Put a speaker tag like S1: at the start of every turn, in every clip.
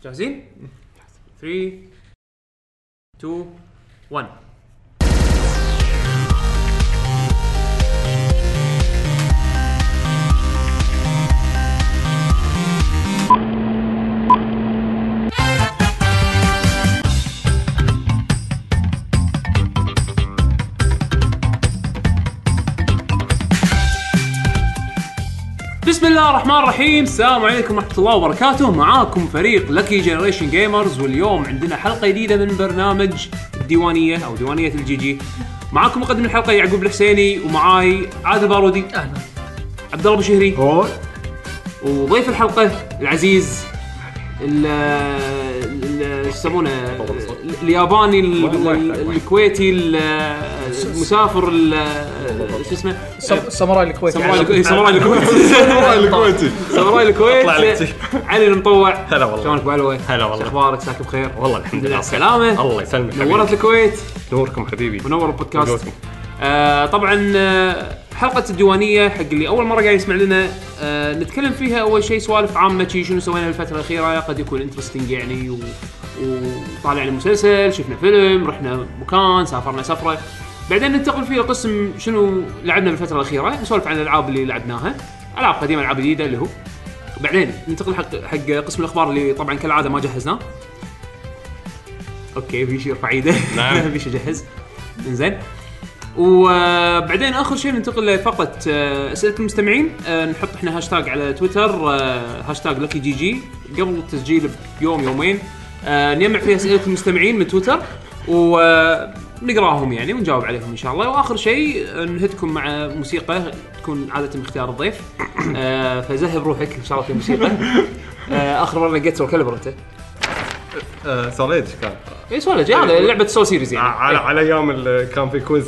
S1: جاهزين؟ 3 2 1 بسم الله الرحمن الرحيم السلام عليكم ورحمة الله وبركاته معاكم فريق لكي جنريشن جيمرز واليوم عندنا حلقة جديدة من برنامج الديوانية أو ديوانية الجي جي معاكم مقدم الحلقة يعقوب الحسيني ومعاي عادل بارودي أهلا عبد الله بشهري
S2: هو
S1: وضيف الحلقة العزيز ال ال- شو يسمونه الياباني ال- ال- الكويتي ال- المسافر ال- شو اسمه
S3: سم- ساموراي الكويت
S1: ساموراي
S4: يعني
S1: الكويت ساموراي الكويت
S2: الكويتي
S1: ساموراي
S4: أطلع لك
S1: الكويت
S4: شيء.
S1: علي المطوع
S4: هلا والله.
S1: شلونك بعلوه؟
S4: هلا والله.
S1: شو اخبارك ساك بخير؟
S4: والله الحمد لله
S1: السلامة
S4: الله يسلمك حبيبي.
S1: نورت الكويت
S4: نوركم حبيبي
S1: ونور البودكاست
S4: وجوزكم.
S1: آه طبعا آه، حلقة الديوانية حق اللي أول مرة قاعد يسمع لنا آه نتكلم فيها أول شيء سوالف عامة شي شنو سوينا الفترة الأخيرة قد يكون انترستنج يعني و... وطالعنا مسلسل شفنا فيلم رحنا مكان سافرنا سفرة بعدين ننتقل فيه لقسم شنو لعبنا بالفترة الأخيرة نسولف عن الألعاب اللي لعبناها ألعاب قديمة ألعاب جديدة اللي هو بعدين ننتقل حق حق قسم الأخبار اللي طبعا كالعادة ما جهزناه اوكي بيشي يرفع ايده
S4: نعم.
S1: بيشي جهز انزين وبعدين اخر شيء ننتقل لفقره آه، اسئله المستمعين آه، نحط احنا هاشتاج على تويتر آه، هاشتاج لكي جي جي قبل التسجيل بيوم يومين آه، نجمع فيها اسئله المستمعين من تويتر ونقراهم يعني ونجاوب عليهم ان شاء الله واخر شيء آه، نهدكم مع موسيقى تكون عاده اختيار الضيف آه، فزهب روحك ان شاء الله في موسيقى آه، اخر مره لقيت كلبرته
S4: سوليج آه، كان
S1: اي سؤال جاي هذا لعبه سو سيريز يعني
S4: على على ايام اللي كان في كويز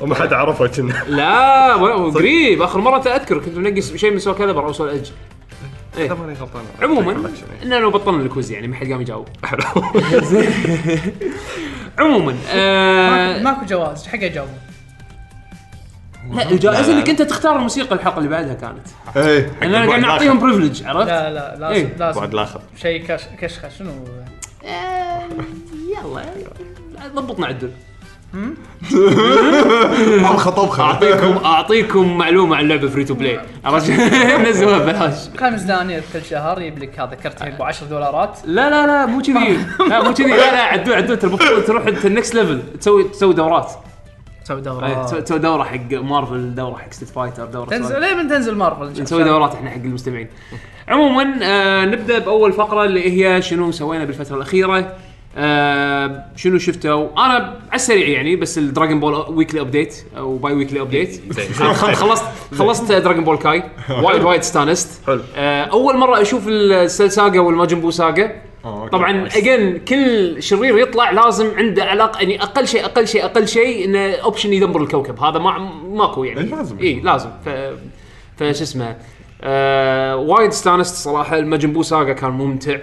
S4: وما حد عرفه كنا
S1: لا و- قريب اخر مره اذكر كنت منقي شيء من سو كالبر او سو الاج
S4: إذا ماني غلطان
S1: عموما اننا لو إيه. بطلنا الكوز يعني ما حد قام يجاوب عموما آه
S3: ماكو- ماكو جواز حق اجاوبه
S1: لا الجائزه انك انت تختار الموسيقى الحلقه اللي بعدها كانت
S4: إيه.
S2: اي
S1: لان إيه. قاعد نعطيهم بريفليج عرفت؟
S3: لا لا
S1: إيه.
S3: لازم
S4: بعد
S3: لازم
S4: الاخر
S3: شيء كش كشخه شنو
S1: آه، يلا ضبطنا عدل
S2: طبخه طبخه
S1: اعطيكم اعطيكم معلومه عن لعبه فري تو بلاي عرفت؟ نزلوها ببلاش
S3: خمس دنانير كل شهر يجيب لك هذا كرتين
S1: إيه.
S3: ب 10 دولارات
S1: لا لا لا مو كذي لا مو كذي لا لا عدول عدول تربط- تروح انت النكست ليفل تسوي تسوي دورات
S3: تسوي
S1: ايه تسوي-
S3: دورات
S1: تسوي دوره حق مارفل دوره حق ستيت فايتر دوره
S3: تنزل ليه من تنزل مارفل
S1: نسوي دورات احنا حق المستمعين عموما آه نبدا باول فقره اللي هي شنو سوينا بالفتره الاخيره آه شنو شفتوا انا على السريع يعني بس الدراجون بول ويكلي ابديت او باي ويكلي ابديت أنا خل- خلصت خلصت دراجون بول كاي وايد وايد استانست
S4: حلو.
S1: آه اول مره اشوف السيل ساجا والماجن بو ساجا
S2: أوكي.
S1: طبعا اجين كل شرير يطلع لازم عنده علاقه يعني اقل شيء اقل شيء اقل شيء انه اوبشن يدمر الكوكب هذا ما ماكو يعني
S2: إيه، لازم.
S1: اي لازم ف فش اسمه آه وايد استانست صراحه المجنبو ساقا كان ممتع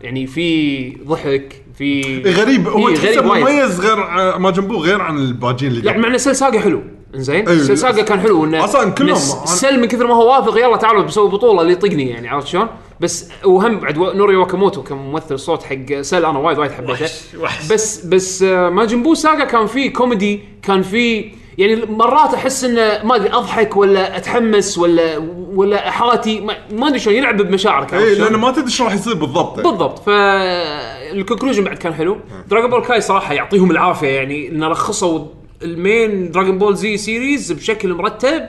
S1: يعني في ضحك في
S2: غريب هو
S1: إيه،
S2: تحسه
S1: وايد.
S2: مميز غير ع- ما جنبه غير عن الباجين اللي
S1: يعني
S2: قبل.
S1: معنى سيل ساقا حلو انزين
S2: أيوة.
S1: سيل ساقا كان حلو انه
S2: أصلاً كلهم-
S1: إنه سيل من كثر ما هو واثق يلا تعالوا بسوي بطوله اللي يطقني يعني عرفت شلون؟ بس وهم بعد و- نوري واكاموتو كممثل صوت حق سيل انا وايد وايد حبيته
S4: وحش
S1: بس بس آه، ماجن بو ساقا كان فيه كوميدي كان فيه يعني مرات احس انه ما ادري اضحك ولا اتحمس ولا ولا احاتي ما ما ادري شلون يلعب بمشاعرك عرفت
S2: اي
S1: شلون؟
S2: لانه إيه، ما تدري شو راح يصير بالضبط يعني.
S1: بالضبط فالكونكلوجن بعد كان حلو دراجون بول كاي صراحه يعطيهم العافيه يعني ان رخصوا المين دراجون بول زي سيريز بشكل مرتب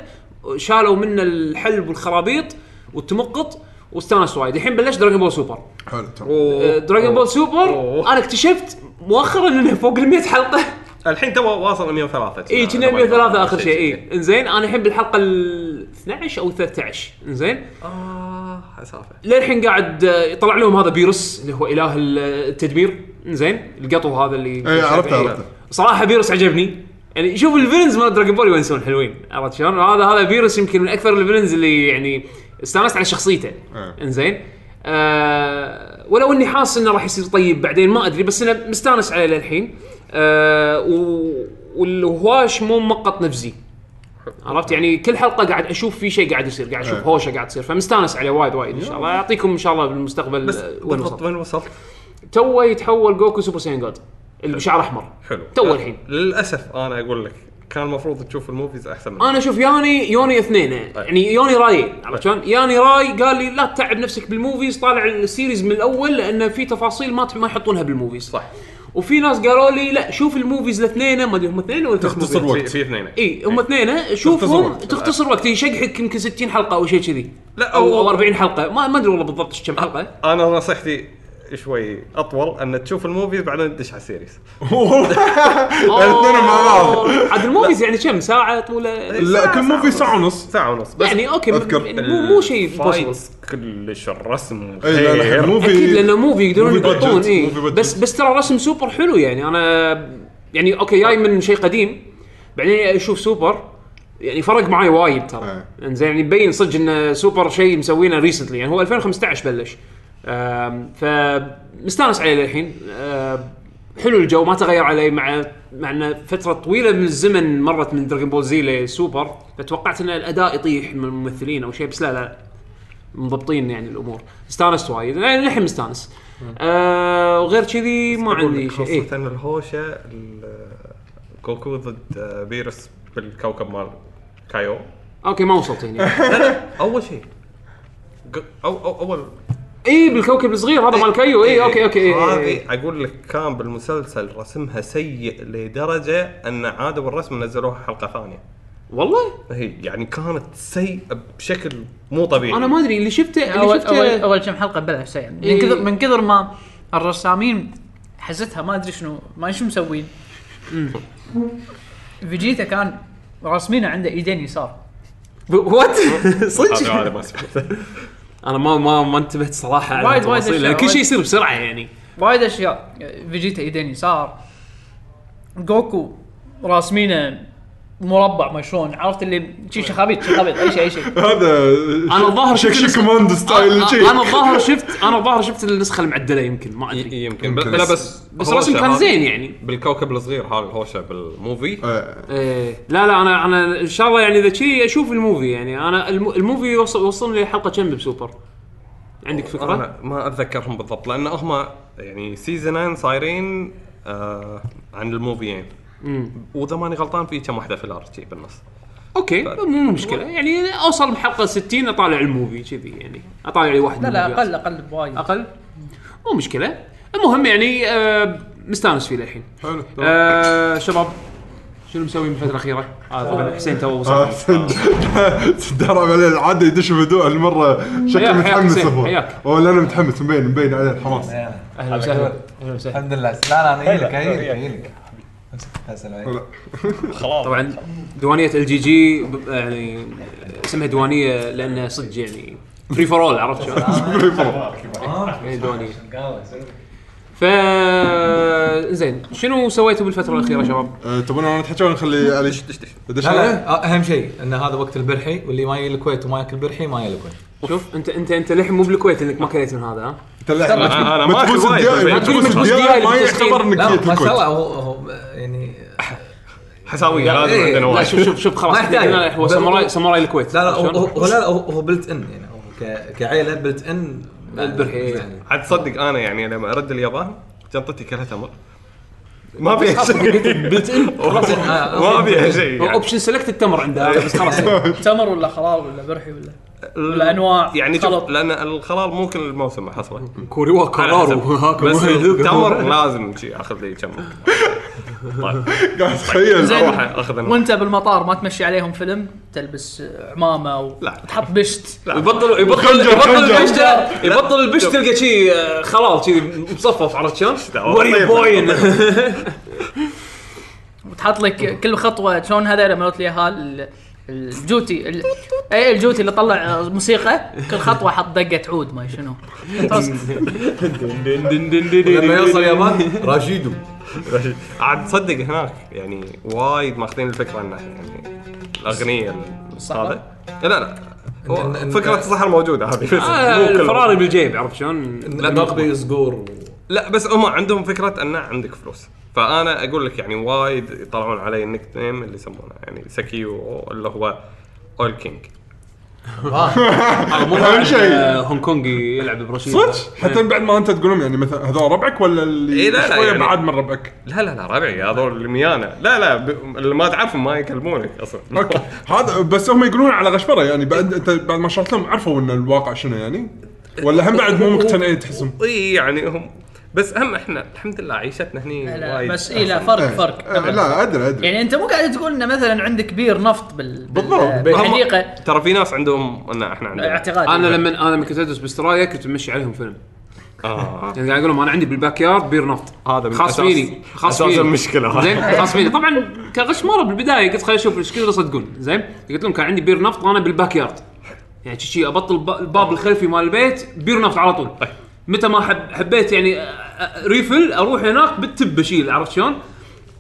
S1: شالوا منه الحلب والخرابيط والتمقط واستانس وايد الحين بلش دراجون بول سوبر
S2: حلو تمام.
S1: آه، دراجون بول سوبر
S4: أوه.
S1: انا اكتشفت مؤخرا انه فوق ال 100 حلقه
S4: الحين تو واصل 103
S1: اي كنا 103 اخر آه، شيء
S4: إيه.
S1: اي انزين انا الحين بالحلقه ال 12 او 13 انزين
S4: اه اسافه
S1: للحين قاعد آه، يطلع لهم هذا بيروس اللي هو اله ال- آه، التدمير زين القطو هذا اللي
S2: اي عرفته
S1: إيه.
S2: عرفته
S1: صراحه بيروس عجبني يعني شوف الفيلنز مال دراجون بول وين يسوون حلوين عرفت شلون؟ هذا هذا بيروس يمكن من اكثر الفيلنز اللي يعني استانست على شخصيته
S2: إيه.
S1: انزين آه ولو اني حاسس انه راح يصير طيب بعدين ما ادري بس انا مستانس عليه للحين آه و- والهواش مو مقط نفسي عرفت يعني كل حلقه قاعد اشوف في شيء قاعد يصير قاعد اشوف
S2: إيه.
S1: هوشه قاعد تصير فمستانس عليه وايد وايد ان شاء الله يعطيكم ان شاء الله بالمستقبل
S4: بس
S1: آه، وين
S4: بالضبط
S1: وصلت
S4: وين وصلت؟
S1: تو يتحول جوكو سوبر سايان جود اللي بشعر احمر
S4: حلو آه.
S1: تو الحين
S4: للاسف انا اقول لك كان المفروض تشوف الموفيز احسن من
S1: انا اشوف ياني يوني اثنين يعني يوني رايين عرفت شلون؟ ياني راي قال لي لا تتعب نفسك بالموفيز طالع السيريز من الاول لان في تفاصيل ما ما يحطونها بالموفيز
S4: صح
S1: وفي ناس قالوا لي لا شوف الموفيز الاثنين ما ادري هم اثنين ولا ثلاث
S2: تختصر
S1: موفيز؟
S2: وقت.
S4: في- في اثنين
S1: اي إيه، هم اثنين
S2: إيه. تختصر
S1: شوفهم
S2: وقت.
S1: تختصر وقت يشقحك يمكن 60 حلقه او شيء كذي
S4: لا،
S1: او
S4: أو-
S1: أو 40 حلقه ما ما ادري والله بالضبط إيش كم حلقه
S4: انا نصيحتي شوي اطول ان تشوف الموفيز بعدين تدش على السيريز
S2: الاثنين مع بعض
S1: عاد الموفيز يعني كم ساعه طوله
S2: لا كل مو في ساعه ونص
S4: ساعه ونص بس
S1: يعني اوكي
S2: أذكر
S1: م- مو مو شيء possible.
S4: فايتس كلش الرسم
S2: اي إيه، لا لا
S4: غير.
S2: مو في
S1: اكيد لانه موفي يقدرون
S2: موفي budget،
S1: يضبطون اي
S2: موفي budget.
S1: بس بس ترى رسم سوبر حلو يعني انا يعني اوكي جاي من شيء قديم بعدين اشوف سوبر يعني فرق معي وايد ترى
S2: إيه.
S1: انزين يعني يبين صدق ان سوبر شيء مسوينه ريسنتلي يعني هو 2015 بلش آم، فمستانس عليه للحين آم، حلو الجو ما تغير علي مع مع انه فتره طويله من الزمن مرت من دراجون بول زي لسوبر فتوقعت ان الاداء يطيح من الممثلين او شيء بس لا لا مضبطين يعني الامور استانست وايد يعني للحين مستانس آه وغير كذي ما
S4: أقول
S1: عندي
S4: لك
S1: شيء
S4: خاصة
S1: إيه؟
S4: الهوشة ال- كوكو ضد بيرس بالكوكب مال كايو
S1: اوكي ما وصلت هنا
S4: اول شيء ق- أو أو اول
S1: اي إيه، بالكوكب الصغير هذا مال كايو اي اوكي اوكي إيه، إيه، إيه.
S4: هذه اقول لك كان بالمسلسل رسمها سيء لدرجه ان عادوا الرسم نزلوها حلقه ثانيه
S1: والله
S4: هي يعني كانت سيئه بشكل مو طبيعي
S1: انا ما ادري اللي شفته اللي
S3: اول اول
S1: شفته
S3: اول يعني كم حلقه بلا شيء
S1: إيه.
S3: من كثر من كثر ما الرسامين حزتها ما ادري شنو ما شو مسوين
S1: إيه.
S3: فيجيتا كان راسمينه عنده ايدين يسار
S1: وات
S4: هذا
S1: صدق
S4: هذا ما سمعته.
S1: انا ما ما ما انتبهت صراحه على
S3: وايد- وايد
S1: التفاصيل،
S3: أشياء،
S1: لأن كل شيء
S3: وايد.
S1: يصير بسرعه يعني
S3: وايد اشياء فيجيتا ايدين يسار جوكو راسمينه مربع ما شلون عرفت اللي شي
S4: طيب.
S3: شخابيط شخابيط اي شيء اي شيء
S2: هذا
S1: انا الظاهر
S2: شك
S1: شفت
S2: شك
S1: النسخة-
S2: كوماندو
S4: آه،
S2: ستايل
S1: أنا-
S2: شيء
S1: انا الظاهر شفت انا الظاهر شفت النسخه المعدله يمكن ما ادري
S4: يمكن
S2: يمكن.
S4: لا بس
S1: بس الرسم
S4: هوشة
S1: كان
S4: هذه
S1: زين يعني.
S4: بالكوكب الصغير هذا الهوشه بالموفي
S2: آه،
S1: إيه. لا لا انا انا ان شاء الله يعني اذا شي اشوف الموفي يعني انا الم- الموفي وصل وصلني لحلقه كم بسوبر عندك فكره؟
S4: انا ما اتذكرهم بالضبط لان هم يعني سيزونين صايرين آه عن الموفيين واذا ماني غلطان في كم واحده في الار جي بالنص
S1: اوكي مو مو مشكله يعني اوصل بحلقه 60 اطالع الموفي كذي يعني اطالع لي واحد
S3: لا
S1: من
S3: لا
S1: الموفيات.
S3: اقل اقل بوايد
S1: اقل مو مشكله المهم يعني آه مستانس فيه للحين
S2: حلو.
S1: آه شباب شنو مسوي بالفتره الاخيره؟ آه طبعا حسين تو
S2: آه،
S1: وصل
S2: درب عليه العاده يدش بدو هالمره شكله
S1: حياك،
S2: متحمس
S1: حسين،
S2: هو
S1: حياك.
S2: هو لا انا متحمس مبين مبين عليه الحماس
S1: اهلا وسهلا اهلا وسهلا
S5: الحمد لله لا لا انا يجيلك انا يجيلك أنا يجيلك يا سلام
S1: طبعا ديوانيه ال جي جي ب- يعني اسمها ديوانيه لانها صدق يعني فري فور اول عرفت شلون؟ يعني ديوانيه ف زين شنو سويتوا بالفتره الاخيره شباب؟
S2: آه، تبون انا اتحكى ولا نخلي علي
S4: دش دش
S2: دش
S5: لا
S2: عليه؟
S5: لا اهم شيء ان هذا وقت البرحي واللي ما يجي الكويت وما ياكل برحي ما يجي الكويت
S1: شوف انت انت انت للحين مو بالكويت انك ما كليت من هذا ها؟
S2: انت اللي أحمد.
S4: أنا- أنا ما
S2: متبوس
S4: أكل وايد
S2: الدياي
S4: بالبيت.
S1: ما
S2: متبوس
S1: تقول
S2: الدياي
S1: متبوس
S2: ما
S1: دياي
S2: يعتبر انك
S5: لا
S2: جيت
S5: ما شاء
S2: الكويت
S5: الله هو هو يعني
S4: حساويه لازم
S5: إيه،
S4: عندنا
S1: لا
S4: واحد
S1: شوف شوف شوف خلاص
S5: ما يحتاج.
S1: لا، لا، هو
S5: بل-
S1: ساموراي ساموراي الكويت
S5: لا لا هو-
S1: شلون؟
S5: هو هو- لا لا هو- هو بلت ان يعني هو ك- كعيله بلت ان
S1: البرحي.
S5: يعني.
S4: عاد تصدق انا يعني لما ارد اليابان جنطتي كلها تمر ما فيها شيء
S1: بلت ان
S5: بلت إن، آه،
S4: ما
S5: أوكي.
S4: فيها شيء يعني.
S1: اوبشن سلكت التمر عنده
S5: إيه.
S1: هذا بس خلاص
S3: تمر ولا خرار ولا برحي ولا
S4: الانواع
S3: الأنواع،
S4: يعني شوف
S3: خلط.
S4: لان الخلال مو كل الموسم حصله
S1: كوري وا
S4: على
S1: كورارو
S4: حسب.
S1: هاكو.
S4: بس التمر لازم شي اخذ لي كم طيب
S2: قاعد تخيل
S3: زين.
S4: اروح اخذ النار.
S3: وانت بالمطار ما تمشي عليهم فيلم تلبس عمامه و...
S4: لا.
S3: تحط بشت
S1: يبطل يبطل
S2: خنجر،
S1: يبطل
S2: خنجر.
S1: البش ده- يبطل البش تلقى شي آه، خلال شي مصفف عرفت شلون؟
S4: دعوة.
S1: وري
S4: طيب.
S1: بوين
S3: وتحط لك كل خطوه شلون هذول مالت اليهال ال- الجوتي ال... اي الجوتي اللي طلع موسيقى كل خطوه حط دقه عود ما شنو
S5: لما يوصل اليابان راشيدو
S4: طيب. عاد تصدق هناك يعني وايد ماخذين الفكره انه يعني الاغنيه ال- إيه،
S3: الصحراء؟
S4: لا لا هو
S5: إن- إن- آه،
S4: فكره الصحراء موجوده هذه بس مو كل-
S1: آه، الفراري بالجيب عرفت شلون؟
S5: نقضي صقور
S4: لا بس هم عندهم فكره انه عندك فلوس فانا اقول لك يعني وايد يطلعون علي النيك نيم اللي يسمونه يعني سكيو اللي هو اول كينج
S2: اهم شيء
S1: آه، هونغ كونغي يلعب إيه. برشيد
S2: صدق حتى بعد ما انت تقولهم يعني مثلا هذول ربعك ولا اللي
S4: إي لا لا
S2: شويه
S4: يعني.
S2: بعاد من ربعك؟
S4: لا لا لا ربعي هذول اللي ميانا لا لا ب... اللي ما تعرفهم ما يكلمونك اصلا
S2: اوكي هذا بس هم يقولون على غشبره يعني بعد انت بعد ما شرحت لهم عرفوا ان الواقع شنو يعني؟ ولا هم بعد مو مقتنعين تحسهم؟
S4: اي يعني هم بس هم احنا الحمد لله عيشتنا هني
S3: لا،
S4: وايد
S3: بس اي لا فرق فرق
S2: إيه، إيه، لا ادري ادري
S3: يعني انت مو قاعد تقول انه مثلا عندك بير نفط بال
S2: بالضبط.
S4: هم-
S3: بالحديقه
S4: ترى في ناس عندهم لا احنا عندنا
S3: اعتقاد
S1: انا لما انا من كنت ادرس باسترايا كنت ممشي عليهم فيلم
S4: آه.
S1: يعني قاعد اقول لهم انا عندي بالباك يارد بير نفط
S4: هذا من
S1: خاص
S4: أساس-
S1: فيني خاص
S4: أساس
S1: فيني
S4: المشكلة.
S1: زين خاص فيني طبعا كغش مره بالبدايه قلت خليني اشوف ايش كثر يصدقون زين قلت لهم كان عندي بير نفط وانا بالباك يارد يعني شي- شي ابطل الب- الباب الخلفي مال البيت بير نفط على طول
S4: طيب.
S1: متى ما حب حبيت يعني أ- أ- ريفل اروح هناك بالتب اشيل عرفت شلون؟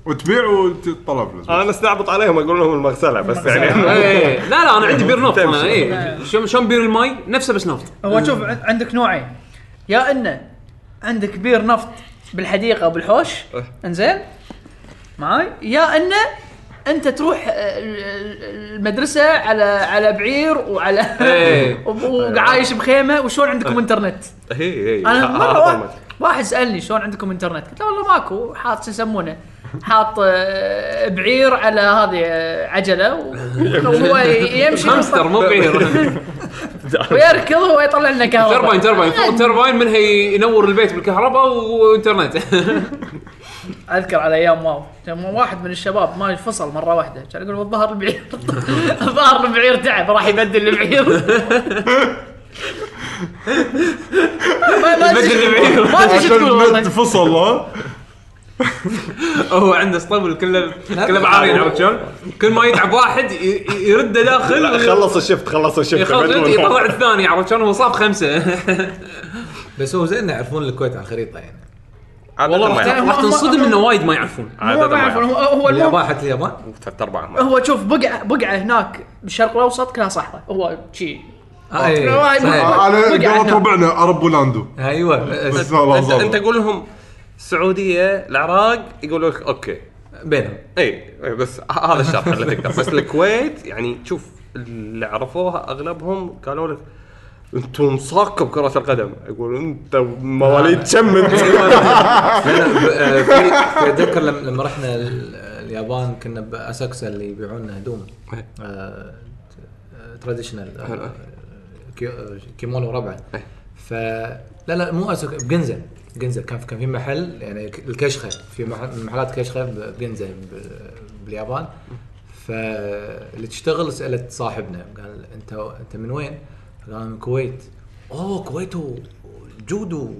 S2: وتبيع وتطلب
S3: آه،
S2: لازم
S4: انا استعبط عليهم اقول لهم المغسله بس يعني
S1: إيه. لا لا انا عندي بير نفط انا
S4: تمشي.
S1: اي شلون شلون بير المي نفسه بس نفط
S3: هو شوف عن- عندك نوعين يا انه عندك بير نفط بالحديقه وبالحوش
S2: إيه.
S3: انزين معاي يا انه انت تروح آه، ال- ال- المدرسه على على بعير وعلى
S1: إيه.
S3: وب- وعايش بخيمه وشلون
S2: إيه.
S3: عندكم انترنت
S4: هي هي
S3: انا
S4: ه-
S3: مره
S4: هذا
S3: واحد,
S4: المشكلة.
S3: واحد سالني شلون عندكم انترنت قلت له والله ماكو حاط شو يسمونه حاط آه، بعير على هذه آه، عجله و- وهو ي- يمشي
S1: هامستر مو بعير
S3: ويركض هو يطلع لنا يعني كهرباء
S1: ترباين ترباين فوق ترباين منها ينور البيت بالكهرباء وانترنت
S3: اذكر على ايام واو كان واحد من الشباب ما فصل مره واحده كان يقول الظهر البعير الظهر البعير تعب راح يبدل البعير ما ما أدري
S1: يبدل
S3: شو-
S1: البعير.
S3: ما ادري شو آه،
S2: عشان
S3: تقول والله
S2: المد فصل ها
S1: هو عنده اسطبل كله كله بعارين عرفت شلون؟ كل ما يتعب واحد ي- ي- يرده داخل
S4: لا خلص الشفت خلص الشفت
S1: يخرج
S4: بدون-
S1: يطلع الثاني عرفت شلون هو صاب خمسه
S5: بس هو زين إنه يعرفون الكويت على الخريطه يعني
S4: عادة
S1: والله
S4: ما
S1: راح
S4: يعرف.
S1: ت- راح تنصدم انه وايد ما يعرفون
S4: عادة
S3: هو
S4: ما
S3: ما يعرف
S4: يعرف.
S3: هو هو المهم-
S5: اليابان حتى اليابان
S4: ثلاث ارباع ما
S3: هو شوف بقعه بقعه هناك بالشرق الاوسط كلها صحراء هو شي
S5: آه، إي،
S3: آه،
S5: صحيح.
S3: آه،
S2: انا
S3: وقع
S2: قالت
S3: هنا.
S2: ربعنا عرب بولندو
S5: ايوه
S2: بس
S5: بس
S4: انت
S2: والله
S4: انت قول لهم السعوديه العراق يقولوا لك اوكي
S5: بينهم
S4: اي اي إيه، بس ه- هذا الشرط اللي تقدر بس الكويت يعني شوف اللي عرفوها اغلبهم قالوا لك انتم صاكوا بكره القدم يقول انت مواليد كم انت
S5: لأن ب- آه، في- في اتذكر لما لما رحنا ال- اليابان كنا باساكوسا اللي يبيعون لنا هدوم
S4: حلو.
S5: تراديشنال كيمونو ربعه
S4: إيه.
S5: ف لا لا مو اساكوسا بجنزه بجنزه كان في كان في محل يعني ك- الكشخه في مح- من محلات كشخه ب- بجنزه ب- باليابان فاللي تشتغل سالت صاحبنا قال انت انت من وين؟ قال أنا من الكويت اوه كويتو جودو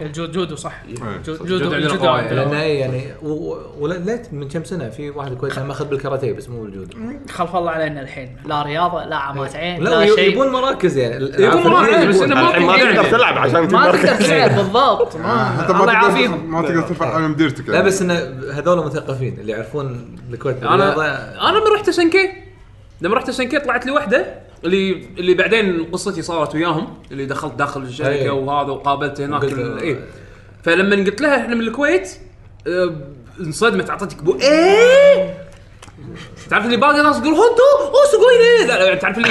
S3: الجود يعني جودو صح جود-
S1: جودو
S3: جودو
S1: عندنا
S3: جودو
S1: قواعد.
S5: لان
S3: عندنا.
S5: إيه يعني و- و- وليت من كم سنه في واحد كويتي هم اخذ بالكاراتيه بس مو بالجودو
S3: خلف الله علينا الحين لا رياضه لا عمات عين
S5: إيه. لا
S3: لا
S5: ي-
S3: شيء
S5: يبون مراكز يعني
S1: يبون مراكز، بس إنه ما
S4: الحين ما
S1: تقدر
S4: تقدر تلعب عشان
S3: ما
S4: تمركز.
S3: تقدر تلعب بالضبط ما-
S2: حتى ما
S3: آه، الله
S2: تقدر
S3: يعافيهم
S2: ما تقدر ترفع على مديرتك
S5: لا
S2: يعني.
S5: بس انه هذول مثقفين اللي يعرفون الكويت
S1: انا
S5: بالرياضه
S1: انا من رحت سنكي لما رحت سنكي طلعت لي وحده اللي اللي بعدين قصتي صارت وياهم اللي دخلت داخل
S5: أي.
S1: الشركه وهذا وقابلت هناك
S5: قلت-
S1: ال- اي فلما قلت لها احنا من الكويت آه، انصدمت اعطتك بو ايه تعرف اللي باقي ناس تقول هو انتو او سوقوين لا لا تعرف اللي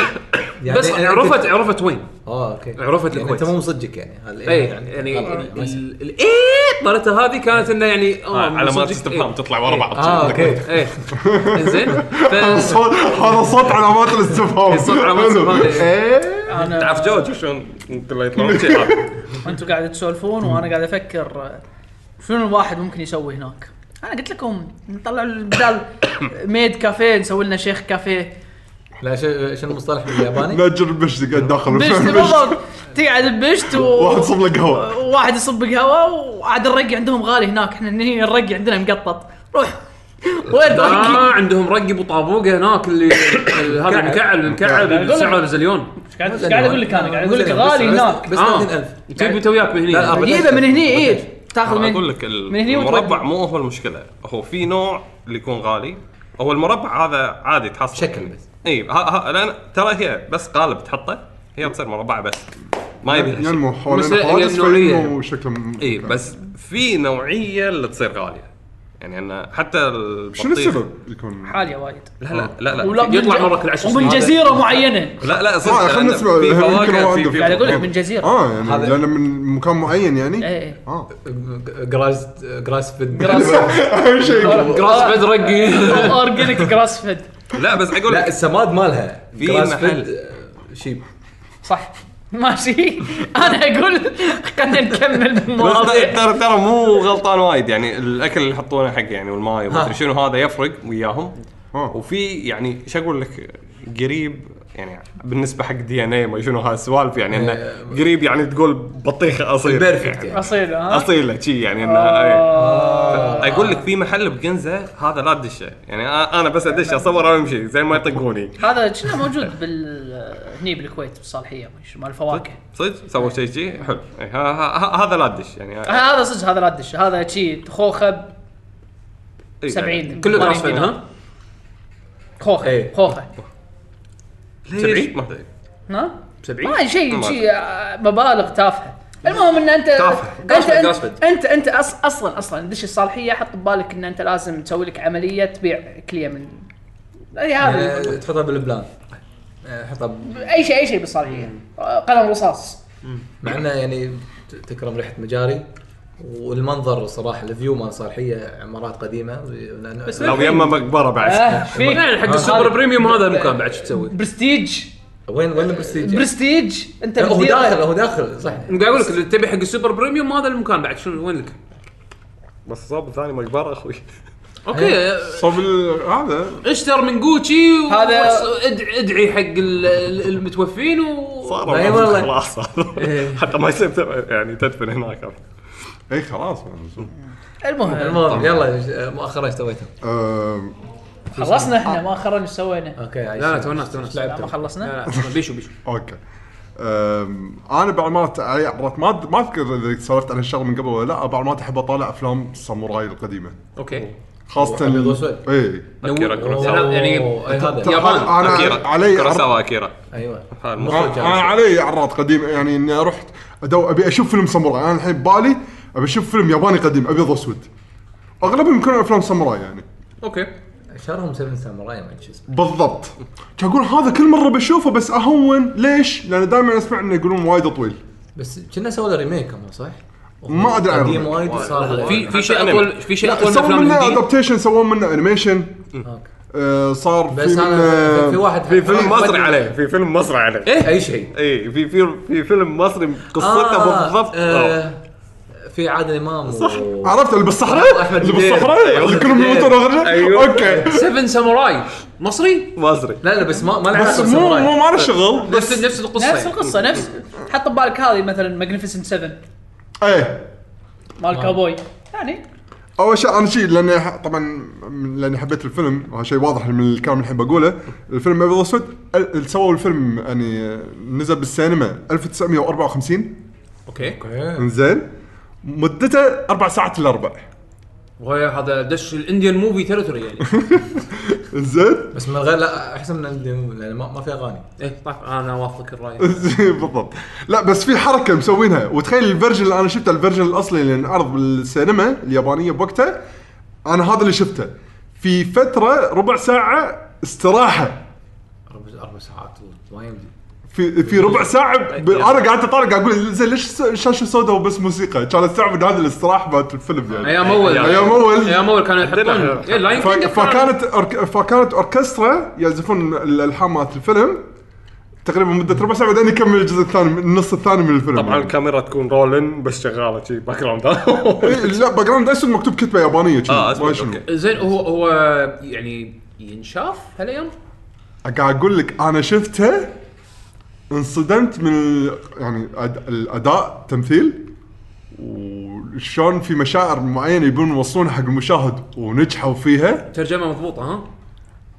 S5: يعني
S1: بس
S5: أنا
S1: عرفت
S5: كنت-
S1: عرفت وين
S5: اه اوكي
S1: عرفت
S5: يعني
S1: الكويت.
S5: انت مو مصدقك يعني هذا الإيه
S1: اي
S5: يعني
S1: يعني
S5: غلط، ما يصير.
S1: ال- ال- ايه طلعتها هذه كانت انه يعني آه،
S4: آه، علامات
S1: صدق،
S4: استفهام
S1: إيه.
S4: تطلع ورا بعض
S5: اه اوكي
S1: ايه انزين ف
S2: صوت- هذا صوت علامات الاستفهام
S1: صوت علامات الاستفهام،
S2: ايه
S3: انا
S4: تعرف جوجو شلون كله يطلعون شي هذا.
S3: انتم قاعد تسولفون وانا قاعد افكر آه، شنو الواحد ممكن يسوي هناك انا قلت لكم نطلع بدال ميد كافيه نسوي لنا شيخ كافيه
S5: لا شو- شنو المصطلح بالياباني؟
S2: ناجر بش قاعد داخل
S3: بشت بالضبط تقعد بشت و...
S2: واحد صب له قهوه
S3: واحد يصب قهوه وعاد الرقي عندهم غالي هناك احنا هنا الرقي عندنا مقطط روح وين الرقي؟
S1: اه عندهم رقب وطابوقه هناك اللي ال- هذا المكعب المكعب
S3: قاعد أقول لك.
S1: سعره بزليون
S3: قاعد قاعد اقول لك انا قاعد اقول لك غالي
S5: بس-
S3: هناك
S5: بس
S1: آه.
S5: 30000
S3: يعني.
S1: تجيب انت وياك من
S5: لا،
S1: هنا
S5: أبد.
S3: جيبه من هني اي تاخذ من
S4: اقول آه، لك
S3: من هني
S4: المربع
S3: وتودي.
S4: مو هو المشكله هو في نوع اللي يكون غالي هو المربع هذا عادي تحصل إيه،
S5: شكل بس.
S4: اي ها- ها- لان ترى هي بس قالب تحطه هي تصير مربعه بس ما يبي لها شيء.
S2: ينمو
S1: مثل-
S2: حوالين حوادث
S4: إيه،
S1: يعني نوعية.
S2: فينمو شكله م-
S4: اي بس في نوعيه اللي تصير غاليه يعني انا حتى البطيخ
S2: شنو السبب يكون؟
S3: عاليه وايد
S4: لا لا لا لا
S3: آه. ولا من
S1: يطلع
S3: ج-
S1: مرة كل عشر
S3: ومن
S1: سنين.
S3: جزيره معينه
S4: لا لا صدق
S2: آه، خلنا
S4: لأن
S2: نسمع،
S4: في
S2: يمكن
S4: فواكه،
S2: هو
S4: في-
S2: عنده.
S4: في
S3: قاعد اقول لك
S4: فواكه.
S3: من إيه. جزيره
S2: اه يعني
S5: هذا-
S2: لان من مكان معين يعني؟
S3: اي اي
S2: اه
S5: جراس جراس فيد
S3: جراس
S2: اهم شيء
S1: جراس
S3: آه.
S1: بيد رقي
S3: اورجانيك جراس فيد
S4: لا بس اقول
S5: لا
S4: لك
S5: السماد مالها
S4: في
S5: جراس
S4: محل.
S5: فيد، آه، شيب
S3: صح ماشي انا اقول خلينا نكمل
S4: بس ترى-
S3: بالمواضيع
S4: طيب، ترى ترى مو غلطان وايد يعني الاكل اللي يحطونه حق يعني والماي ومدري شنو هذا يفرق وياهم
S2: آه.
S4: وفي يعني شو اقول لك قريب يعني بالنسبه حق دي ان اي ما شنو هالسوالف يعني انه
S3: آه.
S4: قريب يعني تقول بطيخه اصيل
S5: بيرفكت يعني
S3: اصيل ها
S4: اصيله شي يعني انها
S3: آه.
S4: إيه. اقول لك في محل بجنزه هذا لا تدشه يعني أ- انا بس ادش اصور وامشي زي ما يطقوني
S3: هذا كنا موجود بال هني بالكويت بالصالحيه ما شو- مال الفواكه
S4: صدق سووا شيء شي حلو إيه، ها- ها- ها- هذا لا تدش يعني
S3: آه، هذا صدق هذا لا تدش هذا شي خوخه ب
S4: إيه،
S3: 70
S1: كله جراس
S3: 80
S1: فيد
S3: دينار.
S1: ها
S3: خوخه
S5: إيه.
S3: خوخه
S4: ليش؟
S1: 70
S4: ما أدري.
S3: ها
S1: 70
S3: ما شيء
S4: ما
S3: شيء آه، مبالغ تافهه المهم ان انت
S4: تافهة.
S3: انت
S5: قاسبد،
S3: انت,
S5: قاسبد.
S3: انت, انت أص اصلا اصلا دش الصالحيه حط ببالك ان انت لازم تسوي لك عمليه تبيع كليه من أي هذا
S5: يعني تحطها بالبلان آه، حطها ب-
S3: اي شيء اي شيء بالصالحيه آه، قلم رصاص
S5: مع انه يعني ت- تكرم ريحه مجاري والمنظر صراحه الفيو مال صالحيه عمارات قديمه لأن-
S3: بس
S4: لو يما مقبره بعد
S3: آه،
S1: في
S3: في
S1: يعني حق السوبر بريميوم هذا المكان بعد شو تسوي؟
S3: برستيج
S5: وين وين البرستيج؟ يعني؟
S3: برستيج آه. انت
S5: هو
S3: مدير-
S5: داخل هو داخل صح
S1: قاعد اقول لك اللي تبي حق السوبر بريميوم هذا المكان بعد شنو وين لك؟
S4: بس الصوب الثاني مقبره اخوي
S1: اوكي
S3: آه.
S2: صوب ال- هذا
S1: اشتر من جوتشي و-
S3: هذا-
S1: وص- ادعي ادعي حق ال- ال- المتوفين و
S4: صار
S5: أي والله. إيه.
S4: خلاص حتى ما يصير تب- يعني تدفن هناك
S2: اي خلاص يعني صوب.
S3: المهم
S5: المهم يلا ش- آه، مؤخرا ايش سويته؟
S2: آم،
S3: خلصنا احنا ما اخرنا ايش سوينا؟
S5: اوكي
S1: لا لا تونست تونست
S3: لا، ما خلصنا؟
S1: لا لا بيشو بيشو
S2: اوكي أم، انا بعض المرات علي عرفت ما ما اذكر اذا سولفت عن الشغله من قبل ولا لا بعض المرات احب اطالع افلام الساموراي القديمه
S1: اوكي
S2: خاصه
S5: أبيض وأسود.
S2: اي
S4: اكيرا كوروساوا
S1: يعني-
S5: هذا
S1: يا-
S2: طبعاً
S4: أكيرا.
S2: انا علي عرض-
S4: كوروساوا اكيرا
S5: ايوه
S4: هذا المخرج.
S2: انا آه، أنا علي عراض قديم يعني اني رحت أدو ابي اشوف فيلم ساموراي انا الحين بالي ابي اشوف فيلم ياباني قديم ابيض واسود اغلبهم يكونوا افلام ساموراي يعني
S1: اوكي
S5: شهرهم سفن ساموراي ما أدري شو اسمه
S2: بالضبط كان اقول هذا كل مره بشوفه بس اهون ليش؟ لان دائما اسمع انه يقولون وايد طويل
S5: بس كنا سووا له ريميك هم صح؟
S2: ما أدري عنه.
S5: قديم وايد صار
S1: في في شيء
S4: حتى
S1: اطول في شيء اطول من
S2: سووا
S1: افلام
S2: منه
S1: الهندية
S2: ادابتيشن سووا منه انيميشن
S5: أوكي.
S2: آه، صار في
S5: بس انا
S2: منه-
S5: في واحد
S4: في فيلم مصري عليه في فيلم مصري عليه
S5: اي شيء
S4: اي في في في فيلم مصري قصته
S5: آه،
S4: بالضبط آه.
S5: آه، في عادل امام صح
S2: عرفت اللي بالصحراء؟
S5: أحمد
S2: اللي
S5: دير.
S2: بالصحراء اللي كلهم
S5: دير.
S2: يموتون وغيره؟
S4: أيوه.
S2: اوكي
S1: سفن ساموراي مصري
S4: مصري
S5: لا لا بس ما ما له
S2: بس
S5: علاقة
S2: مو
S5: بالساموراي.
S2: مو ما له شغل
S1: نفس نفس يعني.
S3: نفس
S1: القصه
S3: القصه نفس حط ببالك هذه مثلا ماجنيفيسنت 7
S2: ايه
S3: مال كابوي يعني
S2: اول شيء انا شيء لاني ح- طبعا من- لاني حبيت الفيلم وهذا شيء واضح من الكلام اللي الحين بقوله الفيلم ابيض واسود ال- ال- سووا الفيلم يعني نزل بالسينما 1954
S1: اوكي
S2: انزين مدته اربع ساعات الا ربع
S1: وهي هذا دش الانديان موفي تيريتوري يعني
S2: انزين
S5: بس من غير لا احسن من الديم- لان ما, ما في اغاني
S1: ايه طيب انا اوافقك الراي
S2: إنزين، بالضبط لا بس في حركه مسوينها وتخيل الفيرجن اللي انا شفته الفيرجن الاصلي اللي انعرض بالسينما اليابانيه بوقتها انا هذا اللي شفته في فتره ربع ساعه استراحه
S5: اربع أربع ساعات ما يمدي
S2: في في ربع ساعه ب... انا قعدت اطالع قاعد اقول زين ليش الشاشه سوداء وبس موسيقى؟ كان استوعب ان هذا الاستراحه مالت الفيلم يعني
S1: ايام اول
S2: ايام أول.
S1: ايام اول كانوا يحطون
S4: عندنا-
S1: إيه، لاين
S2: ف...
S1: كينج كان-
S2: فكانت أرك... فكانت اوركسترا يعزفون الالحان مالت الفيلم تقريبا مده ربع ساعه بعدين يكمل الجزء الثاني من النص الثاني من الفيلم
S4: طبعا
S2: يعني.
S4: الكاميرا تكون رولن بس شغاله شي باك جراوند
S2: إيه، لا باك جراوند اسود مكتوب كتبه يابانيه كذي
S4: اه اسمع
S2: ما شنو
S4: اوكي
S1: زين هو هو يعني ينشاف هالايام
S2: قاعد اقول لك انا شفتها انصدمت من ال... يعني أد... الاداء التمثيل وشلون في مشاعر معينه يبون يوصلونها حق المشاهد ونجحوا فيها
S1: ترجمه مضبوطه ها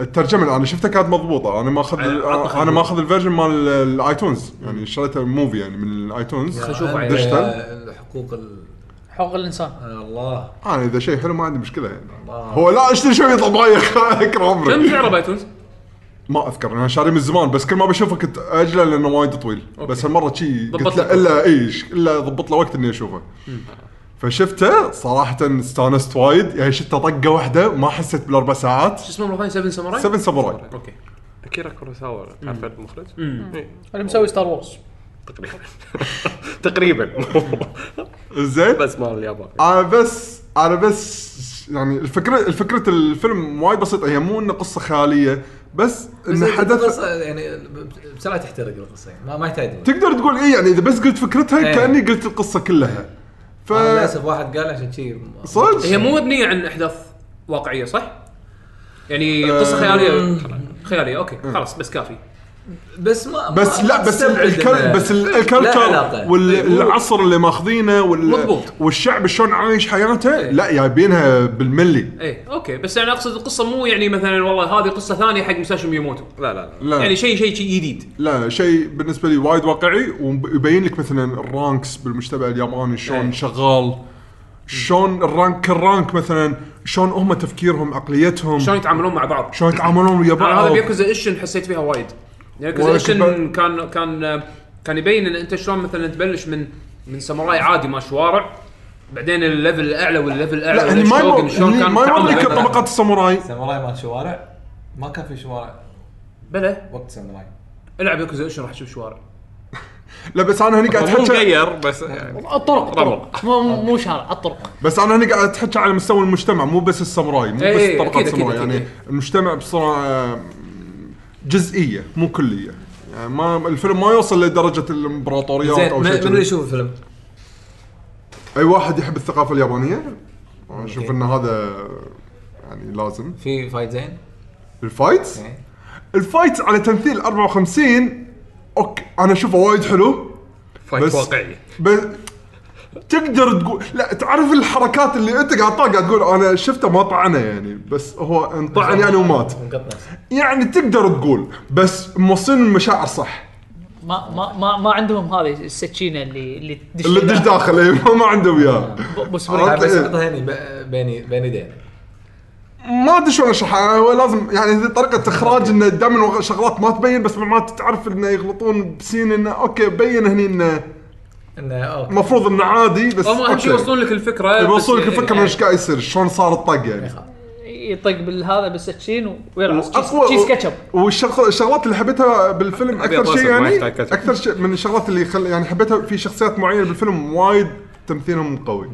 S2: الترجمه اللي انا شفتها كانت مضبوطه انا ماخذ
S1: عطنا خلينا
S2: انا ماخذ الفيرجن مال الايتونز يعني شريته موفي يعني من الايتونز
S1: خشوف
S5: آه،
S1: عليه.
S2: ديجيتال.
S5: آه، حقوق ال-
S3: حقوق الانسان
S5: آه، الله
S2: انا اذا شيء حلو ما عندي مشكله يعني هو لا اشتري شوي يطلع بايخ اكره
S1: كم
S2: عمري
S1: سعره بايتونز؟
S2: ما اذكر انا شاري من زمان بس كل ما بشوفه كنت اجله لانه وايد طويل بس هالمره شي
S1: ضبط
S2: قلت له
S1: لك.
S2: الا ايش الا ضبط له وقت اني اشوفه فشفته صراحه استانست وايد يعني شفته طقه واحده ما حسيت بالاربع ساعات
S1: شو اسمه مره ثانيه 7 ساموراي؟
S2: 7 ساموراي
S1: اوكي
S4: اكيرا كوروساوا تعرف المخرج؟ إيه،
S3: اللي مسوي ستار وورز
S4: تقريبا تقريبا
S2: زين
S4: بس مال اليابان
S2: انا بس انا بس يعني الفكره الفكره الفيلم وايد بسيطه هي مو انه قصه خياليه بس
S5: بس
S2: انه حدث
S5: القصة يعني ب- بسرعه تحترق القصه يعني ما, ما يحتاج
S2: تقدر تقول ايه يعني اذا بس قلت فكرتها
S5: إيه.
S2: كاني قلت القصه كلها ف
S5: أنا للاسف واحد قال عشان شي
S2: صدق
S1: هي مو مبنيه عن احداث واقعيه صح؟ يعني قصه خياليه خياليه اوكي خلاص بس كافي
S5: بس ما
S2: بس
S5: ما-
S2: لا
S5: ما
S2: بس
S5: تستبعد
S2: الكل
S5: آه، إنه-
S2: بس ال-
S5: لا
S2: الكلتشر
S5: علاقة.
S2: وال-
S5: إيه، مو-
S2: العصر اللي ماخذينه وال
S1: مضبوط.
S2: والشعب شلون عايش
S5: إيه.
S2: حياته لا جايبينها بالملي
S1: ايه اوكي بس يعني اقصد القصه مو يعني مثلا والله هذه قصه ثانيه حق مساشي ميموتو
S4: لا لا لا
S2: لا
S1: يعني شيء شيء شيء جديد
S2: لا شيء بالنسبه لي وايد واقعي ويبين لك مثلا الرانكس بالمجتمع الياباني شلون
S1: إيه.
S2: شغال شلون الرانك كالرانك مثلا شلون هم تفكيرهم عقليتهم
S1: شلون يتعاملون مع بعض
S2: شلون يتعاملون ويا
S1: انا
S2: بعض
S1: هذا بياكوزا ايشن حسيت فيها وايد يعني بياكوزا
S2: ولا
S1: ايشن
S2: كبا-
S1: كان كان كان يبين ان انت شلون مثلا تبلش من من ساموراي عادي ما شوارع بعدين الليفل الاعلى والليفل الاعلى
S2: لا هني يعني ما
S1: والشوغن
S2: يمر- هني ما
S1: تعامل
S2: يمر لك
S1: بينهم.
S5: الطبقة.
S2: طبقات الساموراي
S5: ساموراي مال شوارع ما كان في شوارع
S1: بلا
S5: وقت ساموراي
S1: العب ياكوزا ايشن راح تشوف شوارع
S2: لا بس انا هني قاعد
S4: هو
S2: احكي
S4: مغير بس يعني
S3: الطرق
S4: ربع.
S3: الطرق مو مو شارع الطرق
S2: بس انا هني قاعد احكي على مستوى المجتمع مو بس الساموراي مو
S1: إيه،
S2: بس
S1: إيه،
S2: طبقات
S1: أكيد، أكيد،
S2: الساموراي
S1: أكيد،
S2: يعني
S1: إيه.
S2: المجتمع بصورة جزئيه مو كليه يعني ما الفيلم ما يوصل لدرجه الامبراطوريات
S5: زين
S2: او
S5: إيه، من
S2: شيء
S5: من اللي
S2: كذي.
S5: يشوف الفيلم؟
S2: اي واحد يحب الثقافه اليابانيه أنا اشوف ان هذا يعني لازم
S5: في فايت زين؟
S2: الفايتس
S5: إيه.
S2: الفايتس على تمثيل 54 اوكي انا اشوفه وايد حلو
S4: فايت
S2: بس-
S4: واقعي
S2: بس تقدر تقول لا تعرف الحركات اللي انت قاعد طالع قاعد تقول انا شفته ما طعنه يعني بس هو انطعن يعني ومات
S5: انقط نفسه
S2: يعني تقدر تقول بس موصلين المشاعر صح
S3: ما ما ما, ما عندهم هذه السكينه اللي اللي تدش
S2: اللي تدش داخل إيه، ما- ما عندهم اياها
S3: ب- بس
S2: عرفت؟
S5: بس
S2: إيه.
S5: حطها هني ب- بين بين يدين
S2: ما ادري شلون اشرحها هو لازم يعني هذي طريقه اخراج انه دائما شغلات ما تبين بس ما تعرف انه يغلطون بسين انه اوكي بين هني انه
S5: انه اوكي
S2: المفروض انه عادي بس
S1: هم اهم شيء
S2: أوكي.
S1: يوصلون لك الفكره
S2: يوصلون لك
S1: بس- يعني
S2: الفكره من ايش قاعد يصير شلون صار الطق يعني
S3: يطق بالهذا بالسكين ويرعص
S2: اقوى
S3: تشيز كاتشب
S2: والشغلات اللي حبيتها بالفيلم
S4: أبيض
S2: اكثر شيء
S4: وأسود، ما
S2: يعني
S4: يحتاج كاتب.
S2: اكثر شيء من الشغلات اللي خل يعني حبيتها في شخصيات معينه بالفيلم وايد تمثيلهم قوي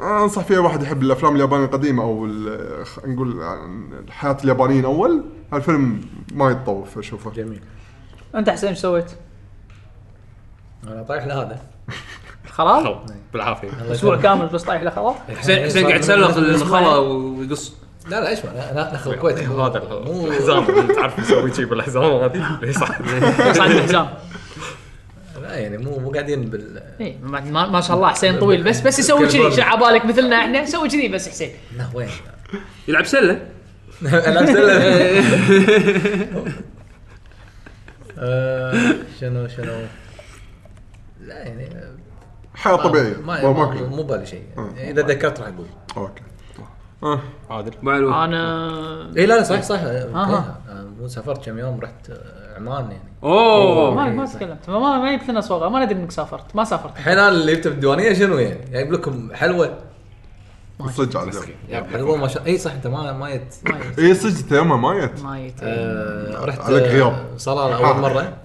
S2: آه، انصح فيها واحد يحب الافلام اليابانيه القديمه او ال- خ- نقول عن حياه اليابانيين اول هالفيلم ما يتطوف اشوفه
S5: جميل
S3: انت حسين ايش سويت؟
S5: انا طايح لهذا
S3: خلاص؟ إيه.
S4: بالعافيه
S3: اسبوع كامل بس طايح لخلاص
S1: حسين حسين قاعد يتسلق المخله ويقص
S5: لا لا اسمع لا لا دخل الكويت
S4: هذا
S5: مو-
S4: الحزام تعرف يسوي شي بالحزام هذه إيه، ليش
S3: صعد الحزام
S5: لا يعني مو مو قاعدين بال
S3: إيه، ما, ما, ما شاء الله حسين طويل بس بس يسوي كذي شو على بالك مثلنا احنا سوي كذي بس حسين
S5: لا وين
S1: يلعب سله
S5: انا أسأل- آه، شنو شنو لا يعني آه،
S2: حياه طبيعيه
S5: ما
S2: ما-
S5: ما-
S2: ماكو.
S5: مو بالي شيء يعني اذا ذكرت راح اقول
S2: اوكي آه.
S4: عادل
S1: مع الوقت
S3: انا
S5: اي إيه، لا لا صح صح آه، مو سافرت كم يوم رحت آه، عمان يعني
S1: اوه
S3: ما ما تكلمت ما ما جبت لنا صوره ما ندري انك سافرت ما سافرت
S5: الحين انا اللي جبته بالديوانيه شنو يعني؟ جايب لكم حلوه
S2: صدق عزيز
S5: حلوه ما شاء الله اي صح انت ما ما جيت
S3: ما جيت
S2: اي صدق أنت يما ما جت
S3: ما جيت
S5: آه، رحت
S2: نعم. عليك غياب.
S5: آه، صلاله اول مره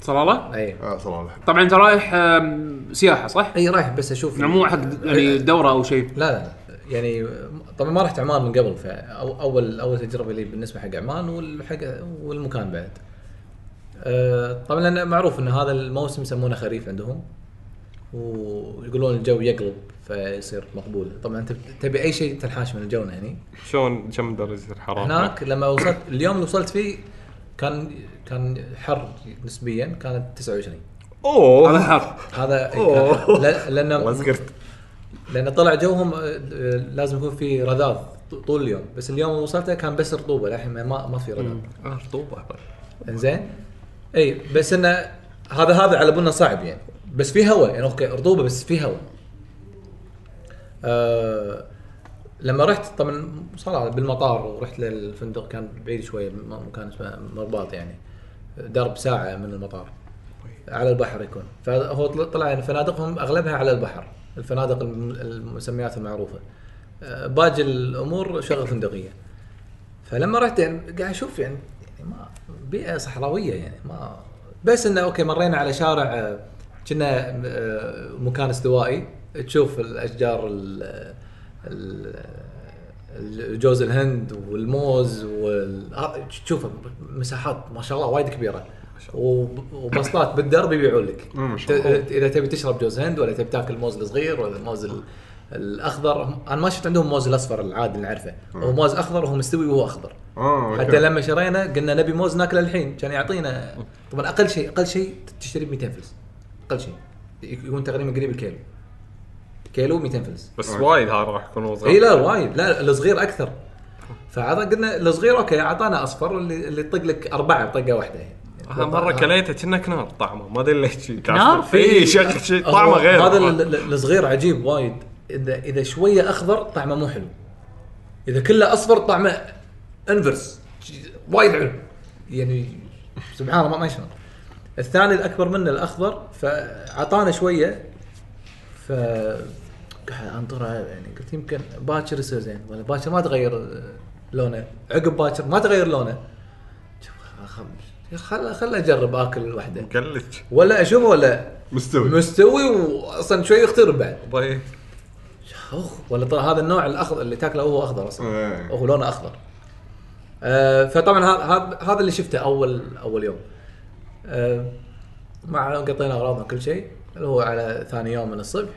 S1: صلاله
S5: اي
S2: اه صراحه
S1: طبعا انت رايح آم، سياحه صح؟
S5: اي رايح بس اشوف
S1: يعني مو حق يعني
S5: إيه.
S1: دوره او شيء
S5: لا لا يعني طبعا ما رحت عمان من قبل فاول اول تجربه لي بالنسبه حق عمان والحق والمكان بعد. أه، طبعا لان معروف ان هذا الموسم يسمونه خريف عندهم ويقولون الجو يقلب فيصير مقبول طبعا انت تبي اي شيء تنحاش من الجو هني
S4: شلون كم درجه الحراره؟
S5: هناك لما وصلت اليوم اللي وصلت فيه كان كان حر نسبيا كانت 29
S4: اوه
S1: هذا حر
S5: هذا إيه،
S4: أوه.
S5: لا-
S4: والله
S5: لان
S4: سكرت
S5: لان طلع جوهم آه، آه، لازم يكون في رذاذ ط- طول اليوم بس اليوم اللي وصلته كان بس رطوبه للحين ما ما في رذاذ
S4: رطوبه
S5: زين اي بس انه هذا هذا على بالنا صعب يعني بس في هواء يعني اوكي رطوبه بس في هواء آه لما رحت طبعا صراحه بالمطار ورحت للفندق كان بعيد شويه م- مكان اسمه مرباط يعني درب ساعه من المطار على البحر يكون فهو طل- طلع ان فنادقهم اغلبها على البحر الفنادق الم- المسميات المعروفه آه، باقي الامور شغل فندقيه فلما رحت يعني قاعد اشوف يعني يعني ما بيئه صحراويه يعني ما بس انه اوكي مرينا على شارع آه، كنا آه، مكان استوائي تشوف الاشجار ال- ال- جوز الهند والموز وال... آه، تشوف مساحات ما شاء الله وايد كبيره وب- وبسطات بالدرب يبيعون لك
S2: مم، ما شاء الله.
S5: ت- اذا تبي تشرب جوز هند ولا تبي تاكل موز الصغير ولا الموز ال- الاخضر هم- انا ما شفت عندهم موز الاصفر العادي اللي نعرفه هو موز اخضر وهو مستوي وهو اخضر
S2: اه
S5: حتى لما شرينا قلنا نبي موز ناكله الحين كان يعطينا طبعا اقل شيء اقل شيء تشتري ب 200 فلس اقل شيء يكون تقريبا قريب الكيلو كيلو 200 فلس
S4: بس وايد ها راح يكون هو صغير
S5: اي إيه، لا وايد لا الصغير اكثر فعطا قلنا الصغير اوكي اعطانا اصفر اللي اللي يطق لك اربعه بطقه واحده يعني.
S4: ها مره كليته كأنك نار طعمه ما ادري ليش
S3: نار؟
S4: اي شكل إيه، شيء طعمه
S5: هو
S4: غير
S5: هذا ال- ال- الصغير عجيب وايد اذا اذا شويه اخضر طعمه مو حلو اذا كله اصفر طعمه انفرس وايد حلو يعني سبحان الله ما- ما شلون الثاني الاكبر منه الاخضر فعطانا شويه ف قاعد انطرها يعني قلت يمكن باكر يصير زين ولا باكر ما تغير آه، لونه عقب باكر ما تغير لونه خل خل اجرب اكل وحده
S4: مكلج
S5: ولا اشوفه ولا
S2: مستوي
S5: مستوي واصلا شوي يخترب بعد
S4: طيب
S5: اخ ولا طلع هذا النوع الاخضر اللي تاكله هو اخضر اصلا
S2: إيه.
S5: هو لونه اخضر آه فطبعا هذا- هذا هذا اللي شفته اول اول يوم آه مع قطينا اغراضنا كل شيء اللي هو على ثاني يوم من الصبح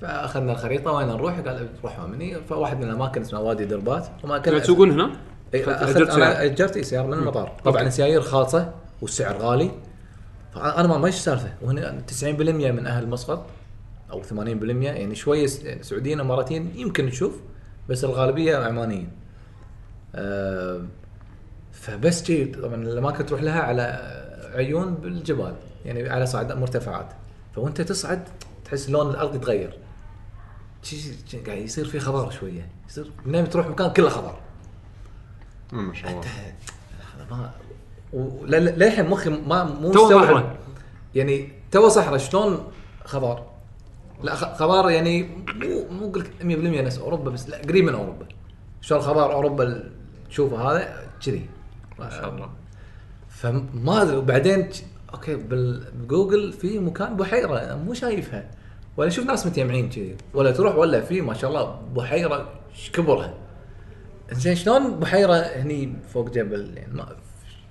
S5: فاخذنا الخريطه وين نروح قال روحوا مني فواحد من الاماكن اسمه وادي دربات وما كان
S1: تسوقون هنا؟
S5: إيه، أخذت-
S1: أجرت سيارة.
S5: انا اجرت إيه سياره من المطار طبعا السيايير خالصه والسعر غالي فانا ما ما ايش السالفه وهنا 90% من اهل مسقط او 80% يعني شويه س- يعني سعوديين اماراتيين يمكن نشوف بس الغالبيه عمانيين آه، فبس جي طبعا الاماكن تروح لها على عيون بالجبال يعني على صعد مرتفعات فوانت تصعد تحس لون الارض يتغير شي- شي- قاعد يصير في خضار شويه يصير منين تروح مكان كله خضار
S2: مم، ما شاء الله
S5: هذا ما و- لا- لا- للحين مخي ما مو
S1: تو
S5: مستوعب.
S1: صحراء.
S5: يعني تو صحراء شلون خضار؟ لا خ- خضار يعني مو مو اقول لك 100% نفس اوروبا بس لا قريب من اوروبا شلون خضار اوروبا ال- تشوفه هذا كذي
S4: ما شاء الله
S5: فما ادري وبعدين ج- اوكي بال- بجوجل في مكان بحيره أنا مو شايفها ولا اشوف ناس متجمعين كذي ولا تروح ولا في ما شاء الله بحيره ش- كبرها زين شلون بحيره هني فوق جبل يعني ما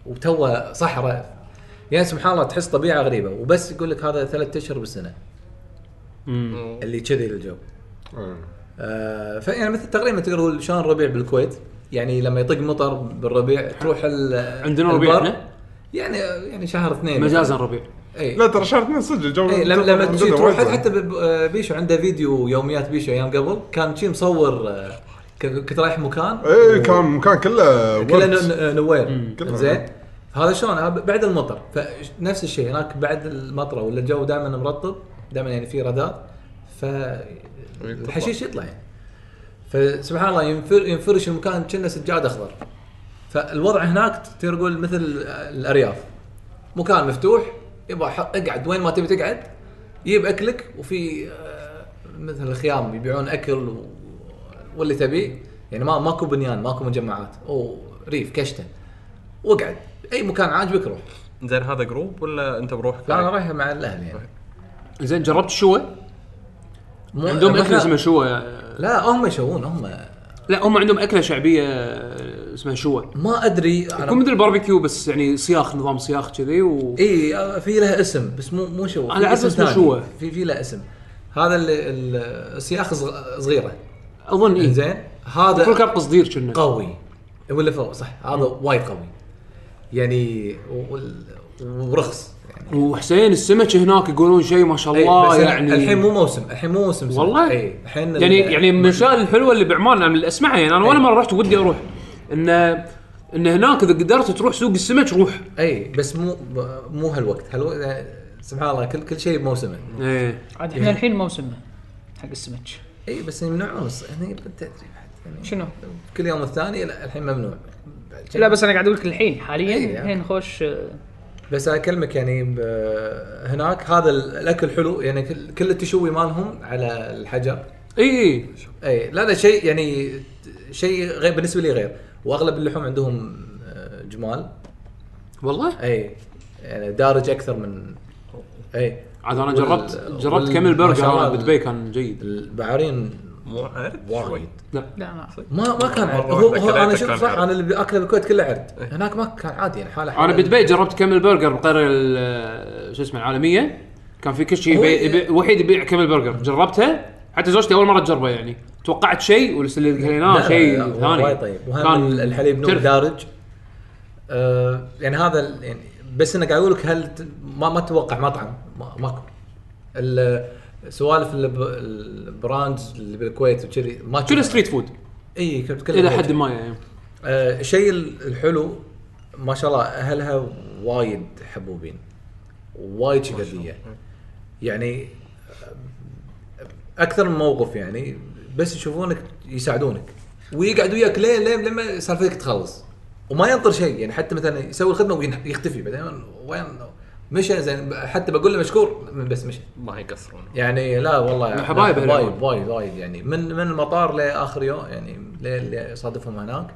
S5: وتوا صحراء يعني سبحان الله تحس طبيعه غريبه وبس يقول لك هذا ثلاثة اشهر بالسنه اللي كذي الجو
S2: إيه.
S5: آه فيعني مثل تقريبا تقدر تقول شلون الربيع بالكويت يعني لما يطق مطر بالربيع تروح ال-
S1: عندنا ربيع
S5: البر.
S1: احنا؟
S5: يعني يعني شهر اثنين
S1: مجازا ربيع
S5: اي
S2: لا ترى شهر اثنين صدق الجو
S5: اي إيه، لما لما
S2: عندنا
S5: تجي
S2: وايد
S5: تروح
S2: زين.
S5: حتى ب- ب- بيشو عنده فيديو يوميات بيشو ايام قبل كان شي مصور آه، ك- كنت رايح مكان
S2: اي إيه، كان مكان كله
S5: كله
S2: ورد.
S5: ن- ن- نوير
S2: كله
S5: زين
S2: نوير.
S5: هذا شلون هذا بعد المطر فنفس الشيء هناك بعد المطره ولا الجو دائما مرطب دائما يعني في رذاذ ف الحشيش يطلع يعني فسبحان الله ينفر ينفرش المكان كأنه سجاد اخضر فالوضع هناك تقدر تقول مثل الارياف مكان مفتوح يبا ح- اقعد وين ما تبي تقعد يجيب اكلك وفي آه، مثل الخيام يبيعون اكل و- واللي تبيه يعني ما ماكو بنيان ماكو مجمعات او ريف كشته واقعد اي مكان عاجبك روح
S4: زين هذا جروب ولا انت بروحك؟
S5: لا انا رايح مع الاهل يعني
S1: زين جربت الشوى؟
S5: مو-
S1: عندهم
S5: ما
S1: اكله
S5: إحنا-
S1: اسمها شوى
S5: لا هم يشوون هم
S1: لا هم عندهم اكله شعبيه اسمها شوى
S5: ما ادري
S1: يكون مثل الباربيكيو بس يعني صياخ نظام صياخ كذي و
S5: اي آه، في لها اسم بس مو مو شو
S1: أنا
S5: في
S1: أعرف
S5: اسم
S1: اسمه
S5: ثاني.
S1: شو.
S5: في في لها اسم هذا اللي- ال- السياخ صغ- صغيره
S1: اظن اي زين
S5: زين هذا
S1: إيه، كل كان قصدير كنا
S5: قوي ولا فوق صح هذا وايد قوي يعني وال- ورخص يعني
S1: وحسين السمك هناك يقولون شيء ما شاء
S5: إي،
S1: الله
S5: إيه، بس
S1: يعني
S5: الحين مو موسم الحين مو موسم سمك.
S1: والله
S5: اي الحين ال- إيه.
S1: يعني يعني من الاشياء الحلوه اللي بعمان انا اللي اسمعها يعني انا ولا مره رحت ودي اروح ان ان هناك اذا قدرت تروح سوق السمك روح
S5: اي بس مو ب- مو هالوقت هالوقت سبحان الله كل كل شيء موسمه
S1: ايه
S3: عاد احنا الحين موسمنا حق السمك
S5: اي بس يمنعون الص- يعني بالتدريب حتى يعني
S3: شنو؟
S5: كل يوم الثاني لا الحين ممنوع
S3: لا بس انا قاعد اقول لك الحين حاليا
S5: إيه.
S3: الحين خوش آه،
S5: بس أنا اكلمك يعني ب- هناك هذا ال- الاكل حلو يعني كل كل التشوي مالهم على الحجر
S1: اي اي
S5: اي إيه، لا لا شيء يعني شيء غير بالنسبه لي غير واغلب اللحوم عندهم آه، جمال
S1: والله
S5: اي يعني دارج اكثر من إيه، اي
S1: عاد انا
S5: وال-
S1: جربت جربت
S5: وال-
S1: كامل
S5: ما شاء
S1: برجر
S5: الله
S1: انا بالبي كان جيد
S5: البعارين
S6: مو عرض
S5: وايد
S3: لا ما أعرف.
S5: ما ما كان عرض
S6: مرة
S5: هو,
S6: واحدة
S5: هو
S6: كليته
S5: انا شوف
S6: كان إيه.
S5: صح
S6: عرض.
S5: انا اللي اكله بالكويت كله عرض هناك ما كان عادي يعني حاله
S1: انا بدبي جربت كامل برجر بقريه ال- شو اسمه العالميه كان في كل شيء
S5: هو-
S1: يبيع- يبيع- وحيد يبيع كامل برجر جربتها حتى زوجتي اول مره تجربه يعني توقعت شيء ولسه اللي
S5: لا،
S1: قلناه
S5: لا،
S1: شيء
S5: لا، هو
S1: ثاني
S5: وايد طيب وهم الحليب نوع
S1: ترف.
S5: دارج آه يعني هذا ال- يعني بس انا قاعد اقول لك هل ت- ما ما تتوقع مطعم ما- ماكو ال- سوالف الب- البراندز اللي بالكويت وكذي ما
S1: شنو ستريت فود
S5: اي كنت بتكلم
S1: الى
S5: عن
S1: حد
S5: كذي.
S1: ما يعني
S5: آه، الشيء ال- الحلو ما شاء الله اهلها وايد حبوبين وايد شقديه يعني آه، اكثر من موقف يعني بس يشوفونك يساعدونك ويقعد وياك لين لين لما سالفتك تخلص وما ينطر شيء يعني حتى مثلا يسوي الخدمه ويختفي بعدين وين مشى زين حتى بقول له مشكور بس مشى
S6: ما يقصرون
S5: يعني لا والله
S1: لا، حبايب
S5: لا،
S1: هالعيال.
S5: وايد وايد وايد يعني من من المطار لاخر يوم يعني لين- لين صادفهم هناك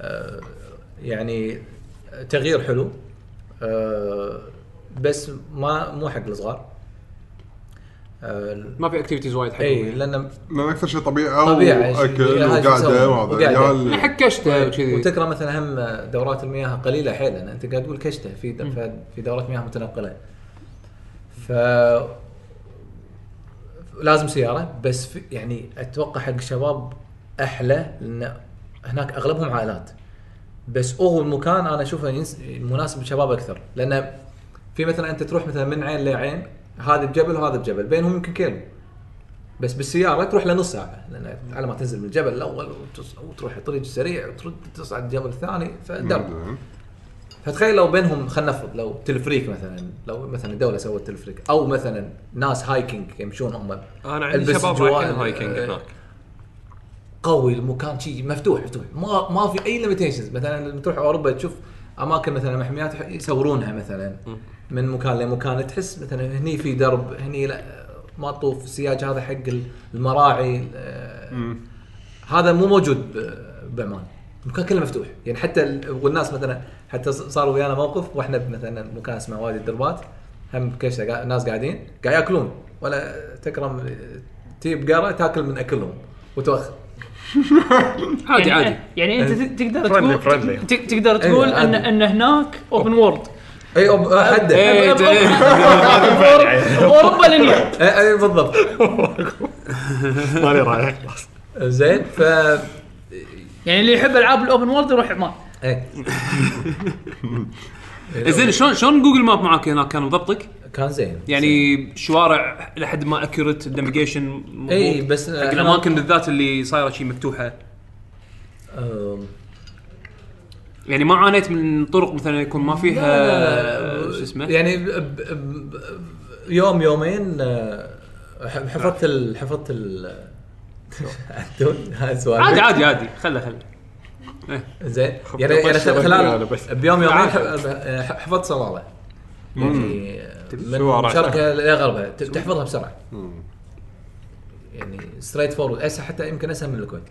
S5: آه، يعني تغيير حلو آه، بس ما مو حق الصغار آه،
S1: ما في اكتيفيتيز وايد حق
S5: اي لان
S2: لان اكثر شيء طبيعه
S5: طبيعة،
S2: واكل
S5: شيء-
S2: وقعده
S5: وقعدة.
S2: وهذا عيال-
S1: حق كشته يعني وكذي
S5: وتكره مثلا هم دورات المياه قليله حيل لان انت قاعد تقول كشته في د- في دورات مياه متنقله ف لازم سياره بس في يعني اتوقع حق الشباب احلى لان هناك اغلبهم عائلات بس هو المكان انا اشوفه ينس- مناسب للشباب اكثر لان في مثلا انت تروح مثلا من عين لعين هذا بجبل وهذا بجبل بينهم يمكن كيلو بس بالسياره تروح لنص ساعه لان على ما تنزل من الجبل الاول وتص- وتروح الطريق السريع وترد تصعد الجبل الثاني فدرب
S2: زين.
S5: فتخيل لو بينهم خلينا نفرض لو تلفريك مثلا لو مثلا الدوله سوت تلفريك او مثلا ناس هايكنج يمشون هم
S6: انا عندي
S5: البس إيه.
S6: شباب
S5: جوا-
S6: رايحين هايكنج هناك
S5: قوي المكان شيء مفتوح مفتوح ما ما في اي ليميتيشنز مثلا لما تروح اوروبا تشوف اماكن مثلا محميات يح- يصورونها مثلا من مكان لمكان تحس مثلا هني في درب هني لا ما طوف السياج هذا حق المراعي آه، هذا مو موجود ب- بعمان المكان كله مفتوح يعني حتى ال- والناس مثلا حتى ص- صار ويانا موقف واحنا ب- مثلا مكان اسمه وادي الدربات هم بكشة قا- ناس قاعدين قاعد ياكلون ولا تكرم تجيب قاره تاكل من اكلهم وتوخر
S1: عادي
S3: يعني-
S1: عادي
S3: يعني انت ت- تقدر تقول
S6: friendly- friendly.
S3: ت- تقدر تقول
S5: أيوة،
S3: ان
S5: عادي.
S3: ان هناك اوبن وورد
S5: اي أب- حده
S1: إيه.
S5: إيه،
S1: إيه،
S3: اوروبا لليوم
S5: إيه، بالضبط
S6: ماني رايح خلاص
S5: زين ف
S3: يعني اللي يحب العاب الاوبن وورد يروح عمان
S5: إيه.
S1: زين شلون شلون جوجل ماب معاك هناك كان مضبطك؟
S5: كان زين
S1: يعني شوارع لحد ما اكيوريت النافيجيشن
S5: اي بس
S1: حق الاماكن بالذات اللي صايره شيء مفتوحه
S5: أم،
S1: يعني ما عانيت من طرق مثلا يكون ما فيها شو اسمه
S5: يعني ب- ب- ب- يوم يومين أه، ح- حفظت ال... حفظت ال عدول هاي سؤال
S1: عادي عادي عادي خله خله
S5: زين يعني
S1: طيب،
S5: يعني
S6: طش
S5: خلال
S6: يعني بس.
S5: خلال بيوم يومين
S1: عادي.
S5: ح- ح- حفظت صلاله يعني من
S2: شوارع.
S5: شرقها لغربها ت- تحفظها بسرعه يعني ستريت فورورد اسهل حتى يمكن اسهل من الكويت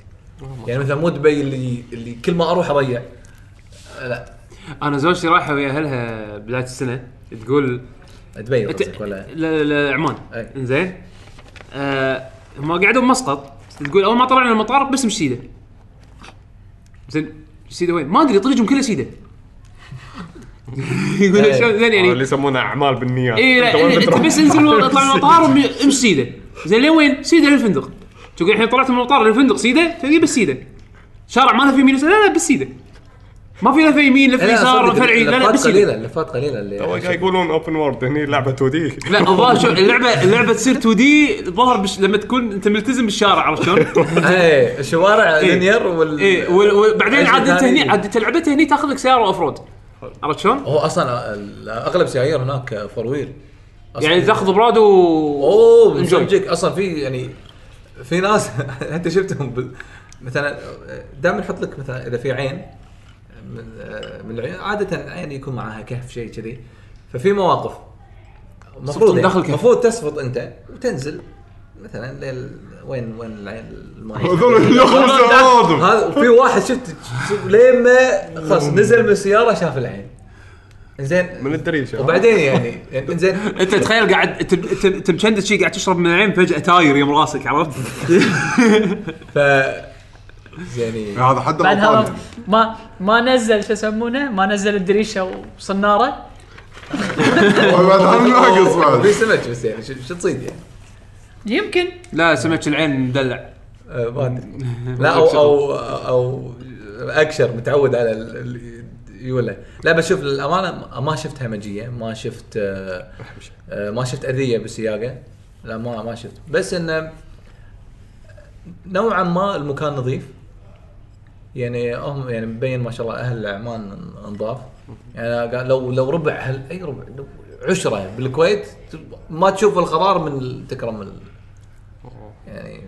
S5: يعني مثلا مو دبي اللي اللي كل ما اروح اضيع لا
S1: انا زوجتي رايحه ويا اهلها بدايه السنه تقول
S5: دبي
S1: أت-
S5: قصدك ولا
S1: لا لا عمان
S5: أي.
S1: انزين آه، هم قعدوا بمسقط تقول اول ما طلعنا من المطار بس مش سيده زين سيده وين؟ ما ادري طريقهم كله سيده يقول لك
S5: أي.
S1: شلون- زين يعني
S6: آه، اللي يسمونها اعمال بالنيات
S5: إيه.
S1: اي لا
S6: وين
S1: إن- انت
S6: بتروح؟
S1: إيه، بس انزل من- اطلع من المطار وم- امشي سيده زين لين وين؟ سيده للفندق تقول الحين طلعت من المطار للفندق سيده تقول إيه، بس سيده شارع ما له في يمين ويسار، لا لا بس سيده ما في لفه يمين لفه يسار
S5: صدق،
S1: فرعي لا لا
S5: اللفات
S1: بس
S5: قليله
S1: سيده
S5: اللفات قليله اللي
S6: تو قاعد يقولون اوبن وورد هني لعبه 2 دي
S1: لا الظاهر شوف اللعبه اللعبه تصير 2 دي الظاهر بش... لما تكون انت ملتزم بالشارع عرفت شلون؟
S5: اي شوارع
S1: إيه.
S5: لينير وال
S1: اي وال- وبعدين
S5: الجزء
S1: عاد انت
S5: الثاني.
S1: هني عاد انت لعبتها هني تاخذ لك سياره اوف رود عرفت شلون؟
S5: هو اصلا ال- اغلب سيايير هناك فور ويل أصلاً.
S1: يعني تاخذ براد و
S5: اوه مسجك اصلا في يعني في ناس انت شفتهم بال... مثلا دائما يحط لك مثلا اذا في عين من آه، من العيون عاده يعني يكون معاها كهف شيء كذي ففي مواقف المفروض
S1: داخل
S5: يعني
S1: كهف.
S5: المفروض تصفط انت وتنزل مثلا لل وين وين العين الماي
S2: هذول يخبز العظم
S5: هذا وفي واحد شفت شفت لين ما خلاص نزل من السياره شاف العين زين
S6: من الدريشه
S5: وبعدين يعني يعني زين
S1: انت تخيل قاعد تب- تب- تمشندت شي قاعد تشرب من العين فجاه تاير يم راسك عرفت؟
S5: ف يعني
S2: هذا حد
S3: بعد هذا
S2: الأطفال.
S3: ما ما نزل شو يسمونه ما نزل الدريشه وصناره
S2: بعد هذا ناقص
S5: في
S2: بعد
S5: سمك بس يعني شو شو تصيد يعني
S3: يمكن
S1: لا سمك العين مدلع
S5: آه، ما ادري لا او او او اكشر متعود على ال- ال- يولى لا بس شوف للامانه ما شفت همجيه ما شفت آه، آه، ما شفت اذيه بالسياقه لا ما ما شفت بس انه نوعا ما المكان نظيف يعني هم يعني مبين ما شاء الله اهل عمان انضاف يعني قال- لو لو ربع اهل اي ربع لو عشره بالكويت ما تشوف القرار من ال- تكرم ال- يعني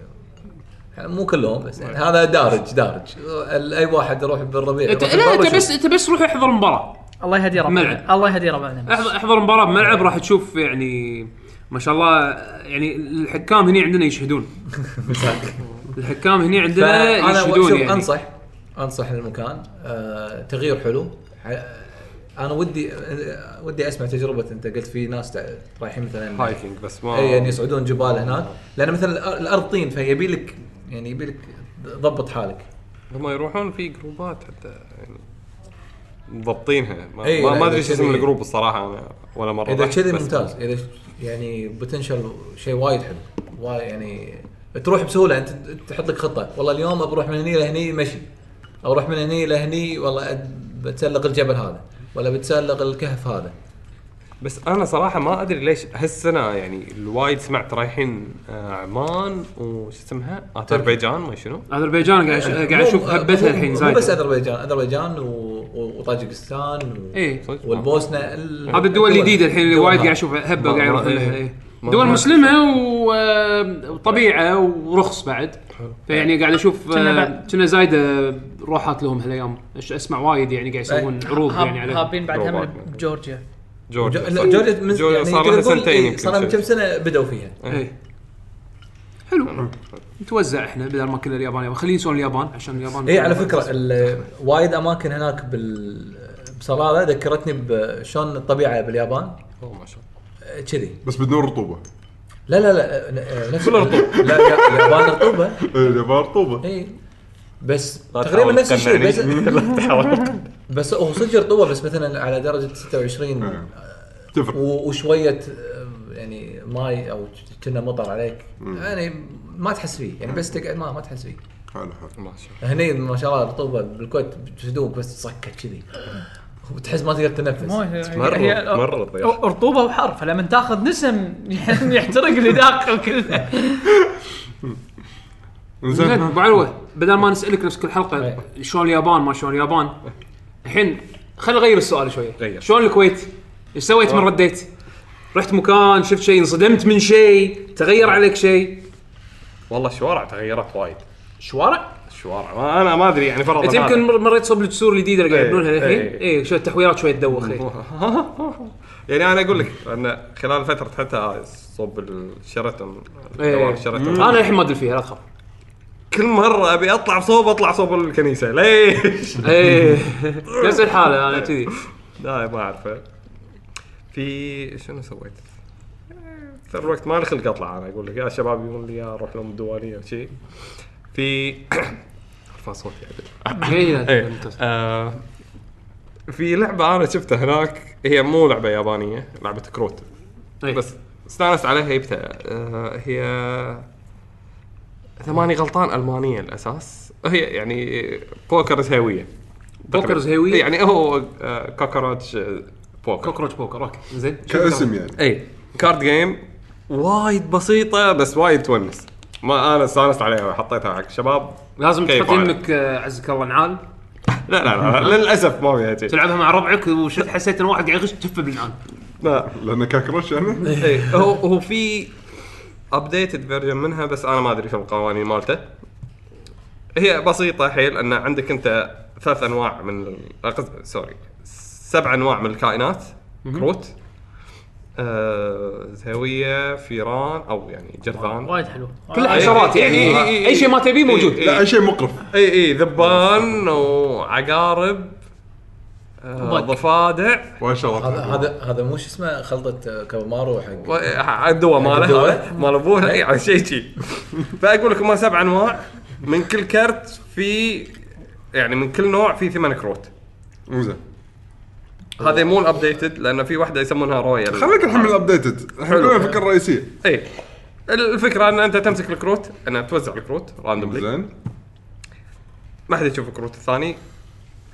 S5: مو كلهم بس يعني هذا دارج دارج ال- اي واحد يروح بالربيع
S1: انت
S5: يروح
S1: إيه، لا
S5: برا
S1: انت
S5: يشوف.
S1: بس انت بس روح احضر مباراه
S3: الله يهدي
S1: ملعب.
S3: ربعنا الله يهدي ربعنا
S1: احضر احضر مباراه بملعب راح تشوف يعني ما شاء الله يعني الحكام هنا عندنا يشهدون الحكام هنا عندنا
S5: فانا
S1: يشهدون
S5: شوف
S1: يعني
S5: انصح انصح المكان آه تغيير حلو ح- انا ودي آه، ودي اسمع تجربه انت قلت في ناس تع- رايحين مثلا
S4: هايكينج بس ما
S5: اي يعني يصعدون جبال هناك لان مثلا الأر- الارض طين فيبي لك يعني يبي لك ضبط حالك
S4: هم يروحون في جروبات حتى يعني مضبطينها ما,
S5: إي،
S4: ما,
S5: لا،
S4: ما
S5: إيه، إذا
S4: ادري شو اسم
S5: كذي-
S4: الجروب الصراحه انا ولا مره
S5: اذا
S4: رحت،
S5: كذي
S4: بس-
S5: ممتاز اذا ش- يعني بوتنشل شيء وايد حلو وايد يعني تروح بسهوله انت تحط لك خطه والله اليوم بروح من هني لهني مشي او اروح من هني لهني والله أد- بتسلق الجبل هذا ولا بتسلق الكهف هذا
S4: بس انا صراحه ما ادري ليش هالسنه يعني الوايد سمعت رايحين آه، عمان وش اسمها اذربيجان ما شنو
S1: اذربيجان قاعد أش- قاعد
S5: مو-
S1: اشوف هبتها
S5: مو-
S1: الحين
S5: مو
S1: زايد
S5: بس اذربيجان اذربيجان و- و- وطاجكستان و-
S1: ايه
S4: صدق؟
S5: والبوسنه
S1: هذه الدول الجديده الحين اللي وايد قاعد اشوفها هبه
S4: ما-
S1: قاعد
S4: ما-
S1: يروح
S4: إيه.
S1: لها إيه.
S4: ما-
S1: دول
S4: ما-
S1: مسلمه و- آه، وطبيعه ورخص بعد فيعني قاعد اشوف آه،
S3: كنا بعد-
S1: كنا زايده روحات لهم هالايام أش- اسمع وايد يعني قاعد يسوون
S5: إيه.
S1: عروض يعني
S3: هاب-
S1: عليها
S3: هابين بعد هم
S4: جروبات.
S3: بجورجيا
S4: جورجيا صح؟
S5: جورجيا من يعني
S4: صار لها سنتين يمكن
S5: صار لها كم
S4: شيء.
S5: سنه بدوا فيها
S1: إيه. حلو نتوزع احنا بدل ما كنا اليابان يابان خلينا نسوي اليابان عشان اليابان
S5: اي إيه، على فكره ال- وايد اماكن هناك بال بصلاله ذكرتني بشلون الطبيعه باليابان
S4: أوه، ما شاء الله
S5: آه، كذي
S2: بس بدون رطوبه
S5: لا لا لا آه، نفس رطوبه لا لا، اليابان رطوبه
S2: إيه، اليابان رطوبه
S5: اي بس
S4: لا
S5: تقريبا
S4: تحاول
S5: نفس الشيء
S4: تقنعني.
S5: بس بس هو صدق رطوبه بس مثلا على درجه
S4: آه.
S5: 26
S2: تفرق
S5: و- وشويه آه، يعني ماي او كنا مطر عليك يعني ما تحس فيه يعني بس تقعد ما ما تحس فيه
S2: حلو حلو
S4: ما شاء الله
S5: هني ما شاء الله الرطوبه بالكويت بتدوق بس صكت كذي وتحس ما تقدر تنفس
S3: مو هي-
S4: مرة
S3: هي-
S4: مرة الضيافة.
S3: رطوبه وحر فلما تاخذ نسم يحترق اللي داخل كله
S2: زين
S1: زين ابو علوه بدل ما نسالك نفس كل حلقه
S5: إيه.
S1: شلون اليابان ما شلون اليابان الحين خلينا نغير السؤال شويه
S4: غير.
S1: شلون الكويت؟ ايش سويت من رديت؟ رحت مكان شفت شيء انصدمت من شيء تغير عليك شيء
S4: والله الشوارع تغيرت وايد
S1: شوارع؟
S4: الشوارع ما انا ما ادري يعني فرضا
S1: انت يمكن مر- مريت صوب الجسور الجديده اللي قاعد
S4: إيه،
S1: يبنونها الحين
S4: إيه.
S1: اي شويه التحويرات شويه تدوخ إيه.
S4: هذا- يعني انا اقول لك ان خلال فتره حتى صوب الشيراتون
S1: إيه.
S4: دوار الشيراتون
S1: انا الحين ما ادري فيها لا تخاف
S4: كل مره ابي اطلع صوب اطلع صوب الكنيسه ليش؟
S1: ايه نفس الحاله انا كذي
S4: لا ما اعرفه في شنو سويت؟ في الوقت ما لي خلق اطلع انا اقول لك يا شباب يقول لي يا اروح لهم الديوانيه وشي في ارفع صوتي يعني
S1: إيه،
S4: ايه
S1: ممتاز.
S4: آه في لعبه انا شفتها هناك هي مو لعبه يابانيه لعبه كروت
S1: إيه.
S4: بس استانست عليها جبتها آه هي اذا ماني غلطان المانيه الاساس هي يعني بوكر زهويه
S1: بوكر زهوية؟
S4: يعني هو آه كوكراتش آه، بوكر
S1: كوكروتش بوكر اوكي زين
S2: كاسم يعني
S4: اي كارد جيم وايد بسيطه بس وايد تونس ما انا استانست عليها وحطيتها حق الشباب
S1: لازم
S4: كيف
S1: تحط
S4: عليك.
S1: يمك آه، عزك الله نعال
S4: لا لا لا, لا للاسف ما فيها شيء
S1: تلعبها مع ربعك وشفت حسيت ان واحد قاعد يغش تفه بالنعال
S4: لا
S2: لان كاكروش انا
S1: إيه.
S4: اي إيه، هو هو في ابديتد فيرجن منها بس انا ما ادري شو القوانين مالته هي بسيطه حيل ان عندك انت ثلاث انواع من ال- قصد- سوري سبع انواع من الكائنات كروت آه، زهويه فيران او يعني جرذان
S3: وايد حلو
S1: كلها
S4: إي-
S1: حشرات
S4: إي-
S1: يعني
S4: إي- إي-
S1: اي شيء ما تبيه موجود
S4: إي-
S2: لا أي شيء مقرف
S4: اي اي إيه، ذبان وعقارب آه،
S3: وبق.
S4: ضفادع
S5: هذا
S2: واشرات
S5: هذا هذا مو شو اسمه خلطه آه، كابامارو حق
S4: الدواء
S5: الدواء. إيه.
S4: ماله مال ابوه اي على شيء شي فاقول لكم ما سبع انواع من كل كرت في يعني من كل نوع في ثمان كروت
S2: زين
S4: هذه مو الابديتد لان في واحده يسمونها رويال
S2: خليك الحين من الابديتد الحين
S4: حلو.
S2: كلنا الفكره الرئيسيه
S4: اي الفكره ان انت تمسك الكروت انها توزع الكروت راندوملي
S2: زين
S4: ما حد يشوف الكروت الثاني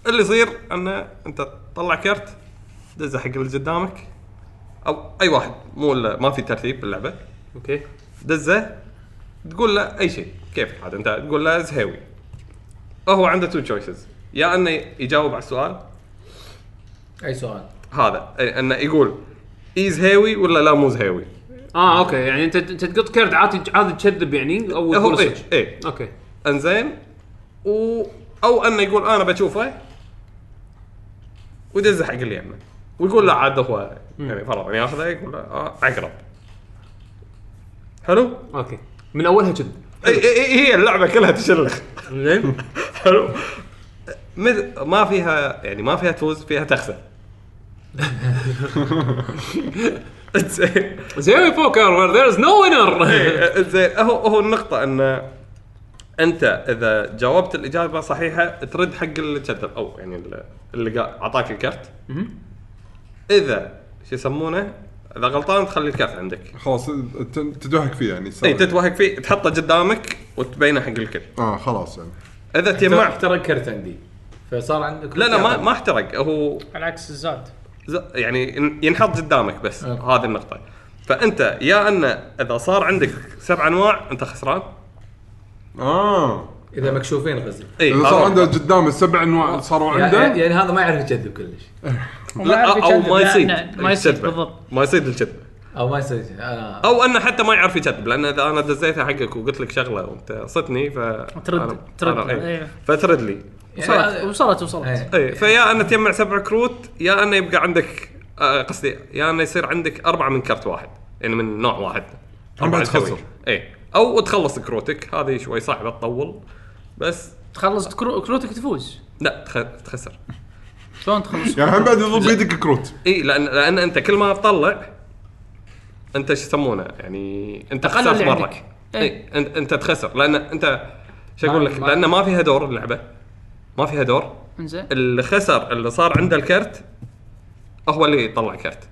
S4: اللي يصير انه انت تطلع كرت دزه حق اللي قدامك او اي واحد مو ال- ما في ترتيب باللعبه
S1: اوكي
S4: دزه تقول له اي شيء كيف عاد انت تقول له زهاوي هو عنده تو تشويسز يا انه يجاوب على السؤال
S5: اي سؤال
S4: هذا أي- انه يقول اي زهاوي ولا لا مو زهاوي
S1: اه اوكي يعني انت انت تقط كرد عادي عادي تكذب يعني او
S4: إيه، هو
S1: تقول
S4: اي
S1: صدق.
S4: اي
S1: اوكي
S4: انزين و او انه يقول انا بشوفه ويدزه حق اللي يمه ويقول له عاد هو يعني فرضا ياخذه يقول له آه عقرب حلو؟
S1: اوكي من اولها كذب
S4: اي اي اي إيه، هي اللعبه كلها تشلخ
S1: زين
S4: حلو مثل ما فيها يعني ما فيها تفوز فيها تخسر زين
S1: زين بوكر وير ذير از نو وينر
S4: إيه، زين هو هو النقطة ان انت اذا جاوبت الاجابة صحيحة ترد حق اللي كذب او يعني ال- اللي قا- اعطاك الكرت اذا شو يسمونه اذا غلطان تخلي الكرت عندك
S2: خلاص ت- تدوحك فيه يعني
S4: اي تتوهق فيه تحطه قدامك وتبينه حق الكل
S2: اه خلاص يعني
S4: اذا
S5: ما
S4: تجمعت
S5: احترق كرت عندي فصار عندك
S4: لا لا ما ما احترق هو
S3: على عكس الزاد
S4: ز- يعني ين- ينحط قدامك بس
S5: أوكي.
S4: هذه النقطة فانت يا ان اذا صار عندك سبع انواع انت خسران
S2: اه
S5: اذا مكشوفين غزل
S4: اي
S1: إيه،
S2: اذا صار عنده قدام السبع انواع صاروا
S5: يعني
S2: عنده
S5: يعني هذا ما يعرف يكذب كلش
S4: لا او ما يصيد
S3: ما يصيد
S4: الكذبة.
S3: بالضبط
S4: ما يصيد الكذبه
S5: او ما يصير آه، انا
S4: او انه حتى ما يعرف يكذب لان اذا انا دزيتها حقك وقلت لك شغله وانت صتني ف
S3: ترد-
S4: أنا-
S3: ترد،
S4: أنا- إي.
S3: إيه.
S4: فترد لي
S3: وصلت وصلت وصلت
S5: إيه.
S4: اي فيا انه تجمع سبع كروت يا انه يبقى عندك آه، قصدي يا انه يصير عندك اربعه من كرت واحد يعني من نوع واحد
S2: أربعة
S4: تسوي.
S2: تخسر.
S4: اي او تخلص كروتك هذه شوي صعبه تطول بس
S3: تخلص كرو- كروتك تفوز
S4: لا تخ- تخسر
S3: شلون تخلص
S2: يعني هم بعد يضرب بيدك كروت
S4: اي لان لان انت كل ما تطلع انت شو يسمونه يعني انت
S3: أقل
S4: خسرت
S3: اللي
S4: مره
S3: عندك. إيه.
S4: اي انت انت تخسر لان انت شو اقول لك
S5: ما-
S4: لان ما فيها دور اللعبه ما فيها دور
S3: انزين
S4: اللي خسر اللي صار عنده الكرت هو اللي يطلع كرت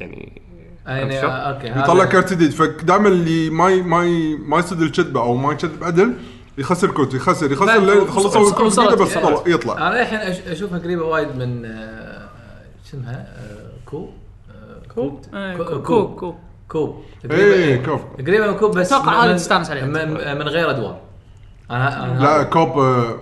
S4: يعني
S5: يعني
S4: شوف.
S5: آه، اوكي هذا-
S2: يطلع كارت جديد فدائما اللي ما ي- ما ي- ما يصد الكذبه او ما يكذب عدل يخسر كروت يخسر يخسر
S5: بعد
S2: لين
S5: وص-
S2: خلصوا
S3: وص-
S2: الكروت
S3: وصلت.
S2: كله بس طلع
S1: آه.
S2: يطلع
S5: انا الحين أش- اشوفها قريبه وايد من آه، آه، شو اسمها آه، كو آه، كوب
S3: إيه،
S5: كو-
S3: كوب
S5: كوب.
S3: كوب
S5: كوب قريبة-
S2: اي
S5: إيه.
S2: كوب
S1: آه.
S5: قريبه من كوب بس
S3: أتوقع
S5: من-
S3: هذه
S5: من-
S3: تستانس عليها.
S5: من من غير ادوار انا انا
S2: لا
S5: هذا
S2: كوب آه،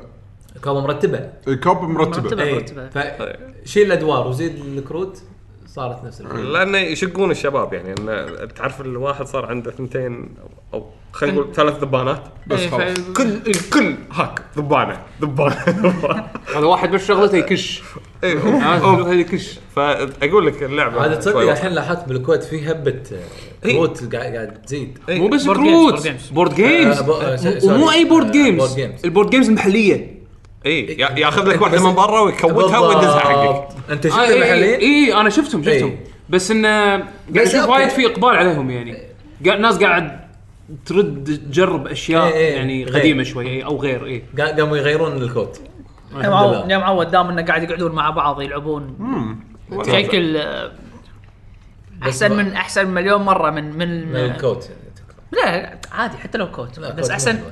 S5: كوب مرتبه
S2: كوب مرتبه
S3: مرتبة.
S5: إيه.
S3: مرتبة.
S4: طيب.
S5: ف- شيل الادوار وزيد الكروت صارت نفس الفكره
S4: لانه يشقون الشباب يعني إنه تعرف الواحد صار عنده ثنتين أو- او خلينا نقول ثلاث ذبانات
S2: بس
S3: إيه،
S2: خلاص.
S3: ف-
S4: كل الكل هاك ذبانه ذبانه ذبانه
S1: هذا واحد بس شغلته يكش
S4: ايوه
S1: هذا يكش
S4: فاقول لك اللعبه
S5: عاد تصدق
S4: شوي
S5: الحين لاحظت بالكويت في هبه آه،
S4: إيه.
S5: كروت قاعد قاعد تزيد
S4: إيه.
S1: مو بس
S3: board
S1: كروت
S3: games, board games.
S1: بورد جيمز
S5: آه، ب- آه، س-
S1: ومو
S5: سوري.
S1: اي بورد
S5: آه، board
S1: جيمز
S5: games.
S1: البورد جيمز المحليه
S4: اي إيه، يا- ياخذ لك واحده من برا ويكوتها
S5: بالضبط.
S4: ويدزها حقك
S5: انت شفت
S1: آه، إي-
S5: المحلين
S1: اي انا شفتهم شفتهم
S5: إي.
S1: بس انه قاعد
S5: إيه. بس
S1: اشوف
S5: أوكي. إيه.
S1: وايد في اقبال عليهم يعني قاعد الناس قاعد ترد تجرب اشياء
S5: إي- إي،
S1: يعني
S5: إيه، غير.
S1: قديمه شوي إي، او غير إيه. اي
S5: قا- قاموا يغيرون الكود
S3: يا معود يا معود دام انه قاعد يقعدون مع بعض يلعبون بشكل آه، احسن من احسن مليون مره من من
S5: من الكود
S3: لا لا، عادي حتى لو كوت
S5: لا،
S3: بس
S5: كود
S3: احسن
S5: مو-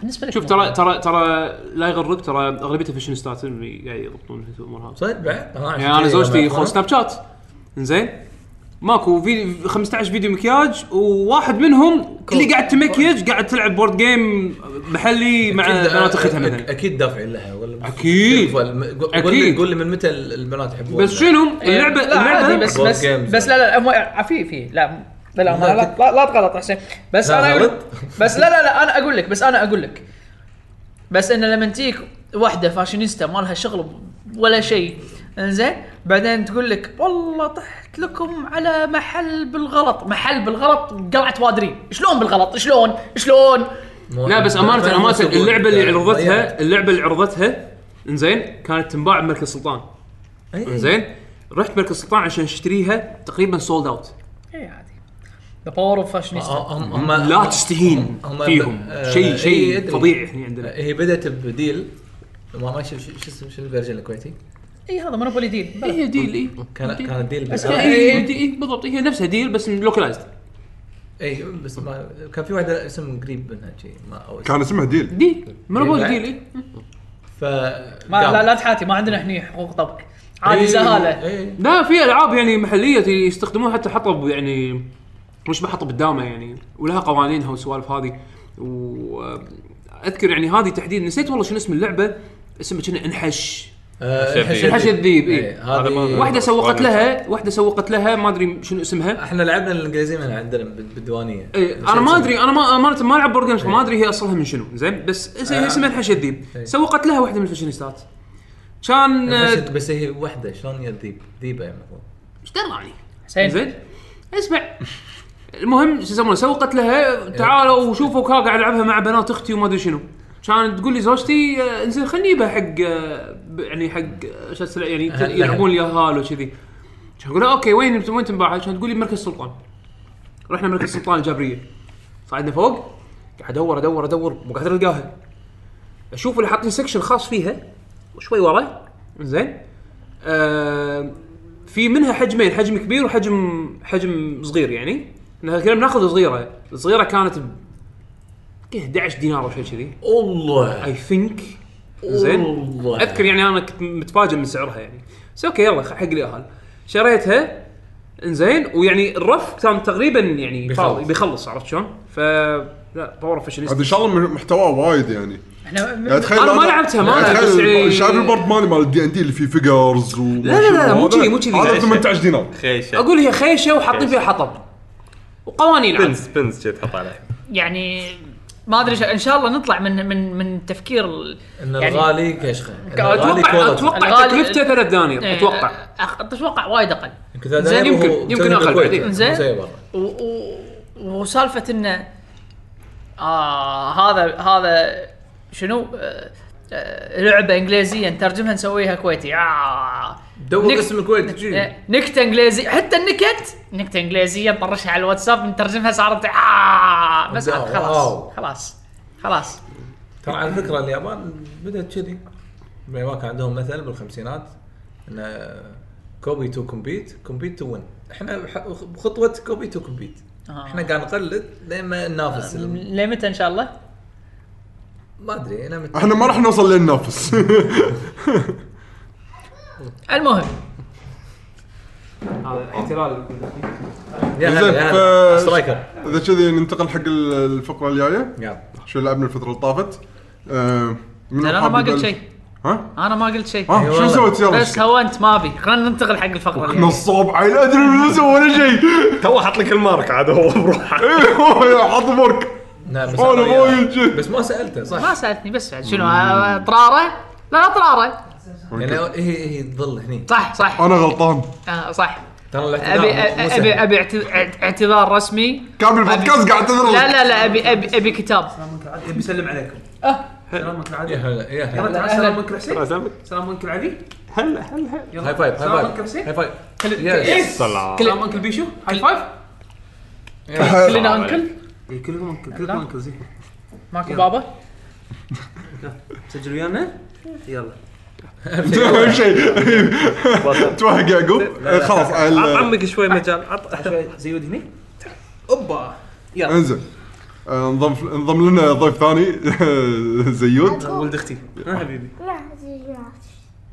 S3: بالنسبه لك
S1: شوف
S3: مو-
S1: ترى
S5: إيه.
S1: ترى ترى لا يغرك ترى اغلبيته فيشن ستات اللي قاعد يضبطون امورها
S5: صدق بعد أنا عشان
S1: يعني انا
S5: كذي
S1: زوجتي
S5: لما
S1: خوش
S5: أطلع-
S1: سناب شات زين ماكو في 15 فيديو مكياج وواحد منهم اللي قاعد تمكيج قاعد تلعب بورد جيم محلي مع
S5: أكيد-
S1: بنات اختها مثلا
S5: أك- اكيد دافعين لها ولا
S1: أكيد.
S5: اكيد قول لي
S1: أكيد.
S5: قول لي من متى البنات يحبون
S1: بس شنو
S3: إيه،
S1: اللعبه
S3: لا عادي
S1: اللعبه
S3: بس
S5: Board
S3: بس
S5: games.
S3: بس لا لا لا في في لا لا لا
S5: لا،
S3: ما- لا
S5: تك-
S3: لا, لا تغلط حسين بس
S5: لا
S3: انا
S5: غلط.
S3: أقول بس لا لا لا انا اقول لك بس انا اقول لك بس انه لما تجيك واحده فاشينيستا ما لها شغل ب- ولا شيء انزين بعدين تقول لك والله طحت لكم على محل بالغلط محل بالغلط قلعه وادري شلون بالغلط شلون شلون
S1: لا بس امانه امانه اللعبه اللي عرضتها اللعبه اللي عرضتها انزين كانت تنباع بمركز سلطان
S5: إيه.
S1: انزين رحت مركز سلطان عشان اشتريها تقريبا سولد اوت
S3: اي إيه، عادي ذا باور اوف فاشينيستا
S5: هم هم
S1: لا تستهين
S5: هم-
S1: فيهم
S5: آه،
S1: شيء
S5: إيه،
S1: شيء
S5: أدري.
S1: فظيع هني عندنا
S5: هي بدات بديل ما ما شو شو شو اسمه شو الفيرجن الكويتي؟
S3: اي إيه، هذا مونوبولي ديل بلا.
S1: هي ديل اي
S5: كان كان ديل
S1: بس
S5: بس
S1: هي- هي هي- هي- بالضبط هي نفسها ديل بس لوكلايزد
S5: اي إيه، بس ما كان في واحده اسم قريب منها شيء ما أو
S2: كان اسمها ديل
S5: إيه،
S1: ديل مونوبولي
S5: ديل
S1: ديل إيه. اي
S5: ف إيه،
S3: ما لا لا تحاتي ما عندنا هني حقوق طبع عادي زهاله
S5: اي
S1: لا في العاب يعني محليه يستخدموها حتى حطب يعني مش بحطب الدامه يعني ولها قوانينها والسوالف هذه واذكر يعني هذه تحديد نسيت والله شنو اسم اللعبه اسمها كنا انحش
S5: آه،
S1: انحش الذيب اي
S5: إيه.
S3: إيه.
S5: هذه
S1: واحده سوقت لها واحده سوقت لها ما ادري شنو اسمها
S5: احنا لعبنا الانجليزي منها عندنا بال- بالديوانيه
S1: إيه انا ما ادري انا ما امانه ما العب بورد جيمز فما ادري هي اصلها من شنو زين بس اس- هي اسمها انحش الذيب
S5: إيه.
S1: سوقت لها واحده من الفاشينيستات كان آه،
S5: انحشت، بس هي وحده شلون هي الذيب؟ ذيبه يعني المفروض
S1: ايش دراني
S3: حسين
S1: زين اسمع المهم شو يسمونه سوقت لها
S5: إيه.
S1: تعالوا وشوفوا كا قاعد العبها مع بنات اختي وما ادري شنو كانت تقول لي زوجتي آه، انزين خلني اجيبها حق آه، ب- يعني حق آه، شو اسمه يعني
S5: أهل-
S1: يلعبون اليهال وكذي كان اقول لها اوكي وين وين تنباع؟ كانت تقول لي مركز سلطان رحنا مركز سلطان الجبريه صعدنا فوق قاعد ادور ادور ادور مو قاعد القاها اشوف اللي حاطين سكشن خاص فيها وشوي ورا زين آه في منها حجمين حجم كبير وحجم حجم صغير يعني احنا كنا بناخذ صغيره الصغيره كانت ب 11 دينار او شيء كذي
S5: الله
S1: اي ثينك زين
S5: والله.
S1: اذكر يعني انا كنت متفاجئ من سعرها يعني بس اوكي يلا حق الاهل شريتها انزين ويعني الرف كان تقريبا يعني فاضي
S5: بيخلص.
S1: بيخلص عرفت شلون؟ ف لا باور فاشينيستا
S2: هذا ان شاء الله من- محتواه وايد يعني
S3: احنا
S2: يعني
S3: م-
S2: تخيل
S1: أنا ما لعبتها، ما
S2: يعني
S1: أدري، بس
S2: تخيل
S1: يعني-
S2: شايف البورد مالي مال الدي ان دي اللي فيه فيجرز و
S1: لا لا لا، مو كذي، مو كذي.
S2: هذا 18 دينار
S6: خيشه
S1: اقول هي خيشه وحاطين فيها حطب وقوانين عاد.
S6: بنز بنز كذي تحط عليه
S3: يعني ما ادري شا- ان شاء الله نطلع من من من تفكير ال-
S5: ان
S3: يعني-
S5: الغالي كشخه إن الغالي
S1: اتوقع
S5: كواليتي.
S1: اتوقع
S3: الغالي-
S1: تكلفته ثلاث دنانير
S3: إيه،
S1: اتوقع
S3: أخ- اتوقع وايد اقل
S5: يمكن ثلاث
S1: زين،
S5: دنانير
S1: يمكن-
S5: وهو
S1: يمكن
S5: مسوي
S1: أقل
S5: بالكويت.
S1: بعدين.
S5: مو
S3: زين.
S5: زي برا
S3: و- و- وسالفه انه آه هذا هذا شنو آه آه، لعبه انجليزيه نترجمها نسويها كويتي آه
S5: دور
S3: نك-
S5: اسم الكويت جي.
S3: آه، نكته انجليزي حتى النكت نكته انجليزيه نطرشها على الواتساب نترجمها صارت آه بس عاد
S5: واو.
S3: خلاص خلاص خلاص
S5: ترى على فكره اليابان بدات كذي باليابان كان عندهم مثل بالخمسينات ان كوبي تو كومبيت كومبيت تو وين احنا بح- بخطوه كوبي تو كومبيت
S3: آه.
S5: احنا قاعد نقلد لين ما ننافس ال-
S3: ليه متى ان شاء الله؟
S5: ما ادري انا مت...
S2: احنا ما راح نوصل لين ننافس
S3: المهم
S1: هذا احتلال
S5: يا
S2: زين،
S5: هلا يا
S2: ف-
S5: هلا سترايكر
S2: اذا كذي ننتقل حق ال- الفقره الجايه
S5: يلا
S2: شو لعبنا الفتره اللي طافت آه، من
S3: انا
S2: حاب
S3: ما قلت
S2: يبلش؟
S3: شيء
S2: ها؟
S3: انا ما قلت شيء
S2: ها شو
S5: والله.
S2: سويت يلا
S3: بس هونت ما ابي خلينا ننتقل حق الفقره اللي جاية.
S2: نصاب عيل ادري ما سوى ولا شيء
S6: تو حط لك المارك عاد هو بروحه
S2: إيه، هو حط مارك
S5: لا بس
S2: أنا
S5: أنا
S2: وايد
S5: وياه.
S2: جد.
S5: بس ما سالته صح
S3: ما سالتني بس بعد شنو آه، طراره؟ لا طراره
S5: يعني هي هي تظل هني
S3: صح صح
S2: انا غلطان
S3: آه صح
S5: ترى
S3: ابي
S5: الاعتذار مو- مو
S3: ابي
S5: سهل.
S3: ابي اعت- اعت- اعتذار رسمي
S2: كامل البودكاست قاعد اعتذر
S3: لا
S2: لك.
S3: لا لا ابي ابي ابي كتاب
S1: يبي يسلم عليكم
S7: أه.
S5: يا هلا يا هلا
S1: السلام انكل حسين
S6: سلامك
S1: السلام انكل علي
S6: هلا هلا
S5: هاي فايف
S1: سلام
S7: طيب.
S5: هاي
S1: عليكم حسين.
S5: فايف هاي فايف يس
S6: سلام
S1: السلام انكل بيشو هاي فايف
S3: كلنا انكل
S1: اي إيه، كلكم انكل كلكم انكل زين
S3: ماكو بابا
S1: سجل ويانا يلا
S2: اهم شيء توهق يعقوب إيه، خلاص
S4: عط
S2: ال-
S4: عمك شوي مجال عط
S7: طيب.
S1: شوي زيود هني
S4: اوبا
S2: انزل آه، انضم انضم لنا ضيف ثاني زيود
S1: ولد اختي ها حبيبي
S7: إيه.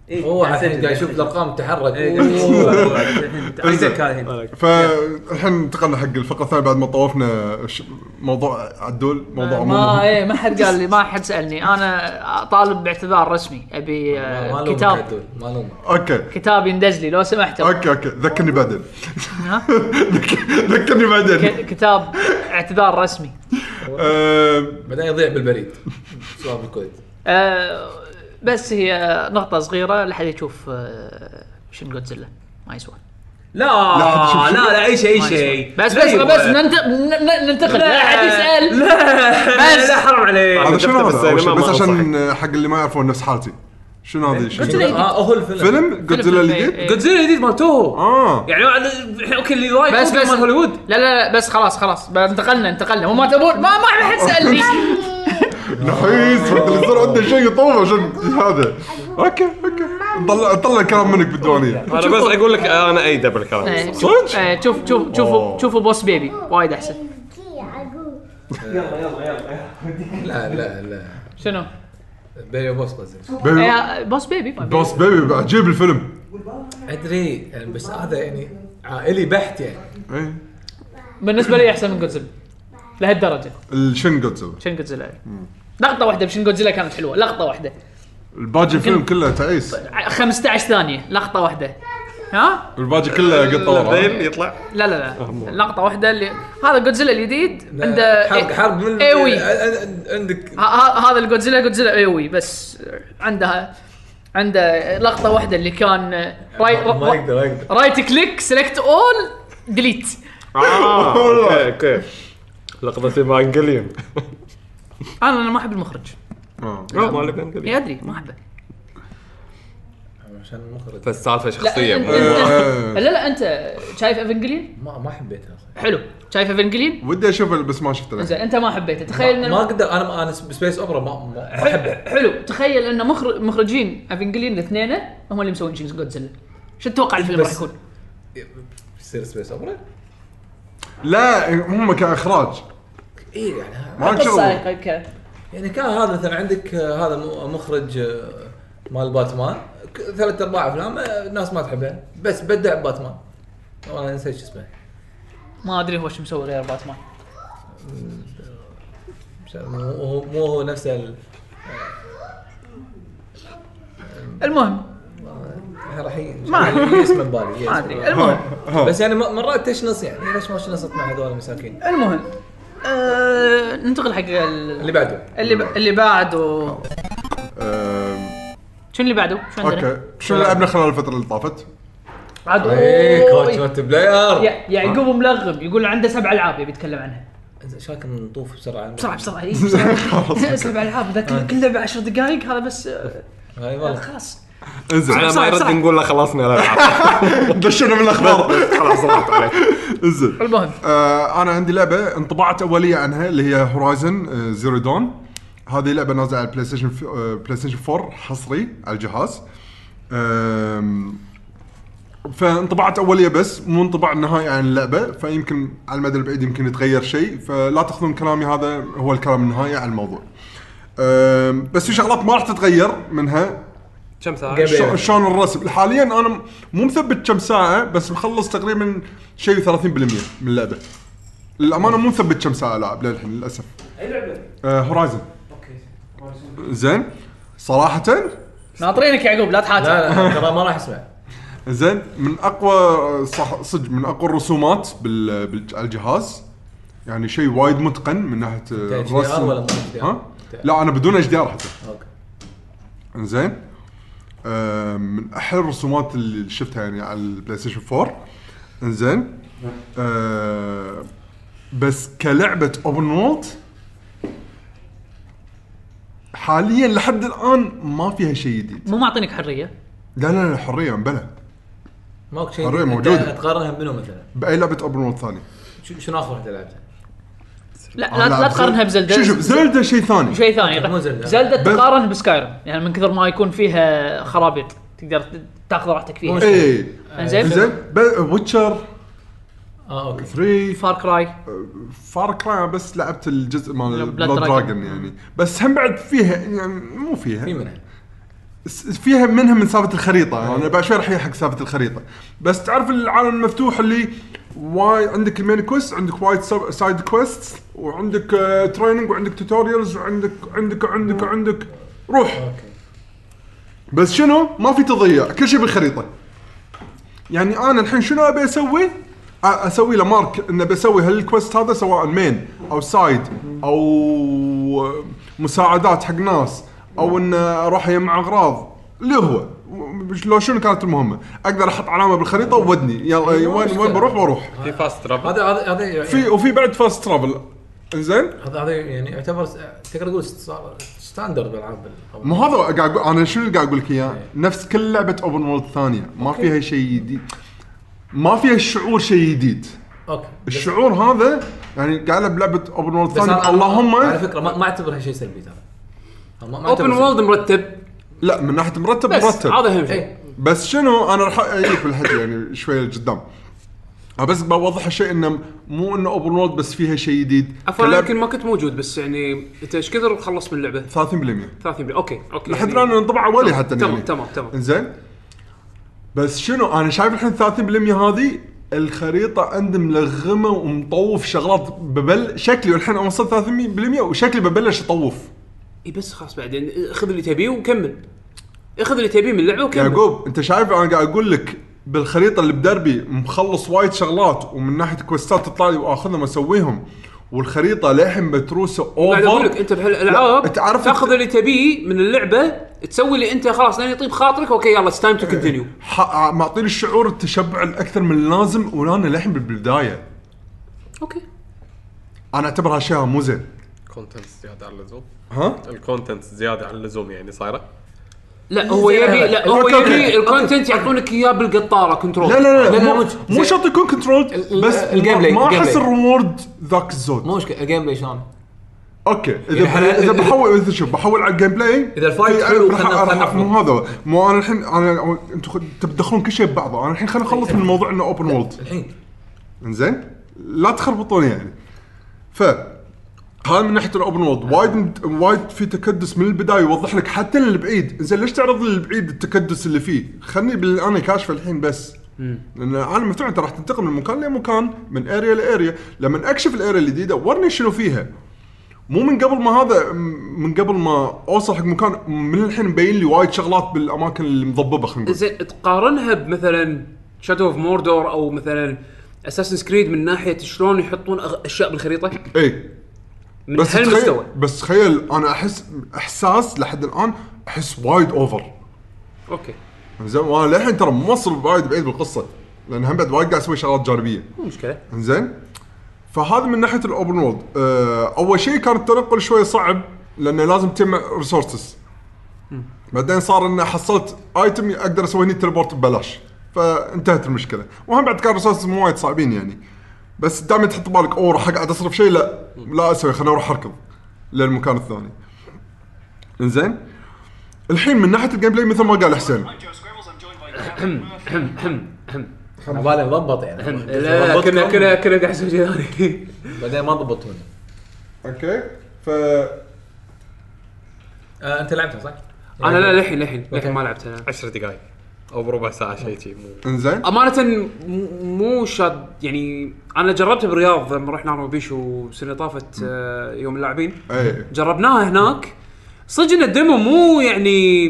S1: إيه. اي
S5: هو الحين قاعد يشوف الارقام تتحرك
S3: إيه.
S2: فالحين انتقلنا حق الفقره الثانيه بعد ما طوفنا ش- موضوع عدول موضوع
S3: ما
S2: عموما
S3: ايه ما حد قال لي ما حد سالني انا طالب باعتذار رسمي ابي آه،
S5: ما
S3: كتاب
S5: كتاب ما لومك
S2: اوكي
S3: كتاب يندز لي لو سمحتوا
S2: اوكي اوكي ذكرني بعدين
S3: ها؟
S2: ذكرني بعدين
S3: ك- كتاب اعتذار رسمي
S2: آه،
S5: بعدين يضيع بالبريد سؤال بالكويت
S3: آه، بس هي نقطه صغيره لا حد يشوف آه، شن جودزيلا ما يسوى
S7: لا لا لا اي شيء اي شيء
S3: بس
S7: لا
S3: بس
S1: أيوة.
S7: يبا.
S3: بس ننت- ن- ن- ننتقد لا حد يسال
S7: لا
S3: بس.
S7: لا حرام عليك
S2: هذا شنو
S4: شفته
S2: هذا؟ أول شيء
S4: بالسينما
S2: بس
S4: ما
S2: عشان حق اللي ما يعرفون نفس حالتي شنو هذا الشيء؟
S3: جودزيلا جديد.
S7: آه، هو الفيلم
S2: فيلم جودزيلا
S3: فيلم-
S2: الجديد؟
S3: إيه.
S7: جودزيلا الجديد مال توهو
S2: اه
S7: يعني أنا- اوكي اللي رايك
S3: بس-
S7: بس
S3: بس.
S7: بس مال هوليوود
S3: لا لا لا، بس خلاص خلاص بقى انتقلنا انتقلنا وما تبون ما ما حد سالني
S2: نحيس فهد اللي صار عنده شيء يطوف عشان هذا اوكي اوكي طلع طلع الكلام منك بالديوانيه
S4: انا بس اقول لك انا اي دبل كلام
S3: شوف آه، شوف شوف شوفوا شوفوا بوس بيبي وايد احسن
S5: لا لا لا
S3: شنو؟
S5: بيبي بوس قصدي
S2: بيبي
S3: آه، بوس بيبي ما
S2: بوس بيبي عجيب الفيلم
S5: ادري يعني بس هذا يعني عائلي بحت يعني
S2: اي
S3: بالنسبه لي احسن من جودزيلا لهالدرجه
S2: الشن جودزيلا
S3: شن جودزيلا لقطه واحده بشن جودزيلا كانت حلوه لقطه واحده
S2: الباقي الفيلم كله تعيس
S3: ع- 15 ثانيه لقطه واحده ها
S2: الباقي كله قطه ورا
S4: الذيل يطلع
S3: لا لا لا لقطه واحده اللي هذا جودزيلا الجديد عنده
S5: حرق حرق من
S3: ايوي
S5: عندك
S3: ه- ه- هذا الجودزيلا جودزيلا ايوي بس عندها عنده لقطه واحده اللي كان راي
S5: ما اقدر ما اقدر
S3: رايت كليك سيلكت اول ديليت
S4: اه
S2: والله.
S4: اوكي اوكي لقطة ايفانجليون
S3: انا انا ما احب المخرج
S2: آه.
S4: مال
S3: يا
S4: ايفانجليون
S3: ادري ما احبه
S5: عشان المخرج
S4: طيب.
S7: فالسالفه شخصيه
S3: أنت-
S7: مو-
S2: آه.
S3: لا لا انت شايف ايفنجلين
S5: ما ما حبيتها أصلاً.
S3: حلو شايف ايفنجلين
S2: ودي اشوفه بس ما شفته
S3: زين
S2: للحين.
S3: انت ما حبيته تخيل
S5: ما-
S3: إنه-
S5: ما اقدر انا ما- انا سبيس اوبرا ما ما ما احبها
S3: حلو تخيل ان مخر... مخرجين افنجلين الاثنين هم اللي مسوين جينز جودزيلا شو تتوقع الفيلم
S5: بس-
S3: راح يكون؟
S5: يصير سبيس اوبرا
S2: لا هم كاخراج
S5: اي يعني ها-
S2: ما لك شغل
S3: قصة ك-
S5: يعني كان هذا مثلا عندك آه، هذا م- مخرج آه، مال باتمان ك- ثلاث ارباع افلام آه، الناس ما تحبه بس بدع باتمان والله نسيت شو اسمه
S3: ما ادري هو شو مسوي غير باتمان
S5: مش عارف، مو هو مو هو نفسه ال-
S3: المهم
S5: راح ي- مش
S3: ما
S5: عارف،
S3: أدري.
S5: اسمه ببالي
S3: ما
S5: يا اسمه.
S3: ادري المهم
S5: بس يعني م- مرات تشنص يعني ليش ما شنصت مع هذول المساكين
S3: المهم آه... ننتقل حق ال...
S5: اللي بعده
S3: اللي ب... اللي بعده
S2: آم،
S3: شنو اللي بعده؟ شو عندنا؟
S2: اوكي شو آه، لعبنا خلال الفتره اللي طافت؟
S3: عاد
S5: ايه
S3: أوه،
S5: كوتش بلاير
S3: يع- يعقوب ملغم يقول عنده سبع العاب يبي يتكلم عنها
S5: ايش رايك نطوف بسرعه
S3: بسرعه بسرعه إيه، بسرعه سبع العاب ذا كل- كل لعبه 10 دقائق هذا بس آه،
S5: هاي آه. والله
S3: خلاص
S2: انزين
S4: على ما يرد
S3: بسرعة.
S4: نقول له خلصنا الالعاب
S2: دشنا بالاخبار
S4: خلاص راحت عليك
S2: انزين
S3: المهم
S2: آه انا عندي لعبه انطباعات اوليه عنها اللي هي هورايزن زيرو دون هذه لعبه نازله على البلاي ستيشن ف- آه، بلاي ستيشن 4 حصري على الجهاز آم، فانطباعات اوليه بس مو انطباع نهائي عن اللعبه فيمكن على المدى البعيد يمكن يتغير شيء فلا تاخذون كلامي هذا هو الكلام النهائي عن الموضوع آم، بس في شغلات ما راح تتغير منها
S4: كم ساعة؟
S5: قبل.
S2: شو- شلون الرسم حاليا انا مو مثبت كم ساعه بس مخلص تقريبا شيء 30% من اللعبه للامانه مو مثبت كم ساعه لاعب للحين للاسف اي لعبه؟ هورايزن اوكي زين صراحه
S3: ناطرينك يعقوب لا تحاتي
S5: لا لا ترى ما راح اسمع
S2: زين من اقوى صح صدق من اقوى الرسومات بال بال- على الجهاز يعني شيء وايد متقن من ناحيه آه،
S5: HDR
S2: الرسم
S5: ولا مو HDR؟
S2: ها؟ لا انا بدون اتش دي ار حتى
S5: اوكي
S2: انزين آه، من احلى الرسومات اللي شفتها يعني على البلاي ستيشن 4 انزين آه، بس كلعبه اوبن وولد حاليا لحد الان ما فيها شيء جديد
S3: مو معطينك حريه
S2: لا لا لا حريه بلا
S5: ماكو شيء
S2: حرية
S5: أنت
S2: موجودة.
S5: تقارنها بمنو مثلا
S2: باي لعبه اوبن وولد ثانيه
S5: شو- شنو اخر واحده لعبتها؟
S3: لا
S5: آه،
S3: لا, لا تقارنها بزلدا
S2: شوف شوف زلدا شيء ثاني
S3: شيء ثاني
S5: مو زلدة.
S3: زلدا
S2: بس-
S3: تقارن بسكايرم يعني من كثر ما يكون فيها خرابيط تقدر ت- تاخذ راحتك فيها
S5: إيه.
S2: اي
S3: انزين
S2: إيه. زين ويتشر
S5: اه اوكي
S2: 3
S3: فار كراي
S2: فار كراي بس لعبت الجزء مال
S3: بلاد
S2: بلاد
S3: دراجون.
S2: دراجون يعني بس هم بعد فيها يعني مو فيها
S5: في منها إيه.
S2: س- فيها منها من سالفه الخريطه انا بعد شوي راح احكي سالفه الخريطه بس تعرف العالم المفتوح اللي واي عندك المين كويست عندك وايد سب- سايد كويست وعندك آه، تريننج وعندك توتوريالز وعندك عندك عندك عندك روح بس شنو ما في تضييع كل شيء بالخريطه يعني انا الحين شنو ابي اسوي أ- اسوي له مارك ان بسوي هالكويست هذا سواء مين او سايد او مساعدات حق ناس او ان اروح اجمع اغراض اللي هو مش- لو شنو كانت المهمه اقدر احط علامه بالخريطه وودني يلا وين وين بروح بروح
S4: في فاست ترافل
S5: هذا هذا هذا يعني-
S2: في وفي بعد فاست ترافل انزين
S5: هذا هذا يعني يعتبر س- تقدر تقول صار ستاندرد بالعاب ال-
S2: مو هذا قاعد أقول- انا شنو اللي قاعد اقول لك اياه
S1: إيه.
S2: نفس كل لعبه اوبن وورلد ثانيه ما فيها شيء جديد ما فيها الشعور شيء جديد
S5: اوكي بس-
S2: الشعور هذا يعني قاعد ألعب بلعبه اوبن وورلد
S5: بس أنا-
S2: ثانيه اللهم
S5: على فكره ما ما اعتبرها شيء سلبي ترى ما- ما
S1: اوبن
S5: أعتبر شيء-
S1: وولد مرتب
S2: لا من ناحيه مرتب
S1: بس
S2: مرتب
S1: هذا اهم شيء
S5: إيه.
S2: بس شنو انا راح اجيك بالحكي يعني شويه لقدام أنا بس بوضح الشيء انه مو انه اوبن وورلد بس فيها شيء جديد
S1: عفوا
S2: كلعب
S1: يمكن ما كنت موجود بس يعني انت ايش كثر خلصت من اللعبه؟
S2: 30%
S1: 30% اوكي اوكي
S2: لحد
S1: يعني-
S2: الان انطباع اولي حتى
S1: تمام،
S2: يعني.
S1: تمام، تمام.
S2: انزين بس شنو انا شايف الحين 30% هذه الخريطه عندي ملغمه ومطوف شغلات ببل شكلي والحين أنا وصلت 30% وشكلي ببلش اطوف
S1: اي إيه، بس خلاص بعدين خذ اللي تبيه وكمل اخذ اللي تبيه من اللعبه وكمل
S2: يعقوب انت شايف انا قاعد اقول لك بالخريطه اللي بدربي مخلص وايد شغلات ومن ناحيه كويستات تطلع لي واخذهم واسويهم والخريطه للحين متروسه
S1: قاعد اقول
S2: اوفر
S1: لك انت بهالالعاب
S2: لا، تعرف
S1: تاخذ
S2: أنت-
S1: اللي تبيه من اللعبه تسوي اللي انت خلاص لين يطيب خاطرك اوكي يلا اتس تايم تو كونتينيو
S2: إيه. ح- معطيني الشعور التشبع الاكثر من اللازم وانا للحين بالبدايه
S1: اوكي
S2: انا اعتبر هالشيء مو زين
S4: كونتنت زياده على اللزوم
S2: ها
S4: الكونتنت زياده على اللزوم يعني صايره
S1: لا هو يبي لا هو
S2: إيه. أوكي،
S1: يبي
S2: أوكي.
S1: الكونتنت يعطونك اياه بالقطاره كنترول
S2: لا لا لا,
S5: لا،
S2: مو,
S5: مش-
S2: مو
S5: زين.
S2: شرط يكون كنترول
S5: ال-
S2: بس
S5: الجيم
S2: ما-
S5: بلاي،
S2: ما
S5: الجيم
S2: احس
S5: بلاي.
S2: الريورد ذاك الزود
S5: مو مشكله الجيم بلاي شلون؟
S2: اوكي اذا
S5: يعني إحنا-
S2: اذا بحول اذا شوف بحول على الجيم بلاي
S5: إذا الفايت
S2: في-
S5: حلو،
S2: راح-
S5: خلنا-
S2: راح-
S5: خلنا
S2: مو هذا مو انا الحين انا انتم خ- تبدخلون كل شيء ببعضه انا الحين خلينا
S5: إيه.
S2: نخلص من موضوع انه اوبن وولد
S5: الحين
S2: انزين لا تخربطوني يعني ف هذا من ناحيه الاوبن وولد وايد مت- وايد في تكدس من البدايه يوضح لك حتى اللي بعيد زين ليش تعرض للي بعيد التكدس اللي فيه خلني باللي انا كاشفه الحين بس لان انا مفتوح انت راح تنتقل من مكان لمكان من اريا لاريا لما اكشف الاريا الجديده ورني شنو فيها مو من قبل ما هذا م- من قبل ما اوصل حق مكان من الحين مبين لي وايد شغلات بالاماكن اللي مضببه خلينا نقول
S1: زين تقارنها بمثلا شادو اوف موردور او مثلا اساسن كريد من ناحيه شلون يحطون أغ- اشياء بالخريطه
S2: اي
S1: من
S2: بس
S1: هالمستوى
S2: تخيل بس تخيل انا احس احساس لحد الان احس وايد اوفر
S1: اوكي
S2: زين وانا للحين ترى موصل وايد بعيد بالقصه لان هم بعد وايد قاعد اسوي شغلات جانبيه
S1: مو مشكله
S2: زين فهذا من ناحيه الاوبن وولد أه اول شيء كان التنقل شوي صعب لانه لازم تجمع ريسورسز بعدين صار انه حصلت ايتم اقدر اسوي هني تليبورت ببلاش فانتهت المشكله وهم بعد كان ريسورسز مو وايد صعبين يعني بس دائما تحط بالك اوه راح اقعد اصرف شيء لا لا اسوي خليني اروح اركض للمكان الثاني انزين الحين من ناحيه الجيم بلاي مثل ما قال حسين
S8: I'm Joe Scribbles. I'm joined by Gavin Murphy.
S5: على بالي مضبط يعني
S1: لا لا، كنا كنا كنا قاعد نسوي شيء ثاني
S5: بعدين ما ضبطوني
S2: اوكي ف
S5: آه انت لعبتها صح؟
S1: انا لا للحين للحين للحين ما لعبتها انا
S4: 10 دقائق او بربع ساعه شيء شي مو
S2: انزين
S1: امانه م- مو شاد يعني انا جربتها بالرياض لما رحنا انا وبيشو السنه طافت آه، يوم اللاعبين
S2: اي
S1: جربناها هناك صدق ان الديمو مو يعني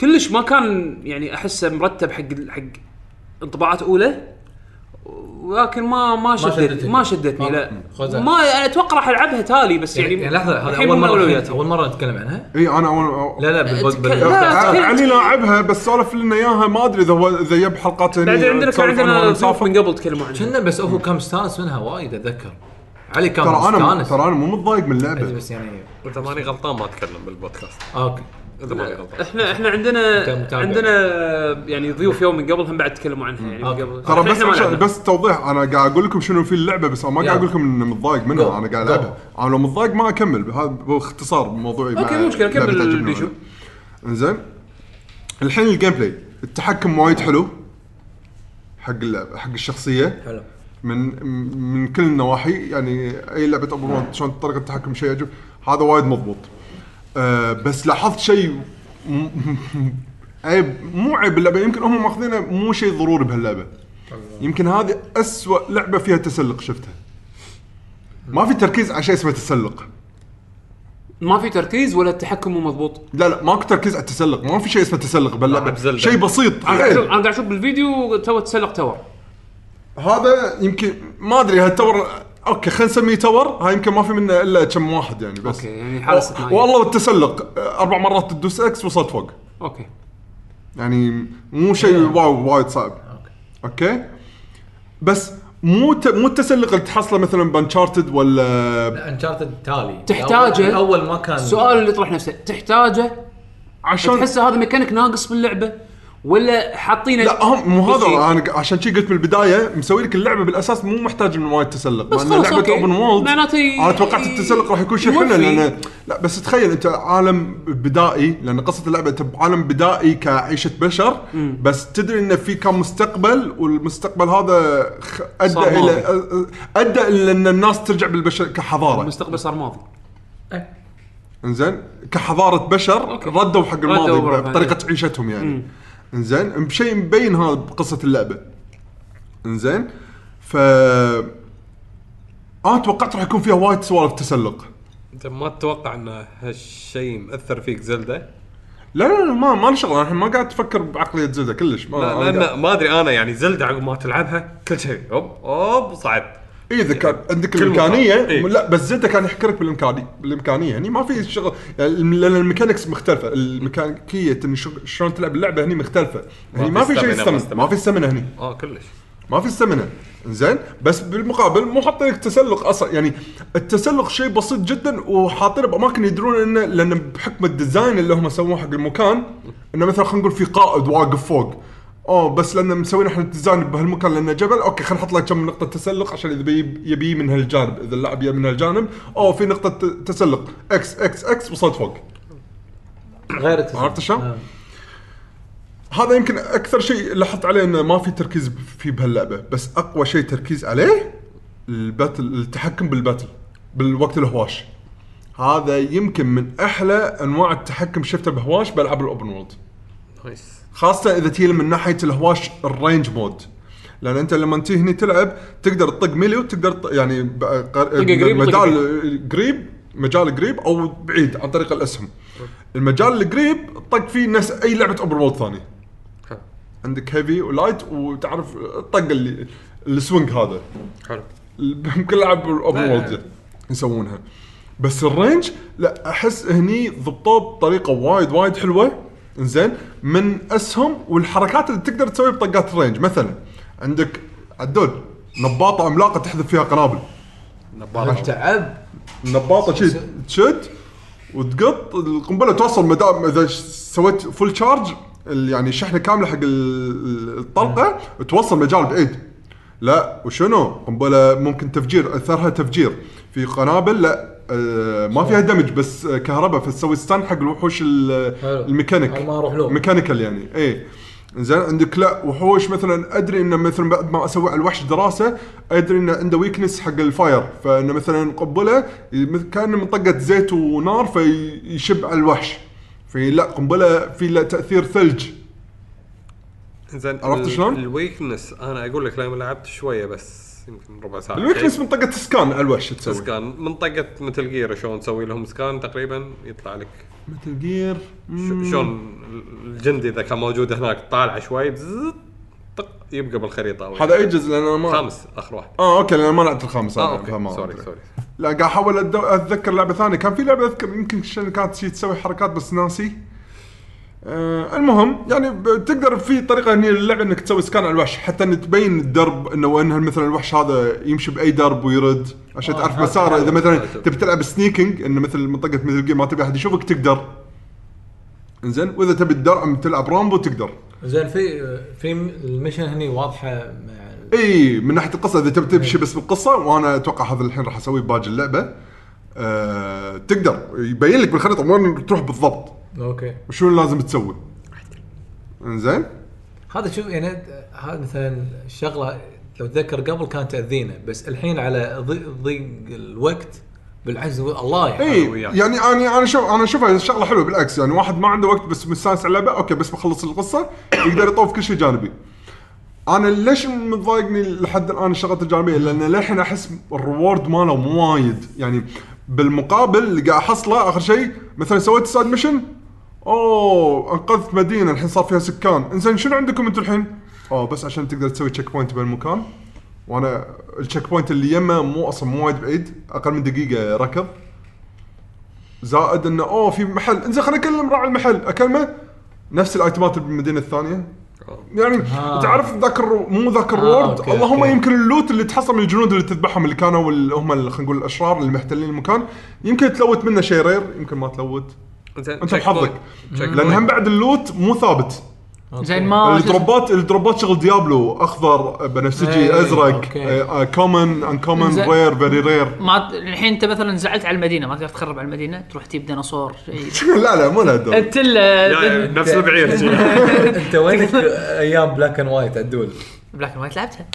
S1: كلش ما كان يعني احسه مرتب حق حق انطباعات اولى ولكن ما ما شدت
S5: شدتك.
S1: ما شدتني لا
S5: خذها.
S1: ما انا اتوقع راح العبها تالي بس يعني
S5: يعني يعني لحظه هذا
S1: الحين
S5: اول
S1: مو
S5: مره
S1: أولوياتي.
S5: فيها- اول مره نتكلم عنها
S2: اي انا اول
S5: لا لا بالبود
S1: أتكلم- لا،
S2: لا
S1: أتكلم-
S2: علي لاعبها يعني بس سولف لنا اياها ما ادري اذا هو اذا يب حلقات هني
S1: بعدين عندنا كان
S2: تسولف عنها
S1: عندنا
S2: ولا
S1: ضيوف
S2: نسافر.
S1: من قبل تكلموا عنها
S5: كنا بس هو كان مستانس منها وايد اتذكر علي كان
S2: ترى انا
S5: مستانس
S2: ترى انا مو متضايق من اللعبه
S5: بس يعني
S4: اذا ماني غلطان ما اتكلم بالبودكاست
S5: اوكي
S4: اذا ماني غلطان
S1: احنا احنا عندنا
S5: أنت متابع.
S1: عندنا يعني ضيوف يوم من قبل هم بعد تكلموا عنها يعني من
S5: أوكي.
S1: قبل
S2: ترى بس
S1: إحنا ما
S2: عشان-
S1: لعبنا.
S2: بس توضيح انا قاعد اقول لكم شنو في اللعبه بس أنا ما قاعد
S5: يلا.
S2: اقول لكم اني متضايق منها
S5: Go.
S2: انا قاعد العبها انا لو متضايق ما اكمل هذا باختصار موضوعي مع
S1: اوكي مو مشكله
S2: لعبة
S1: كمل
S2: تعجبني
S1: بيشو
S2: ولا لا. انزين الحين الجيم بلاي التحكم وايد حلو حق اللعبه حق الشخصيه
S5: حلو
S2: من من كل النواحي يعني اي لعبه اوبن وورلد شلون طريقه التحكم شيء عجب هذا وايد مضبوط آه بس لاحظت شيء م- عيب مو عيب باللعبه يمكن هم ماخذينه مو شيء ضروري بهاللعبه يمكن هذه أسوأ لعبه فيها تسلق شفتها ما في تركيز على شيء اسمه تسلق
S1: ما في تركيز ولا التحكم مو مضبوط
S2: لا لا ماكو تركيز على التسلق ما في شيء اسمه تسلق
S4: لا،
S2: باللعبه
S4: بزلدة.
S2: شيء بسيط
S1: انا قاعد
S2: حيل.
S1: اشوف انا قاعد اشوف بالفيديو تو تسلق تور
S2: هذا يمكن ما ادري هالتور اوكي خلينا نسميه تور هاي يمكن ما في منه الا كم واحد يعني بس
S1: اوكي يعني حاله استثنائيه
S2: والله والتسلق اربع مرات تدوس اكس وصلت فوق
S1: اوكي
S2: يعني مو شيء واو وايد صعب اوكي بس مو ت... مو التسلق اللي تحصله مثلا بانشارتد ولا
S5: انشارتد تالي
S1: تحتاجه.
S5: اول ما كان
S1: السؤال اللي يطرح نفسه تحتاجه
S2: عشان
S1: تحس هذا ميكانيك ناقص باللعبه ولا حاطينه
S2: لا هم مو هذا
S1: بالشيء؟
S2: انا عشان شي قلت من البدايه مسوي لك اللعبه بالاساس مو محتاج من وايد تسلق
S1: بس
S2: لان
S1: خلاص،
S2: لعبه
S1: أوكي.
S2: اوبن وولد
S1: معناته ي-
S2: انا توقعت التسلق راح يكون شيء
S1: يوفي.
S2: حلو لان لا بس تخيل انت عالم بدائي لان قصه اللعبه انت بعالم بدائي كعيشه بشر بس تدري انه في كان مستقبل والمستقبل هذا خ- ادى
S1: صار
S2: الى
S1: ماضي.
S2: أ- ادى الى ان الناس ترجع بالبشر كحضاره
S1: المستقبل صار ماضي
S2: انزين كحضاره بشر
S1: أوكي.
S2: ردوا حق
S1: ردوا
S2: الماضي
S1: برا-
S2: بطريقه عيشتهم يعني انزين بشيء مبين هذا بقصه اللعبه انزين ف انا توقعت راح يكون فيها وايد سوالف تسلق
S4: انت ما تتوقع ان هالشيء مأثر فيك زلده
S2: لا لا لا ما ما لي شغل انا الحين ما قاعد افكر بعقليه زلده كلش ما أنا
S4: لا
S2: قاعد-
S4: لان ما ادري انا يعني زلده عقب ما تلعبها كل شيء اوب اوب صعد
S2: إيه، اذا كان عندك
S4: كل مكان.
S2: الامكانيه
S4: إيه.
S2: لا بس زلده كان يحكرك بالامكانيه بالامكانيه هني ما في شغل يعني الم- لان الميكانكس مختلفه الميكانيكيه إن شغ- شلون تلعب اللعبه هني مختلفه هني ما
S4: في
S2: في شيء
S4: stamina، ما
S2: استمنة ما في استمنة هني
S4: اه كلش
S2: ما في استمنة زين بس بالمقابل مو حاطين لك تسلق اصلا يعني التسلق شيء بسيط جدا وحاطينه باماكن يدرون انه لان بحكم الديزاين اللي هم سووه حق المكان انه مثلا خلينا نقول في قائد واقف فوق اه بس لان مسوين احنا الديزاين بهالمكان لانه جبل اوكي خلينا نحط له كم نقطه تسلق عشان اذا بي- يبي من هالجانب اذا اللاعب يبي من هالجانب او في نقطه ت- تسلق اكس اكس اكس وصلت فوق
S5: غير التسلق.
S2: عرفت شلون؟
S5: آه.
S2: هذا يمكن اكثر شيء لاحظت عليه انه ما في تركيز فيه بهاللعبه بس اقوى شيء تركيز عليه الباتل التحكم بالباتل بالوقت الهواش هذا يمكن من احلى انواع التحكم شفته بهواش بالعاب الاوبن وورلد
S4: نايس
S2: خاصه اذا تيجي من ناحيه الهواش الرينج مود لان انت لما تيجي هني تلعب تقدر تطق ميلي وتقدر تط- يعني ب- قر-
S1: قريب وطق
S2: مجال قريب مجال قريب او بعيد عن طريق الاسهم المجال القريب طق فيه نفس اي لعبه اوبن وورلد ثانيه
S4: حلو.
S2: عندك هيفي ولايت وتعرف الطق اللي السوينج هذا
S4: حلو
S2: بكل العاب الاوبن
S4: لا.
S2: وورلد يسوونها بس الرينج لا احس هني ضبطوه بطريقه وايد وايد حلوه زين من اسهم والحركات اللي تقدر تسويها بطقات الرينج مثلا عندك عدول نباطه عملاقه تحذف فيها قنابل
S5: أنا تعب
S2: النباطه شي تشد وتقط القنبله توصل مدام اذا ش- سويت فول تشارج ال- يعني شحنه كامله حق ال- ال- الطلقه توصل مجال بعيد لا وشنو قنبله ممكن تفجير اثرها تفجير في قنابل لا آه ما فيها دمج بس آه، كهرباء فتسوي ستان حق الوحوش ال-
S5: حلو.
S2: الميكانيك
S5: أو ما أروح لهم.
S2: ميكانيكال يعني اي زين عندك لا وحوش مثلا ادري انه مثلا بعد ما اسوي على الوحش دراسه ادري انه عنده ويكنس حق الفاير فانه مثلا قنبله مثل- كانه من طقه زيت ونار فيشب على الوحش في لا قنبله في لا تاثير ثلج
S4: زين
S2: عرفت شلون؟
S4: الويكنس انا اقول لك لما لعبت شويه بس يمكن ربع إيه، ساعه
S2: الويكنس من طقه سكان على الوحش تسوي
S4: سكان منطقه مثل جير شلون تسوي لهم سكان تقريبا يطلع لك
S2: مثل جير
S4: ش- شلون الجندي اذا كان موجود هناك طالع شوي بزز، طق يبقى بالخريطه أول.
S2: هذا ايجز لان انا ما
S4: خامس اخر واحد
S2: اه اوكي لان أنا ما لعبت الخامس
S4: اه
S2: أنا، فما
S4: اوكي سوري
S2: أدري.
S4: سوري
S2: لا قاعد احاول أتدو- اتذكر لعبه ثانيه كان في لعبه اذكر يمكن شن- كانت شي تسوي حركات بس ناسي آه المهم يعني ب- تقدر في طريقه هني للعب انك تسوي سكان على الوحش حتى ان تبين الدرب انه انه مثلا الوحش هذا يمشي باي درب ويرد عشان تعرف مساره اذا مثلا تبي تلعب سنيكينج انه مثل منطقه مثل جيم ما تبي احد يشوفك تقدر انزين واذا تبي تدرع تلعب رامبو تقدر
S5: زين في في المشن هني واضحه مع
S2: اي من ناحيه القصه اذا تبي تمشي بس بالقصه وانا اتوقع هذا الحين راح اسويه باج اللعبه أه تقدر يبين لك بالخريطه وين تروح بالضبط
S5: اوكي
S2: وشو اللي لازم تسوي انزين
S5: هذا شوف يعني هذا مثلا الشغله لو تذكر قبل كانت تاذينا بس الحين على ضي- ضيق الوقت بالعجز و- الله يعني
S2: اي
S4: وياك.
S2: يعني انا انا شوف انا اشوفها شغله حلوه بالعكس يعني واحد ما عنده وقت بس مستانس على اللعبه اوكي بس بخلص القصه يقدر يطوف كل شيء جانبي انا ليش مضايقني لحد الان الشغلات الجانبيه لان للحين احس الريورد ماله مو وايد يعني بالمقابل اللي قاعد احصله اخر شيء مثلا سويت سايد ميشن اوه انقذت مدينه الحين صار فيها سكان انزين شنو عندكم انتم الحين؟ اه بس عشان تقدر تسوي تشيك بوينت بالمكان وانا التشيك بوينت اللي يمه مو اصلا مو وايد بعيد اقل من دقيقه ركض زائد انه اوه في محل انزين خليني اكلم راعي المحل اكلمه نفس الايتمات اللي بالمدينه الثانيه يعني آه. تعرف ذاك الر- مو ذاك الورد
S5: أوكي،
S2: آه اللهم
S5: أوكي.
S2: يمكن اللوت اللي تحصل من الجنود اللي تذبحهم اللي كانوا ال- هم ال- خلينا نقول الاشرار اللي محتلين المكان يمكن تلوت منه شيء رير يمكن ما تلوت
S4: زين
S2: انت
S4: check
S2: وحظك
S4: point. Check
S2: لان هم بعد اللوت مو ثابت
S3: زين
S5: آه،
S3: ما
S2: الدروبات الدروبات شغل ديابلو اخضر بنفسجي آه،
S5: إيه،
S2: ازرق
S5: أوكي.
S2: كومن انكومن
S3: زين.
S2: رير فيري رير
S3: ما الحين انت مثلا زعلت على المدينه ما تقدر تخرب على المدينه تروح تجيب ديناصور شيء
S2: لا لا مو لهالدرجه
S3: انت ال-
S4: نفس البعير شي.
S5: انت وينك ايام بلاك اند وايت عدول
S3: بلاك اند وايت لعبتها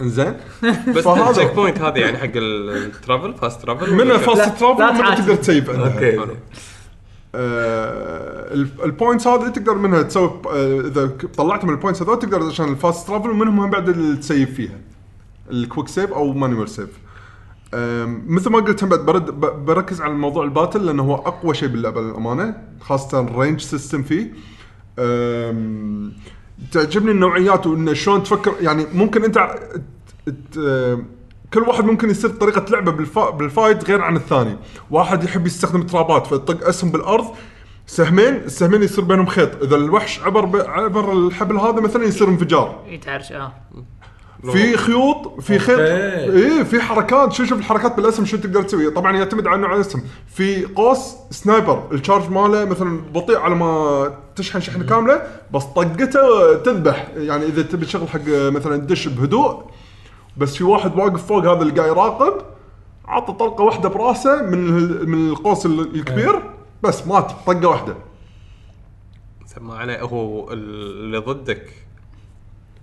S2: انزين
S4: بس
S2: فهذا-
S4: التشيك بوينت هذه يعني حق الترافل فاست ترافل
S2: منها
S3: لا،
S2: فاست ترافل
S3: لا
S2: منها
S3: تعاتب.
S2: تقدر تسيف عندها.
S5: اوكي
S4: حلو.
S2: آه، ال- البوينتس هذه تقدر منها تسوي ب- آه، اذا ك- طلعت من البوينتس هذول تقدر عشان الفاست ترافل ومنهم هم بعد اللي تسيف فيها الكويك سيف او مانوال سيف آم، مثل ما قلت هم بعد برد ب- بركز على موضوع الباتل لانه هو اقوى شيء باللعبه للامانه خاصه الرينج سيستم فيه آم، تعجبني النوعيات وان شلون تفكر يعني ممكن انت ع- ت- ت- كل واحد ممكن يصير طريقه لعبه بالفا بالفايت غير عن الثاني، واحد يحب يستخدم ترابات فيطق اسهم بالارض سهمين السهمين يصير بينهم خيط، اذا الوحش عبر ب... عبر الحبل هذا مثلا يصير انفجار،
S3: اي تعرف اه
S2: في خيوط في خيط اي في حركات شو شوف الحركات بالاسهم شو تقدر تسوي، طبعا يعتمد على نوع الاسهم، في قوس سنايبر الشارج ماله مثلا بطيء على ما تشحن شحنه كامله بس طقته تذبح، يعني اذا تبي تشغل حق مثلا دش بهدوء بس في واحد واقف فوق هذا اللي قاعد يراقب عطى طلقه واحده براسه من ال- من القوس ال- الكبير
S4: إيه.
S2: بس مات طقه واحده
S4: سمى عليه هو اللي ضدك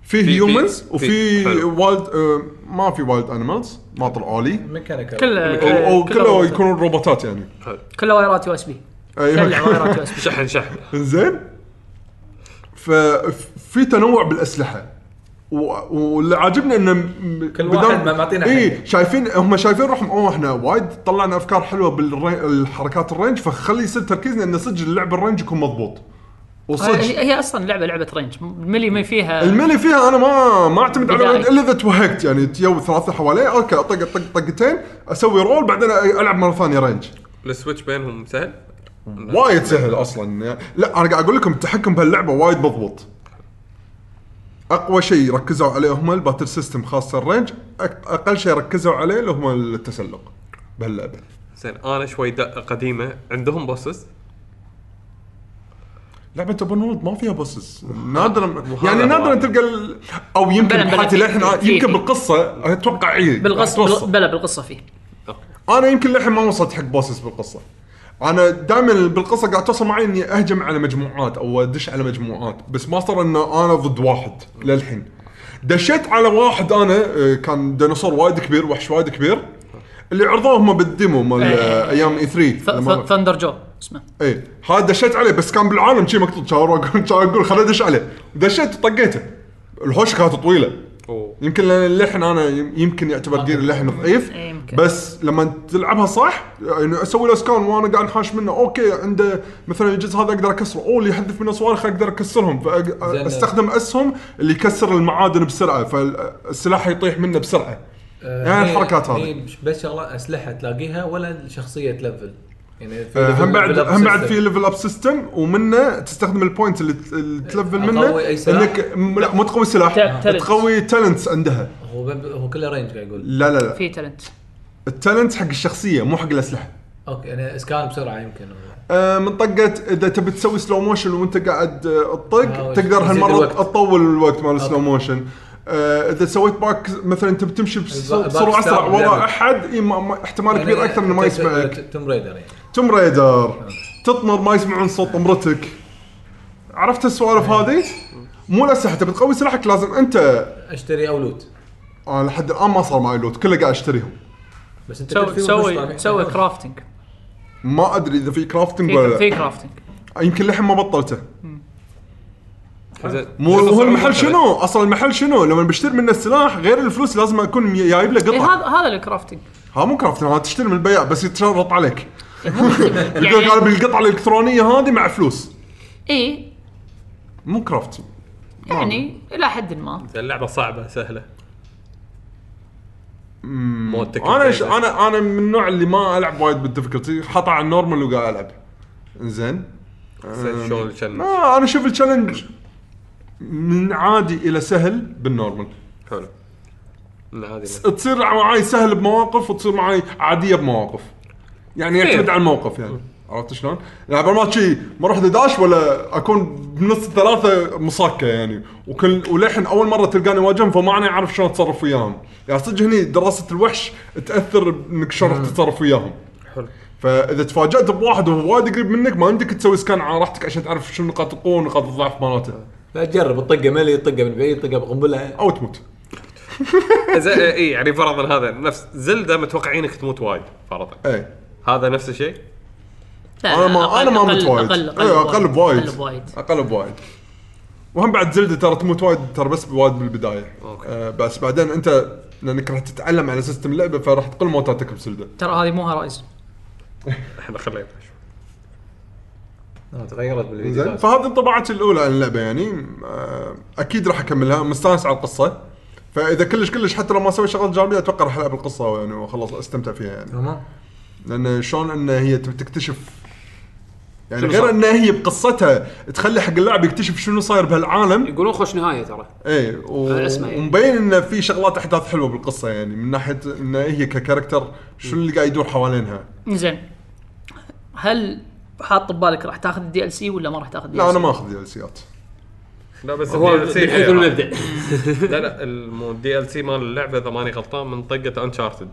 S2: في
S4: في-
S2: هيومنز
S4: في-
S2: وفي
S4: في- حلو.
S2: وايلد آه، ما في وايلد انيمالز ما طلعوا لي
S5: ميكانيكال
S3: كله
S2: او, أو
S3: كله
S2: كله
S3: روبوت.
S2: يكونون روبوتات يعني
S3: كله وايرات يو اس بي شلع
S2: ايوه
S3: وايرات يو اس بي
S4: شحن شحن
S2: زين ففي تنوع بالاسلحه و- واللي عاجبني انه م-
S5: كل
S2: بدل-
S5: واحد ما- معطينا
S2: اي
S5: حاجة.
S2: شايفين هم شايفين روحهم اوه احنا وايد طلعنا افكار حلوه بالحركات الرينج فخلي يصير تركيزنا انه صدق اللعب الرينج يكون مضبوط
S3: هي
S2: وصدق
S3: هي اصلا لعبه لعبه رينج الملي ما فيها
S2: الملي فيها انا ما ما اعتمد على
S3: بداية.
S2: واحد الا اذا توهقت يعني جو ثلاثه حواليه اوكي اطق طق طقتين اسوي رول بعدين العب مره ثانيه رينج
S4: السويتش بينهم سهل
S2: وايد سهل اصلا لا انا قاعد اقول لكم التحكم بهاللعبه وايد مضبوط اقوى شيء ركزوا عليه هم الباتل سيستم خاصه الرينج أك- اقل شيء ركزوا عليه اللي هم التسلق بهاللعبه
S4: زين انا شوي دقه قديمه عندهم بوسس
S2: لعبه اوبن وورلد ما فيها بوسس نادرا يعني
S4: هذا
S2: نادرا
S4: هو.
S2: تلقى ال- او يمكن
S3: بلا- بلا،
S2: حتى
S3: في-
S2: للحين
S3: في- في-
S2: يمكن إيه،
S3: في.
S2: بالقصه اتوقع اي
S3: بالقصه
S2: راح توصل.
S3: بال- بلا بالقصه فيه
S2: انا يمكن للحين ما وصلت حق بوسس بالقصه انا دائما بالقصه قاعد توصل معي اني اهجم على مجموعات او ادش على مجموعات بس ما صار انه انا ضد واحد للحين دشيت على واحد انا آه، كان ديناصور وايد كبير وحش وايد كبير اللي عرضوه هم بالديمو مال آه، ايام اي 3
S3: إيه. ث-
S2: لما-
S3: ث- ثندر جو اسمه
S2: اي إيه. هذا دشيت عليه بس كان بالعالم شي مقطوع شاور اقول شاور اقول خليني ادش عليه دشيت وطقيته الهوش كانت طويله يمكن لأن اللحن انا يم- يمكن يعتبر جيل اللحن ضعيف
S3: آه. إيه، يمكن.
S2: بس لما تلعبها صح يعني اسوي له سكان وانا قاعد حاش منه اوكي عنده مثلا الجزء هذا اقدر اكسره او اللي يحذف منه صواريخ اقدر اكسرهم
S5: زين.
S2: فاستخدم اسهم اللي يكسر المعادن بسرعه فالسلاح يطيح منه بسرعه
S5: آه،
S2: يعني الحركات هذه.
S5: بس شغله اسلحه تلاقيها ولا شخصيه تلفل يعني في
S2: آه، هم
S5: level-
S2: بعد
S5: level
S2: هم بعد
S5: system.
S2: في ليفل اب سيستم ومنه تستخدم البوينت اللي ت- اللي تلفل منه
S5: أقوي أي سلاح؟
S2: انك م- لا مو تقوي سلاح
S3: ت- talents.
S2: تقوي تالنتس عندها
S5: هو بب- هو كله رينج قاعد يقول
S2: لا لا لا
S3: في تالنت
S2: التالنت حق الشخصيه مو حق الاسلحه
S5: اوكي انا اسكان بسرعه يعني يمكن
S2: آه، من طقه اذا تبي تسوي سلو موشن وانت قاعد آه، تطق
S5: آه،
S2: تقدر
S5: يزيد
S2: هالمره
S5: الوقت.
S2: تطول الوقت مال السلو موشن آه، اذا سويت باك مثلا تبي تمشي بس-
S5: الباك يعني
S2: بسرعه اسرع
S5: ستاب
S2: ورا
S5: level.
S2: احد إي، ما- ما- احتمال كبير اكثر انه ما يسمعك
S5: توم ريدر يعني
S2: توم ريدر تطمر ما يسمعون صوت طمرتك عرفت السوالف
S3: إيه.
S2: هذه؟ مو الاسلحه تبي تقوي سلاحك لازم انت
S5: اشتري او لوت
S2: انا لحد الان ما صار معي لوت كله قاعد اشتريهم
S5: بس انت
S3: تسوي
S5: تلفل
S3: تسوي
S5: وبس
S3: تسوي
S5: طالع.
S3: كرافتنج
S2: ما ادري اذا في كرافتنج
S3: في في
S2: ولا
S3: كرافتنج
S2: لا يمكن للحين ما بطلته
S4: زين
S2: مو هو المحل شنو؟ اصلا المحل شنو؟ لما بشتري منه السلاح غير الفلوس لازم اكون جايب له
S3: اي
S2: قطعه
S3: إيه، هذا هذا الكرافتنج
S2: ها مو كرافتنج هذا تشتري من البياع بس يتشرط عليك يقول لك انا
S3: يعني
S2: بالقطعه الالكترونيه هذه مع فلوس
S3: اي
S2: مو كرافتنج
S3: إيه، يعني الى حد ما
S4: اللعبه صعبه سهله مود تكن
S2: انا ش...
S4: زين.
S2: انا انا من النوع اللي ما العب وايد بالديفيكولتي حاطه على النورمال وقاعد العب زين
S4: زين، شلون الشن؟
S2: ما انا اشوف التشالنج من عادي الى سهل بالنورمال
S4: حلو من هذه
S2: تصير معاي سهل بمواقف وتصير معاي عاديه بمواقف يعني يعتمد على الموقف يعني عرفت شلون؟ يعني قبل ما شي ما اروح داش ولا اكون بنص الثلاثه مصكه يعني وكل وللحين اول مره تلقاني واجههم فما انا اعرف شلون اتصرف وياهم، يعني صدق هني دراسه الوحش تاثر انك شلون راح تتصرف وياهم.
S4: حلو.
S2: فاذا تفاجات بواحد وهو وايد قريب منك ما عندك تسوي سكان على راحتك عشان تعرف شنو نقاط القوه ونقاط الضعف مالته
S5: فتجرب الطقه ملي طقه من بعيد طقه بقنبله
S2: او تموت.
S4: زين اي يعني فرضا هذا نفس زلده متوقعينك تموت وايد فرضا
S2: اي
S4: هذا نفس الشيء
S3: لا،
S2: انا ما انا ما
S3: أقل-
S2: مت وايد
S3: اقل
S2: أيوة، اقل بوايد
S3: اقل بوايد
S2: اقل بوايد وهم بعد زلده ترى تموت وايد ترى بس بوايد بالبدايه
S4: أوكي.
S2: آه بس بعدين انت لانك راح تتعلم على سيستم اللعبه فراح تقل موتاتك بزلده
S3: ترى هذه مو هرايزن
S4: احنا خلينا نشوف.
S5: آه، تغيرت بالفيديو
S2: زين
S5: ف...
S2: فهذه انطباعاتي الاولى عن اللعبه يعني آه اكيد راح اكملها مستانس على القصه فاذا كلش كلش حتى لو ما اسوي شغلات جانبيه اتوقع راح العب القصه يعني واخلص استمتع فيها يعني
S5: تمام
S2: لان شلون ان هي تبي تكتشف يعني
S1: شنو
S2: غير
S1: صار؟
S2: ان هي بقصتها تخلي حق اللاعب يكتشف شنو صاير بهالعالم
S1: يقولون خوش نهايه ترى
S2: ايه و...
S1: أنا أسمع يعني.
S2: ومبين انه في شغلات احداث حلوه بالقصه يعني من ناحيه ان هي ككاركتر شنو اللي قاعد يدور حوالينها
S3: زين هل حاط ببالك راح تاخذ الدي ال سي ولا ما راح تاخذ
S2: لا انا ما اخذ دي ال سيات
S4: لا بس
S1: هو
S4: ال DLC
S1: بحيث
S4: غير.
S1: المبدا
S4: لا لا الدي ال سي مال اللعبه اذا ماني غلطان من طقه انشارتد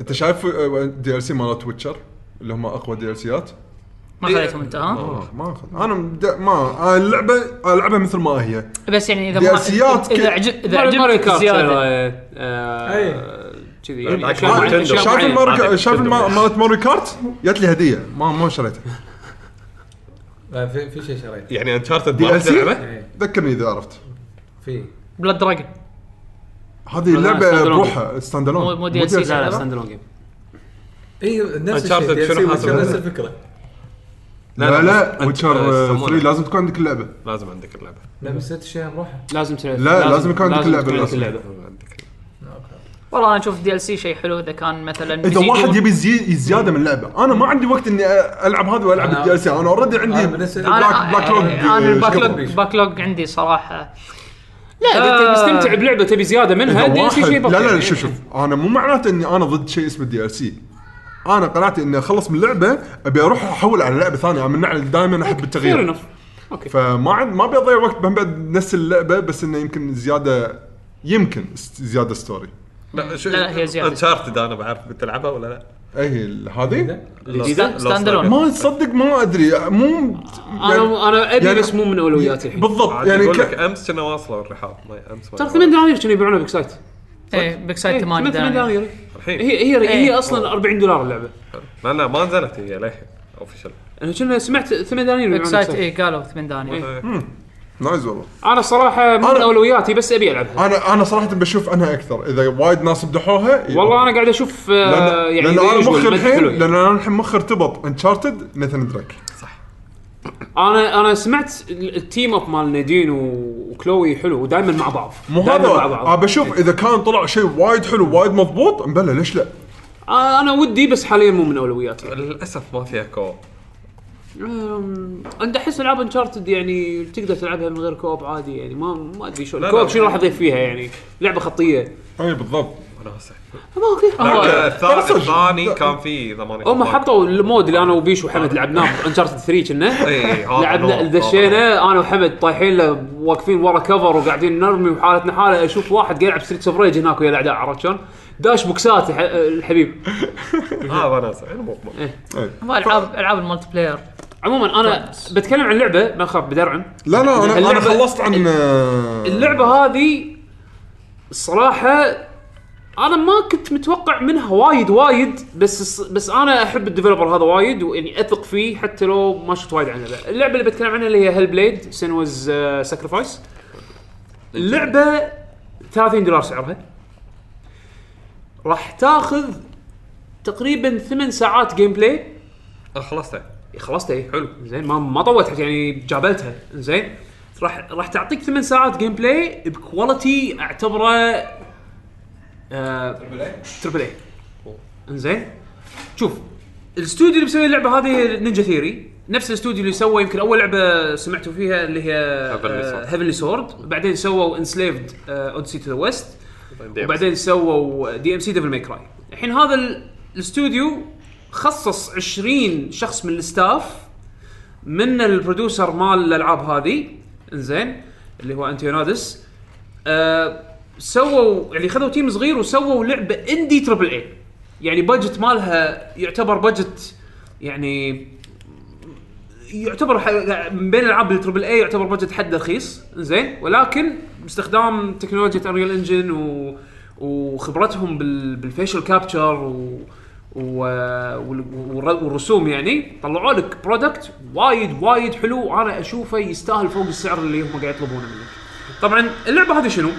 S2: انت شايف آه، دي ال سي مالت ويتشر اللي هم اقوى دي ال سيات
S3: ما خليتهم انت ها
S2: آه، ما اخذ انا مد... ما آه، أنا اللعبه العبها مثل ما هي
S3: بس يعني اذا
S2: دي
S3: ما
S2: ال سيات
S3: اذا
S2: ك-
S3: عجب اذا
S1: ماريو
S3: عجبك
S1: كارت
S3: زياده
S1: آه، آه، كذي يعني
S4: بعد
S1: أشياء
S4: ما
S1: معينة-
S4: تندم.
S1: أشياء
S2: شايف
S1: معينة.
S2: المارك...
S4: عادي.
S2: شايف الما- مالت ماري كارت جت لي هديه ما ما شريتها
S5: آه، في في شيء شريته
S4: يعني انشارتد
S2: دي
S4: ما
S2: ال
S4: راح تلعبه
S2: سي ذكرني اذا عرفت
S5: في
S3: بلاد دراجون
S2: هذه
S1: stand
S2: اللعبه
S1: alone.
S2: بروحها ستاند
S3: مو
S2: الون
S3: مو دي ال سي
S1: لا لا ستاند الون جيم
S5: اي نفس
S4: Uncharted
S5: الشيء
S4: شنو
S5: شنو
S4: حاسب؟
S5: نفس الفكره
S2: لا لا ويتشر
S4: آه، يسمونه.
S2: 3 لازم تكون عندك اللعبه
S4: لازم عندك اللعبه
S5: لا بس ست شيء نروح
S1: لازم تلعب
S2: لا، لازم يكون عندك اللعبة
S1: عندك
S2: لازم.
S1: اللعبه
S4: لازم عندك اللعبة.
S3: والله انا اشوف الدي ال سي شيء حلو اذا كان مثلا
S2: اذا
S3: يزيدون-
S2: واحد يبي زي زياده من لعبه انا ما عندي وقت اني العب هذا والعب
S5: أنا-
S2: الدي ال سي انا اوريدي
S5: أنا
S2: عندي
S5: بالنسبة لي-
S2: بلاك بلاك لوج
S3: انا الباك
S2: آه،
S3: لوج باك لوج عندي صراحه لا
S1: اذا تبي تستمتع بلعبه تبي زياده منها
S2: إذا
S1: دي
S2: واحد
S1: سي شيء بطيء
S2: لا لا
S1: يعني.
S2: شوف شوف انا مو معناته اني انا ضد شيء اسمه الدي ال سي انا قناعتي اني اخلص من لعبه ابي اروح احول على لعبه ثانيه انا من النوع اللي دائما احب
S1: Fair
S2: التغيير
S1: enough.
S2: فما عند ما بيضيع وقت بهم بعد نفس اللعبه بس انه يمكن زياده يمكن است- زياده ستوري
S4: لا شو
S3: لا، لا، هي زيادة.
S4: انشارتد انا بعرف بتلعبها ولا لا
S2: اي ال- إيه، هذه
S3: جديدة؟
S4: Lost-
S3: Stand
S4: Lost
S3: alone.
S2: ما تصدق ما ادري مو
S1: انا انا ابي
S2: يعني-
S1: بس مو من اولوياتي الحين
S2: بالضبط
S4: عادي
S2: يعني
S4: اقول
S2: ك-
S4: لك امس كنا واصله الرحاب ما امس ما-
S1: ترى 8 دنانير كانوا يبيعونها بكسايت
S3: ايه بيك سايد 8 دنانير
S1: دنانير
S4: الحين
S1: إيه، هي هي هي
S3: إيه.
S1: اصلا 40 دولار اللعبه
S4: لا لا ما نزلت هي للحين اوفشل
S1: انا كنا سمعت 8 دنانير يعني.
S3: بيك
S1: يبيعونها
S3: سايد
S1: بكسايت
S3: اي قالوا 8 دنانير
S2: نايز والله
S1: انا صراحه مو من
S2: أنا-
S1: اولوياتي بس ابي العبها
S2: انا انا صراحه بشوف انها اكثر اذا وايد ناس مدحوها إيه.
S1: والله انا قاعد اشوف
S2: لان,
S1: آه،
S2: يعني
S1: يعني
S2: لأن
S1: The
S2: انا
S1: Usual
S2: مخي
S1: مدح
S2: الحين
S1: حلو يعني.
S2: لان انا الحين مخي ارتبط انشارتد نيثن دريك
S1: انا انا سمعت ال- التيم اب مال نادين و- وكلوي حلو ودائما مع بعض
S2: مو
S1: دايماً
S2: هذا
S1: مع بعض
S2: انا بشوف اذا كان طلع شيء وايد حلو وايد مضبوط مبلى ليش لا؟
S1: آه، انا ودي بس حاليا مو من اولوياتي
S4: للاسف ما فيها كو
S1: أم، انت احس العاب انشارتد يعني تقدر تلعبها من غير كوب عادي يعني ما ما ادري شو
S4: لا،
S1: الكوب
S4: لا.
S1: شنو راح اضيف فيها يعني لعبه خطيه
S2: اي بالضبط
S4: وناسه
S1: ما اوكي
S4: لا،
S1: هو-
S4: الث- الثاني
S2: صدق.
S4: كان في اذا ماني
S1: هم
S4: غلطان.
S1: حطوا المود اللي انا وبيش وحمد لعبناه انشارتد 3 كنا
S4: إي، هذا
S1: لعبنا
S4: هو.
S1: دشينا انا وحمد طايحين له واقفين ورا كفر وقاعدين نرمي وحالتنا حاله اشوف واحد قاعد يلعب ستريت اوف ريج هناك ويا الاعداء عرفت شلون؟ داش بوكسات الح- الحبيب
S4: اه وناسه المهم
S3: هو العاب العاب الملتي بلاير
S1: عموما انا بتكلم عن لعبه ما اخاف بدرعم
S2: لا لا انا
S1: اللعبة-
S2: انا خلصت عن
S1: اللعبه هذه الصراحه انا ما كنت متوقع منها وايد وايد بس بس انا احب الديفلوبر هذا وايد واني اثق فيه حتى لو ما شفت وايد عنه اللعبه اللي بتكلم عنها اللي هي هيل بليد سينوز ساكرفايس اللعبه 30 دولار سعرها راح تاخذ تقريبا 8 ساعات جيم بلاي
S4: آه، خلصتها
S1: خلصت ايه حلو زين ما ما طولت يعني جابلتها زين راح راح تعطيك ثمان ساعات جيم بلاي بكواليتي اعتبره آه، تربل اي انزين شوف الاستوديو اللي مسوي اللعبه هذه نينجا ثيري نفس الاستوديو اللي سوى يمكن اول لعبه سمعتوا فيها اللي هي
S4: Heavenly Sword.
S1: هيفنلي سورد بعدين سووا آه، انسليفد اوديسي تو ذا ويست وبعدين سووا دي ام سي ديفل ماي كراي الحين هذا ال- الاستوديو خصص 20 شخص من الستاف من البرودوسر مال الالعاب هذه انزين اللي هو انتيونادس آه سووا يعني خذوا تيم صغير وسووا لعبه اندي تربل اي يعني بادجت مالها يعتبر بادجت يعني يعتبر ح- من بين العاب التربل اي يعتبر بادجت حد رخيص زين ولكن باستخدام تكنولوجيا انريل انجن و... وخبرتهم بال... بالفيشل كابتشر و... و... وال- والر- والرسوم يعني طلعوا لك برودكت وايد وايد حلو وانا اشوفه يستاهل فوق السعر اللي هم قاعد يطلبونه منك. طبعا اللعبه هذه شنو؟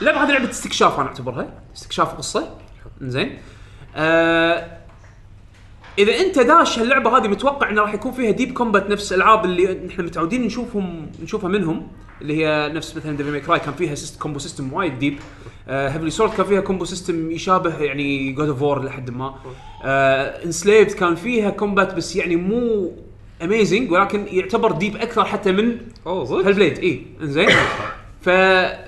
S1: اللعبه هذه لعبه استكشاف انا اعتبرها استكشاف قصه زين آه اذا انت داش هاللعبه هذه متوقع انه راح يكون فيها ديب كومبات نفس الالعاب اللي احنا متعودين نشوفهم نشوفها منهم اللي هي نفس مثلا ديفل ماي كان فيها سيست كومبو سيستم وايد ديب هيفلي سورد كان فيها كومبو سيستم يشابه يعني جود اوف وور لحد ما انسليفد كان فيها كومبات بس يعني مو اميزنج ولكن يعتبر ديب اكثر حتى من
S4: اوه صدق
S1: هيل بليد اي انزين ف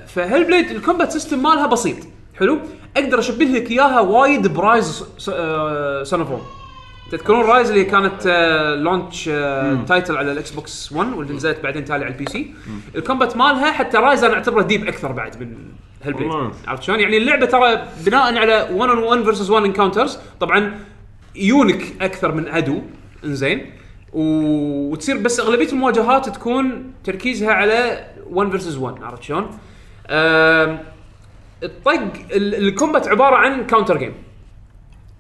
S1: فهيل بليد الكومبات سيستم مالها بسيط حلو اقدر اشبه لك اياها وايد برايز آه، سنفون تذكرون رايز اللي كانت آه، لونش تايتل على الاكس بوكس 1 واللي نزلت بعدين تالي على البي سي الكومبات مالها حتى رايز انا اعتبره ديب اكثر بعد من هيل بليد
S2: والله.
S1: عرفت شلون يعني اللعبه ترى بناء على 1 اون 1 فيرسز 1 انكاونترز طبعا يونك اكثر من عدو انزين و- وتصير بس اغلبيه المواجهات تكون تركيزها على 1 فيرسز 1 عرفت شلون؟ آم، الطق ال- الكومبات عباره عن كاونتر جيم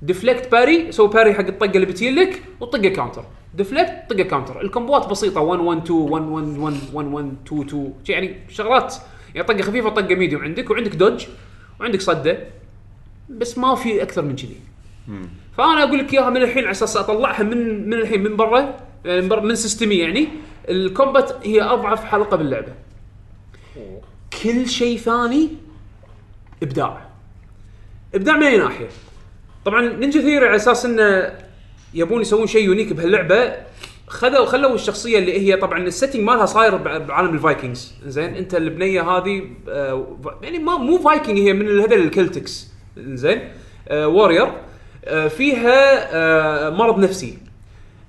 S1: ديفلكت باري سوي باري حق الطقه اللي بتجي لك وطقه كاونتر ديفلكت طقه كاونتر الكومبوات بسيطه 1 1 2 1 1 1 1 1 2 2 شي يعني شغلات يعني طقه خفيفه طقه ميديوم عندك وعندك دوج وعندك صده بس ما في اكثر من كذي فانا اقول لك اياها من الحين على اساس اطلعها من من الحين من برا يعني من برا- من سيستمي يعني الكومبات هي اضعف حلقه باللعبه كل شيء ثاني ابداع ابداع من اي ناحيه طبعا نينجا ثيري على اساس انه يبون يسوون شيء يونيك بهاللعبه خذوا خلوا الشخصيه اللي هي طبعا السيتنج مالها صاير بع- بعالم الفايكنجز زين انت البنيه هذه آه، ف- يعني ما مو فايكنج هي من هذول الكلتكس زين وورير فيها آه، مرض نفسي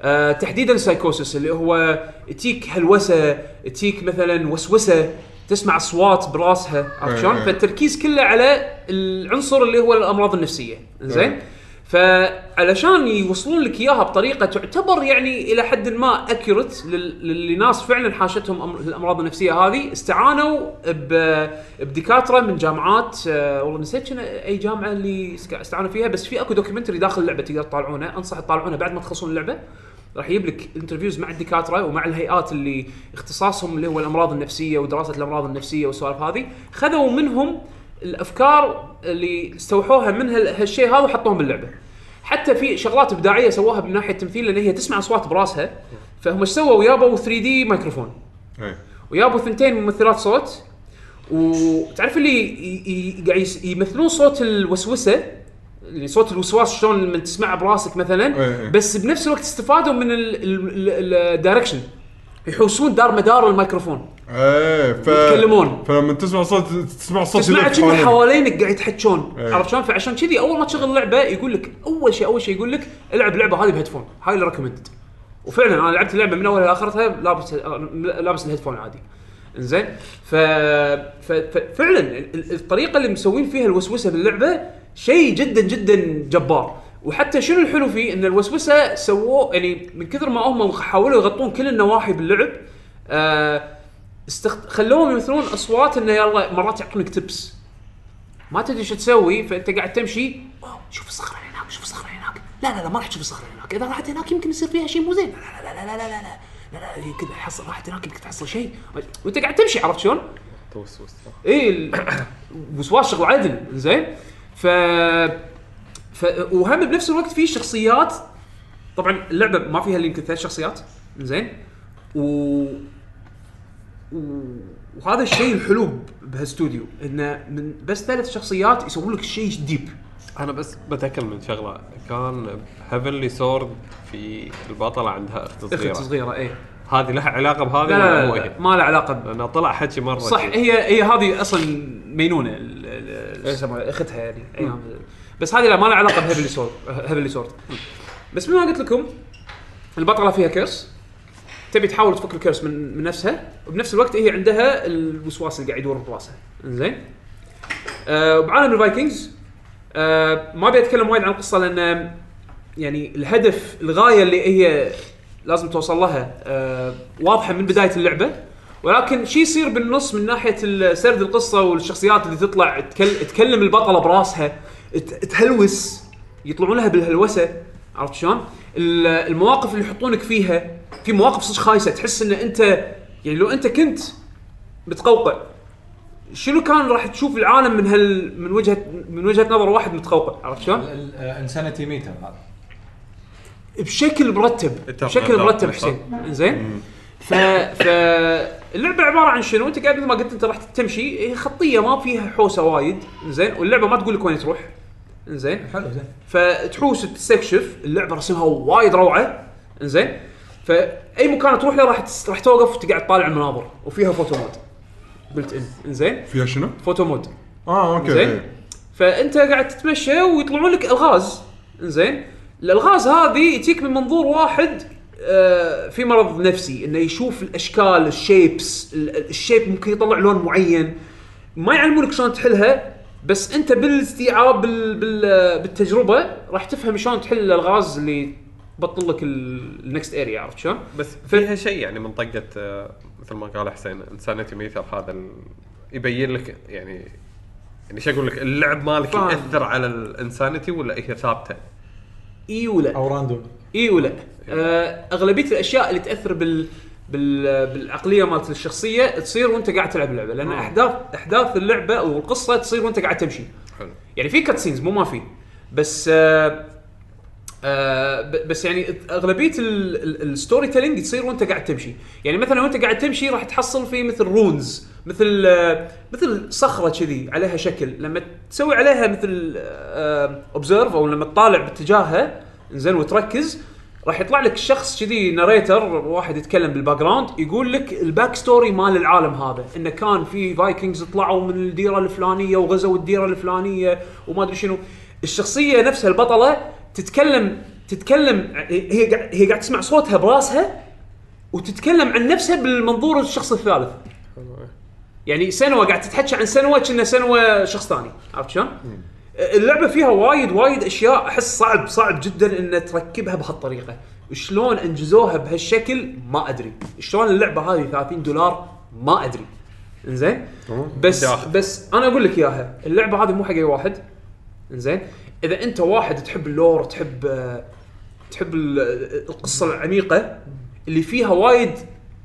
S1: آه، تحديدا سايكوسس اللي هو تيك هلوسه تيك مثلا وسوسه تسمع اصوات براسها عرفت شلون؟
S2: إيه.
S1: فالتركيز كله على العنصر اللي هو الامراض النفسيه
S2: إيه.
S1: زين فعلشان يوصلون لك اياها بطريقه تعتبر يعني الى حد ما اكيوريت للناس فعلا حاشتهم أمر- الامراض النفسيه هذه استعانوا ب- بدكاتره من جامعات آه، والله نسيت شنو- اي جامعه اللي سك- استعانوا فيها بس في اكو دوكيومنتري داخل اللعبه تقدر تطالعونه انصح تطالعونه بعد ما تخلصون اللعبه راح يجيب لك انترفيوز مع الدكاتره ومع الهيئات اللي اختصاصهم اللي هو الامراض النفسيه ودراسه الامراض النفسيه والسوالف هذه خذوا منهم الافكار اللي استوحوها من هال- هالشيء هذا وحطوهم باللعبه حتى في شغلات ابداعيه سووها من ناحيه التمثيل لان هي تسمع اصوات براسها فهم ايش سووا يابوا 3 دي مايكروفون
S2: إيه.
S1: ويابوا ثنتين ممثلات صوت وتعرف اللي ي- ي- قاعد يس- يمثلون صوت الوسوسه اللي صوت الوسواس شلون من تسمعه براسك
S2: إيه
S1: مثلا
S2: إيه.
S1: بس بنفس الوقت استفادوا من الدايركشن يحوسون دار مدار الميكروفون
S2: ايه ف
S1: يتكلمون.
S2: فلما تسمع صوت تسمع صوت
S1: تسمع
S2: اللي
S1: كنا
S2: حواليك.
S1: حوالينك قاعد يتحكون
S2: إيه.
S1: عرفت شلون فعشان كذي اول ما تشغل اللعبه يقول لك اول شيء اول شيء يقول لك العب اللعبه هذه بهيدفون هاي اللي ريكومندد وفعلا انا لعبت اللعبه من اولها لاخرتها لابس لابس الهيدفون عادي زين ف... ف... ففعلا ال- ال- الطريقه اللي مسوين فيها الوسوسه باللعبه شيء جدا جدا جبار وحتى شنو الحلو فيه ان الوسوسه سووه يعني من كثر ما هم حاولوا يغطون كل النواحي باللعب آه استخد... خلوهم يمثلون اصوات انه يلا مرات يعطونك تبس ما تدري شو تسوي فانت قاعد تمشي أوه، شوف الصخره اللي هناك شوف الصخره اللي هناك لا لا لا ما راح تشوف الصخره اللي هناك اذا راحت هناك يمكن يصير فيها شيء مو زين لا لا لا لا لا لا لا لا لا هي كذا حصل راحت هناك يمكن تحصل شيء وانت قاعد تمشي عرفت شلون؟ اي ال- وسواس شغل عدل زين ف ف وهم بنفس الوقت في شخصيات طبعا اللعبه ما فيها إلا يمكن ثلاث شخصيات زين و و- وهذا الشيء الحلو ب- بهالاستوديو انه من بس ثلاث شخصيات يسوون لك شيء ديب
S4: انا بس بتاكل من شغله كان هيفنلي سورد في البطله عندها اخت
S1: اخت
S4: صغيره
S1: صغيره ايه
S4: هذه لها علاقه بهذا
S1: لا
S4: ولا
S1: لا,
S4: مو
S1: لا, لا
S4: هي؟
S1: ما له علاقه ب...
S4: لانه طلع حكي مره
S1: صح إيه،
S4: شي.
S1: هي هي هذه اصلا مينونه ال- ال- شو يسمونها اختها يعني أي بس هذه لا ما لها علاقه بهيفلي سورد هيفلي سورد بس مثل ما قلت لكم البطله فيها كيرس تبي تحاول تفك الكيرس من من نفسها وبنفس الوقت هي عندها الوسواس اللي قاعد يدور براسها زين أه بعالم الفايكنجز أه ما ابي اتكلم وايد عن القصه لان يعني الهدف الغايه اللي هي لازم توصل لها أه واضحه من بدايه اللعبه ولكن شو يصير بالنص من ناحيه ال- سرد القصه والشخصيات اللي تطلع تكل- تكلم البطله براسها ت- تهلوس يطلعون لها بالهلوسه عرفت شلون؟ ال- المواقف اللي يحطونك فيها في مواقف صدق خايسه تحس ان انت يعني لو انت كنت متقوقع شنو كان راح تشوف العالم من هال من وجهه من وجهه نظر واحد متقوقع عرفت شلون؟
S5: الانسانيتي ميتر آه، هذا
S1: بشكل مرتب بشكل مرتب حسين زين ف ف اللعبه عباره عن شنو؟ انت قاعد مثل ما قلت انت راح تمشي هي خطيه ما فيها حوسه وايد زين واللعبه ما تقول لك وين تروح زين
S5: حلو زين
S1: فتحوس تستكشف اللعبه رسمها وايد روعه انزين فاي مكان تروح له راح تس- راح توقف وتقعد تطالع المناظر وفيها فوتو مود بلت ان انزين
S2: فيها شنو؟
S1: فوتو مود
S2: اه اوكي
S1: زين
S2: إيه.
S1: فانت قاعد تتمشى ويطلعون لك الغاز زين الالغاز هذه يجيك من منظور واحد آه، في مرض نفسي انه يشوف الاشكال الشيبس ال- ال- الشيب ممكن يطلع لون معين ما يعلمونك شلون تحلها بس انت بالاستيعاب بال... بال... بالتجربه راح تفهم شلون تحل الالغاز اللي تبطل لك النكست اريا عرفت شلون؟
S4: بس فيها شيء يعني من طقه آه، مثل ما قال حسين انسانيتي ميتر هذا ال- يبين لك يعني يعني شو اقول لك اللعب مالك
S1: فاهم.
S4: ياثر على الانسانيتي ولا هي ثابته؟
S1: اي ولا
S5: او راندوم
S1: اي ولا آه اغلبيه الاشياء اللي تاثر بال بال بالعقليه مالت الشخصيه تصير وانت قاعد تلعب اللعبه لان احداث احداث اللعبه او القصه تصير وانت قاعد تمشي
S4: حلو
S1: يعني في كاتسينز مو ما في بس آه آه ب- بس يعني اغلبيه ال- ال- الستوري تيلينج تصير وانت قاعد تمشي يعني مثلا وانت قاعد تمشي راح تحصل في مثل رونز مثل آه مثل صخره كذي عليها شكل لما تسوي عليها مثل آه، اوبزرف او لما تطالع باتجاهها زين وتركز راح يطلع لك شخص كذي ناريتر واحد يتكلم بالباك جراوند يقول لك الباك ستوري مال العالم هذا انه كان في فايكنجز طلعوا من الديره الفلانيه وغزوا الديره الفلانيه وما ادري شنو الشخصيه نفسها البطله تتكلم تتكلم هي قاعد هي قاعد تسمع صوتها براسها وتتكلم عن نفسها بالمنظور الشخص الثالث يعني سنوة قاعد تتحكى عن سنوة كنا سنوة شخص ثاني عرفت شلون؟ اللعبة فيها وايد وايد اشياء احس صعب صعب جدا ان تركبها بهالطريقة، شلون انجزوها بهالشكل ما ادري، شلون اللعبة هذه 30 دولار ما ادري. انزين؟ بس بس انا اقول لك اياها، اللعبة هذه مو حق اي واحد. انزين؟ اذا انت واحد تحب اللور تحب آه، تحب ال- القصه العميقه اللي فيها وايد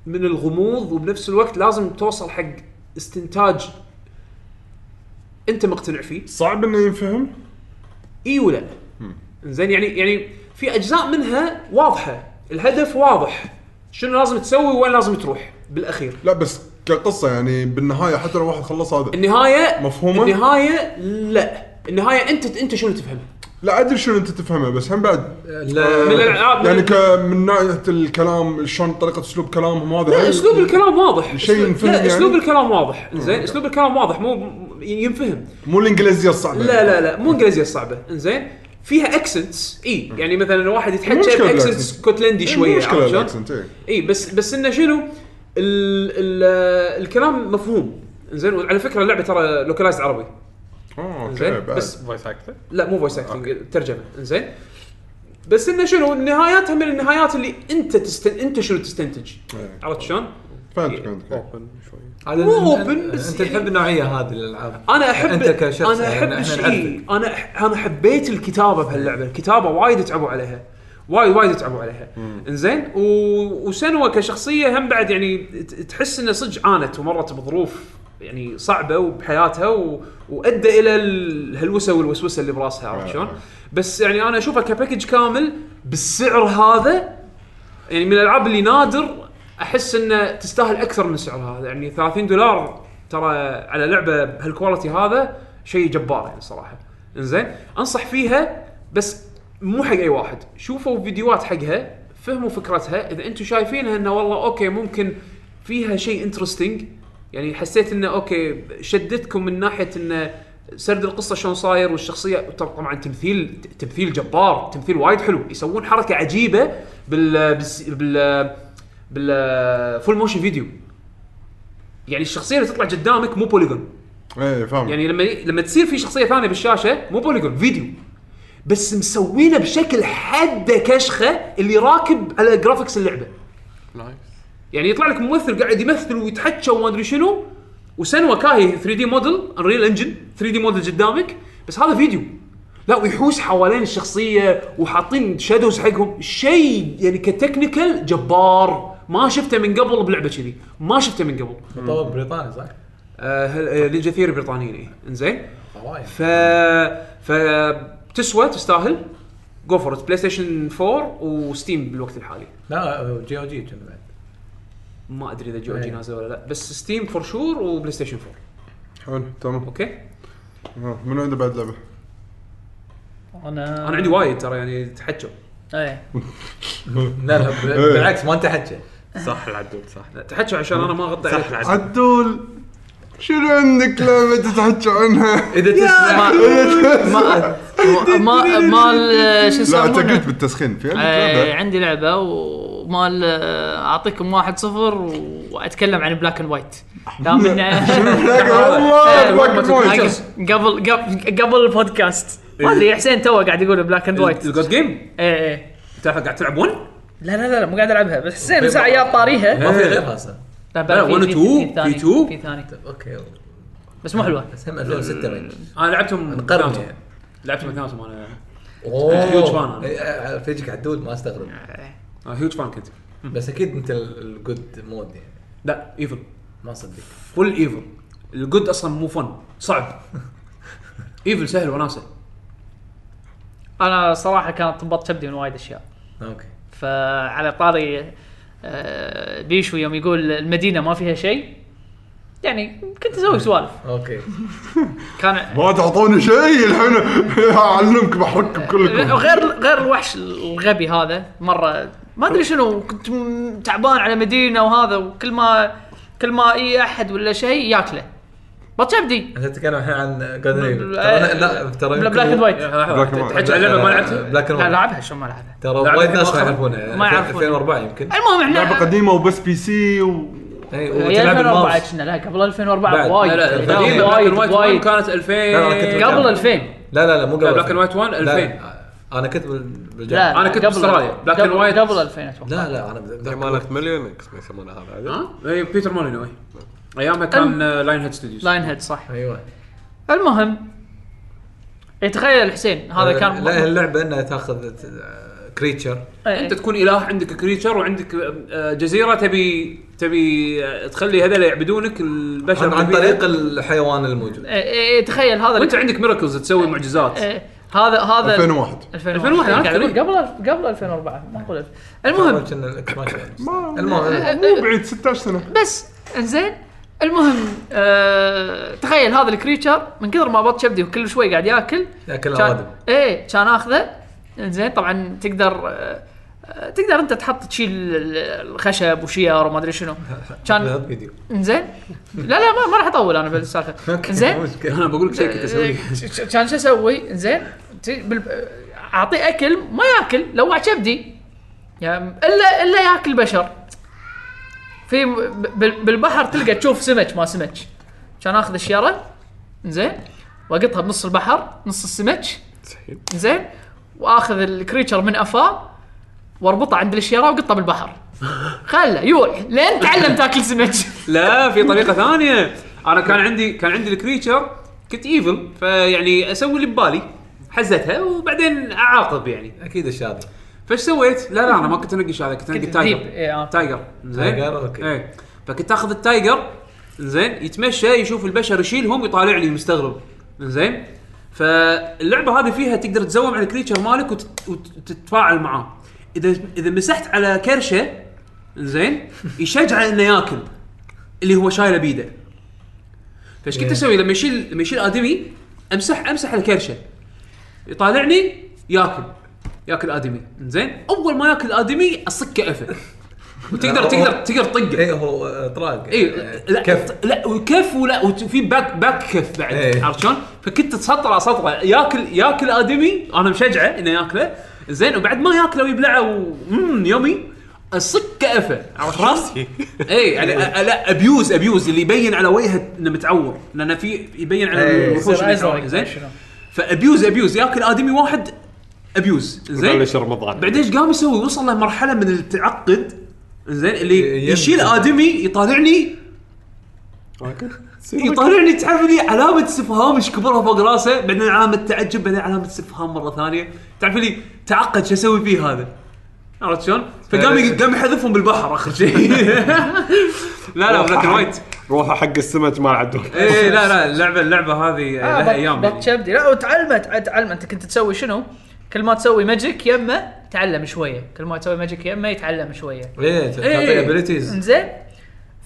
S1: من الغموض وبنفس الوقت لازم توصل حق استنتاج انت مقتنع فيه
S2: صعب انه ينفهم
S1: اي ولا لا زين يعني يعني في اجزاء منها واضحه الهدف واضح شنو لازم تسوي وين لازم تروح بالاخير
S2: لا بس كقصه يعني بالنهايه حتى لو واحد خلص هذا
S1: النهايه
S2: مفهومة؟
S1: النهايه لا النهايه انت انت شنو تفهمها
S2: لا ادري شنو انت تفهمه بس هم بعد
S1: من
S5: لا
S1: الالعاب
S2: يعني
S1: يعني
S2: ك- من ناحيه الكلام شلون طريقه اسلوب كلامهم هذا هل-
S1: اسلوب الكلام واضح
S2: طيب، شيء
S1: أسلوب-
S2: ينفهم
S1: لا
S2: يعني؟
S1: اسلوب الكلام واضح زين اسلوب الكلام واضح مو م- ينفهم
S2: مو يعني. الانجليزيه الصعبه
S1: لا لا لا مو انجليزيه صعبه انزين فيها اكسنتس اي يعني مثلا واحد يتحكى
S2: مشكلة إيه،
S1: باكسنت
S2: الأكسنت.
S1: اسكتلندي شويه
S2: مشكله
S1: عرفت شلون؟
S2: الاكسنت إيه.
S1: اي بس بس انه شنو ال ال الكلام مفهوم زين وعلى فكره اللعبه ترى لوكلايز عربي
S2: اه اوكي
S1: زين
S2: بعد
S1: بس
S4: فويس اكتر
S1: لا مو فويس اكتنج ترجمه زين بس انه شنو نهاياتها من النهايات اللي انت تستن... انت شنو تستنتج
S2: إيه.
S1: عرفت شلون؟ إيه.
S2: فهمتك فهمتك
S4: اوبن شوي
S5: هذا
S1: مو
S5: أن-
S1: open
S5: أن-
S1: بس
S5: انت
S1: يعني-
S5: تحب النوعيه هذه الالعاب
S1: انا احب
S5: انت كشخص
S1: انا
S5: يعني
S1: احب
S5: احنا
S1: الشيء
S5: نعرفك.
S1: انا أح- انا حبيت الكتابه بهاللعبه الكتابه وايد تعبوا عليها وايد وايد تعبوا عليها انزين و... وسنوى كشخصيه هم بعد يعني ت- تحس انها صدق عانت ومرت بظروف يعني صعبه وبحياتها و... وادى الى الهلوسه والوسوسه اللي براسها عرفت
S5: آه.
S1: شلون؟ بس يعني انا اشوفها كباكج كامل بالسعر هذا يعني من الالعاب اللي نادر احس انه تستاهل اكثر من سعر هذا يعني 30 دولار ترى على لعبه بهالكواليتي هذا شيء جبار يعني صراحه انزين انصح فيها بس مو حق اي واحد شوفوا فيديوهات حقها فهموا فكرتها اذا انتم شايفينها انه والله اوكي ممكن فيها شيء انترستنج يعني حسيت انه اوكي شدتكم من ناحيه انه سرد القصه شلون صاير والشخصيه طب- طبعا تمثيل تمثيل جبار تمثيل وايد حلو يسوون حركه عجيبه بال بالس- بال بال فول موشن فيديو يعني الشخصيه اللي تطلع قدامك مو بوليجون
S2: ايه فاهم
S1: يعني لما لما تصير في شخصيه ثانيه بالشاشه مو بوليجون فيديو بس مسوينه بشكل حده كشخه اللي راكب على جرافيكس اللعبه
S4: نايس
S1: يعني يطلع لك ممثل قاعد يمثل ويتحكى وما ادري شنو وسنوا كاهي 3 دي موديل انريل انجن 3 دي موديل قدامك بس هذا فيديو لا ويحوس حوالين الشخصيه وحاطين شادوز حقهم شيء يعني كتكنيكال جبار ما شفته من قبل بلعبه كذي ما شفته من قبل
S5: مطور بريطاني صح؟
S1: آه هل- آه، للجزيره البريطانيين إيه. انزين
S5: طوايا.
S1: ف ف تسوى تستاهل جو فور بلاي ستيشن 4 وستيم بالوقت الحالي
S5: لا جي او جي كان بعد
S1: ما ادري اذا جو
S5: إيه.
S1: جي نازل ولا لا بس ستيم فور شور وبلاي ستيشن 4
S2: حلو تمام
S1: اوكي
S2: آه، من عنده بعد لعبه
S3: انا
S1: انا عندي وايد ترى يعني تحكوا
S3: ايه
S5: لا لا ب- بالعكس ما انت حجه
S4: صح العدول صح
S1: لا، تحكوا عشان انا ما اغطي
S4: صح
S1: عليك
S4: العدول
S2: عدول شنو عندك لعبه تتحكى عنها؟
S5: اذا تسمع
S3: ما ما مال شو
S2: لا انت قلت
S3: يسمونه
S2: بالتسخين في عندك
S3: آه،
S1: إيه.
S2: لعبه
S3: عندي لعبه ومال آه، اعطيكم واحد صفر واتكلم عن بلاك اند وايت دام إنه-
S2: لا، والله
S3: آه،
S2: بلاك بوينت
S3: قبل قبل- قبل البودكاست ما ادري حسين تو قاعد إيه. يقول بلاك اند وايت
S1: الجود جيم
S3: ايه ايه
S1: انت قاعد تلعب 1
S3: لا لا لا لا مو قاعد العبها بس حسين ساعه يا طاريها
S5: ما في غيرها اصلا
S3: طيب، لا
S1: لا،
S3: في-
S1: one
S3: في-
S1: two،
S3: في ثاني،
S1: في two.
S3: في ثاني
S5: اوكي
S3: بس مو حلوه
S5: بس هم 2006 بين
S1: انا لعبتهم
S5: نقرن
S1: بثناهم.
S5: يعني.
S1: لعبتهم اثنيناتهم انا huge fan.
S5: اوه إيه، آه، فيجيك عدول ما استغرب
S1: هيوج فان آه، كنت
S5: بس اكيد انت الجود مود يعني
S1: لا ايفل
S5: ما صدق
S1: فول ايفل الجود اصلا مو فن صعب ايفل سهل وناسه
S3: انا صراحه كانت تنبط كبدي من وايد اشياء
S5: اوكي
S3: فعلى طاري آه، بيشو يوم يقول المدينه ما فيها شيء يعني كنت اسوي سوالف
S5: اوكي
S3: كان
S2: ما تعطوني شيء الحين اعلمك بحرككم كلكم
S3: غير غير الوحش الغبي هذا مره ما ادري شنو كنت م- تعبان على مدينه وهذا وكل ما كل ما اي احد ولا شيء ياكله بطشبدي
S5: انت تتكلم الحين عن جودن ايفل
S3: بل-
S5: ترى أنا- لا
S1: طيب،
S5: ترى
S3: بلا
S5: يمكن-
S3: بلاك اند وايت
S2: بلاك and white.
S1: تحكي عن لعبه ما لعبتها
S5: بلاك اند
S3: لا
S5: وايت
S3: لعبها شلون ما لعبها
S5: ترى
S1: لعبة
S5: وايد ناس ما
S1: مؤخرا.
S5: يعرفونها
S3: ما يعرفونها.
S5: 2004 يمكن
S3: المهم احنا
S2: لعبه قديمه وبس بي سي و
S5: اي
S3: هي 2004
S5: وتلعب الماوس
S3: كنا لا قبل 2004
S5: بعد.
S3: وايد
S1: لا لا
S5: لا،
S1: القديمه بلاك
S3: وايد
S1: اند وايت 1
S3: وايد
S1: كانت
S5: لا، أنا كنت
S1: 2000
S5: بتكلم.
S3: قبل 2000
S5: لا لا لا مو قبل
S1: لا، Black and White One، 2000.
S5: انا كنت بال-
S3: لا
S5: بالجامعه
S1: أنا كنت
S3: قبل-
S1: باستراليا. Black and
S3: قبل-
S1: White.
S3: قبل 2000 اتوقع
S5: لا لا انا بذاك
S4: مالك مليون اكس ما يسمونه هذا
S1: ها اي بيتر مولينو اي ايامها كان آه، لاين هيد ستوديوز
S3: لاين هيد صح
S5: ايوه
S3: المهم يتخيل حسين هذا كان
S5: لا اللعبه انها تاخذ كريتشر
S3: إيه.
S1: انت تكون اله عندك كريتشر وعندك آه، جزيره تبي تبي آه، تخلي هذول يعبدونك البشر
S5: عن,
S1: اللي
S5: عن
S1: فيها.
S5: طريق الحيوان الموجود
S3: إيه، إيه، تخيل هذا
S1: وانت عندك ميراكلز تسوي معجزات
S3: إيه، هذا هذا
S2: 2001
S3: 2001
S1: أنا
S3: قاعد أقول
S1: كبير.
S3: قبل قبل 2004 ما اقول 2000. المهم
S5: كنا الإكسبانشن.
S2: ما-
S5: المهم
S2: مو بعيد 16 سنه
S3: بس انزين المهم آه تخيل هذا الكريتشر من كثر ما بط شبدي وكل شوي قاعد ياكل
S5: ياكل
S3: كان
S5: اوادم
S3: ايه كان اخذه انزين طبعا تقدر آه، آه، تقدر انت تحط تشيل ال- الخشب وشير وما ادري شنو كان
S5: هذا فيديو
S3: انزين لا لا ما, ما راح اطول انا بالسالفه انزين
S5: مو مشكله
S1: انا بقول لك شيء كنت اسويه
S3: ش- إيه، كان شو اسوي؟ زين ت- بال- اعطيه اكل ما ياكل لو كبدي يعني الا الا ياكل بشر في م- بال- بالبحر تلقى تشوف سمك ما سمك كان اخذ الشيره زين واقطها بنص البحر نص السمك زين واخذ الكريتشر من افاه واربطه عند الشيره وقطه بالبحر خله يولع لين تعلم تاكل سمك
S1: لا في طريقه ثانيه انا كان عندي كان عندي الكريتشر كنت ايفل فيعني اسوي اللي ببالي حزتها وبعدين اعاقب يعني
S5: اكيد الشاذي
S1: فايش سويت؟ لا لا انا ما كنت انقي هذا كنت انقي
S3: كنت
S1: تايجر
S3: ذيب، إيه، آه.
S1: تايجر زين
S5: تايجر، أوكي.
S1: ايه فكنت اخذ التايجر زين يتمشى يشوف البشر يشيلهم يطالع لي مستغرب زين فاللعبه هذه فيها تقدر تزوم على الكريتشر مالك وتت- وتتفاعل معاه اذا اذا مسحت على كرشه زين يشجعه انه ياكل اللي هو شايله بيده فايش كنت اسوي لما يشيل لما يشيل ادمي امسح امسح الكرشه يطالعني ياكل ياكل ادمي زين اول ما ياكل ادمي اصكه قفه وتقدر تقدر تقدر تطقه
S5: اي إيه، هو آه، اطراق
S1: اي إيه، لا كف لا وكف ولا وفي باك باك كف بعد
S5: إيه.
S1: عرفت شلون؟ فكنت تسطره سطره ياكل ياكل ادمي انا مشجعه انه ياكله زين وبعد ما ياكله ويبلعه و- مم، يمي اصك قفه عرفت شلون؟
S4: راسي
S1: اي يعني أ- أ- لا ابيوز ابيوز اللي يبين على وجهه انه متعور لان في يبين على
S5: إيه.
S1: الوحوش إنه متعور، زين فابيوز ابيوز ياكل ادمي واحد ابيوز زين
S4: بلش رمضان
S1: بعدين ايش قام يسوي؟ وصل لمرحله من التعقد زين اللي
S5: يمسك.
S1: يشيل ادمي يطالعني يطالعني تعرف لي علامه استفهام ايش كبرها فوق راسه بعدين علامه تعجب بعدين علامه استفهام مره ثانيه تعرف لي تعقد شو اسوي فيه هذا عرفت شلون؟ فقام قام يحذفهم بالبحر اخر شيء لا لا بلاك أند وايت
S4: روحوا حق السمك ما عدوك
S1: اي إيه، لا لا اللعبه اللعبه هذه آه لها ايام
S3: بط
S1: يعني.
S3: شبدي لا وتعلمت عاد تعلم انت كنت تسوي شنو؟ كل ما تسوي ماجيك يمه تعلم شويه، كل ما تسوي ماجيك يمه يتعلم شويه.
S5: اي تعطي
S1: إيه.
S5: ابيلتيز
S3: انزين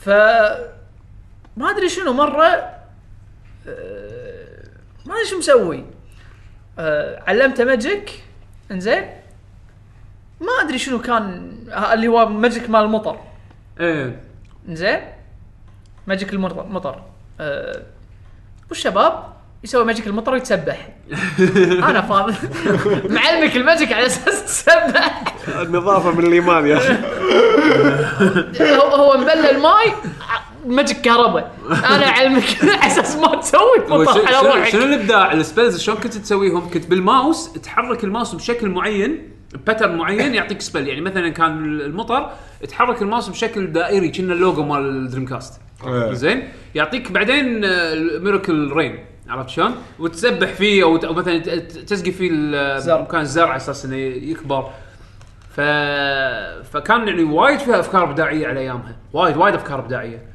S3: ف ما ادري شنو مره آه، ما ادري شو مسوي آه، علمته ماجيك انزين ما ادري شنو كان آه، اللي هو ماجيك مال المطر
S1: ايه
S3: انزين ماجيك المطر مطر أه والشباب يسوي ماجيك المطر ويتسبح انا فاضي معلمك الماجيك على اساس تسبح
S4: النظافه من الايمان يا اخي
S3: هو هو مبلى الماي ماجيك كهرباء انا اعلمك على اساس ما تسوي
S1: هو
S3: المطر
S1: شنو-
S3: على
S1: شنو- شنو
S3: روحك
S1: الابداع السبيلز شلون كنت تسويهم؟ كنت بالماوس تحرك الماوس بشكل معين باترن معين يعطيك سبيل يعني مثلا كان المطر تحرك الماوس بشكل دائري كنا اللوجو مال الدريم كاست
S2: إيه.
S1: زين يعطيك بعدين ميراكل رين عرفت شلون؟ وتسبح فيه او ت- أو مثلا ت- ت- تسقي فيه ال-
S3: زرع.
S1: مكان الزرع على اساس انه يكبر ف... فكان يعني وايد فيها افكار ابداعيه على ايامها وايد وايد افكار ابداعيه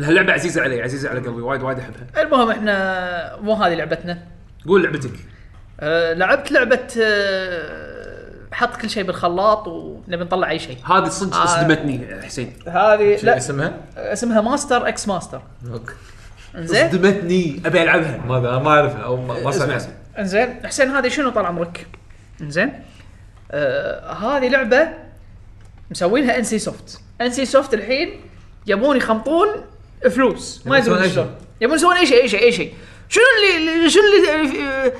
S1: هاللعبه عزيزه علي عزيزه على قلبي وايد وايد احبها
S3: المهم احنا مو هذه لعبتنا
S1: قول لعبتك
S3: أه لعبت لعبه أه حط كل شيء بالخلاط ونبي نطلع اي شيء
S1: هذه صدق
S3: آه. إيه.
S1: صدمتني حسين
S3: هذه
S5: لا
S3: لا
S5: اسمها؟
S3: اسمها ماستر اكس ماستر
S5: اوكي
S3: انزين
S1: صدمتني ابي العبها
S5: ما ما اعرفها او ما ما
S1: اسمع
S5: سمعت
S1: اسمع.
S3: انزين حسين هذه شنو طال عمرك؟ انزين آه هذه لعبه مسوينها ان سي سوفت، ان سي سوفت الحين يبون يخمطون فلوس ما
S5: يبون
S3: يدرون
S5: يسوون أي
S3: شلون
S5: شيء.
S3: يبون يسوون اي شيء اي شيء اي شيء شنو اللي اللي- شنو اللي آه، آه،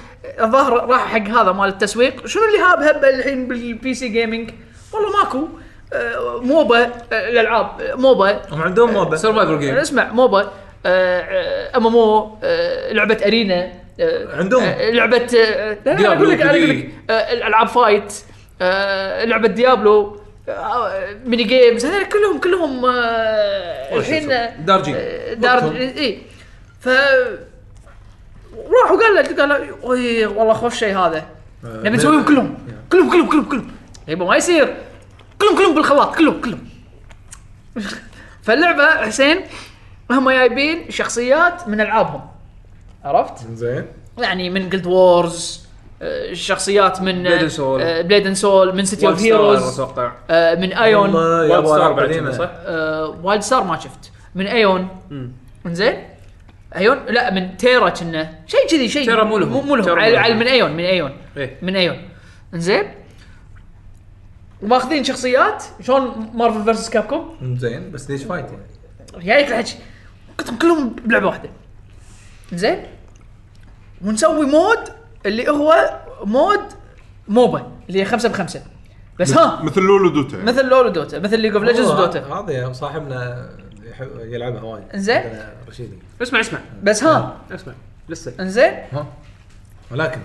S3: الظاهر راح حق هذا مال التسويق شنو اللي هاب هبه الحين بالبي سي جيمنج والله ماكو آه، موبا آه، الالعاب آه، موبا
S5: هم عندهم موبا
S1: سرفايفر جيم
S3: اسمع موبا آه، ام ام او لعبه ارينا آه،
S5: عندهم.
S3: آه، لعبه آه، لا، لا، انا اقول لك انا اقول لك آه، العاب فايت آه، لعبه ديابلو آه، ميني جيمز هذول كلهم كلهم آه، الحين آه،
S1: دارجين
S3: دار اي ف راح وقال له قال له "أوي، والله خوش شيء هذا
S1: آه،
S3: نبي نسويهم كلهم كلهم كلهم كلهم كلهم يبا ما يصير كلهم كلهم بالخلاط كلهم كلهم فاللعبه حسين هم جايبين شخصيات من العابهم عرفت؟
S5: زين
S3: يعني من جلد وورز شخصيات من آه،
S1: Blade and Soul.
S3: بليد اند سول من سيتي اوف هيروز
S1: اتوقع
S3: آه، من ايون
S5: والله يا
S1: وايد
S5: أبو
S1: ستار
S5: ألعاب
S1: بعد
S5: قديمة.
S1: كنا، صح؟
S3: آه، وايلد ستار ما شفت من ايون انزين ايون لا من تيرا كنا شيء كذي شيء
S1: تيرا مو لهم.
S3: مو لهم
S1: تيرا
S3: على-
S1: مو لهم.
S3: على- من ايون من ايون
S1: ايه
S3: من ايون انزين وماخذين شخصيات شلون مارفل فيرسس كابكوم
S5: زين بس ليش فايت يعني؟
S3: جايك الحكي قطهم كلهم بلعبه واحده زين ونسوي مود اللي هو مود موبا اللي هي خمسة بخمسة بس ها
S2: مثل لولو دوتا يعني.
S3: مثل لول ودوتا مثل ليج اوف ليجندز
S5: هو
S3: ودوتا
S5: هذا صاحبنا يحب يلعبها وايد
S3: زين.
S5: عندنا رشيدي
S1: اسمع اسمع
S3: بس ها
S1: اسمع لسه
S3: انزين
S5: ها ولكن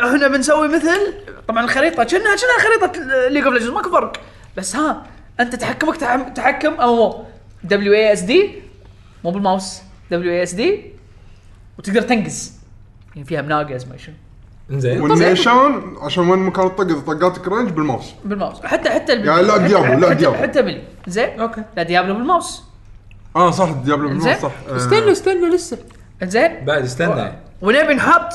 S3: احنا بنسوي مثل طبعا الخريطه كنا كنا خريطه ليج اوف ليجندز ماكو فرق بس ها انت تحكمك تحم- تحكم او دبليو اي اس دي مو بالماوس دبليو اي اس دي وتقدر تنقز يعني فيها مناقز ما شنو
S5: زين
S2: والنيشان عشان وين مكان الطق اذا طقاتك رينج بالماوس
S3: بالماوس حتى حتى البلي.
S2: يعني لا
S3: حتى-
S2: ديابلو، لا
S3: حتى-
S2: ديابلو.
S3: حتى بلي زين
S5: اوكي
S3: لا ديابلو بالماوس
S2: اه صح ديابلو بالماوس
S3: إنزين.
S2: صح آه.
S1: استنى استنى لسه
S3: زين
S5: بعد استنى
S3: ونبي نحط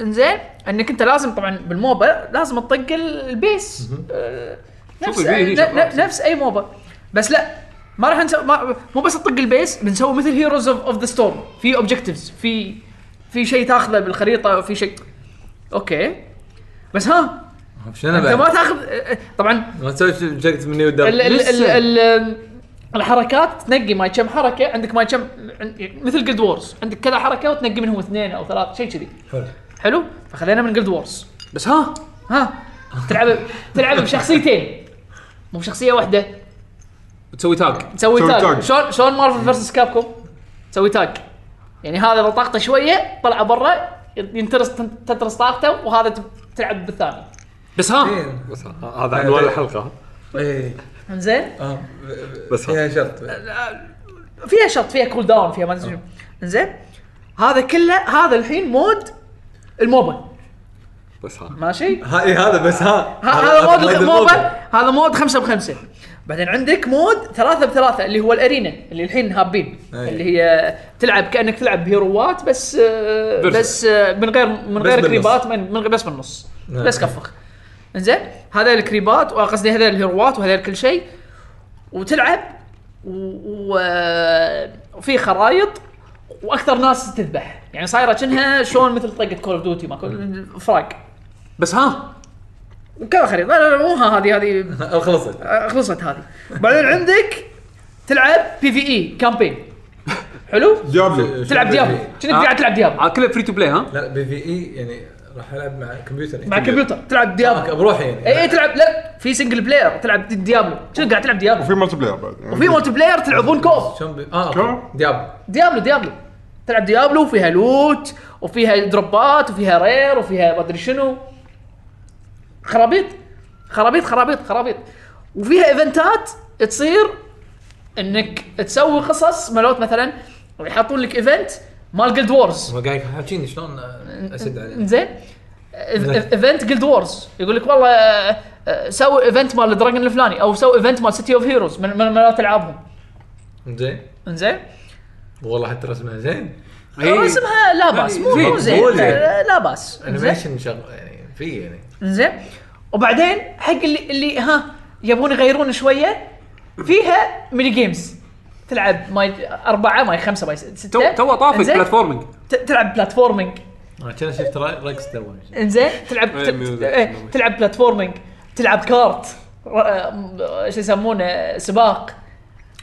S3: انزين انك انت لازم طبعا بالموبا لازم تطق البيس آه،
S1: شوف
S3: نفس
S1: البي هي
S3: ن- ن-
S1: شغلة.
S3: نفس اي موبا بس لا ما راح نسوي ما- مو بس تطق البيس بنسوي مثل هيروز اوف ذا ستورم في اوبجكتيفز في في شيء تاخذه بالخريطه في شيء اوكي بس ها
S5: شنو
S3: انت ما
S5: بعد؟
S3: تاخذ آه، آه، طبعا
S5: ما تسوي بروجكت مني
S3: ال
S5: ودر
S3: ال ال ال الحركات تنقي ماي كم حركه عندك ماي كم عن- مثل جلد وورز عندك كذا حركه وتنقي منهم اثنين او ثلاث شيء كذي
S5: حلو.
S3: حلو فخلينا من جلد وورز بس ها ها تلعب تلعب بشخصيتين مو بشخصيه واحده
S1: تسوي تاج
S3: تسوي تاج
S2: تسوي تاج.
S3: شلون شلون مارفل فيرسس كابكوم تسوي تاج يعني هذا لو طاقته شويه طلع برا ينترس تنترس طاقته وهذا تب- تلعب بالثاني
S1: بس
S5: إيه.
S1: ها
S4: بس ه- هذا عنوان الحلقه
S5: ايه
S3: زين
S5: اه
S4: بس ها.
S5: فيها شرط
S3: فيها شرط فيها كول داون فيها ما ادري شنو. زين هذا كله هذا الحين مود الموبا
S4: بس ها
S3: ماشي
S5: ها إيه هذا بس ها
S3: ه- هذا مود
S5: أبلايد الموبا.
S3: الموبا هذا مود خمسة بخمسة بعدين عندك مود ثلاثة بثلاثة اللي هو الارينا اللي الحين هابين
S5: أي.
S3: اللي هي تلعب كانك تلعب هيروات بس آه،
S1: فيرسل.
S3: بس آه، من غير من
S5: بس
S3: غير
S5: بالنص.
S3: كريبات من من غير- بس بالنص
S5: أي.
S3: بس كفخ انزين هذا الكريبات وقصدي هذا الهيروات وهذا كل شيء وتلعب و- و- وفي خرايط واكثر ناس تذبح يعني صايره كأنها شلون مثل طقه كول اوف ديوتي ما كول فراق
S1: بس ها
S3: وكذا خريطه لا لا لا مو ها- هذه هذه
S5: خلصت
S3: آه، خلصت هذه بعدين عندك تلعب بي في اي كامبين حلو
S2: آه، ديابلو
S3: تلعب ديابلو كأنك قاعد تلعب ديابلو
S1: آه، كله فري تو بلاي ها
S5: لا بي في اي يعني راح العب مع كمبيوتر يعني.
S3: مع إيه. كمبيوتر تلعب
S5: آه،
S3: ديابلو
S5: بروحي يعني
S3: اي اي تلعب لا في سنجل بلاير تلعب دي- ديابلو كأنك قاعد تلعب ديابلو
S2: وفي مالتي بلاير بعد يعني
S3: وفي مولتي بلاير تلعبون كوب
S5: شلون بي- اه أوكي. دياب
S3: ديابلو ديابلو تلعب ديابلو وفيها لوت وفيها دروبات وفيها رير وفيها ما ادري شنو خرابيط خرابيط خرابيط خرابيط وفيها ايفنتات تصير انك تسوي قصص ملوت مثلا يحطون لك ايفنت مال جلد وورز
S5: ما قاعد حاكيني شلون آه، اسد عليه
S3: زين ايفنت جلد وورز يقول لك والله آه، آه، سوي ايفنت مال دراجون الفلاني او سوي ايفنت مال سيتي اوف هيروز من من ملوت العابهم
S5: زين
S3: انزين
S5: والله حتى رسمها زين
S1: إيه.
S3: اسمها لا باس مو مو
S1: زين،
S3: زين
S5: مو زين.
S3: آه، لا باس زين
S5: انيميشن شغل يعني في يعني
S3: زين وبعدين حق اللي اللي ها يبون يغيرون شويه فيها ميني جيمز تلعب ماي أربعة ماي خمسة ماي ستة
S1: تو تو طافك
S3: إنزين؟
S1: بلاتفورمينج
S3: ت- تلعب بلاتفورمينج
S5: انا كنا شفت را- رقص تو
S3: انزين تلعب
S1: إيه،
S3: ت-
S1: ميوزك.
S3: إيه، تلعب بلاتفورمينج تلعب كارت ر- آه، شو يسمونه سباق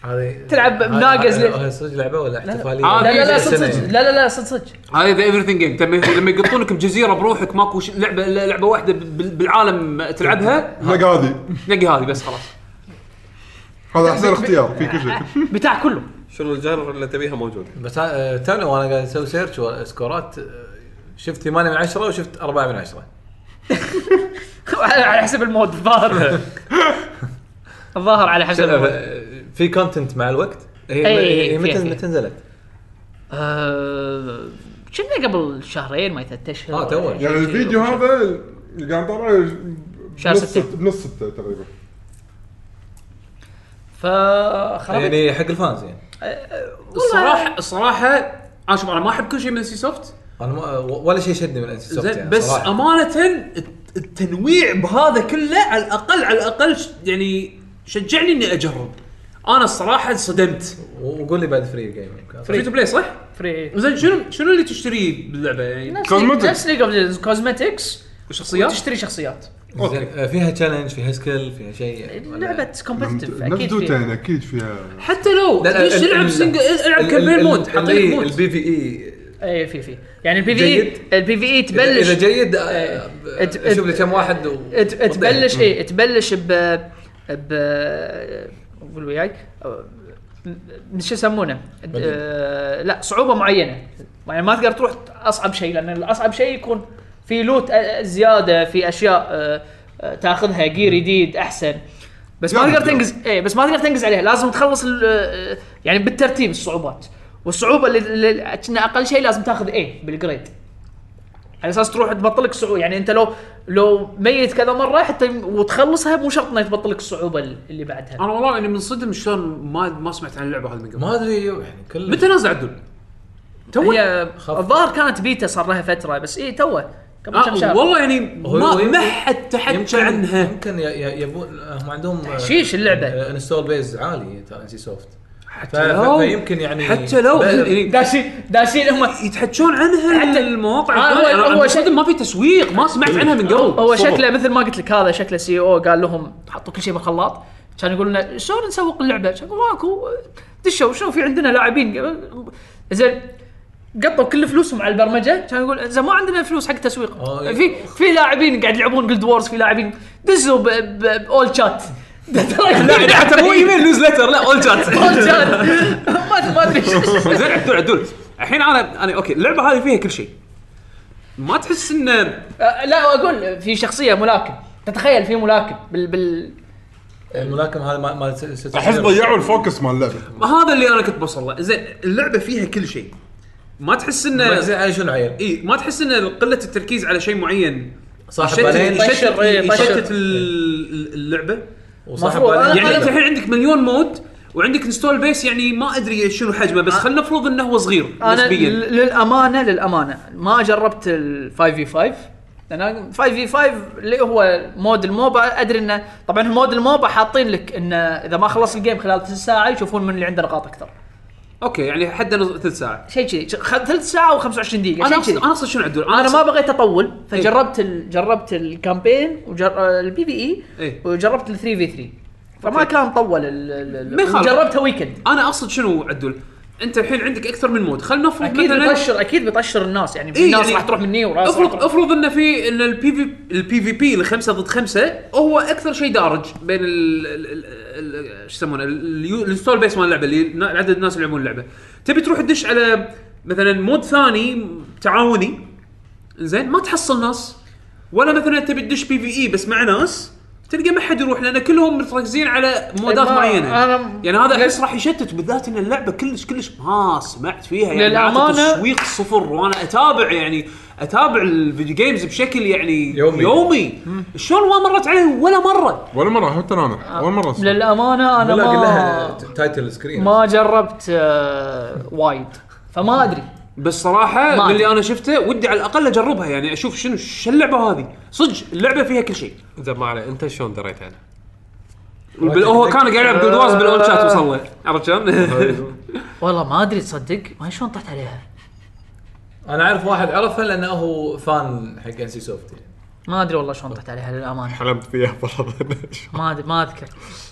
S5: هذه
S3: تلعب
S5: هذه-
S3: بناقز
S5: هذه-
S3: لل-
S5: هذه صدق لعبه ولا احتفاليه؟
S1: آه،
S3: لا لا لا
S1: في
S3: صدق
S5: سنة
S3: صدق
S5: يعني.
S3: لا لا لا صدق صدق
S1: هذا ذا ايفرثينج جيم تم- لما يقطونك بجزيره بروحك ماكو ش- لعبه لعبه واحده بال- بالعالم تلعبها
S2: لا هذه
S1: نقي هذه بس خلاص
S2: هذا احسن اختيار في كل شيء
S3: بتاع كله
S4: شنو الجانر اللي تبيها موجود
S5: بس آه، تونا وانا قاعد اسوي سيرش وسكورات آه، شفت 8 من 10 وشفت 4 من 10
S3: على حسب المود الظاهر الظاهر على حسب المود.
S5: آه، في كونتنت مع الوقت
S1: إيه،
S5: هي
S3: أي،
S5: هي
S3: فيها-
S5: إيه، متى
S3: فيها.
S5: متى نزلت؟
S3: آه، كنا قبل شهرين ما ثلاث اشهر
S5: آه، تو.
S2: يعني الفيديو هذا اللي قاعد طالع
S3: شهر
S2: بنص
S3: ستة.
S2: ست- بنص ستة تقريبا
S3: فخلاص
S5: يعني حق الفانز يعني
S1: الصراحه الصراحه انا شوف انا ما احب كل شيء من سي سوفت
S5: انا ما- ولا شيء شدني من انسي سوفت
S1: زين
S5: يعني
S1: بس
S5: صراحة.
S1: امانه الت- التنويع بهذا كله على الاقل على الاقل ش- يعني شجعني اني اجرب انا الصراحه انصدمت
S5: و- وقول لي بعد فري جيم
S1: فري تو بلاي صح؟
S3: فري
S1: زين شنو شنو اللي تشتريه باللعبه يعني؟
S2: Cosmetics.
S3: نفس ليج اوف ليجندز كوزمتكس
S1: شخصيات؟
S3: تشتري شخصيات
S5: زين آه، فيها تشالنج فيها سكيل فيها شيء يعني ولا-
S3: لعبه كومبتتف
S2: نفس
S3: اكيد
S2: دوتا
S3: فيها.
S2: يعني اكيد فيها
S1: حتى لو
S5: لا، لا،
S1: ليش
S5: ال-
S1: العب
S5: ال-
S1: سنجل العب
S5: ال-
S1: كامبين
S5: ال-
S1: مود
S5: ال-
S1: حط
S5: ال- E.
S1: لي مود
S5: البي في اي
S3: اي في في يعني البي في
S5: جيد.
S3: اي البي في اي
S5: اذا
S3: E تبلش
S5: جيد
S1: إيه.
S5: آه،
S3: ات- ات-
S5: اشوف لي كم واحد
S3: ت-
S5: و... وضيع.
S3: تبلش اي تبلش إيه؟ ب ب قول وياي م- شو يسمونه؟ آه، لا صعوبه معينه يعني ما تقدر تروح اصعب شيء لان الاصعب شيء يكون في لوت آه، زياده في اشياء آه، آه، تاخذها جير جديد احسن بس ما
S2: يعني
S3: تقدر
S2: جير.
S3: تنقز اي بس ما تقدر تنقز عليها لازم تخلص ال- آه، يعني بالترتيب الصعوبات والصعوبه اللي- اللي كنا اقل شيء لازم تاخذ اي بالجريد على اساس تروح تبطل لك صعوبه يعني انت لو لو ميت كذا مره حتى وتخلصها مو شرط انها تبطل لك الصعوبه اللي بعدها
S1: انا والله اني منصدم شلون ما ما سمعت عن اللعبه هذه من قبل
S5: ما ادري يعني كل
S1: متى نازل عدل؟ تو
S3: هي
S5: خف.
S3: الظاهر كانت بيتا صار لها فتره بس اي توه قبل كم
S1: آه
S3: شهر
S1: والله يعني
S5: هو-
S1: ما
S5: هو يمكن-
S1: ما حد تحكى عنها
S5: يمكن ي- ي- يبون هم عندهم آه،
S3: شيش اللعبه
S5: آه، انستول بيز عالي ترى ان سي سوفت
S1: حتى لو
S5: فيمكن يعني
S1: حتى لو
S5: ب-
S1: يعني
S3: داشين داشين هم
S1: يتحجون عنها
S3: حتى-
S1: المواقع
S3: آه،
S1: الثانية.
S3: هو-
S1: أنا-
S3: هو
S1: أنا
S3: شيء-
S1: صدق ما في تسويق ما سمعت
S3: إيه.
S1: عنها من قبل
S3: هو
S1: صدق.
S3: شكله مثل ما قلت لك هذا شكله سي او قال لهم حطوا كل شيء بالخلاط كان يقول لنا شلون نسوق اللعبه؟ كان يقول ماكو دشوا شنو في عندنا لاعبين زين قطوا كل فلوسهم على البرمجه كان يقول زين ما عندنا فلوس حق تسويق
S5: آه،
S3: في في لاعبين قاعد يلعبون جلد وورز في لاعبين دزوا ب- ب- باول شات
S1: إيه،
S3: لا حتى إيه. مو ايميل نيوز ليتر لا اول شات اول شات ما ما ادري شو-
S1: زين عدول عدول الحين انا انا اوكي اللعبه هذه فيها كل شيء ما تحس انه
S3: آه، لا اقول في شخصيه ملاكم تتخيل في ملاكم بال بال
S5: الملاكم هذا مال مال ست- ست-
S2: احس ضيعوا الفوكس مال اللعبه
S1: هذا اللي انا كنت بوصل له زين اللعبه فيها كل شيء ما تحس
S5: مركزين
S1: انه
S5: على شنو
S3: إيه،
S5: عيل؟
S1: اي ما تحس انه قله التركيز على شيء معين
S5: صاحب
S1: يشتت
S5: بالين
S1: يشتت-
S3: طشر، إيه، طشر.
S1: يشتت ال- اللعبه
S5: وصاحب
S3: مفروض.
S5: بالين
S1: يعني
S3: أنا-
S1: انت الحين عندك مليون مود وعندك انستول بيس يعني ما ادري شنو حجمه
S3: آه.
S1: بس خلينا نفرض انه هو صغير
S3: انا
S1: نسبيا
S3: ل- للامانه للامانه ما جربت ال 5 في 5 لان 5 في 5 اللي هو مود الموبا ادري انه طبعا مود الموبا حاطين لك انه اذا ما خلص الجيم خلال ثلث ساعه يشوفون من اللي عنده نقاط اكثر
S1: اوكي يعني حد نص- ثلث ساعه
S3: شيء كذي خ- ثلث ساعه و25 دقيقه
S1: انا
S3: يعني
S1: اقصد
S3: شيء كذي
S1: انا اقصد شنو عدول
S3: انا ما
S1: أقصد- إيه.
S3: بغيت اطول فجربت ال... جربت الكامبين والبي بي اي
S1: إيه.
S3: E وجربت ال 3 في 3 فما
S1: أوكي.
S3: كان طول ال... ال...
S1: ما
S3: ال...
S1: يخالف.
S3: جربتها ويكند
S1: انا اقصد شنو عدول انت الحين عندك اكثر من مود خلينا نفرض
S3: اكيد
S1: مثلا
S3: بيطشر اكيد بيطشر الناس يعني في
S1: إيه،
S3: ناس
S1: يعني
S3: راح تروح مني وراس راح
S1: افرض
S3: تروح-
S1: افرض انه في ان البي في البي في بي الخمسه ضد خمسه هو اكثر شيء دارج بين ال ال- ال- شو يسمونه اليو- الانستول بيس مال اللعبه اللي نا- عدد الناس اللي يلعبون اللعبه تبي تروح تدش على مثلا مود ثاني تعاوني زين ما تحصل ناس ولا مثلا تبي تدش بي في اي بس مع ناس تلقى ما حد يروح لان كلهم متركزين على مودات
S3: ما-
S1: معينه
S3: أنا-
S1: يعني هذا احس راح يشتت بالذات ان اللعبه كلش كلش ما سمعت فيها يعني
S3: للأمانة-
S1: معناته تسويق صفر وانا اتابع يعني اتابع الفيديو جيمز بشكل يعني
S5: يومي.
S1: يومي شلون ما مرت علي ولا مره
S2: ولا مره حتى
S3: آه.
S2: انا ولا مره أسمع.
S3: للامانه انا
S5: ولا
S3: ما
S5: قل لها ت- تايتل سكرين
S3: ما جربت آه، وايد فما ادري
S1: بس صراحه
S3: ما
S1: من اللي
S3: أدري.
S1: انا شفته ودي على الاقل اجربها يعني اشوف شنو شو اللعبه هذه صدق اللعبه فيها كل شيء
S4: زين ما عليه انت شلون دريت عنه؟
S1: بال- هو كان قاعد يلعب جولد وارز بالاول شات وصل له عرفت شلون؟
S3: والله ما ادري تصدق ما شلون طحت عليها
S5: انا اعرف واحد عرفه لانه هو فان حق ان سي سوفت يعني.
S3: ما ادري والله شلون طحت عليها للامانه
S6: حلمت فيها فرضا
S3: ما أدري ما اذكر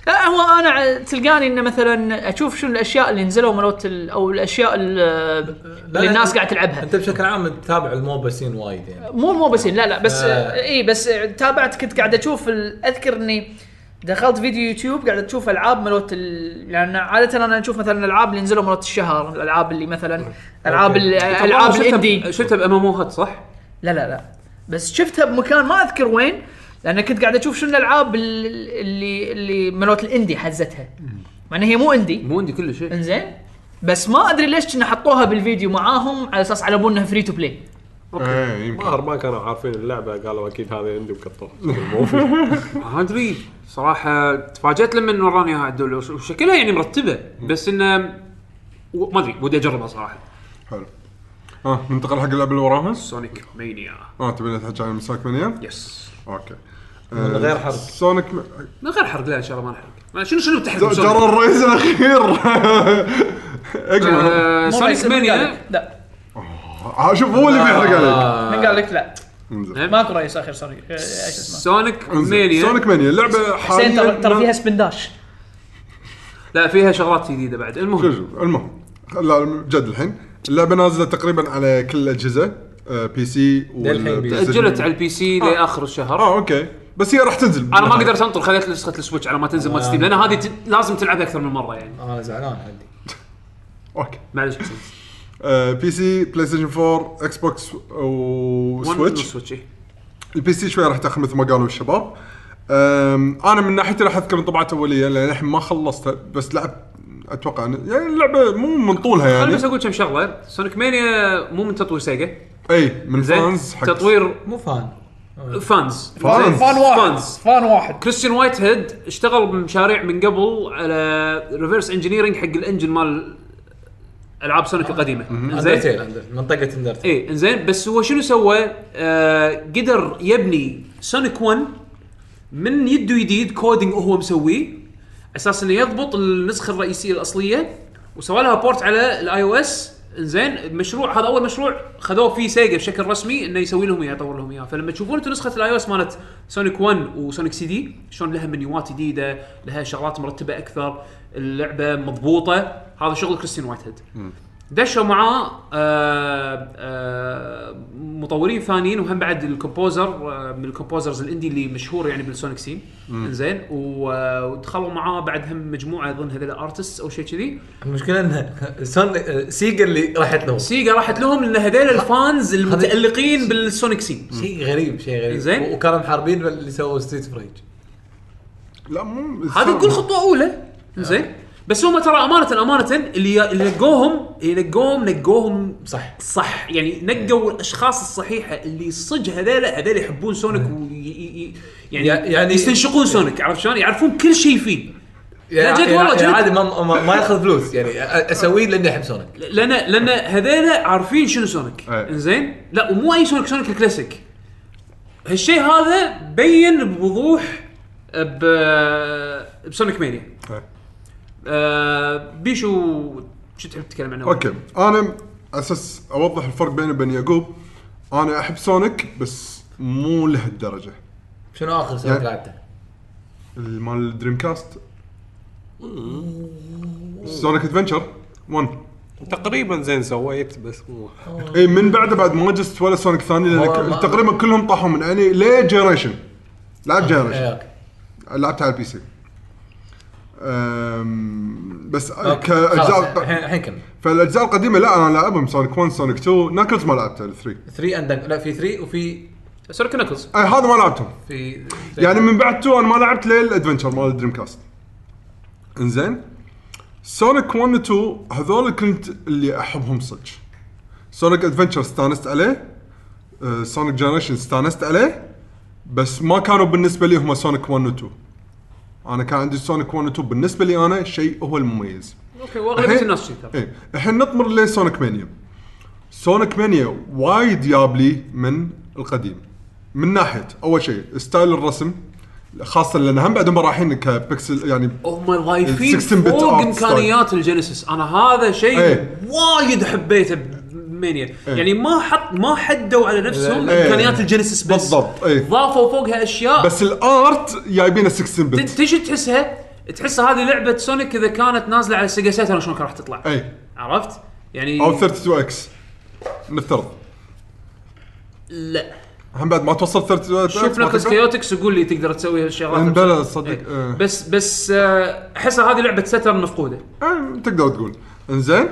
S3: آه، هو انا ع- تلقاني انه مثلا اشوف شنو الاشياء اللي نزلوا مالت ال- او الاشياء ال- اللي الناس
S5: أنت-
S3: قاعد تلعبها
S5: انت بشكل عام تتابع الموبا سين وايد يعني
S3: مو مو بس لا لا بس
S5: آه.
S3: اي بس آه، تابعت كنت قاعد اشوف ال- اذكر اني دخلت فيديو يوتيوب قاعد اشوف العاب ملوت ال... يعني عاده انا اشوف مثلا الالعاب اللي نزلوا ملوت الشهر الالعاب اللي مثلا العاب ال- العاب الاندي
S1: شفتها بام ام صح؟
S3: لا لا لا بس شفتها بمكان ما اذكر وين لان كنت قاعد اشوف شنو الالعاب ال- اللي اللي ملوت الاندي حزتها مع ان هي مو اندي
S1: مو عندي كل شيء
S3: انزين بس ما ادري ليش كنا حطوها بالفيديو معاهم على اساس على انها فري تو بلاي
S2: ايه يمكن
S6: الظاهر ما كانوا عارفين اللعبه قالوا اكيد هذا عندي وقطوه
S1: ما ادري صراحه تفاجات لما وراني اياها عدول وش- وشكلها يعني مرتبه بس انه و- ما ادري ودي اجربها صراحه
S2: حلو اه ننتقل حق اللعبه اللي وراها
S1: سونيك مانيا
S2: اه تبي نتحكي عن مساك منيا
S1: يس
S2: اوكي
S5: من غير حرق.
S2: آه، سونيك م...
S1: من غير حرق لا ان شاء الله ما نحرق ما- شنو شنو تحرق
S2: جرى
S1: سونيك؟
S2: الرئيس الاخير اجمع
S1: آه، سونيك مانيا
S3: لا
S2: آه، شوف هو اللي بيحرق
S1: آه.
S2: عليك
S5: آه،
S3: من قال لك لا
S2: انزل.
S3: ماكو رئيس اخر سوري آه، ايش اسمه
S1: نعم. سونيك
S2: انزل.
S1: مانيا
S2: سونيك مانيا اللعبه
S3: حسين
S2: حاليا
S3: ترى ترى فيها سبنداش
S1: لا فيها شغلات جديده بعد
S2: شوف
S1: المهم
S2: شوف المهم لا جد الحين اللعبه نازله تقريبا على كل الاجهزه آه، بي سي
S5: للحين
S2: والبلاي ستيشن.
S1: تاجلت على البي سي
S2: آه.
S1: لاخر الشهر
S2: اه اوكي بس هي راح تنزل
S1: انا ما قدرت انطر خليت نسخه السويتش على ما تنزل مال ستيم لان هذه ت- لازم تلعبها اكثر من مره يعني
S5: انا زعلان عندي
S2: اوكي
S1: معلش
S2: آه، بي سي بلاي ستيشن 4 اكس بوكس وسويتش
S1: سويتش إيه.
S2: البي سي شوي راح تاخذ مثل ما قالوا الشباب أم، انا من ناحيتي راح اذكر انطباعات اوليه لان الحين ما خلصتها بس لعبت اتوقع أن- يعني اللعبه مو من طولها
S1: خليني
S2: يعني
S1: بس اقول كم شغله سونيك مانيا مو من تطوير سيجا
S2: اي من
S1: زين
S2: فانز حق
S1: تطوير
S5: مو فان
S1: فانز
S2: فانز. فان
S1: فانز
S3: فان واحد
S1: كريستيان وايت هيد اشتغل بمشاريع من قبل على ريفرس انجينيرنج حق الانجن مال العاب سونيك القديمه زين
S5: اندرتيل أندر- منطقه
S3: إيه.
S5: اندرتيل
S1: اي انزين إيه، بس هو شنو سوى؟ آه قدر يبني سونيك 1 من يده جديد كودينج هو مسويه اساس انه يضبط النسخه الرئيسيه الاصليه وسوى لها بورت على الاي او اس انزين مشروع هذا اول مشروع خذوه فيه سيجا بشكل رسمي انه يسوي لهم اياه يطور لهم اياه فلما تشوفون انتم نسخه الاي او اس مالت سونيك 1 وسونيك سي دي شلون لها منيوات جديده لها شغلات مرتبه اكثر اللعبه مضبوطه هذا شغل كريستين وايت هيد دشوا معاه آه، آه، مطورين ثانيين وهم بعد الكومبوزر آه، من الكومبوزرز الاندي اللي مشهور يعني بالسونيك سين زين ودخلوا معاه بعد هم مجموعه اظن هذول ارتست او شيء كذي
S5: المشكله انها سون آه، سيجا اللي راحت لهم
S3: إيه.
S1: سيجا راحت لهم لان هذول الفانز المتالقين بالسونيك سين
S5: شيء غريب شيء غريب
S1: زين.
S5: و- وكانوا محاربين اللي سووا ستريت فريج
S2: لا مو
S1: هذه كل خطوه اولى زين بس هم ترى امانه امانه اللي اللي نقوهم اللي نقوهم نقوهم
S5: صح
S1: صح يعني نقوا الاشخاص الصحيحه اللي صج هذول هذول يحبون سونيك وي يعني
S5: يع-
S1: يعني
S5: يعني-
S1: يستنشقون سونيك عرفت شلون؟ يعرفون كل شيء فيه لا، جد والله، جد.
S5: عادي ما, ما, ما ياخذ فلوس يعني أ- اسويه لاني احب سونيك
S1: لان لان هذول عارفين شنو سونيك
S2: أي.
S1: انزين لا ومو اي سونيك سونيك الكلاسيك هالشيء هذا بين بوضوح ب بسونيك مانيا
S2: أي.
S1: آه بيشو شو تحب تتكلم عنه؟
S2: اوكي انا اساس اوضح الفرق بيني وبين يعقوب انا احب سونيك بس مو لهالدرجه
S5: شنو اخر سونيك
S2: يعني-
S5: لعبته؟
S2: مال الدريم كاست سونيك ادفنشر 1
S6: تقريبا زين سويت بس مو
S2: اي إيه، من بعده بعد ما جست ولا سونيك ثاني لان
S5: هو ما-
S2: ك- تقريبا كلهم طاحوا من عيني ليه جنريشن لعب
S5: إيه،
S2: جنريشن
S5: اوكي
S2: لعبت على البي سي أم، بس
S5: أوكي. خلاص، الحين
S2: كاجزاء
S5: الحين كمل
S2: فالاجزاء القديمه لا انا لعبهم سونيك 1 سونيك 2 ناكلز ما لعبته 3
S5: 3 اند لا في 3 وفي
S1: سونيك ناكلز
S2: اي إيه، هذا ما لعبتهم
S5: في
S2: يعني من بعد 2 انا ما لعبت للادفنشر مال الدريم كاست انزين سونيك 1 و 2 هذول كنت اللي احبهم صدق سونيك ادفنشر استانست عليه آه، سونيك جنريشن استانست عليه بس ما كانوا بالنسبه لي هم سونيك 1 و 2 انا كان عندي سونيك 1 و 2 بالنسبه لي انا شيء هو المميز
S1: اوكي واغلبيه
S2: الحين-
S1: الناس طيب، شي ترى
S2: ايه الحين نطمر لسونيك مانيا سونيك مانيا وايد ياب لي من القديم من ناحيه اول شيء ستايل الرسم خاصه لان هم بعدهم رايحين كبكسل يعني
S1: هم ضايفين
S2: 16 bit
S1: فوق
S2: art
S1: امكانيات الجينيسيس انا هذا شيء
S2: إيه.
S1: وايد حبيته بمانيا يعني ما حط ما حدوا على نفسهم
S2: إيه.
S1: امكانيات الجينيسيس بس
S2: بالضبط، إيه.
S1: ضافوا فوقها اشياء بس
S2: بس الارت جايبينه 16 بت
S1: تدري شو تحسها؟ تحسها هذه لعبه سونيك اذا كانت نازله على سيجا ساترن شلون كان راح تطلع
S2: اي
S1: عرفت؟ يعني
S2: او 32 اكس نفترض
S1: لا
S2: هم بعد ما توصل 32 اكس
S1: شوف ناكلز كيوتكس وقول لي تقدر تسوي هالشغلات
S2: بلا صدق،
S1: إيه.
S2: إيه.
S1: بس بس آه، احسها هذه لعبه ساترن مفقوده
S2: آه، تقدر تقول انزين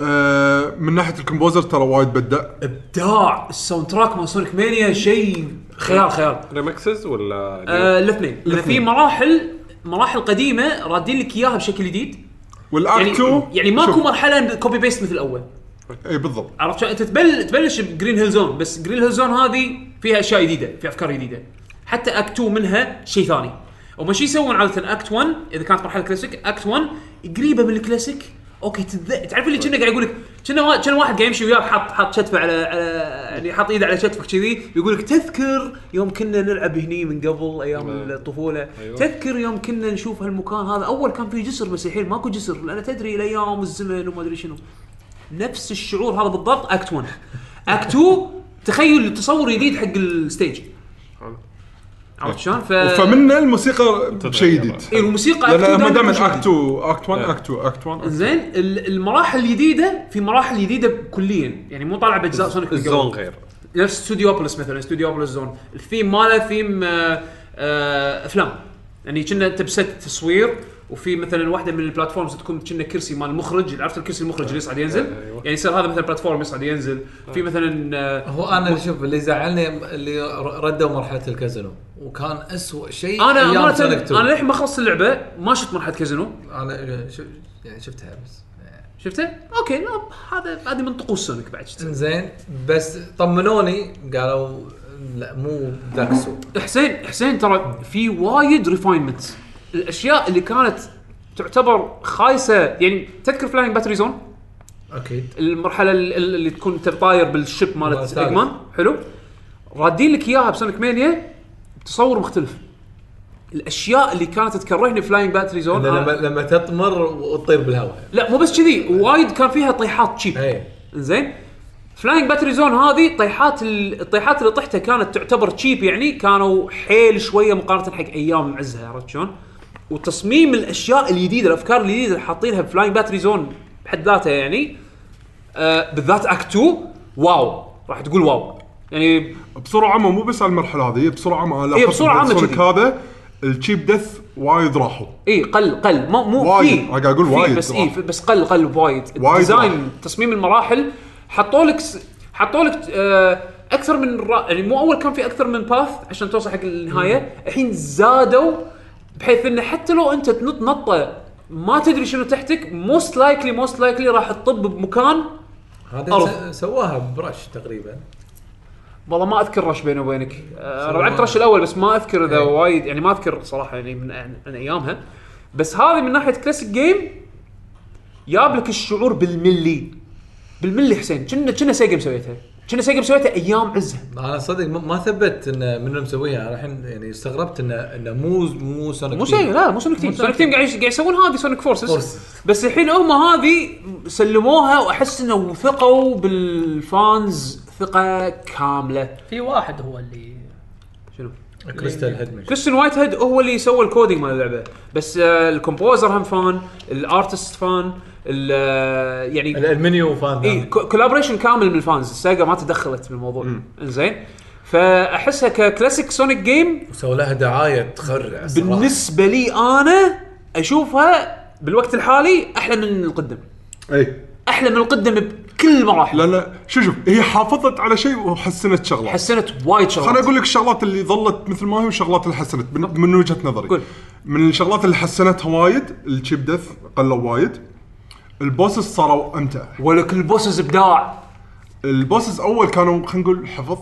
S2: آه من ناحيه الكومبوزر ترى وايد بدع
S1: ابداع الساوند تراك مال سونيك مانيا شيء خيال خيال
S6: ريمكسز ولا
S1: إيه. آه، الاثنين لان في
S2: الاثنين.
S1: مراحل مراحل قديمه رادين لك اياها بشكل جديد
S2: والارت
S1: يعني
S2: 2
S1: يعني ماكو
S2: شوف،
S1: مرحله كوبي بيست مثل الاول
S2: اي بالضبط
S1: عرفت شلون؟ انت تبل تبلش بجرين هيل زون بس جرين هيل زون هذه فيها اشياء جديده فيها افكار جديده حتى اكت 2 منها شيء ثاني وما شو يسوون عاده اكت 1 اذا كانت مرحله كلاسيك اكت 1 قريبه من الكلاسيك اوكي تذ... تعرف اللي كنا قاعد يقول لك كنا وا- كنا واحد قاعد يمشي وياك حاط حاط كتفه على على يعني حاط ايده على كتفك كذي يقول لك تذكر يوم كنا نلعب هني من قبل ايام الطفوله أيوة. تذكر يوم كنا نشوف هالمكان هذا اول كان فيه جسر بس الحين ماكو جسر لان تدري الايام والزمن وما ادري شنو نفس الشعور هذا بالضبط اكت 1 اكت 2 تخيل تصور جديد حق الستيج عرفت شلون؟ ف
S2: فمنا الموسيقى شيء جديد
S1: إيه، الموسيقى
S2: لا لا ما دام
S1: شيء
S2: اكت
S1: جديد.
S2: 2 اكت 1 اكت 2 اكت 1
S1: زين ال- المراحل الجديده في مراحل جديده كليا يعني مو طالعه باجزاء سونيك من قبل.
S4: الزون غير
S1: نفس ستوديوبوليس مثلا ستوديوبوليس زون الثيم ماله ثيم آه، آه، افلام يعني كنا انت بست تصوير وفي مثلا واحده من البلاتفورمز تكون كنا كرسي مال المخرج عرفت الكرسي المخرج اللي يصعد ينزل يعني يصير هذا مثلا بلاتفورم يصعد ينزل في مثلا آه،
S5: هو انا اللي شوف اللي زعلني اللي ر- ردوا مرحله الكازينو وكان اسوء شيء
S1: انا
S5: أيام
S1: امانه
S5: سونيك 2.
S1: انا للحين ما خلصت اللعبه ما شفت مرحله كازينو
S5: انا شو يعني شفتها بس
S1: شفته؟ اوكي لا هذا هذه من طقوس سونيك بعد شفته.
S5: انزين بس طمنوني قالوا لا مو ذاك السوء
S1: حسين حسين ترى في وايد ريفاينمنت الاشياء اللي كانت تعتبر خايسه يعني تذكر فلاينج باتري زون
S5: اكيد
S1: المرحله ال- ال- اللي تكون انت طاير بالشيب
S5: مال
S1: مالت
S5: ثالث.
S1: اجمان حلو رادين لك اياها بسونيك مانيا بتصور مختلف الاشياء اللي كانت تكرهني فلاينج باتري زون
S5: لما
S1: أنا-
S5: لما تطمر وتطير بالهواء
S1: آه،
S5: إيه.
S1: لا مو بس كذي وايد كان فيها طيحات تشيب
S5: اي
S1: زين فلاينج باتري زون هذه طيحات ال- الطيحات اللي طحتها كانت تعتبر تشيب يعني كانوا حيل شويه مقارنه حق ايام عزها عرفت شلون؟ وتصميم الاشياء الجديده الافكار الجديده اللي حاطينها بفلاينج باتري زون بحد ذاتها يعني آه بالذات اكت 2 واو راح تقول واو يعني
S2: بصوره عامه مو بس على المرحله هذه بصوره عامه انا
S1: إيه، بصورة عامة
S2: سونيك
S1: كذي.
S2: هذا التشيب دث وايد راحوا
S1: اي إيه، قل قل مو مو
S2: وايد.
S1: في
S2: أنا قاعد أقول
S1: في،
S2: وايد
S1: بس
S2: صراحة.
S1: اي بس قل قل وايد
S2: وايد
S1: الديزاين
S2: وايد.
S1: تصميم المراحل حطوا لك س- حطوا لك آه، اكثر من را... يعني مو اول كان في اكثر من باث عشان توصل حق النهايه الحين زادوا بحيث انه حتى لو انت تنط نطه ما تدري شنو تحتك موست لايكلي موست لايكلي راح تطب بمكان
S5: هذا س- سواها برش تقريبا
S1: والله ما اذكر رش بيني وبينك آه، انا لعبت رش الاول بس ما اذكر اذا
S5: إيه.
S1: وايد يعني ما اذكر صراحه يعني من, من ايامها بس هذه من ناحيه كلاسيك جيم جاب لك الشعور بالملي بالملي حسين كنا كنا سيجا مسويتها كنا سيجا مسويتها ايام عزها
S5: انا صدق ما- ما ثبت ان منو مسويها أنا الحين يعني استغربت انه انه مو مو سونيك
S1: مو سيجا لا مو سونيك تيم سونيك تيم قاعد يش- قاعد يسوون هذه سونيك فورسز
S5: فورسز.
S1: بس الحين هم هذه سلموها واحس انه ثقوا بالفانز ثقه كامله
S3: في واحد هو اللي
S1: شنو
S5: كريستال هيدمن
S1: كريستيان وايت هيد هو اللي سوى الكودينج مال اللعبه بس آه الكومبوزر هم فان الارتست فان ال- آه، يعني
S5: المنيو فان
S1: اي كولابريشن كامل من الفانز الساجا ما تدخلت بالموضوع زين فاحسها ككلاسيك سونيك جيم
S5: وسووا لها دعايه تخرع صراحة.
S1: بالنسبه لي انا اشوفها بالوقت الحالي احلى من القدم
S2: اي
S1: احلى من القدم بكل المراحل
S2: لا لا شو شوف هي حافظت على شيء وحسنت شغله
S1: حسنت وايد
S2: خليني
S1: شغلات
S2: اقول لك الشغلات اللي ظلت مثل ما هي والشغلات اللي حسنت من, من وجهه نظري
S1: قول.
S2: من الشغلات اللي حسنتها وايد الشيب دث قلوا وايد البوسز صاروا امتع
S1: ولك البوسز ابداع
S2: البوسز اول كانوا خلينا نقول حفظ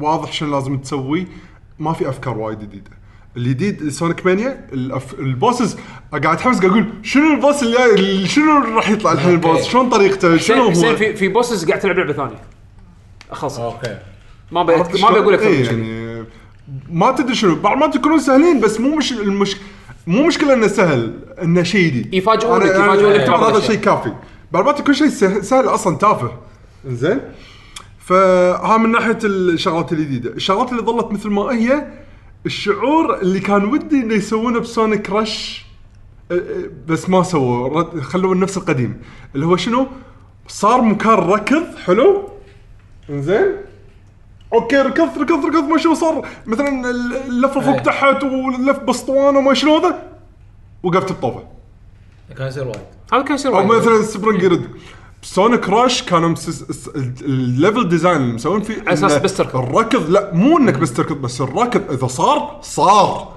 S2: واضح شنو لازم تسوي ما في افكار وايد جديده الجديد سونيك مانيا الأف... البوسز قاعد اتحمس قاعد اقول شنو البوس اللي جاي شنو اللي راح يطلع الحين البوس شلون طريقته شنو
S1: حسين
S2: هو آه.
S1: حسين في في بوسز قاعد تلعب لعبه ثانيه اخلص
S5: اوكي
S1: ما بي... ما بقول اكثر من
S2: إيه
S1: كذي.
S2: يعني ما تدري شنو بعض ما تكونون سهلين بس مو مش المش مو مشكله انه سهل انه شيء جديد
S1: يفاجئونك-
S2: أنا- يعني أنا
S1: يفاجئونك
S2: أعتبر
S1: بعض
S2: هذا
S1: الأشياء.
S2: شيء كافي بعض ما كل شيء سه- سهل اصلا تافه زين فها من ناحيه الشغلات الجديده الشغلات اللي ظلت مثل ما هي الشعور اللي كان ودي انه يسوونه بسونيك رش أه، أه، بس ما سووا رد- خلوه نفس القديم اللي هو شنو صار مكان ركض حلو انزين اوكي ركضت ركضت ركضت ما شنو صار مثلا ال- اللفه فوق
S5: إيه.
S2: تحت واللف بسطوانه وما شنو هذا وقفت بطوفه
S5: كان يصير وايد
S1: هذا كان يصير
S2: او
S1: وايد.
S2: مثلا سبرينج يرد سونيك راش كانوا مسس... الس- ال- الليفل ديزاين اللي مسوين فيه
S1: على أساس
S2: إنه
S1: بس تركض.
S2: الركض لا مو انك بس تركض بس الركض اذا صار صار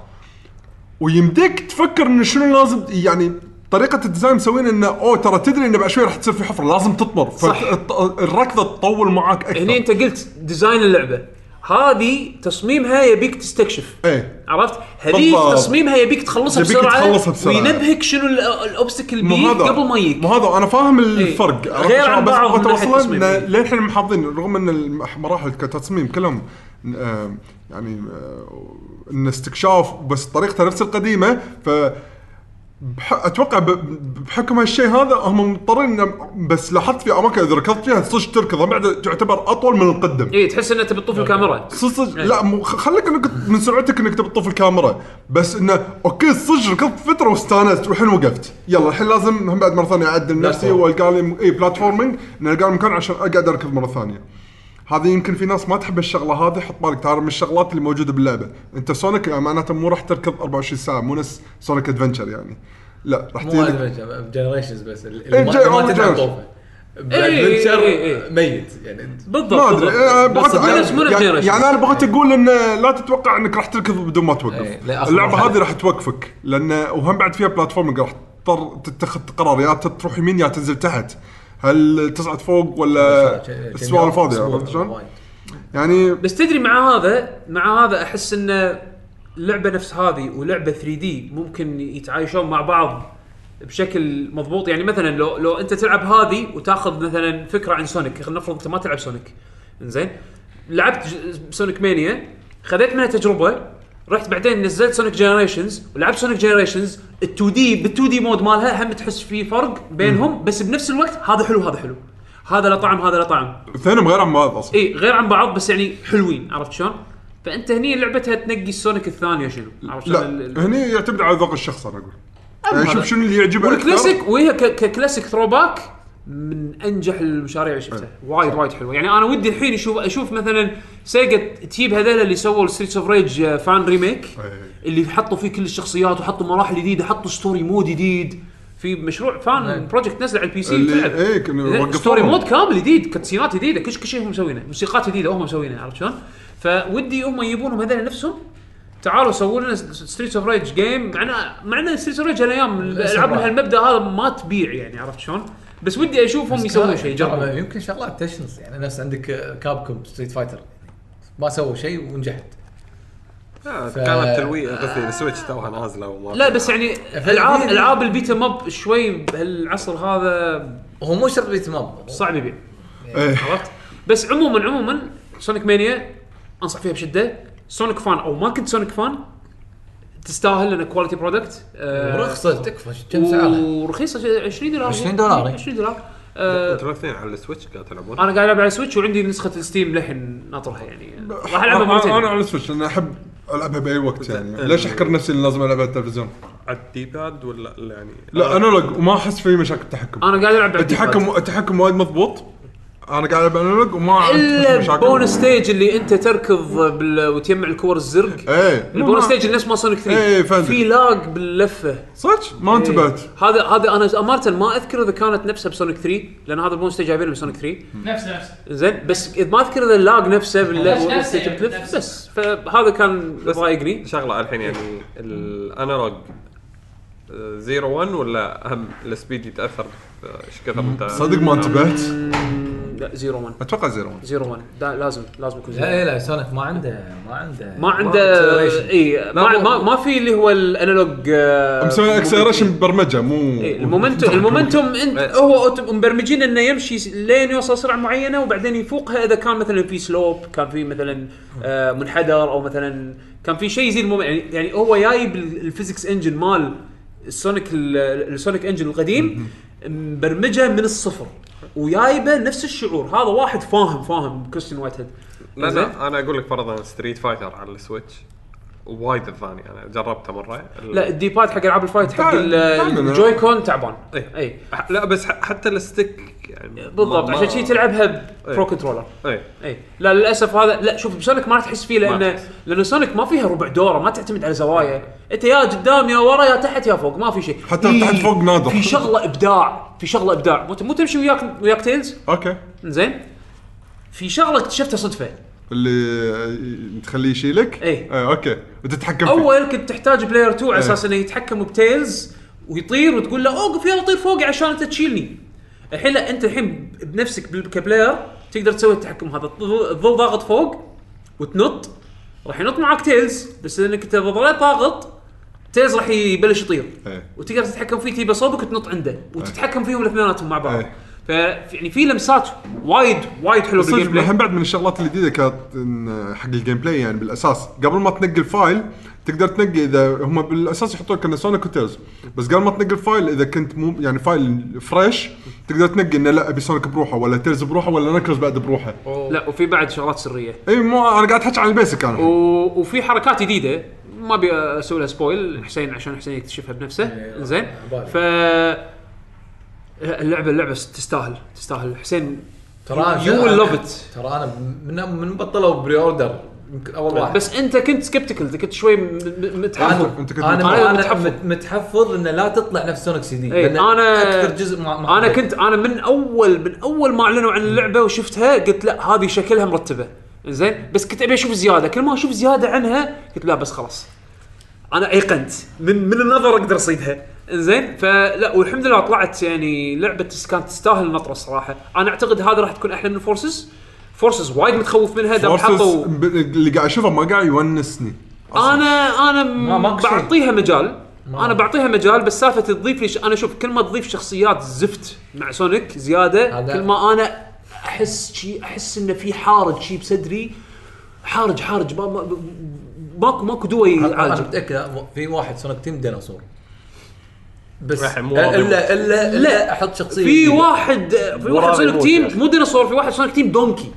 S2: ويمديك تفكر انه شنو لازم يعني طريقة الديزاين مسوين انه اوه ترى تدري انه بعد شوي راح تصير في حفرة لازم تطمر
S1: صح.
S2: فالركضة تطول معاك اكثر
S1: هني انت قلت ديزاين اللعبه هذه تصميمها يبيك تستكشف
S2: ايه
S1: عرفت؟ هذيك
S2: بالضبط.
S1: تصميمها يبيك تخلصها
S2: آه، يبيك
S1: بسرعه
S2: تخلصها بسرعة.
S1: وينبهك شنو ال- الاوبستكل
S2: مو
S1: بيه
S2: هذا
S1: قبل ما يجيك
S2: مو هذا انا فاهم الفرق
S1: إيه. غير عن
S2: بس
S1: بعض
S2: أبغى
S1: من ناحية
S2: أتوصل
S1: التصميم.
S2: إن للحين محافظين رغم ان المراحل كتصميم كلهم آه، يعني آه، ان استكشاف بس طريقته نفس القديمه ف بح- اتوقع ب- بحكم هالشيء هذا هم مضطرين إنهم- بس لاحظت في اماكن اذا ركضت فيها صدق تركض هم بعد تعتبر اطول من القدم
S1: اي تحس انك تبي تطوف الكاميرا
S2: صدق لا مو خ- خليك انك من سرعتك انك تبي تطفي الكاميرا بس انه اوكي صدق ركضت فتره واستانست والحين وقفت يلا الحين لازم هم بعد مره ثانيه اعدل نفسي والقى لي اي بلاتفورمينج انه القى لي مكان عشان اقعد اركض مره ثانيه هذه يمكن في ناس ما تحب الشغله هذه حط بالك ترى من الشغلات اللي موجوده باللعبه انت سونيك يعني معناته مو راح تركض 24 ساعه مو نفس سونيك ادفنتشر يعني لا راح
S5: مو
S2: تجيلك
S5: جنريشنز بس اللي
S2: إيه،
S5: اللي
S2: جاي-
S5: ما-
S2: أول
S5: ما تلعب
S2: Generations.
S5: طوفه
S1: إيه، إيه، إيه.
S5: بالادفنتشر ميت يعني
S2: ما
S1: بالضبط
S2: ادري
S1: بالضبط.
S2: إيه،
S1: بس
S2: بغيت
S1: بلش من
S2: يعني, يعني,
S1: الجنريشن.
S2: يعني انا بغيت اقول ان لا تتوقع انك راح تركض بدون ما
S5: إيه،
S2: توقف
S5: لا، أصلاً
S2: اللعبه
S5: مرحلة.
S2: هذه راح توقفك لان وهم بعد فيها بلاتفورمينج راح تضطر تتخذ قرار يا تروح يمين يا تنزل تحت هل تصعد فوق ولا السوالف هذه آه، عرفت شلون؟
S5: وايد.
S2: يعني
S1: بس تدري مع هذا مع هذا احس ان لعبه نفس هذه ولعبه 3 دي ممكن يتعايشون مع بعض بشكل مضبوط يعني مثلا لو لو انت تلعب هذه وتاخذ مثلا فكره عن سونيك خلينا نفرض انت ما تلعب سونيك زين لعبت ج- سونيك مانيا خذيت منها تجربه رحت بعدين نزلت سونيك جنريشنز ولعبت سونيك جنريشنز ال2 دي بال2 دي مود مالها هم تحس في فرق بينهم بس بنفس الوقت هذا حلو هذا حلو هذا له طعم هذا له طعم
S2: الاثنين غير عن بعض اصلا
S1: اي غير عن بعض بس يعني حلوين عرفت شلون؟ فانت هني لعبتها تنقي السونيك الثانيه شنو عرفت شلون؟
S2: لا
S1: ال- ال-
S2: هني يعتمد على ذوق الشخص انا اقول يعني شوف شنو اللي يعجبه اكثر
S1: والكلاسيك وهي ك- ككلاسيك ثرو باك من انجح المشاريع اللي شفتها وايد وايد حلوه يعني انا ودي الحين اشوف اشوف مثلا سيجا تجيب هذول اللي سووا ستريتس اوف ريج فان ريميك
S2: أي.
S1: آه، اللي حطوا فيه كل الشخصيات وحطوا مراحل جديده حطوا ستوري مود جديد في مشروع فان بروجكت نزل على البي سي
S2: اللي-
S1: تلعب.
S2: إيه، كانوا
S1: زين،
S2: وقفوه.
S1: ستوري مود كامل جديد كتسينات جديده كل كل شيء هم مسوينه موسيقات جديده هم مسوينها عرفت شلون؟ فودي هم يجيبونهم هذول نفسهم تعالوا سووا لنا ستريت اوف ريج جيم معنا معنا ستريت اوف ريج هالايام الالعاب من هالمبدا هذا ما تبيع يعني عرفت شلون؟ بس ودي اشوفهم يسوون شيء
S5: ترى
S1: يجربون
S5: يمكن شغلات تشنص يعني نفس عندك كاب كوم ستريت فايتر ما سووا شيء ونجحت
S6: آه،
S5: ف-
S6: كانت تلويح قصدي السويتش توها نازله وما
S1: لا بس يعني
S5: فهذه-
S1: العاب العاب البيتا ماب شوي بهالعصر هذا
S5: هو مو شرط بيت ماب
S1: صعب يبيع
S2: إيه.
S1: عرفت بس عموما عموما سونيك مانيا انصح فيها بشده سونيك فان او ما كنت سونيك فان تستاهل لان كواليتي برودكت
S5: ورخصه تكفى كم سعرها؟
S1: ورخيصه شي- 20 آه، دولار
S5: 20 دولار، إيه.
S1: 20 دولار آه،
S6: انتوا الاثنين على السويتش قاعد تلعبون
S1: انا قاعد العب على سويتش وعندي نسخه الستيم للحين ناطرها يعني راح العبها
S2: أنا- انا
S1: مرتين إيه،
S2: على السويتش انا احب العبها باي وقت يعني
S6: ال-
S2: ليش احكر نفسي اني لازم العبها على التلفزيون؟
S6: على الدي باد ولا ولا يعني
S1: آه.
S2: لا انالوج وما احس في مشاكل تحكم
S1: انا قاعد العب على الديباد.
S2: التحكم التحكم وايد مضبوط انا قاعد العب انالوج وما عندي
S1: الا البونس
S2: مشاكل
S1: ستيج اللي انت تركض بال... وتجمع الكور الزرق
S2: ايه
S1: البونس ستيج نفس ما سونيك 3
S2: إيه، فهمت.
S1: في لاج باللفه
S2: صدق ما انتبهت
S1: إيه. هذا هذا انا امانه ما اذكر اذا كانت نفسها بسونيك 3 لان هذا البونس ستيج جايبينه بسونيك 3
S7: نفس نفس
S1: زين بس إذ ما اذكر اذا اللاج نفسه
S7: نفس-
S1: باللعب
S7: نفسه،
S1: والستيج بتلف
S7: نفسه.
S1: بس فهذا كان
S6: بس-
S1: ضايقني
S6: شغله الحين يعني الانالوج آه، زيرو 1 ولا هم السبيد يتاثر آه، ايش كثر انت
S2: صدق ما انتبهت
S1: لا زيرو 1
S2: اتوقع زيرو
S1: زيرو 1 دا- لازم لازم يكون زيرو
S5: لا إيه، لا سونيك ما عنده ما عنده
S1: ما عنده
S5: acceleration.
S1: اي ما,
S6: مو-
S1: ما, ما في اللي هو الانالوج آه،
S2: مسوي اكسلريشن ببرمجه مو
S1: إيه، المومنتوم المومنتوم انت
S6: إيه.
S1: هو أوت- مبرمجين انه يمشي س- لين يوصل سرعه معينه وبعدين يفوقها اذا كان مثلا في سلوب كان في مثلا آه، منحدر او مثلا كان في شيء يزيد مومن- يعني يعني هو جايب ال- الفيزكس انجن مال السونيك ال- السونيك انجن القديم مبرمجه من الصفر وجايبه نفس الشعور هذا واحد فاهم فاهم كريستيان وايت هيد
S6: لا
S1: زين؟
S6: لا انا اقول لك فرضا ستريت فايتر على السويتش وايد الثاني انا جربته مره
S1: لا الديباد حق العاب الفايت حق
S2: تعال-
S1: ال-
S2: تعال من-
S1: الجوي كون تعبان
S6: إيه.
S1: اي
S6: ح- لا بس ح- حتى الستيك يعني
S1: بالضبط عشان شي تلعبها برو
S6: إيه.
S1: كنترولر
S6: اي
S1: اي إيه. لا للاسف هذا لا شوف بسونيك ما راح تحس فيه
S6: ما
S1: لان
S6: تحس.
S1: لان سونيك ما فيها ربع دوره ما تعتمد على زوايا انت يا قدام يا ورا يا تحت يا فوق ما في شيء
S2: حتى لو تحت فوق نادر.
S1: في شغله ابداع في شغله ابداع مو مو تمشي وياك وياك تيلز
S2: اوكي
S1: زين في شغله اكتشفتها صدفه
S2: اللي تخليه يشيلك
S1: إيه.
S2: آه اوكي وتتحكم فيه
S1: اول كنت تحتاج بلاير 2
S2: إيه.
S1: على اساس انه يتحكم بتيلز ويطير وتقول له اوقف يلا طير فوقي عشان انت تشيلني الحين لا انت الحين بنفسك بال- كبلاير تقدر تسوي التحكم هذا تظل- تظل ضاغط فوق وتنط راح ينط معاك تيلز بس لانك انت ظليت ضاغط تيلز راح يبلش يطير
S2: إيه.
S1: وتقدر تتحكم فيه تجيبه صوبك وتنط عنده وتتحكم فيهم الاثنيناتهم مع بعض
S2: إيه.
S1: ف يعني في لمسات وايد وايد حلوه
S2: صدق
S1: بالجيم بلاي
S2: الحين بعد من الشغلات الجديده كانت إن حق الجيم بلاي يعني بالاساس قبل ما تنقي الفايل تقدر تنقي اذا هم بالاساس يحطون لك انه سونيك وتيلز بس قبل ما تنقي الفايل اذا كنت مو يعني فايل فريش تقدر تنقي انه لا ابي سونيك بروحه ولا تيلز بروحه ولا نكرز بعد بروحه
S1: لا وفي بعد شغلات سريه
S2: اي مو انا قاعد احكي عن البيسك انا الحين.
S1: و- وفي حركات جديده ما ابي اسوي لها سبويل حسين عشان حسين يكتشفها بنفسه زين
S5: عبالي.
S1: ف اللعبه اللعبه تستاهل تستاهل حسين
S5: ترى
S1: You will love it.
S5: ترى انا من من بطلوا بري اوردر يمكن اول واحد
S1: بس انت كنت سكبتكل كنت شوي م- م- متحفظ
S5: انا
S2: أنت كنت
S5: انا
S1: متحفظ.
S5: متحفظ متحفظ انه لا تطلع نفس سونيك سي دي
S1: إيه،
S5: لأن
S1: أنا-
S5: اكثر جزء ما, ما
S1: انا
S5: حبيته.
S1: كنت انا من اول من اول ما اعلنوا عن اللعبه وشفتها قلت لا هذه شكلها مرتبه زين بس كنت ابي اشوف زياده كل ما اشوف زياده عنها قلت لا بس خلاص انا ايقنت من من النظر اقدر اصيدها زين فلا والحمد لله طلعت يعني لعبه كانت تستاهل النطره الصراحه انا اعتقد هذا راح تكون احلى من فورسز فورسز وايد متخوف منها دام
S2: Forces
S1: حطوا
S2: ب- اللي قاعد اشوفه ما قاعد يونسني
S1: انا انا
S5: ما- ماكو شيء.
S1: بعطيها مجال انا بعطيها مجال بس سالفه تضيف لي ش... انا شوف كل ما تضيف شخصيات زفت مع سونيك زياده
S5: هذا-
S1: كل ما انا احس شي احس انه في حارج شي بصدري حارج حارج ما ما ماكو ماكو دواء
S5: انا
S1: يعالجه
S5: متاكد في واحد سونيك تيم ديناصور بس
S4: راح مو
S5: الا
S4: راضي
S5: الا الا,
S1: لا.
S5: إلا احط شخصيه
S1: في
S5: جديدة.
S1: واحد في واحد
S4: وراء
S1: سونيك
S4: يموت
S1: تيم
S4: يعني.
S1: مو ديناصور في واحد سونيك تيم دونكي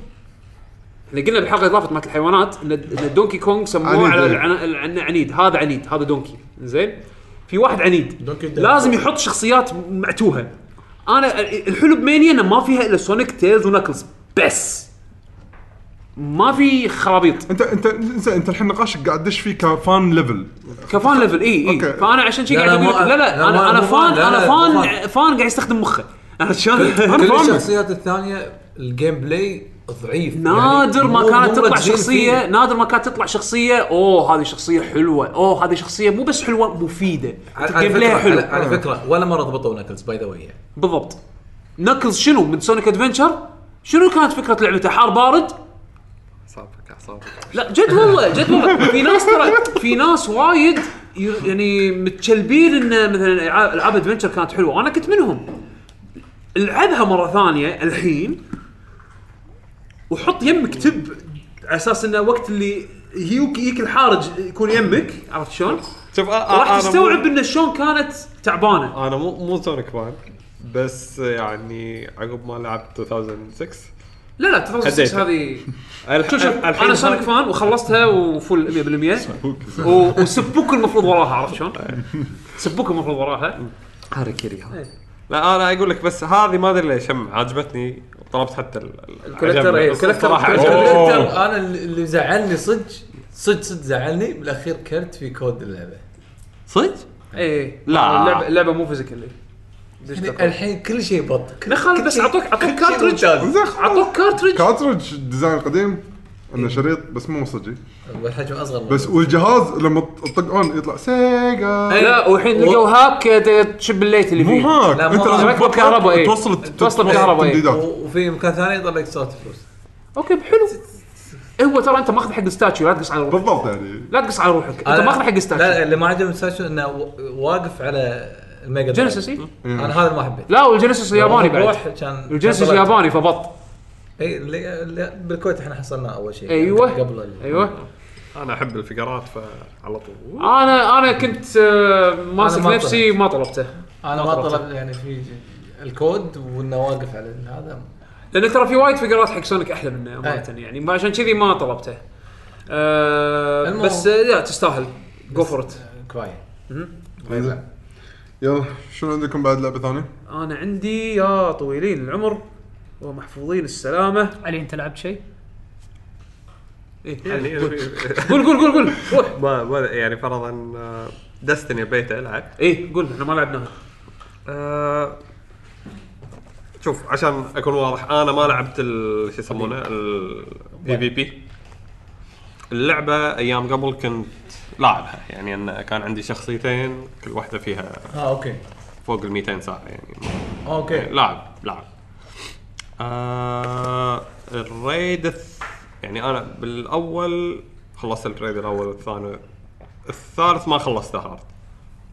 S1: احنا قلنا بحلقه اضافه مالت الحيوانات ان إن دونكي كونغ سموه
S2: عنيد،
S1: على
S2: إيه.
S1: العن- العن- عنيد هذا عنيد هذا دونكي زين في واحد عنيد
S5: دونكي دونكي.
S1: لازم يحط شخصيات معتوهه انا الحلو بمانيا انه ما فيها الا سونيك تيلز ونكلز بس ما في خرابيط
S2: انت انت انت, انت الحين نقاشك قاعد تدش فيه كفان ليفل
S1: كفان ليفل اي اي
S2: أوكي.
S1: فانا عشان شي
S5: لا،
S1: قاعد
S5: لا،
S1: اقول
S5: ما-
S1: لك- لا لا
S5: لا،
S1: انا
S5: ما-
S1: انا
S5: مو-
S1: فان
S5: لا،
S1: انا
S5: لا، مو
S1: فان
S5: فان.
S1: فان قاعد يستخدم مخه انا شلون انا
S5: كل
S1: فاهمك.
S5: الشخصيات الثانيه الجيم بلاي ضعيف
S1: نادر
S5: يعني
S1: ما
S5: مو- مو
S1: كانت تطلع
S5: مركزين
S1: شخصيه
S5: فيه.
S1: نادر ما كانت تطلع شخصيه اوه هذه شخصيه حلوه اوه هذه شخصيه مو بس حلوه مفيده
S5: على- على
S1: جيم
S5: فكرة-
S1: بلاي حلو آه.
S5: على- على فكره ولا مره ضبطوا ناكلز باي ذا واي
S1: بالضبط نكلز شنو من سونيك ادفنشر شنو كانت فكره لعبته حار بارد
S4: اعصابك اعصابك
S1: لا جد والله جد والله في ناس ترى في ناس وايد ي- يعني متشلبين ان مثلا ألعاب- العاب ادفنشر كانت حلوه انا كنت منهم العبها مره ثانيه الحين وحط يمك تب على اساس انه وقت اللي يجيك يجيك الحارج يكون يمك عرفت شلون؟
S6: آه،
S4: شوف
S5: آه،
S1: راح
S4: راح
S1: تستوعب ان شلون كانت تعبانه
S4: انا مو مو سونيك فان بس يعني عقب ما لعبت 2006
S1: لا لا تفاصيل
S4: هديتها.
S1: هذه
S4: الح-
S1: شوف شوف
S4: الحين
S1: انا سونيك فان وخلصتها وفل 100% و- وسبوك المفروض وراها عرفت شلون؟ سبوك المفروض وراها
S4: هاريكيري هذا لا انا اقول لك بس هذه ما ادري ليش هم عجبتني طلبت حتى
S1: الكوليكتر، إيه، الكوليكتر- الكوليكتر.
S4: الكولكتر
S5: الكوليكتر انا اللي اللي زعلني صدق صدق صدق زعلني بالاخير كرت في كود اللعبه
S4: صدق؟
S1: ايه
S4: لا.
S1: اللعبه اللعبه مو فيزيكال
S5: يعني الحين كل شيء بط كل-
S1: لا خلاص بس اعطوك اعطوك
S5: كل شيء
S1: كارترج
S5: ممتاز.
S2: زين خلاص.
S1: اعطوك كارترج
S2: كارترج ديزاين قديم انه شريط بس مو صجي
S5: والحجم اصغر من
S2: بس والجهاز لما تطق اون يطلع سيجا
S1: لا والحين
S5: و-
S1: لقوا هاك آه، تشب الليت اللي
S2: مو
S1: فيه
S2: هاك
S5: لا، مو
S2: انت
S5: هاك.
S2: لازم
S1: مكتب
S2: تبطل-
S1: كهرباء، إيه.
S2: توصل
S1: توصل بكهرباء، إيه.
S5: و-
S2: تمديدات
S5: وفي مكان ثاني يطلع لك صوت فلوس
S1: اوكي حلو هو ترى انت ماخذ حق ستاتشيو لا تقص على روحك
S2: بالضبط يعني
S1: لا تقص على روحك انت
S5: أنا-
S1: ماخذ حق
S5: آه، لا لا،
S1: ستاتشيو
S5: اللي ما عجبني ستاشيو انه و- واقف على الميجا درايف.
S1: جينيسيس إيه؟
S5: انا هذا ما حبيت
S1: لا والجينيسيس الياباني بعد
S5: روح كان
S1: الجينيسيس
S5: كان طلعت.
S1: الياباني فبط
S5: اي اللي- اللي بالكويت احنا حصلناه اول شيء
S1: ايوه
S5: قبل ال-
S1: ايوه
S4: انا احب الفقرات فعلى طول
S1: انا انا كنت آه، ماسك
S5: ما
S1: نفسي ما طلبته
S5: انا
S1: ما
S5: ما
S1: طلبت.
S5: طلب يعني في الكود وانه واقف على هذا
S1: لان ترى في وايد فقرات حق سونيك احلى منه امانه
S5: أي.
S1: يعني ما عشان كذي ما طلبته أه
S5: المهم.
S1: بس آه، لا تستاهل جو فور ات
S5: كفايه
S2: إيه. يلا شنو عندكم بعد لعبه ثانيه؟
S1: انا عندي يا طويلين العمر ومحفوظين السلامه
S3: علي انت لعبت شيء؟
S1: إيه،
S4: يعني
S1: قول قول قول قول روح
S4: ما ما يعني فرضا دستني بيته العب
S1: ايه قول احنا ما لعبناها
S4: آه، شوف عشان اكون واضح انا ما لعبت ال- شو يسمونه البي في بي اللعبه ايام قبل كنت لاعبها يعني ان كان عندي شخصيتين كل واحده فيها
S5: اه اوكي
S4: فوق ال 200 ساعه يعني
S5: اوكي
S4: لاعب لاعب آه الريد الث- يعني انا بالاول خلصت الريد الاول والثاني الثالث ما خلصته هارد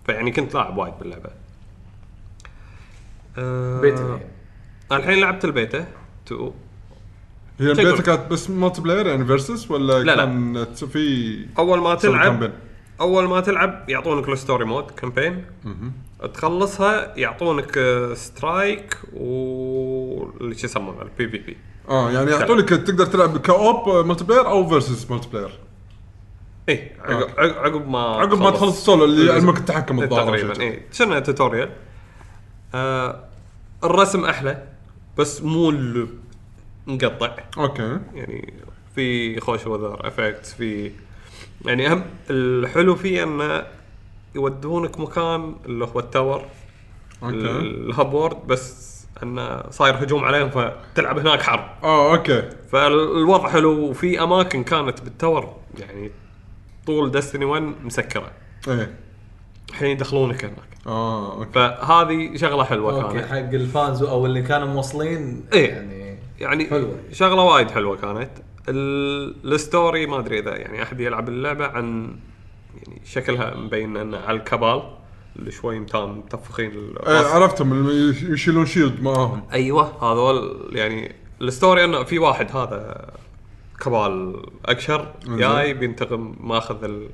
S4: فيعني كنت لاعب وايد باللعبه آه
S5: بيت الهي.
S4: الحين لعبت البيتا 2
S2: هي
S4: تقدر.
S2: البيتا كانت بس مالتي بلاير يعني فيرسس ولا
S4: لا.
S2: كانت في
S4: اول ما
S2: تسوي
S4: تلعب
S2: كامبين؟
S4: اول ما تلعب يعطونك الستوري مود كامبين تخلصها يعطونك آه، سترايك و اللي شو يسمونه البي بي بي
S2: اه يعني يعطونك تقدر تلعب كاوب مالتي بلاير او فيرسس مالتي بلاير
S4: ايه
S2: أوكي.
S4: عقب عقب- عقب ما
S2: عقب ما تخلص السولو اللي يعلمك التحكم
S4: إيه،
S2: الظاهر أو شيء
S4: تقريبا اي شنو توتوريال آه الرسم احلى بس مو ال- مقطع
S2: اوكي
S4: يعني في خوش وذر افكتس في يعني اهم الحلو فيه انه يودونك مكان اللي هو التاور
S2: اوكي
S4: الهاب وورد بس انه صاير هجوم عليهم فتلعب هناك حرب
S2: اه اوكي
S4: فالوضع حلو وفي اماكن كانت بالتاور يعني طول دستني 1 مسكره
S2: ايه
S4: الحين يدخلونك هناك
S2: اه اوكي
S4: فهذه شغله حلوه
S5: اوكي
S4: كانت
S5: حق الفانز او اللي كانوا موصلين
S4: إيه.
S5: يعني
S4: يعني
S5: حلوة.
S4: شغله وايد حلوه كانت ال- الستوري ما ادري اذا يعني احد يلعب اللعبه عن يعني شكلها مبين انه على الكبال اللي شوي متام متفخين
S2: آه،
S4: الراس.
S2: عرفتهم اللي يشيلون شيلد معاهم
S5: أيوة.
S4: ايوه هذول يعني الستوري انه في واحد هذا كبال اكشر جاي بينتقم ماخذ ال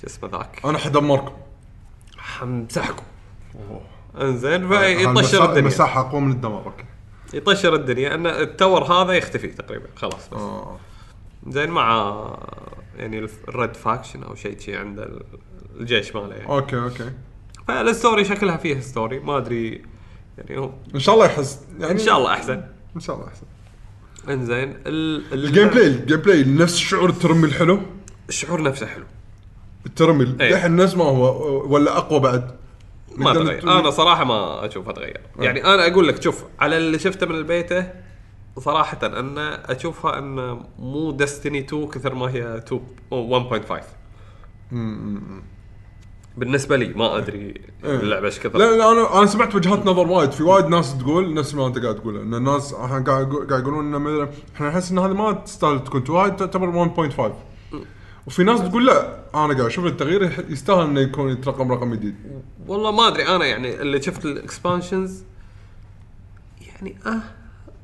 S4: شو اسمه ذاك
S2: انا حدمركم
S4: حمسحكم انزين
S2: أه، المسا-
S4: فيطشر إيه، الدنيا
S2: المساحه اقوى من الدمار اوكي
S4: يطشر الدنيا ان التور هذا يختفي تقريبا خلاص بس
S2: آه.
S4: زين مع يعني الف- الريد فاكشن او شيء شي عند ال- الجيش ماله يعني
S2: اوكي اوكي
S4: فالستوري شكلها فيها ستوري ما ادري يعني هو
S2: ان شاء الله يحس يعني
S4: ان شاء الله احسن
S2: ان شاء الله احسن
S4: انزين ال- ال-
S2: الجيم بلاي الجيم بلاي نفس شعور الترمي الحلو
S4: الشعور نفسه حلو
S2: الترمي
S4: إيه.
S2: للحين نفس ما هو ولا اقوى بعد
S4: ما
S2: نقدر
S4: تغير
S2: نت-
S4: انا صراحه ما اشوفها تغير يعني انا اقول لك شوف على اللي شفته من البيته صراحة ان اشوفها ان مو دستني 2 كثر ما هي 2 أو 1.5 بالنسبة لي ما ادري اللعبة ايش كثر
S2: إيه. لا لا انا انا سمعت وجهات نظر وايد في وايد ناس تقول نفس ما انت قاعد تقوله ان الناس الحين قاعد يقو- قاعد يقولون انه مثلا احنا نحس ان هذه ما تستاهل تكون تو، هاي تعتبر 1.5 وفي ناس تقول لا انا قاعد اشوف التغيير يح- يستاهل انه يكون يترقم رقم جديد
S4: والله ما ادري انا يعني اللي شفت الاكسبانشنز يعني اه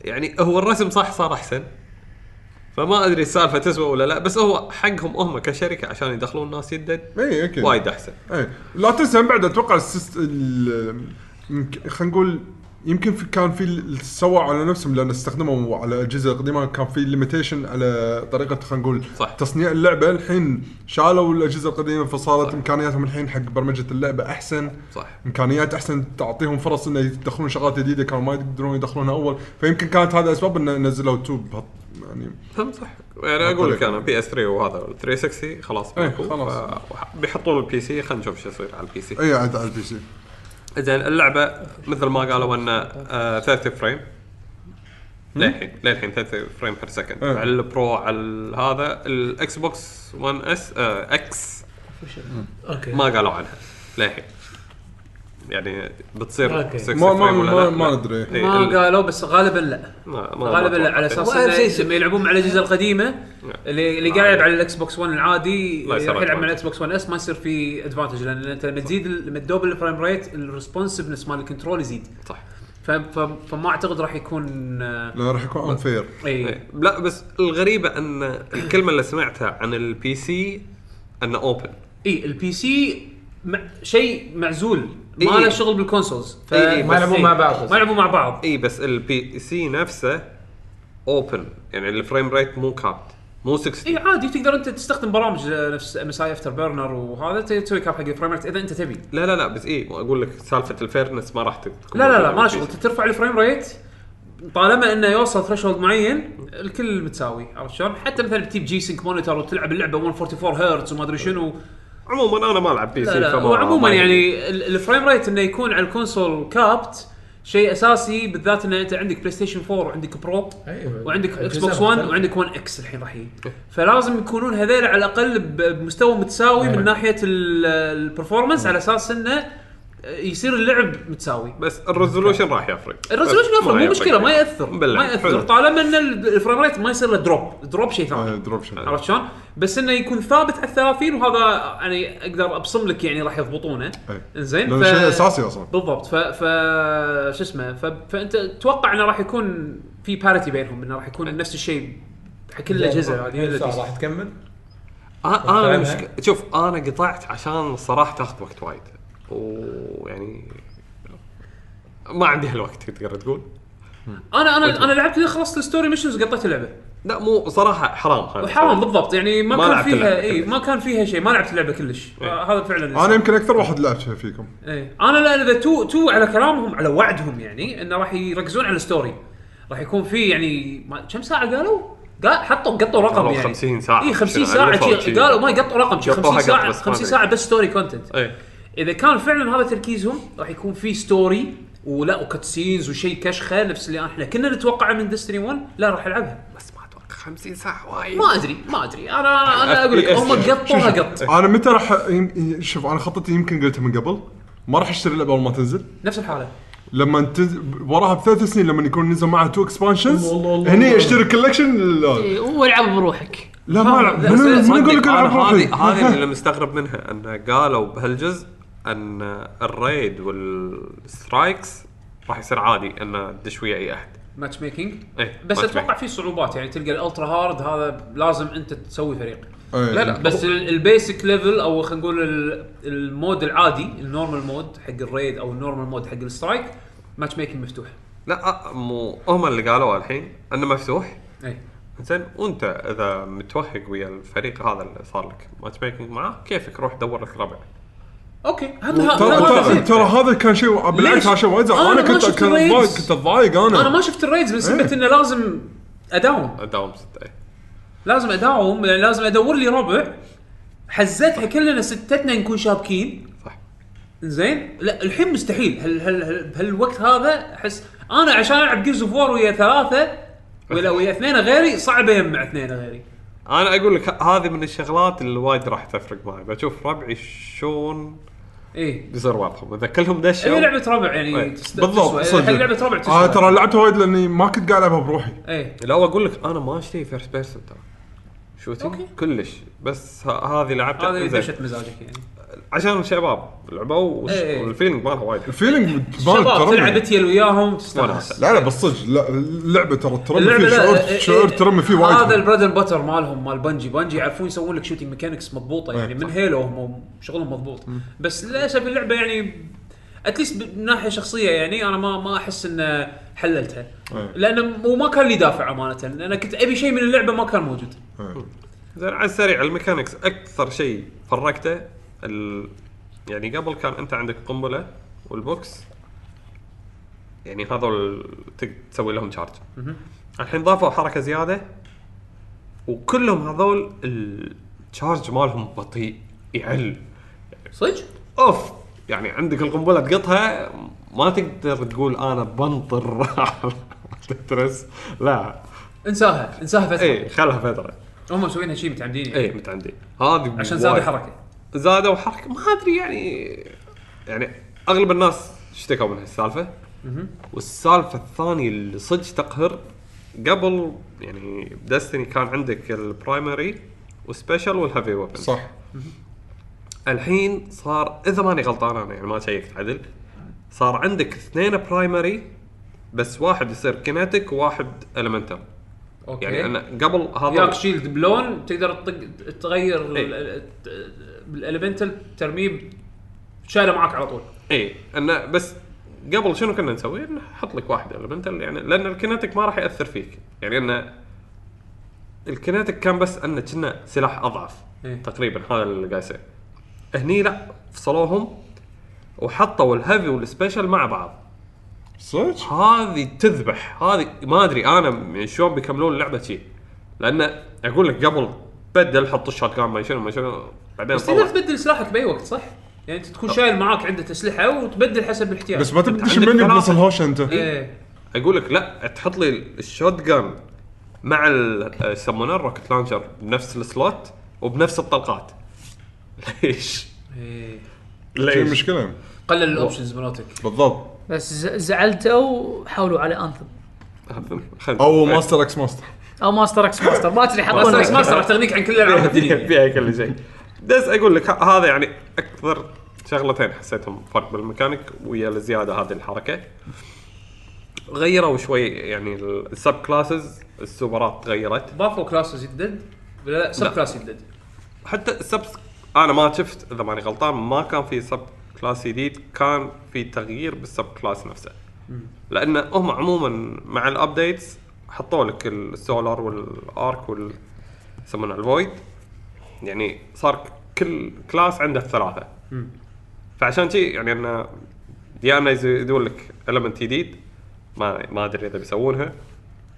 S4: يعني هو الرسم صح صار احسن فما ادري السالفه تسوى ولا لا بس هو حقهم هم كشركه عشان يدخلون الناس يدا
S2: اي اوكي
S4: وايد احسن
S2: اي إيه. لا تنسى من بعد اتوقع السيست ال- يمك- خلينا نقول يمكن في كان في ال- سووا على نفسهم لان استخدموا على اجهزه قديمه كان في ليميتيشن على طريقه خلينا نقول
S4: صح.
S2: تصنيع اللعبه الحين شالوا الاجهزه القديمه فصارت امكانياتهم الحين حق برمجه اللعبه احسن
S4: صح.
S2: امكانيات احسن تعطيهم فرص انه يدخلون شغلات جديده كانوا ما يقدرون يدخلونها اول فيمكن كانت هذا اسباب انه نزلوا تو يعني
S4: هم صح يعني اقول لك انا بي اس 3 وهذا 360 خلاص
S2: إيه،
S4: ماكو.
S2: خلاص.
S4: ف- بيحطون البي سي خلينا نشوف شو يصير على البي سي
S2: اي عاد على البي سي
S4: زين اللعبه مثل ما قالوا ان آه 30 فريم للحين للحين 30 فريم بير سكند
S2: إيه.
S4: على البرو على ال- هذا الاكس بوكس 1 اس آه اكس
S5: اوكي
S4: ما قالوا عنها للحين يعني بتصير
S5: أوكي.
S4: 60
S2: ما ما
S4: فريم ولا
S2: ما,
S4: لا؟
S2: ما
S4: لا.
S2: ندري
S4: إيه،
S3: ما
S4: ال-
S3: قالوا بس غالبا لا
S4: ما- ما-
S1: غالبا
S4: ما
S1: لا على اساس
S5: وأهم شيء-
S1: انه لما يلعبون على الاجهزه القديمه
S4: نعم.
S1: اللي اللي قاعد يلعب على الاكس بوكس 1 العادي
S4: لا
S1: راح
S4: يصير
S1: يلعب
S4: advantage.
S1: على الاكس بوكس 1 اس ما يصير في ادفانتج لان انت لما تزيد ال- لما تدوبل الفريم ريت الريسبونسفنس مال الكنترول يزيد
S4: صح.
S1: ف- ف- فما اعتقد راح يكون آه،
S2: لا راح يكون انفير
S1: اي
S4: إيه. لا بس الغريبه ان الكلمه اللي سمعتها عن البي سي انه اوبن
S1: اي البي سي م- شيء معزول
S4: إي.
S1: ما له شغل بالكونسولز ف- إيه.
S4: إي إي،
S5: ما
S4: إيه. بس
S5: يلعبون مع بعض
S1: ما يلعبون مع بعض
S4: اي إيه، بس البي سي نفسه اوبن يعني الفريم ريت مو كابت مو 60
S1: اي إيه، عادي تقدر انت تستخدم برامج آه، نفس ام اس اي افتر بيرنر وهذا ت- تسوي كاب حق الفريم ريت اذا انت تبي
S4: لا لا لا بس اي اقول لك سالفه الفيرنس ما راح تكون
S1: لا لا لا ما له شغل ترفع الفريم ريت طالما انه يوصل ثريشولد معين الكل متساوي عرفت شلون؟ حتى مثلا بتجيب جي سينك مونيتور وتلعب اللعبه 144 هرتز وما ادري شنو
S4: عموما انا ما العب بي سي
S1: لا لا
S4: فما-
S1: وعموما
S4: ما
S1: يعني ال- الفريم ريت انه يكون على الكونسول كابت شيء اساسي بالذات ان انت عندك بلاي ستيشن 4 وعندك برو
S5: أيوة.
S1: وعندك اكس
S5: الأجهزة
S1: بوكس 1
S5: مختلفة.
S1: وعندك 1 اكس الحين راح يجي فلازم يكونون هذيل على الاقل ب- بمستوى متساوي
S4: نعم.
S1: من ناحيه البرفورمانس على اساس انه يصير اللعب متساوي
S4: بس الريزولوشن راح يفرق
S1: الريزولوشن
S4: بس يعني.
S1: يفرق مو مشكله ما ياثر
S4: بالله.
S1: ما ياثر
S4: حلو.
S1: طالما ان ال- الفريم ريت ما يصير له دروب دروب شيء ثاني
S2: دروب شيء
S1: عرفت شلون؟ بس انه يكون ثابت على 30 وهذا يعني اقدر ابصم لك يعني راح يضبطونه
S2: أي.
S1: انزين
S2: لأنه شيء اساسي اصلا
S1: بالضبط ف ف شو اسمه ف... فانت تتوقع انه راح يكون في باريتي بينهم انه راح يكون نفس الشيء حق كل يعني، الاجهزه هذه
S5: هذه
S1: إلا دي.
S5: راح تكمل
S4: انا أه، أنا
S5: فاهمها.
S4: مشك... شوف انا قطعت عشان الصراحه تاخذ وقت وايد ويعني ما عندي هالوقت تقدر تقول
S1: انا انا انا لعبت لين خلصت الستوري ميشنز قطيت اللعبه
S4: لا مو صراحه حرام هذا
S1: حرام بالضبط يعني ما,
S4: ما
S1: كان
S4: لعبت
S1: فيها
S4: اللعبة إيه.
S1: اي
S4: كلش.
S1: ما كان فيها شيء ما لعبت اللعبه كلش آه، هذا فعلا
S2: انا يمكن اكثر واحد لعب شيء فيكم
S1: ايه انا لا اذا تو تو على كلامهم على وعدهم يعني انه راح يركزون على الستوري راح يكون في يعني ما كم ساعه قالوا؟ قال حطوا قطوا رقم
S4: قالوا
S1: يعني
S4: 50 ساعة.
S1: اي 50
S4: شنو،
S1: ساعه
S4: عرفوا
S1: شي-
S4: شي.
S1: قالوا ما قطوا رقم شي
S4: قطوها
S1: 50
S4: قط
S1: ساعه
S4: بس ما
S1: 50
S4: أدري.
S1: ساعه بس ستوري كونتنت
S4: ايه
S1: اذا كان فعلا هذا تركيزهم راح يكون في ستوري ولا وكت سينز وشيء كشخه نفس اللي احنا كنا نتوقعه من ديستني 1 لا راح العبها
S4: بس ما اتوقع 50 ساعه وايد
S1: ما ادري ما ادري انا انا اقول لك
S4: FPS.
S1: هم قطوها قط
S2: انا متى راح يم- ي- شوف انا خطتي يمكن قلتها من قبل ما راح اشتري اللعبه اول ما تنزل
S1: نفس الحاله
S2: لما تنزل وراها بثلاث سنين لما يكون نزل معها تو اكسبانشنز هني اشتري كولكشن لا,
S3: إيه، والعب بروحك
S2: لا ما العب من
S4: بس
S2: من
S4: صدق
S2: اقول لك
S4: أنا
S2: العب
S4: هذه
S2: روحي
S4: هذه اللي مستغرب منها انه قالوا بهالجزء ان الريد والسترايكس راح يصير عادي ان تدش ويا اي احد
S1: ماتش ميكنج
S4: إيه،
S1: بس
S4: match
S1: اتوقع
S4: making.
S1: في صعوبات يعني تلقى الالترا هارد هذا لازم انت تسوي فريق
S2: إيه.
S4: لا، لا.
S1: بس ال- البيسك ليفل او خلينا نقول ال- المود العادي النورمال مود حق الريد او النورمال مود حق السترايك ماتش ميكنج مفتوح
S4: لا مو هم اللي قالوها الحين انه مفتوح
S1: اي
S4: زين وانت اذا متوهق ويا الفريق هذا اللي صار لك ماتش ميكنج معاه كيفك روح دور لك ربع
S1: اوكي هذا
S2: ترى ترى- ترى هذا كان شيء بالعكس
S1: ليش؟
S2: هذا شيء وايد زعل.
S1: أنا
S2: انا
S1: ما
S2: كنت
S1: شفت
S2: كنت
S1: الريدز.
S2: ضايق كنت ضايق انا
S1: انا ما شفت الريدز بس سمعت
S2: إيه.
S1: انه لازم اداوم
S4: داوم ستة إيه.
S1: لازم اداوم يعني لازم ادور لي ربع حزتها كلنا ستتنا نكون شابكين
S4: صح.
S1: زين لا الحين مستحيل هل هل هل بهالوقت هذا احس انا عشان العب جيرز اوف وور ويا ثلاثه ولا ويا اثنين غيري صعب اجمع اثنين غيري
S4: انا اقول لك ه- هذه من الشغلات اللي وايد راح تفرق معي بشوف ربعي شلون
S1: ايه
S4: بيصير وضعهم اذا كلهم
S1: هي
S4: دشوا
S1: لعبه ربع يعني
S4: إيه.
S1: تست-
S2: بالضبط
S1: تسوى.
S2: صدق
S1: حق لعبه ربع
S2: آه
S1: تسوى
S2: ترى لعبتها وايد لاني ما كنت قاعد العبها بروحي
S1: ايه
S4: لو اقول لك انا ما اشتري فيرست بيرسون ترى
S1: أوكي.
S4: شوتنج كلش بس ه- هذه لعبتها
S1: هذه
S4: زين.
S1: دشت مزاجك يعني
S4: عشان الشباب لعبوا وش-
S1: إيه.
S4: والفيلينج مالها وايد حلو.
S2: الفيلينج مال
S1: شباب تلعب
S2: ترمي
S1: اتيل وياهم
S4: وناسة.
S1: تستانس
S2: لا لا بس صدق لا، اللعبه ترى ترمي
S1: اللعبه
S2: فيه
S1: لا
S2: شعور
S1: إيه،
S2: شعور
S1: إيه،
S2: ترمي فيه وايد
S1: هذا
S2: حلو.
S1: البريد اند بتر مالهم مال بنجي بنجي يعرفون يسوون لك شوتنج ميكانكس مضبوطه يعني
S2: إيه.
S1: من هيلو هم شغلهم مضبوط بس للاسف اللعبه يعني اتليست من ناحيه شخصيه يعني انا ما ما احس ان حللتها
S2: إيه.
S1: لان وما كان لي دافع امانه انا كنت ابي شيء من اللعبه ما كان موجود
S2: إيه.
S4: زين على السريع الميكانكس اكثر شيء فرقته ال... يعني قبل كان انت عندك قنبله والبوكس يعني هذول تقدر تسوي لهم شارج الحين ضافوا حركه زياده وكلهم هذول الشارج مالهم بطيء يعل
S1: صدق
S4: اوف يعني عندك القنبله تقطها ما تقدر تقول انا بنطر تترس لا
S1: انساها انساها فتره
S4: اي خلها فتره
S1: هم مسوينها شيء متعمدين يعني
S4: اي متعمدين هذه
S1: عشان
S4: إيه. وايد.
S1: زادوا حركه
S4: زادوا حركه ما ادري يعني يعني اغلب الناس اشتكوا من هالسالفه والسالفه الثانيه اللي صدق تقهر قبل يعني بدستني كان عندك البرايمري والسبيشل والهيفي ويبن
S2: صح
S4: الحين صار اذا ماني غلطان انا يعني ما شيكت عدل صار عندك اثنين برايمري بس واحد يصير كيناتيك وواحد المنتال
S1: اوكي
S4: يعني انا قبل
S1: ياك
S4: هذا
S1: شيلد بلون تقدر تطق تغير
S4: إيه.
S1: بالاليمنتال ترميه شايله معاك على طول
S4: اي انه إيه، بس قبل شنو كنا نسوي؟ نحط لك واحد المنتال يعني لان الكيناتيك ما راح ياثر فيك يعني انه الكيناتيك كان بس انه كنا سلاح اضعف
S1: إيه.
S4: تقريبا هذا اللي قاعد يصير هني لا فصلوهم وحطوا الهيفي والسبيشل مع بعض
S2: صدق
S4: هذه تذبح هذه ما ادري انا شلون بيكملون اللعبه شي لان اقول لك قبل بدل حط الشوت جان ما شنو ما شنو بعدين
S1: بس تقدر
S4: طلع.
S1: تبدل سلاحك باي وقت صح؟ يعني انت تكون شايل معاك عده اسلحه وتبدل حسب الاحتياج
S2: بس ما تبي تدش
S4: عندك
S2: المنيو
S4: ثلاثة.
S2: بنص الهوشه انت
S5: إيه.
S1: ايه
S4: اقول لك لا تحط لي الشوت جان مع ال- يسمونه الروكت لانشر بنفس السلوت وبنفس الطلقات ليش؟
S1: ايه
S2: شي
S4: ليش؟
S2: مشكله
S1: قلل الاوبشنز مالتك
S2: بالضبط
S3: بس ز- زعلتوا حاولوا على انثم
S4: خلنا-
S2: او ماستر اكس ماستر
S3: او ماستر اكس ماستر ما ادري حطوا
S1: ماستر
S3: لك
S1: إكس ماستر راح تغنيك عن كل الالعاب
S4: فيها-
S1: الدنيا
S4: فيها كل شيء بس اقول لك ه- هذا يعني اكثر شغلتين حسيتهم فرق بالميكانيك ويا الزياده هذه الحركه غيروا شوي يعني السب كلاسز السوبرات تغيرت
S1: ضافوا كلاسز جدد ولا لا سب
S4: لا.
S1: كلاس جدد
S4: حتى السب انا ما شفت اذا ماني غلطان ما كان في سب كلاس جديد كان في تغيير بالسب كلاس نفسه لان هم عموما مع الابديتس حطوا لك السولار والارك وال يسمونه الفويد يعني صار كل كلاس عنده الثلاثه فعشان كذي يعني انه يا انه يزيدون لك المنت جديد ما ما ادري اذا بيسوونها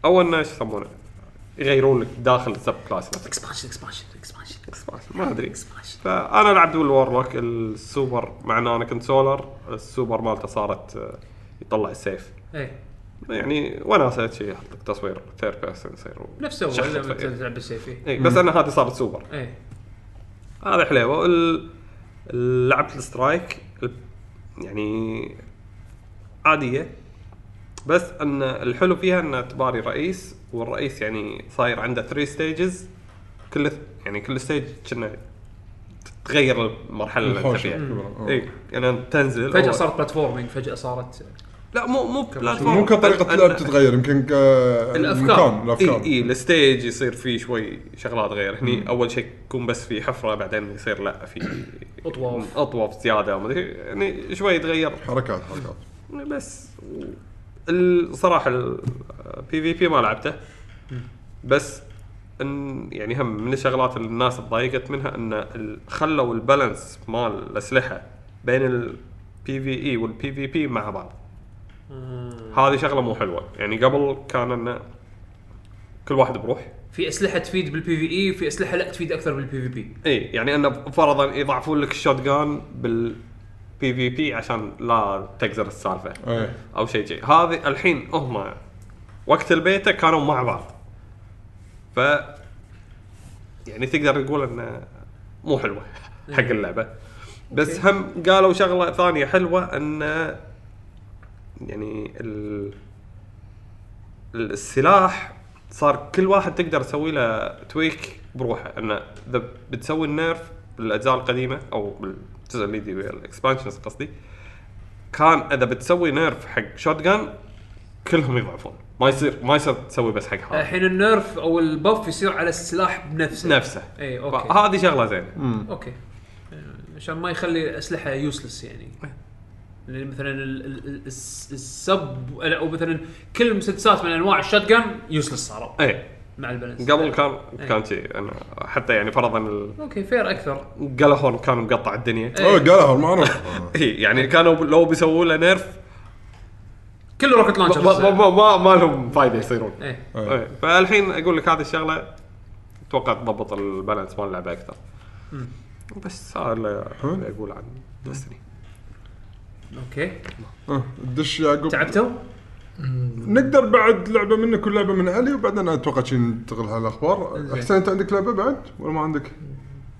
S4: او انه شو يسمونه يغيرون لك داخل السب كلاس نفسه
S1: اكسبانشن اكسبانشن اكسبانشن
S4: ما ادري فانا لعبت بالورلوك السوبر مع ان انا كنت سولر السوبر مالته صارت آه، يطلع السيف
S1: ايه
S4: يعني وانا سويت شيء يحط لك تصوير ثيرد بيرسون يصير و-
S1: نفس اول
S4: شخص
S1: لما
S4: فيه.
S1: تلعب بالسيف إيه.
S4: إيه، بس انا هذه صارت سوبر
S1: ايه
S4: هذا حليوه ال- ال- لعبت السترايك ال- يعني عاديه بس ان الحلو فيها ان تباري رئيس والرئيس يعني صاير عنده 3 ستيجز كل يعني كل ستيج كنا تغير المرحله اللي انت
S2: الحوشة
S4: فيها
S2: الكبرى، آه.
S4: اي يعني تنزل
S1: فجاه
S4: أو-
S1: صارت بلاتفورمينج فجاه صارت
S4: لا مو مو بلاتفورم
S5: طيب،
S2: مو كطريقه اللعب تتغير يمكن ك
S5: إيه،
S2: المكان
S4: الافكار اي
S2: الافكار
S4: اي الستيج يصير فيه شوي شغلات غير هني اول شيء يكون بس في حفره بعدين يصير لا في
S1: أطواف.
S4: اطواف زياده وما ادري يعني شوي يتغير
S2: حركات حركات
S4: بس الصراحه البي في بي ما لعبته بس ان يعني هم من الشغلات اللي الناس تضايقت منها ان ال- خلوا البالانس مال الاسلحه بين البي في اي والبي في بي مع بعض هذه شغله مو حلوه يعني قبل كان انه كل واحد بروح
S1: في اسلحه تفيد بالبي في اي وفي اسلحه لا تفيد اكثر بالبي في بي
S4: اي يعني انه فرضا يضعفون لك الشوت جان بالبي في بي عشان لا تقزر السالفه
S2: إيه.
S4: او شيء شيء هذه الحين هم وقت البيتا كانوا مع بعض ف يعني تقدر نقول انه مو حلوه حق اللعبه بس هم قالوا شغله ثانيه حلوه ان يعني ال... السلاح صار كل واحد تقدر تسوي له تويك بروحه انه اذا بتسوي النيرف بالاجزاء القديمه او بالجزء اللي يجي الاكسبانشنز قصدي كان اذا بتسوي نيرف حق شوت جان كلهم يضعفون ما يصير ما يصير تسوي بس حق هذا
S1: الحين النيرف او البف يصير على السلاح بنفسه
S4: نفسه
S1: اي اوكي
S4: هذه شغله زينه
S1: اوكي آه، عشان ما يخلي اسلحه يوسلس يعني لأن مثلا ال- ال- ال- الس- السب او مثلا كل مسدسات من انواع الشوت جن يوسلس صاروا
S4: اي
S1: مع البالانس
S4: إيه، قبل كان
S1: إيه.
S4: كان شيء أنا حتى يعني فرضا ال-
S1: اوكي فير اكثر
S4: الجلاهورن كان مقطع الدنيا
S1: إيه.
S2: اوه قالها معروف آه.
S4: اي يعني كانوا لو بيسووا له نيرف
S1: كله روكت
S4: ما, ما,
S1: لانشر
S4: ما, ما, ما لهم فايده يصيرون
S1: ايه
S2: إيه.
S4: إيه. فالحين اقول لك هذه الشغله اتوقع تضبط البالانس مال اللعبه اكثر بس هذا اللي اللي اقول عن دستني
S1: اوكي
S2: آه، دش يعقوب
S1: تعبتوا؟
S2: نقدر بعد لعبه منك كل لعبه من علي وبعدين اتوقع شي ننتقل على الاخبار احسن انت عندك لعبه بعد ولا ما عندك؟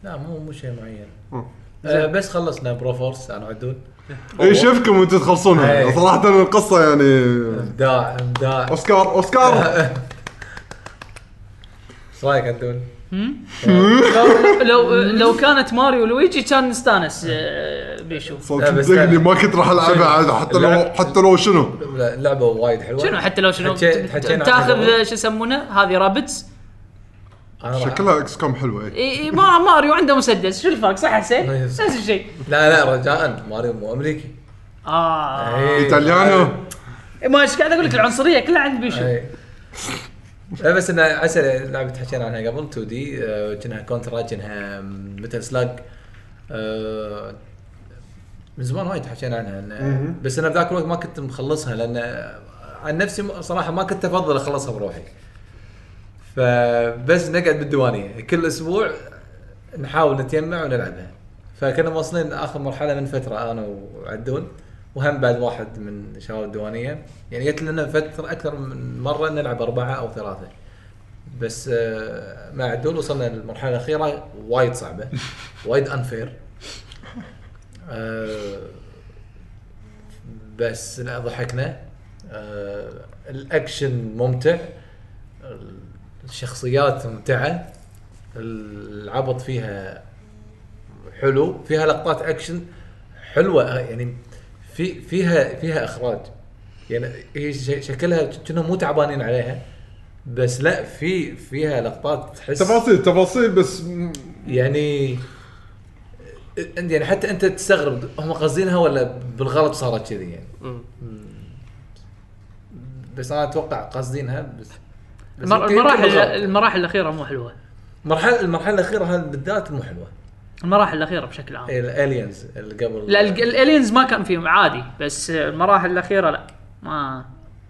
S5: لا مو مو شيء معين
S2: آه.
S5: آه بس خلصنا برو فورس انا عدول
S2: اي شفكم وانتم إيه، تخلصونها
S5: إيه.
S2: صراحه القصه يعني
S5: ابداع ابداع
S2: اوسكار اوسكار
S5: ايش رايك عدول؟
S3: لو لو لو كانت ماريو ولويجي كان نستانس آه، بيشو
S2: صدق
S5: لا، بس
S2: صدقني
S5: لا.
S2: ما كنت راح العبها عاد حتى لو
S5: لا.
S2: حتى لو شنو
S5: لا، اللعبه وايد حلوه
S3: شنو حتى لو شنو
S5: حكي-
S3: بت-
S5: حكينا
S3: تاخذ
S5: عنها.
S3: آه، شو يسمونه هذه رابتس
S5: أنا راح-
S2: شكلها اكس كوم حلوه
S5: إيه.
S2: اي
S3: اي إي، ما ماريو عنده مسدس شو الفرق صح حسين؟
S5: أي،
S3: نفس
S5: صح.
S3: الشيء
S5: لا لا رجاء ماريو مو امريكي
S3: اه
S5: إيه.
S2: ايطاليانو
S3: ما ايش قاعد اقول لك العنصريه كلها عند بيشو
S5: إيه. لا بس انها عسى لعبه حكينا عنها قبل آه، 2 دي كانها كونترا كانها متل سلاج آه، من زمان وايد حكينا عنها إن- بس انا بذاك الوقت ما كنت مخلصها لان عن نفسي م- صراحه ما كنت افضل اخلصها بروحي فبس نقعد بالديوانيه كل اسبوع نحاول نتجمع ونلعبها فكنا واصلين اخر مرحله من فتره انا وعدول وهم بعد واحد من شباب الديوانيه يعني جت لنا فتره اكثر من مره نلعب اربعه او ثلاثه بس آه، مع عدول وصلنا للمرحله الاخيره وايد صعبه وايد انفير بس لا ضحكنا آه، الاكشن ممتع الشخصيات ممتعه العبط فيها حلو فيها لقطات اكشن حلوه يعني في فيها فيها اخراج يعني هي ش- شكلها كنا مو تعبانين عليها بس لا في فيها لقطات تحس
S2: تفاصيل تفاصيل بس م-
S5: يعني انت يعني حتى انت تستغرب هم قاصدينها ولا بالغلط صارت كذي يعني بس انا اتوقع قاصدينها بس بس
S3: المر-
S5: يمكن- يمكن
S3: المراحل
S5: بالغلط.
S3: المراحل الاخيره مو حلوه
S5: المرحله المرحله الاخيره هذه بالذات مو حلوه
S3: المراحل الاخيره بشكل
S5: إيه.
S3: عام
S5: الالينز اللي قبل
S3: آه. لا ال- الالينز ما كان فيهم عادي بس آه، المراحل الاخيره لا ما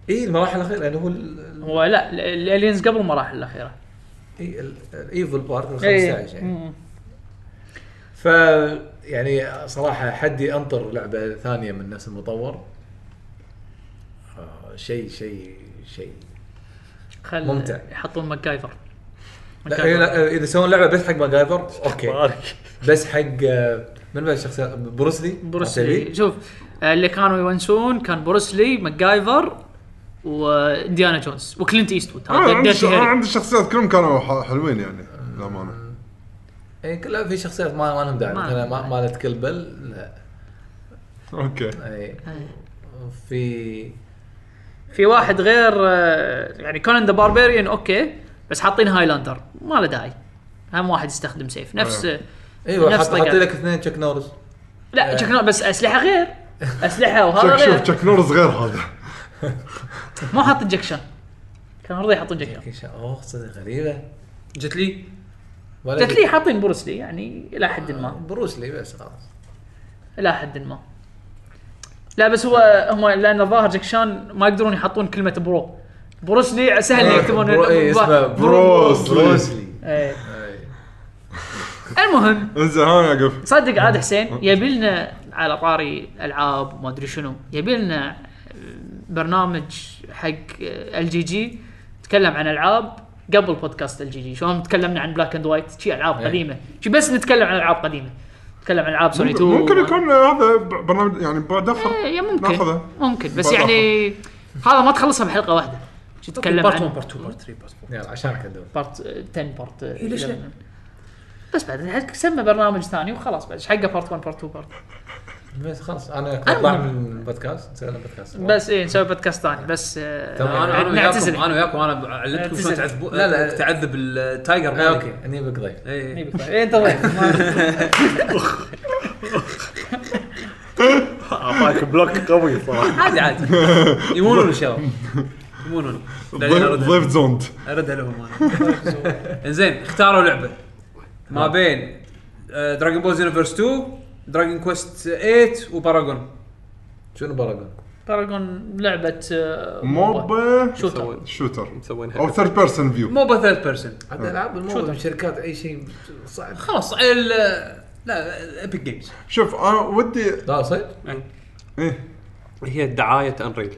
S5: اي المراحل الاخيره يعني هو ال-
S3: هو لا ال- الالينز قبل المراحل الاخيره
S5: إي، ال- الايفل بارت ال 15
S3: إيه.
S5: يعني
S3: مم.
S5: ف يعني صراحه حدي انطر لعبه ثانيه من نفس المطور آه، شيء شيء شيء
S3: خل
S5: ممتع.
S3: يحطون ماكايفر
S5: لا هي لا اذا سوون لعبه بس حق ماجايفر اوكي
S4: مبارك.
S5: بس حق آه، من بعد الشخصيات بروسلي
S3: بروسلي شوف آه، اللي كانوا يونسون كان بروسلي ماكايفر وانديانا جونز وكلينت ايستوود
S2: انا
S3: هذا
S2: عندي
S3: ديرتي
S2: ش- أنا
S3: هيري
S2: عندي الشخصيات كلهم كانوا ح- حلوين يعني للامانه
S5: اي كلها إيه، في شخصيات ما ما لهم داعي
S3: ما-
S5: مثلا ما- مالت كلبل لا إيه.
S2: اوكي
S5: اي
S3: إيه.
S5: في
S3: في واحد غير آه، يعني كونان ذا باربيريان اوكي بس حاطين هايلاندر ما له داعي هم واحد يستخدم سيف نفس
S5: ايوه
S3: نفس
S5: حط حط
S3: طقة.
S5: لك اثنين تشيك نورس آه.
S3: لا تشيك نور- بس اسلحه غير اسلحه وهذا
S2: شوف شوف
S3: غير
S2: تشيك نورز غير هذا
S3: مو حاط انجكشن كان المفروض يحطون انجكشن
S5: كيش- اوه إيه، صدق غريبه
S1: جت لي
S5: ولا
S3: جت لي حاطين بروس لي يعني الى حد ما
S5: بروس لي بس خلاص
S3: الى حد ما لا بس هو هم لان الظاهر جكشان ما يقدرون يحطون كلمه برو بروس لي سهل يكتبون
S5: برو- إيه، اسمه
S2: بروس
S5: بروس
S2: لي.
S5: لي
S3: إيه.
S5: إيه.
S3: المهم
S2: انزين ها يعقوب
S3: صدق عاد حسين يبي لنا على طاري العاب وما ادري شنو يبي لنا برنامج حق ال جي جي نتكلم عن العاب قبل بودكاست ال جي جي شلون تكلمنا عن بلاك اند وايت شي العاب
S5: إيه.
S3: قديمه شي بس نتكلم عن العاب قديمه نتكلم عن العاب سوني 2
S2: ممكن يكون هذا ب- برنامج يعني بعد اخر
S3: إيه، ممكن
S2: ناخذه.
S3: ممكن بس
S2: بعد
S3: يعني هذا ما تخلصها بحلقه واحده شي تتكلم
S1: بارت 1
S3: عن
S1: بارت 2 بارت 3 بارت 4
S5: يلا عشان كذب
S3: بارت 10 بارت
S1: ليش لا؟
S3: 11. بس بعد حق سمى برنامج ثاني وخلاص بعد إيش حقه بارت 1 بارت 2 بارت
S5: بس خلاص انا اطلع من البودكاست نسوي بودكاست
S3: بس ايه نسوي بودكاست ثاني بس آه،
S5: تمام.
S1: انا انا وياكم
S3: نعتزل
S1: انا وياكم انا علمتكم شلون
S3: اعتزل.
S1: تعذبون
S5: لا، لا.
S1: تعذب التايجر
S5: آه،
S1: مالي.
S5: اوكي نجيبك ضيف
S1: إيه.
S3: ايه انت ضيف ما-
S4: اعطاك بلوك قوي صراحه
S1: عادي عادي يمونون الشباب يمونون بعدين
S2: ضيف ضيف
S1: أردها-
S2: زوند
S1: اردها لهم انا انزين اختاروا لعبه ما بين آه، دراجون بول يونيفرس 2 دراجون كويست 8 وباراجون
S5: شنو براجون؟
S3: باراجون لعبه آه،
S2: موبا
S3: شوتر
S2: شوتر
S4: مسوينها
S2: او ثيرد بيرسون فيو
S1: موبا ثيرد بيرسون
S5: عاد العاب الموضوع من شركات اي شيء صعب
S1: خلاص ال لا ايبك جيمز
S2: شوف انا ودي
S5: لا صدق
S2: ايه
S4: هي دعايه انريل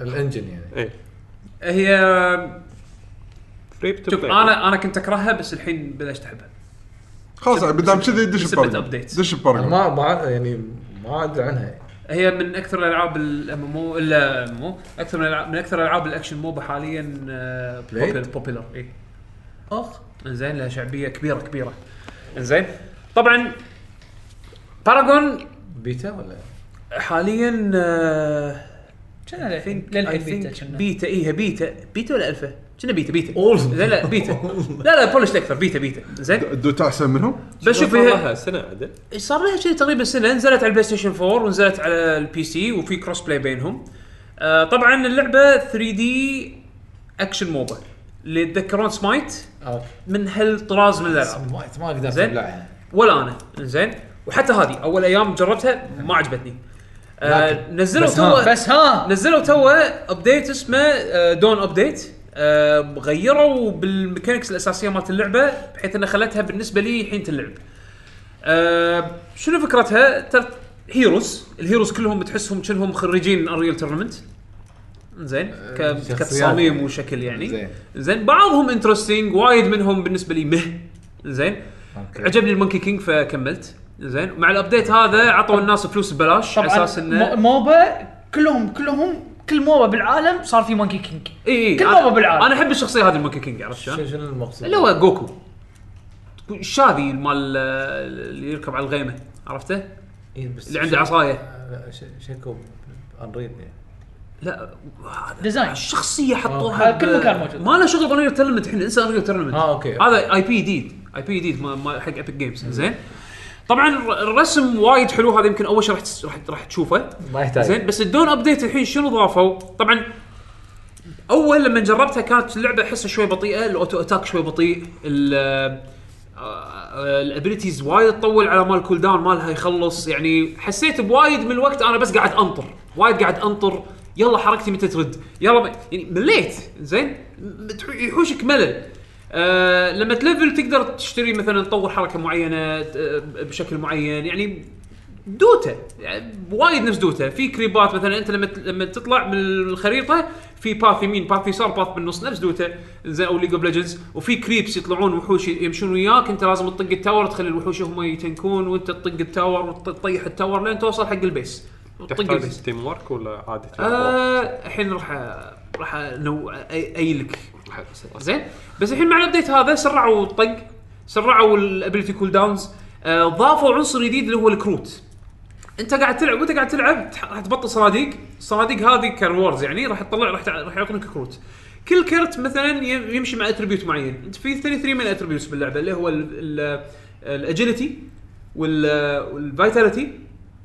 S5: الانجن يعني
S4: ايه
S1: هي
S4: فري تو
S1: شوف انا انا كنت اكرهها بس الحين بلشت احبها
S2: خلاص بدام كذي دش
S1: سبت
S2: ببرجر
S1: updates.
S2: دش
S5: انا
S2: ببرجر
S5: ما ما عاد- يعني ما ادري عنها يعني.
S1: هي من اكثر الالعاب الام ام او الا ام او اكثر من الألعاب- من اكثر الالعاب الاكشن موبا آه، حاليا بوبيلر
S5: Blade؟
S1: بوبيلر اي
S5: اخ
S1: انزين إيه. لها شعبيه كبيره كبيره انزين طبعا باراجون
S5: بيتا ولا
S1: حاليا آه،
S3: كنا للحين
S1: think-
S3: للحين
S1: I
S3: بيتا
S1: think
S3: كنا.
S1: بيتا اي هي بيتا بيتا ولا الفا؟ كنا بيتا بيتا
S5: Old.
S1: لا لا بيتا لا لا بولش اكثر بيتا بيتا زين
S2: دوتا احسن منهم
S1: بس شوف هي
S4: لها سنه عدل
S1: صار لها شيء تقريبا سنه نزلت على البلاي ستيشن 4 ونزلت على البي سي وفي كروس بلاي بينهم آه طبعا اللعبه 3 دي اكشن موبا اللي يتذكرون سمايت
S5: آه،
S1: من هالطراز من الالعاب
S5: ما ما اقدر
S1: زين.
S5: اتبلعها
S1: ولا انا زين وحتى هذه اول ايام جربتها ما عجبتني آه نزلوا
S5: بس ها-
S1: تو
S3: بس ها
S1: نزلوا تو ابديت اسمه آه، دون ابديت آه، غيروا بالميكانكس الاساسيه مالت اللعبه بحيث انها خلتها بالنسبه لي حين اللعب. آه، شنو فكرتها؟ ترى هيروز الهيروز كلهم تحسهم شنهم خريجين انريل تورنمنت زين ك-
S5: آه، شخصيات.
S1: كتصاميم وشكل يعني
S5: زين.
S1: زين بعضهم انترستنج وايد منهم بالنسبه لي مه زين
S5: أوكي.
S1: عجبني المونكي كينج فكملت زين مع الابديت هذا عطوا الناس فلوس ببلاش على
S3: طبعا
S1: اساس
S3: مو-
S1: انه
S3: موبا كلهم كلهم كل موبا بالعالم صار في مونكي كينج
S1: اي اي
S3: كل
S1: أنا-
S3: موبا بالعالم.
S1: انا احب الشخصيه هذه المونكي كينج عرفت شلون؟
S5: شنو شنو المقصود؟
S1: اللي هو جوكو الشاذي مال اللي يركب على الغيمه عرفته؟
S5: إيه، بس
S1: اللي عنده
S5: شو-
S1: عصايه
S5: آه، ش- شكو انريل يعني
S1: لا هذا
S3: ديزاين.
S1: الشخصيه حطوها
S3: طيب. آه، كل مكان موجود.
S1: ما له شغل بانريل تورنمنت الحين انسى انريل تورنمنت
S5: آه، أوكي.
S1: هذا اي بي جديد اي بي جديد ما- ما حق ابيك جيمز زين طبعا الر- الرسم وايد حلو هذا يمكن اول شيء راح تس- راح راح تشوفه
S5: ما يحتاج.
S1: زين بس الدون ابديت الحين شنو ضافوا؟ طبعا اول لما جربتها كانت اللعبه احسها شوي بطيئه الاوتو اتاك شوي بطيء ال- آه، الابيلتيز وايد تطول على مال كول داون مالها يخلص يعني حسيت بوايد من الوقت انا بس قاعد انطر وايد قاعد انطر يلا حركتي متى ترد يلا ب... يعني مليت زين بتح- يحوشك ملل آه لما تلفل تقدر تشتري مثلا تطور حركه معينه ت- آه، بشكل معين يعني دوتا يعني وايد نفس دوتا في كريبات مثلا انت لما لما تطلع من الخريطه في باث يمين باث يسار باث بالنص نفس دوتا زين او ليج اوف ليجندز وفي كريبس يطلعون وحوش يمشون وياك انت لازم تطق التاور تخلي الوحوش هم يتنكون وانت تطق التاور وتطيح التاور لين توصل حق البيس وتطق البيس
S4: تحتاج تيم ورك ولا عادي تيم وورك؟
S1: طيب، آه، الحين راح أ- راح انوع أي- اي لك زين بس الحين مع الابديت هذا سرعوا الطق سرعوا الابيلتي كول داونز آه، ضافوا عنصر جديد اللي هو الكروت انت قاعد تلعب وانت قاعد تلعب تح- راح تبطل صناديق الصناديق هذه كريوردز يعني راح تطلع راح تع- راح يعطونك كروت كل كرت مثلا يم- يمشي مع اتربيوت معين انت في 33 من اتربيوتس باللعبه اللي هو الاجيلتي والفيتاليتي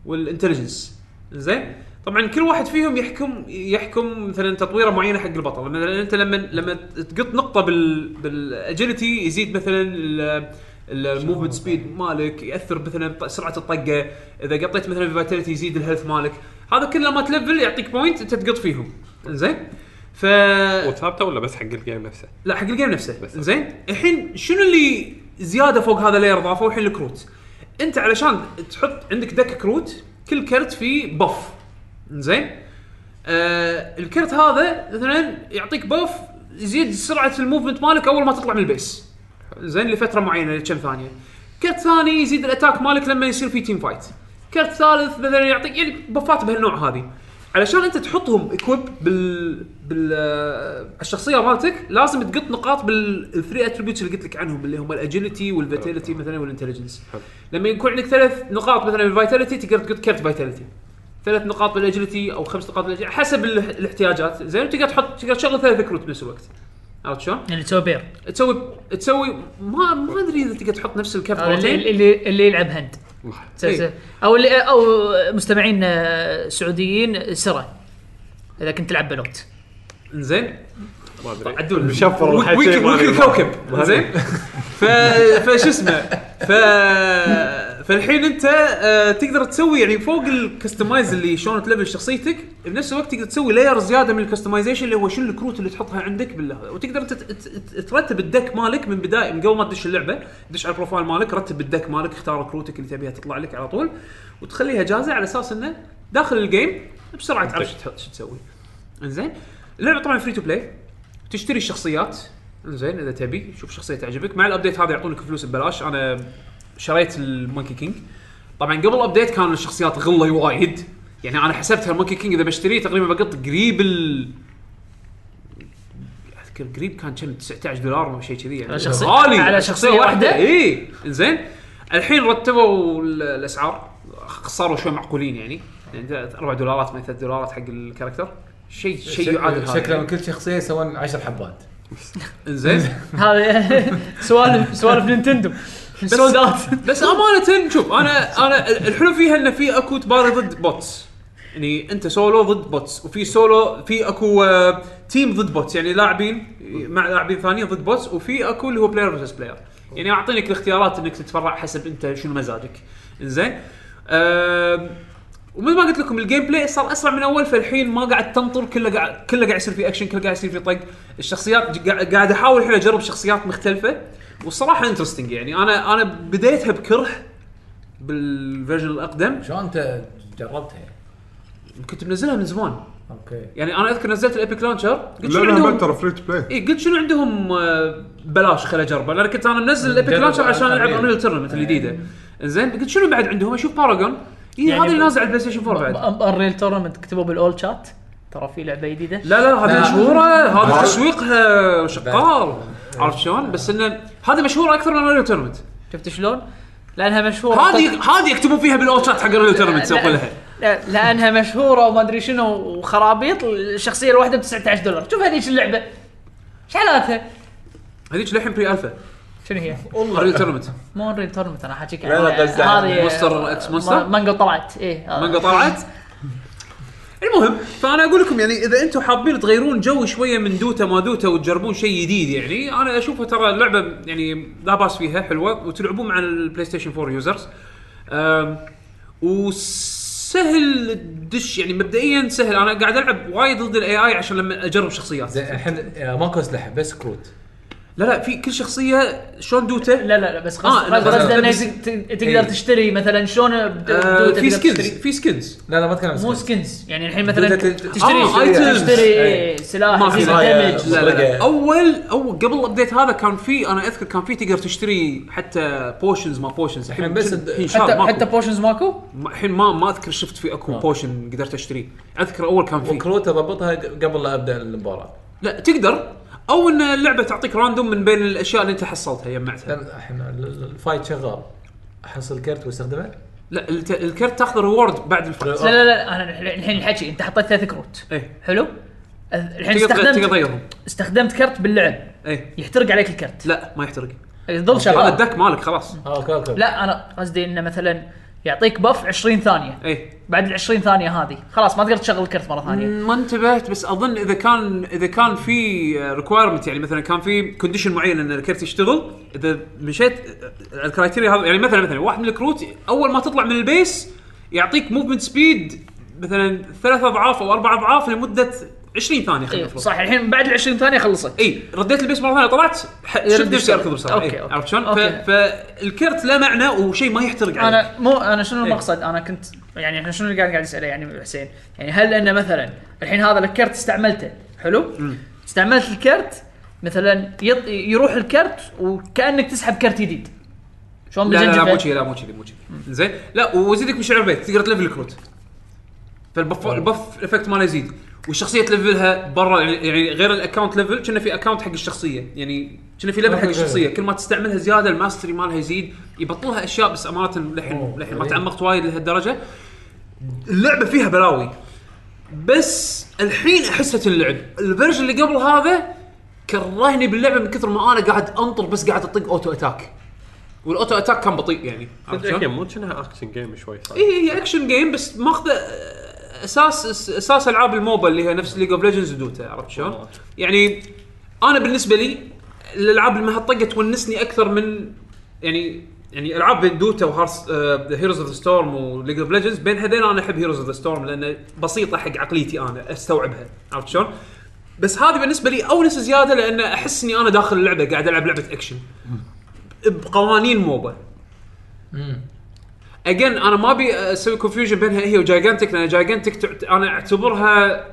S1: والانتليجنس زين طبعا كل واحد فيهم يحكم يحكم مثلا تطويره معينه حق البطل مثلا انت لما لما تقط نقطه بال بالاجيلتي يزيد مثلا الموفمنت سبيد مالك ياثر مثلا بط- سرعه الطقه اذا قطيت مثلا الفيتاليتي يزيد الهيلث مالك هذا كله ما تلفل يعطيك بوينت انت تقط فيهم زين ف
S6: وثابته ولا بس حق الجيم نفسه؟
S1: لا حق الجيم نفسه
S6: بس.
S1: زين الحين شنو اللي زياده فوق هذا اللير ضافه الحين الكروت انت علشان تحط عندك دك كروت كل كرت فيه بف زين آه الكرت هذا مثلا يعطيك بف يزيد سرعه الموفمنت مالك اول ما تطلع من البيس زين لفتره معينه لكم ثانيه كرت ثاني يزيد الاتاك مالك لما يصير في تيم فايت كرت ثالث مثلا يعطيك يعني بفات بهالنوع هذه علشان انت تحطهم اكويب بال بال آه، الشخصيه مالتك لازم تقط نقاط بالثري اتربيوتس اللي قلت لك عنهم اللي هم الاجيلتي والفيتاليتي مثلا والانتليجنس لما يكون عندك ثلاث نقاط مثلا بالفيتاليتي تقدر تقط كرت فيتاليتي ثلاث نقاط بالاجيلتي او خمس نقاط بالاجيلتي حسب ال- الاحتياجات زين وتقدر تحط تقدر تشغل ثلاث كروت بنفس الوقت عرفت شلون؟
S3: اللي تسوي بير
S1: تسوي تسوي ما ما ادري اذا تقدر تحط نفس الكف
S3: هذا آه، اللي,
S1: مرتين
S3: اللي, اللي يلعب هند س-
S1: إيه.
S3: س- او اللي او مستمعين آه، سعوديين سرة اذا كنت تلعب بلوت
S1: زين
S6: ما ادري
S1: عدول
S4: مشفر الحكي،
S1: ويك
S4: ما أدري.
S1: ويك الكوكب
S4: ما أدري.
S1: زين ف فشو اسمه ف فالحين انت آه، تقدر تسوي يعني فوق الكستمايز اللي شلون تلفل شخصيتك بنفس الوقت تقدر تسوي لاير زياده من الكستمايزيشن اللي هو شنو الكروت اللي تحطها عندك بالله وتقدر انت ت- ت- ترتب الدك مالك من بدايه من قبل ما تدش اللعبه دش على البروفايل مالك رتب الدك مالك اختار كروتك اللي تبيها تطلع لك على طول وتخليها جاهزه على اساس انه داخل الجيم بسرعه تعرف شو تحط- شو تسوي انزين اللعبه طبعا فري تو بلاي تشتري الشخصيات زين اذا تبي شوف شخصيه تعجبك مع الابديت هذا يعطونك فلوس ببلاش انا شريت المونكي كينج طبعا قبل الابديت كان الشخصيات غله وايد يعني انا حسبتها المونكي كينج اذا بشتريه تقريبا بقط قريب ال اذكر قريب كان كم 19 دولار او شيء كذي يعني
S3: على شخصية-
S1: غالي
S3: على شخصية واحدة؟
S1: اي إيه، زين الحين رتبوا ال- الاسعار صاروا شوي معقولين يعني يعني 4 دولارات من 3 دولارات حق الكاركتر شيء شيء يعادل هذا
S5: شكله
S1: يعني.
S5: من كل شخصيه يسوون 10 حبات
S1: انزين
S3: هذا سوالف سوالف نينتندو سولد اوت
S1: بس امانه شوف انا انا الحلو فيها انه في اكو تباري ضد بوتس يعني انت سولو ضد بوتس وفي سولو في اكو آه، تيم ضد بوتس يعني لاعبين مع لاعبين ثانيين ضد بوتس وفي اكو اللي هو بلاير فيرسس بلاير يعني اعطينك الاختيارات انك تتفرع حسب انت شنو مزاجك زين ومثل ما قلت لكم الجيم بلاي صار اسرع من اول فالحين ما قاعد تنطر كله قاعد كله قاعد يصير في اكشن كله قاعد يصير في طق الشخصيات ج- قاعد قاعد احاول الحين اجرب شخصيات مختلفه والصراحه انترستنج يعني انا انا بديتها بكره بالفيرجن الاقدم
S5: شلون انت جربتها يعني؟
S1: كنت منزلها من زمان
S5: اوكي
S1: يعني انا اذكر نزلت الابيك لانشر قلت شنو
S2: لانها بعد
S1: عندهم
S2: ترى فري تو بلاي
S1: اي قلت شنو عندهم آه، بلاش خل اجربه لان كنت انا منزل الابيك
S5: جرب
S1: لانشر عشان العب
S5: Unreal.
S1: انريل تورنمنت الجديده زين قلت شنو بعد عندهم اشوف باراجون اي
S3: إيه. يعني
S1: هذا اللي
S3: ب-
S1: نازل على البلاي ستيشن 4 بعد
S3: انريل تورنمنت كتبوا بالاول شات ترى في لعبه جديده
S1: لا لا هذه
S5: لا.
S1: مشهوره هذا
S5: بعد.
S1: تسويقها شغال عرفت شلون بس انه هذه مشهوره اكثر من انريل تورنمنت
S3: شفت شلون؟ لانها مشهوره
S1: هذه هذه يكتبون فيها بالاول شات حق انريل تورنمنت
S3: لا-
S1: سوق لها
S3: لا- لانها مشهوره وما ادري شنو وخرابيط الشخصيه الواحده ب 19 دولار شوف هذيك اللعبه ايش حالاتها؟
S1: هذيك للحين بري الفا
S3: شنو هي؟
S1: انريل تورنمنت
S3: مو انريل تورنمنت انا حاجيك
S4: لا، لا، قصدي عن
S1: مونستر إكس مونستر؟
S3: مانجا طلعت ايه هذا.
S1: مانجا طلعت المهم فانا اقول لكم يعني اذا انتم حابين تغيرون جو شويه من دوتا ما دوتا وتجربون شيء جديد يعني انا اشوفها ترى اللعبه يعني لا باس فيها حلوه وتلعبون مع البلاي ستيشن 4 يوزرز أم، وسهل الدش يعني مبدئيا سهل انا قاعد العب وايد ضد الاي اي عشان لما اجرب شخصيات
S5: زين الحين آه، ماكو اسلحه بس كروت
S1: لا لا في كل شخصيه شلون دوتا
S3: لا لا لا بس
S1: آه،
S3: قصد-
S1: لا،
S3: قصد
S1: لا،
S3: قصد انك
S1: بس- إيه.
S3: ت- تقدر تشتري مثلا شلون ب-
S1: آه
S3: دوتا
S1: في
S3: تقدر
S1: سكنز
S3: تشتري.
S1: في سكنز
S5: لا لا ما اتكلم عن
S3: مو
S5: skins.
S3: سكنز يعني الحين مثلا
S5: دوتا ت-
S3: تشتري
S1: آه،
S3: شيء-
S1: items.
S3: تشتري
S5: إيه.
S3: سلاح
S1: ما في آه،
S3: يزيد
S5: هاي-
S3: damage.
S1: لا لا لا
S5: صدقة.
S1: اول اول قبل الابديت هذا كان في انا اذكر كان في تقدر تشتري حتى بوشنز ما بوشنز
S5: الحين بس
S1: الحين
S3: حتى
S1: شاب
S3: حتى
S1: ماكو.
S3: بوشنز ماكو؟
S1: ما- الحين ما ما اذكر شفت في اكو بوشن قدرت اشتريه اذكر اول كان في
S5: وكروت اضبطها ق- قبل لا ابدا المباراه
S1: لا تقدر او ان اللعبه تعطيك راندوم من بين الاشياء اللي انت حصلتها جمعتها
S5: كان الحين ال- ال- الفايت شغال احصل كرت واستخدمه
S1: لا الت- الكرت تاخذ ريورد بعد الفايت
S3: لا لا لا انا الحين الحكي انت حطيت ثلاث كروت
S1: ايه
S3: حلو الحين
S1: تقدر تقدر
S3: استخدمت
S1: تغيرهم
S3: استخدمت كرت باللعب
S1: ايه
S3: يحترق عليك الكرت
S1: لا ما يحترق
S3: يظل
S1: هذا
S3: شغال
S1: الدك مالك خلاص
S5: اه اوكي اوكي
S3: لا انا قصدي انه مثلا يعطيك بف 20 ثانيه
S1: ايه
S3: بعد ال 20 ثانيه هذه خلاص ما تقدر تشغل الكرت مره ثانيه
S1: ما انتبهت بس اظن اذا كان اذا كان في ريكوايرمنت يعني مثلا كان في كونديشن معين ان الكرت يشتغل اذا مشيت الكرايتيريا هذا يعني مثلا مثلا واحد من الكروت اول ما تطلع من البيس يعطيك موفمنت سبيد مثلا ثلاث اضعاف او اربع اضعاف لمده 20 ثانيه خلينا
S3: إيه،
S1: نفرض
S3: صح الحين بعد ال 20 ثانيه خلصت
S1: اي رديت البيس مره ثانيه طلعت ح- شفت نفسي
S3: البيس.
S1: اركض بسرعه
S3: أوكي،
S1: إيه،
S3: أوكي.
S1: عرفت شلون؟ ف-
S3: أوكي.
S1: فالكرت له معنى وشيء ما يحترق عليك
S3: انا مو انا شنو
S1: إيه.
S3: المقصد انا كنت يعني احنا شنو اللي قاعد قاعد اساله يعني حسين يعني هل انه مثلا الحين هذا الكرت استعملته حلو استعملت الكرت مثلا يط... يروح الكرت وكانك تسحب كرت جديد شلون
S1: لا لا لا
S3: بالجنجبه
S1: مو كذي لا مو كذي مو كذي زين لا ويزيدك بشعور بيت تقدر تلفل الكروت فالبف البف الافكت ماله يزيد والشخصيه تلفلها برا يعني- يعني غير الاكونت ليفل كنا في اكونت حق الشخصيه يعني كنا في ليفل حق
S5: أوكي.
S1: الشخصيه كل ما تستعملها زياده الماستري مالها يزيد يبطلها اشياء بس امانه للحين
S5: أوه،
S1: للحين ما
S5: غريب.
S1: تعمقت وايد لهالدرجه اللعبه فيها بلاوي بس الحين احسها اللعب الفيرجن اللي قبل هذا كرهني باللعبه من كثر ما انا قاعد انطر بس قاعد اطق اوتو اتاك والاوتو اتاك كان بطيء يعني عرفت شلون؟
S6: صدق مو كأنها اكشن جيم شوي صح؟
S1: اي إيه، هي اكشن جيم بس ماخذه آه، اساس أس- اساس العاب الموبا اللي هي نفس ليج اوف ليجندز ودوتا عرفت شلون؟ يعني انا بالنسبه لي الالعاب اللي ما هالطقه تونسني اكثر من يعني يعني العاب دوتا آه، وهارس هيروز اوف ذا ستورم وليج اوف ليجندز بين هذين انا احب هيروز اوف ذا ستورم لانه بسيطه حق عقليتي انا استوعبها عرفت شلون؟ بس هذه بالنسبه لي اونس زياده لان احس اني انا داخل اللعبه قاعد العب لعبه اكشن بقوانين موبا اجين انا ما ابي اسوي كونفيوجن بينها هي وجايجانتك لان جايجانتك انا اعتبرها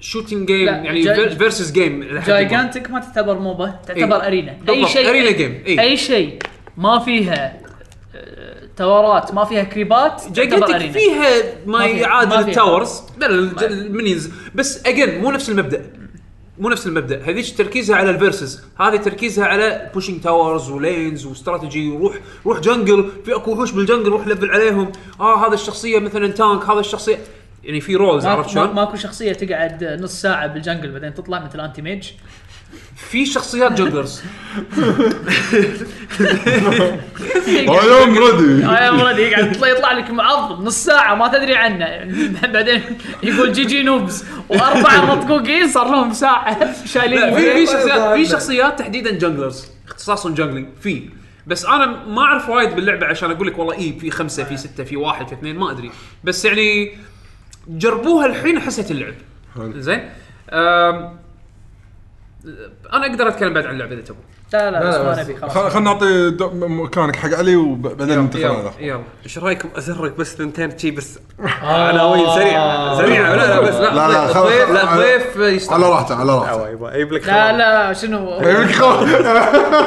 S1: شوتنج جيم
S3: لا،
S1: يعني
S3: جاي-
S1: فيرسز جيم
S3: جايجانتك ما تعتبر موبا تعتبر
S1: إيه.
S3: ارينا اي
S1: بالضبط،
S3: شيء
S1: أرينا جيم، إيه.
S3: اي شيء ما فيها آه، تورات ما فيها كريبات تعتبر
S1: جايجانتك
S3: أرينا.
S1: فيها ما
S3: ما فيها- ما
S1: يعادل
S3: فيها. طيب.
S1: التاورز لا لا الج- المنيونز بس اجين مو نفس المبدا مو نفس المبدا هذيك تركيزها على الفيرسز هذه تركيزها على بوشينج تاورز ولينز واستراتيجي وروح روح جنجل في اكو وحوش بالجنجل روح لفل عليهم اه هذا الشخصيه مثلا تانك هذا الشخصيه يعني في رولز
S3: ما-
S1: عرفت
S3: ما-
S1: شلون؟
S3: ماكو شخصيه تقعد نص ساعه بالجنجل بعدين تطلع مثل انتي ميج
S1: في شخصيات جنجلرز إيه،
S2: اي ام ريدي
S3: آه، يا ولدي يقعد يطلع, يطلع لك معض نص ساعه ما تدري عنه بعدين يقول جي جي نوبز واربعه نطقوقين صار لهم ساعه
S1: لا
S3: شايلين
S1: في في
S3: في
S1: شخصيات في شخصيات تحديدا جنجلرز اختصاصهم جنجلينج في بس انا ما اعرف وايد باللعبه عشان اقول لك والله اي في خمسه في سته في واحد في اثنين ما ادري بس يعني جربوها الحين حسيت اللعب
S2: حلو.
S1: زين أم، انا اقدر اتكلم بعد عن اللعبه اذا تبون
S3: لا لا بس
S5: لا،
S3: ما
S5: بس.
S3: نبي خلاص
S2: خلينا نعطي دو- م- مكانك حق علي وبعدين ننتقل على
S1: يلا
S2: الأخبار.
S1: يلا
S6: ايش رايكم ازرك بس ثنتين شي بس
S5: آه،
S6: عناوين سريعه سريعه لا لا بس
S2: لا، لا،
S6: لا
S2: خلاص.
S1: ضيف- لا
S2: على-
S1: ضيف يستاهل
S2: على راحته على راحته
S6: يبا
S4: إيه،
S6: اجيب لك
S3: لا
S6: خبر.
S3: لا شنو
S2: يبيك خوف.
S5: الله-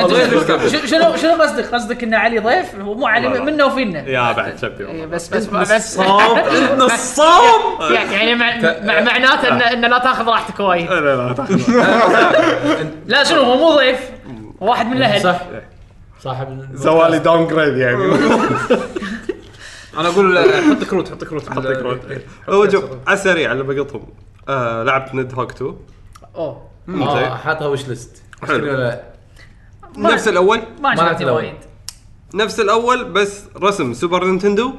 S3: أنت
S5: الله
S3: شنو-
S5: يستر.
S3: شنو- شنو شنو قصدك قصدك ان علي ضيف هو مو علي
S6: والله.
S3: منا وفينا
S6: يا بعد شبي
S3: إيه،
S6: والله
S3: بس بس بس
S6: نصاب نصاب
S3: يعني يعني مع- مع- معناته ان ان لا تاخذ راحتك وايد
S6: لا لا تاخذ
S3: لا شنو هو مو ضيف هو واحد من الاهل
S5: صح صاحب ال-
S6: سوالي داون جريد يعني
S1: انا اقول آه، حط كروت حط كروت
S6: حط لك رد. إيه. هو شوف على السريع اللي بقطهم آه، لعبت نيد هوك 2
S3: اوه
S4: طيب.
S5: اه حاطها وش ليست
S6: حلو.
S5: اشتري ولا لا؟
S3: ما-
S6: نفس الاول
S3: ما عجبتني
S5: أعتبر.
S3: وايد
S6: نفس الاول بس رسم سوبر نينتندو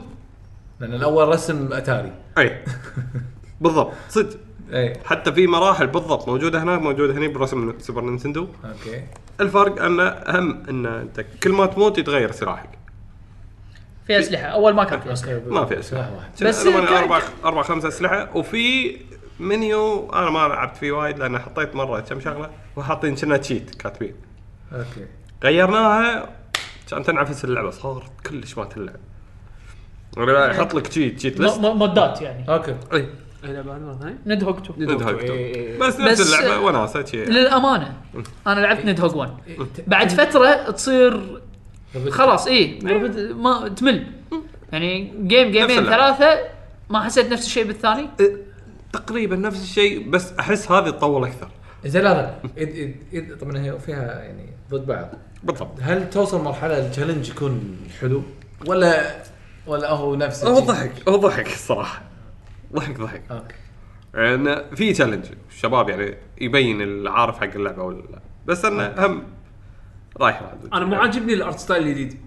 S5: لان الاول رسم اتاري
S6: اي بالضبط صدق
S4: إيه.
S5: اي
S6: حتى في مراحل بالضبط موجوده هناك موجوده هنا برسم سوبر نينتندو
S5: اوكي
S6: الفرق ان اهم ان انت كل ما تموت يتغير سلاحك
S3: في اسلحه اول ما كان في اسلحه
S6: ما في اسلحه
S5: سلاح واحد
S3: بس
S6: بس
S3: ك-
S6: اربع اربع خمس اسلحه وفي منيو انا ما لعبت فيه وايد لان حطيت مره كم شغله وحاطين كنا تشيت كاتبين
S5: اوكي
S6: غيرناها كان تنعفس اللعبه صارت كلش ما تلعب ولا يحط لك تشيت تشيت
S3: م-
S6: ليست
S3: م- مودات يعني
S5: اوكي
S3: ندهوك تو
S6: ندهك تو. بس
S3: بس-
S6: نفس اللعبه وناسه شي.
S3: للامانه انا لعبت ندهوك 1 بعد فتره تصير خلاص اي ما تمل يعني جيم جيمين
S6: اللعبة.
S3: ثلاثه ما حسيت نفس الشيء بالثاني
S6: تقريبا نفس الشيء بس احس هذه تطول اكثر
S5: زين لا لا إد إد إد طبعا هي فيها يعني ضد بعض
S4: بالضبط
S5: هل توصل مرحله التشالنج يكون حلو ولا ولا هو نفس
S4: هو
S5: الشيء؟
S4: ضحك هو ضحك الصراحه ضحك ضحك
S5: اوكي
S4: يعني في تشالنج الشباب يعني يبين العارف حق اللعبه ولا لا بس انا هم رايح راجع.
S7: انا مو عاجبني الارت ستايل الجديد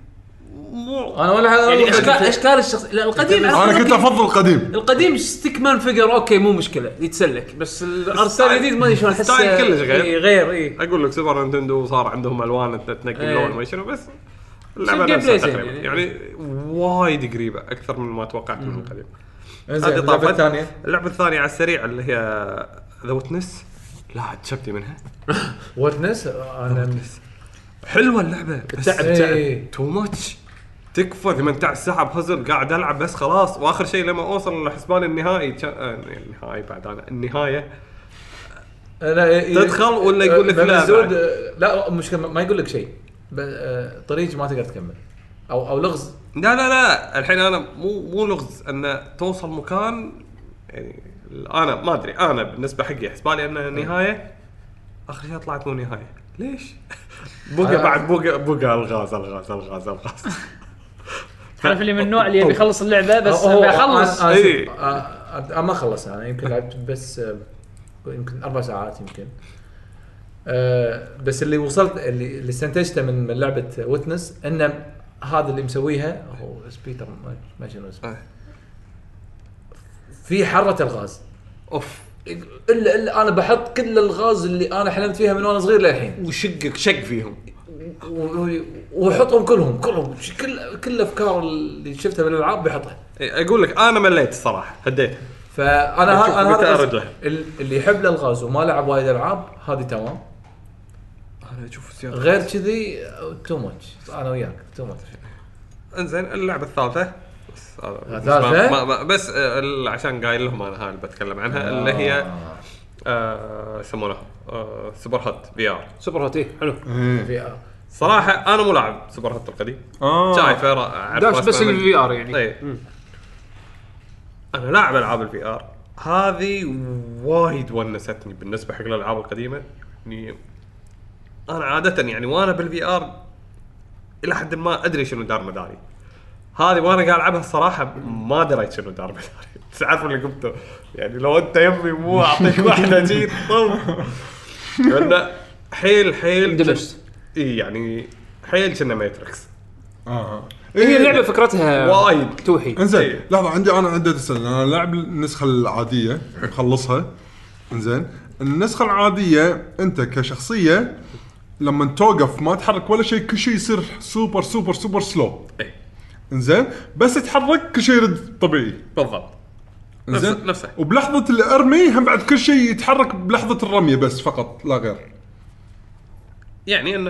S4: مو
S5: انا ولا هذا
S7: يعني
S5: ولا
S7: اشكال
S5: كنت-
S7: اشكال الشخص لا القديم
S2: انا كنت افضل القديم
S7: القديم ستيك مان فيجر اوكي مو مشكله يتسلك بس الارت ستايل الجديد ما ادري شلون احسه
S4: ستايل كلش غير.
S7: إي، غير إيه. اي
S4: اقول لك سوبر نينتندو صار عندهم الوان تنقي
S7: إيه.
S4: لون ما شنو بس
S7: شو
S4: اللعبه
S7: الجيم
S4: نفسها
S7: بلاي زين
S4: تقريباً. يعني وايد قريبه اكثر من ما توقعت من القديم
S5: انزين
S4: هذه
S5: اللعبه
S4: طافت.
S5: الثانيه
S4: اللعبه الثانيه على السريع اللي هي ذا وتنس لا عجبتني منها
S5: واتنس انا
S4: حلوه اللعبه التعب
S5: إيه.
S4: تعب تو ماتش تكفى 18 ساعه بهزل قاعد العب بس خلاص واخر شيء لما اوصل لحسبان النهائي كان- آه، النهائي بعد انا النهايه
S5: لا ي-
S4: تدخل ولا يقول لك
S5: بس
S4: لا
S5: زود-
S4: بعد؟
S5: إيه- لا مشكله ما- ما يقول لك شيء ب- آه، طريق ما تقدر تكمل او او لغز
S4: لا لا لا الحين انا مو مو لغز ان توصل مكان يعني انا ما ادري انا بالنسبه حقي حسبالي انه نهايه اخر شيء طلعت مو نهايه ليش؟ بقى
S5: آه.
S4: بعد بقى بقى الغاز الغاز الغاز الغاز
S3: تعرف اللي من النوع اللي يبي يخلص اللعبه بس
S5: أو- أو-
S3: بيخلص
S5: أنا- أنا-
S4: إيه.
S5: أنا- أنا ما خلصت انا يمكن لعبت بس آه، يمكن اربع ساعات يمكن آه، بس اللي وصلت اللي اللي استنتجته من من لعبه ويتنس ان هذا اللي مسويها هو سبيتر ما- ما شنو اسمه
S4: آه.
S5: في حره الغاز
S4: اوف
S5: الا الا انا بحط كل الغاز اللي انا حلمت فيها من وانا صغير للحين
S4: وشقك شق فيهم
S5: و- واحطهم كلهم كلهم ش- كل كل الافكار اللي شفتها بالالعاب بحطها
S4: إيه، اقول لك انا مليت الصراحه هديت
S5: فانا
S4: بتشوف
S5: ها انا
S4: متى
S5: هذا
S4: أرد
S5: قصدي.
S4: له.
S5: ال- اللي يحب الالغاز وما لعب وايد العاب هذه تمام
S4: انا اشوف سيارة
S5: غير كذي uh, تو ماتش انا وياك تو ماتش
S4: انزين اللعبه الثالثه بس هذا
S5: الثالثة؟
S4: بالنسبة- ما- ما- بس آه، ال- عشان قايل لهم انا هاي اللي بتكلم عنها اللي هي آه، يسمونها آه، سوبر هات في ار
S7: سوبر هوت إي، حلو
S2: إيه.
S4: صراحه انا مو لاعب سوبر هات القديم
S2: آه.
S4: شايفه را- أعرف
S7: داش
S4: رسمه
S7: بس
S4: من-
S7: الفي ار يعني
S4: اي انا لاعب العاب الفي ار هذه وايد ونستني بالنسبه حق الالعاب القديمه يعني انا عاده يعني وانا بالفي ار الى حد ما ادري شنو دار مداري هذه وانا قاعد العبها الصراحه ما دريت شنو دار مداري تعرف اللي قمته يعني لو انت يمي مو اعطيك واحده جيت طب لأن حيل حيل
S7: اندمجت.
S4: اي يعني حيل كنا ماتريكس
S2: آه.
S7: هي اللعبه فكرتها
S4: وايد
S7: توحي
S2: انزين
S4: إيه.
S2: لحظه عندي انا عندي تسلل انا لاعب النسخه العاديه مخلصها انزين النسخه العاديه انت كشخصيه لما توقف ما تحرك ولا شيء كل شيء يصير سوبر سوبر سوبر سلو
S4: إيه.
S2: انزين بس تتحرك كل شيء يرد طبيعي
S4: بالضبط
S2: انزين
S4: نفسه- نفسه.
S2: وبلحظه الارمي هم بعد كل شيء يتحرك بلحظه الرميه بس فقط لا غير
S4: يعني ان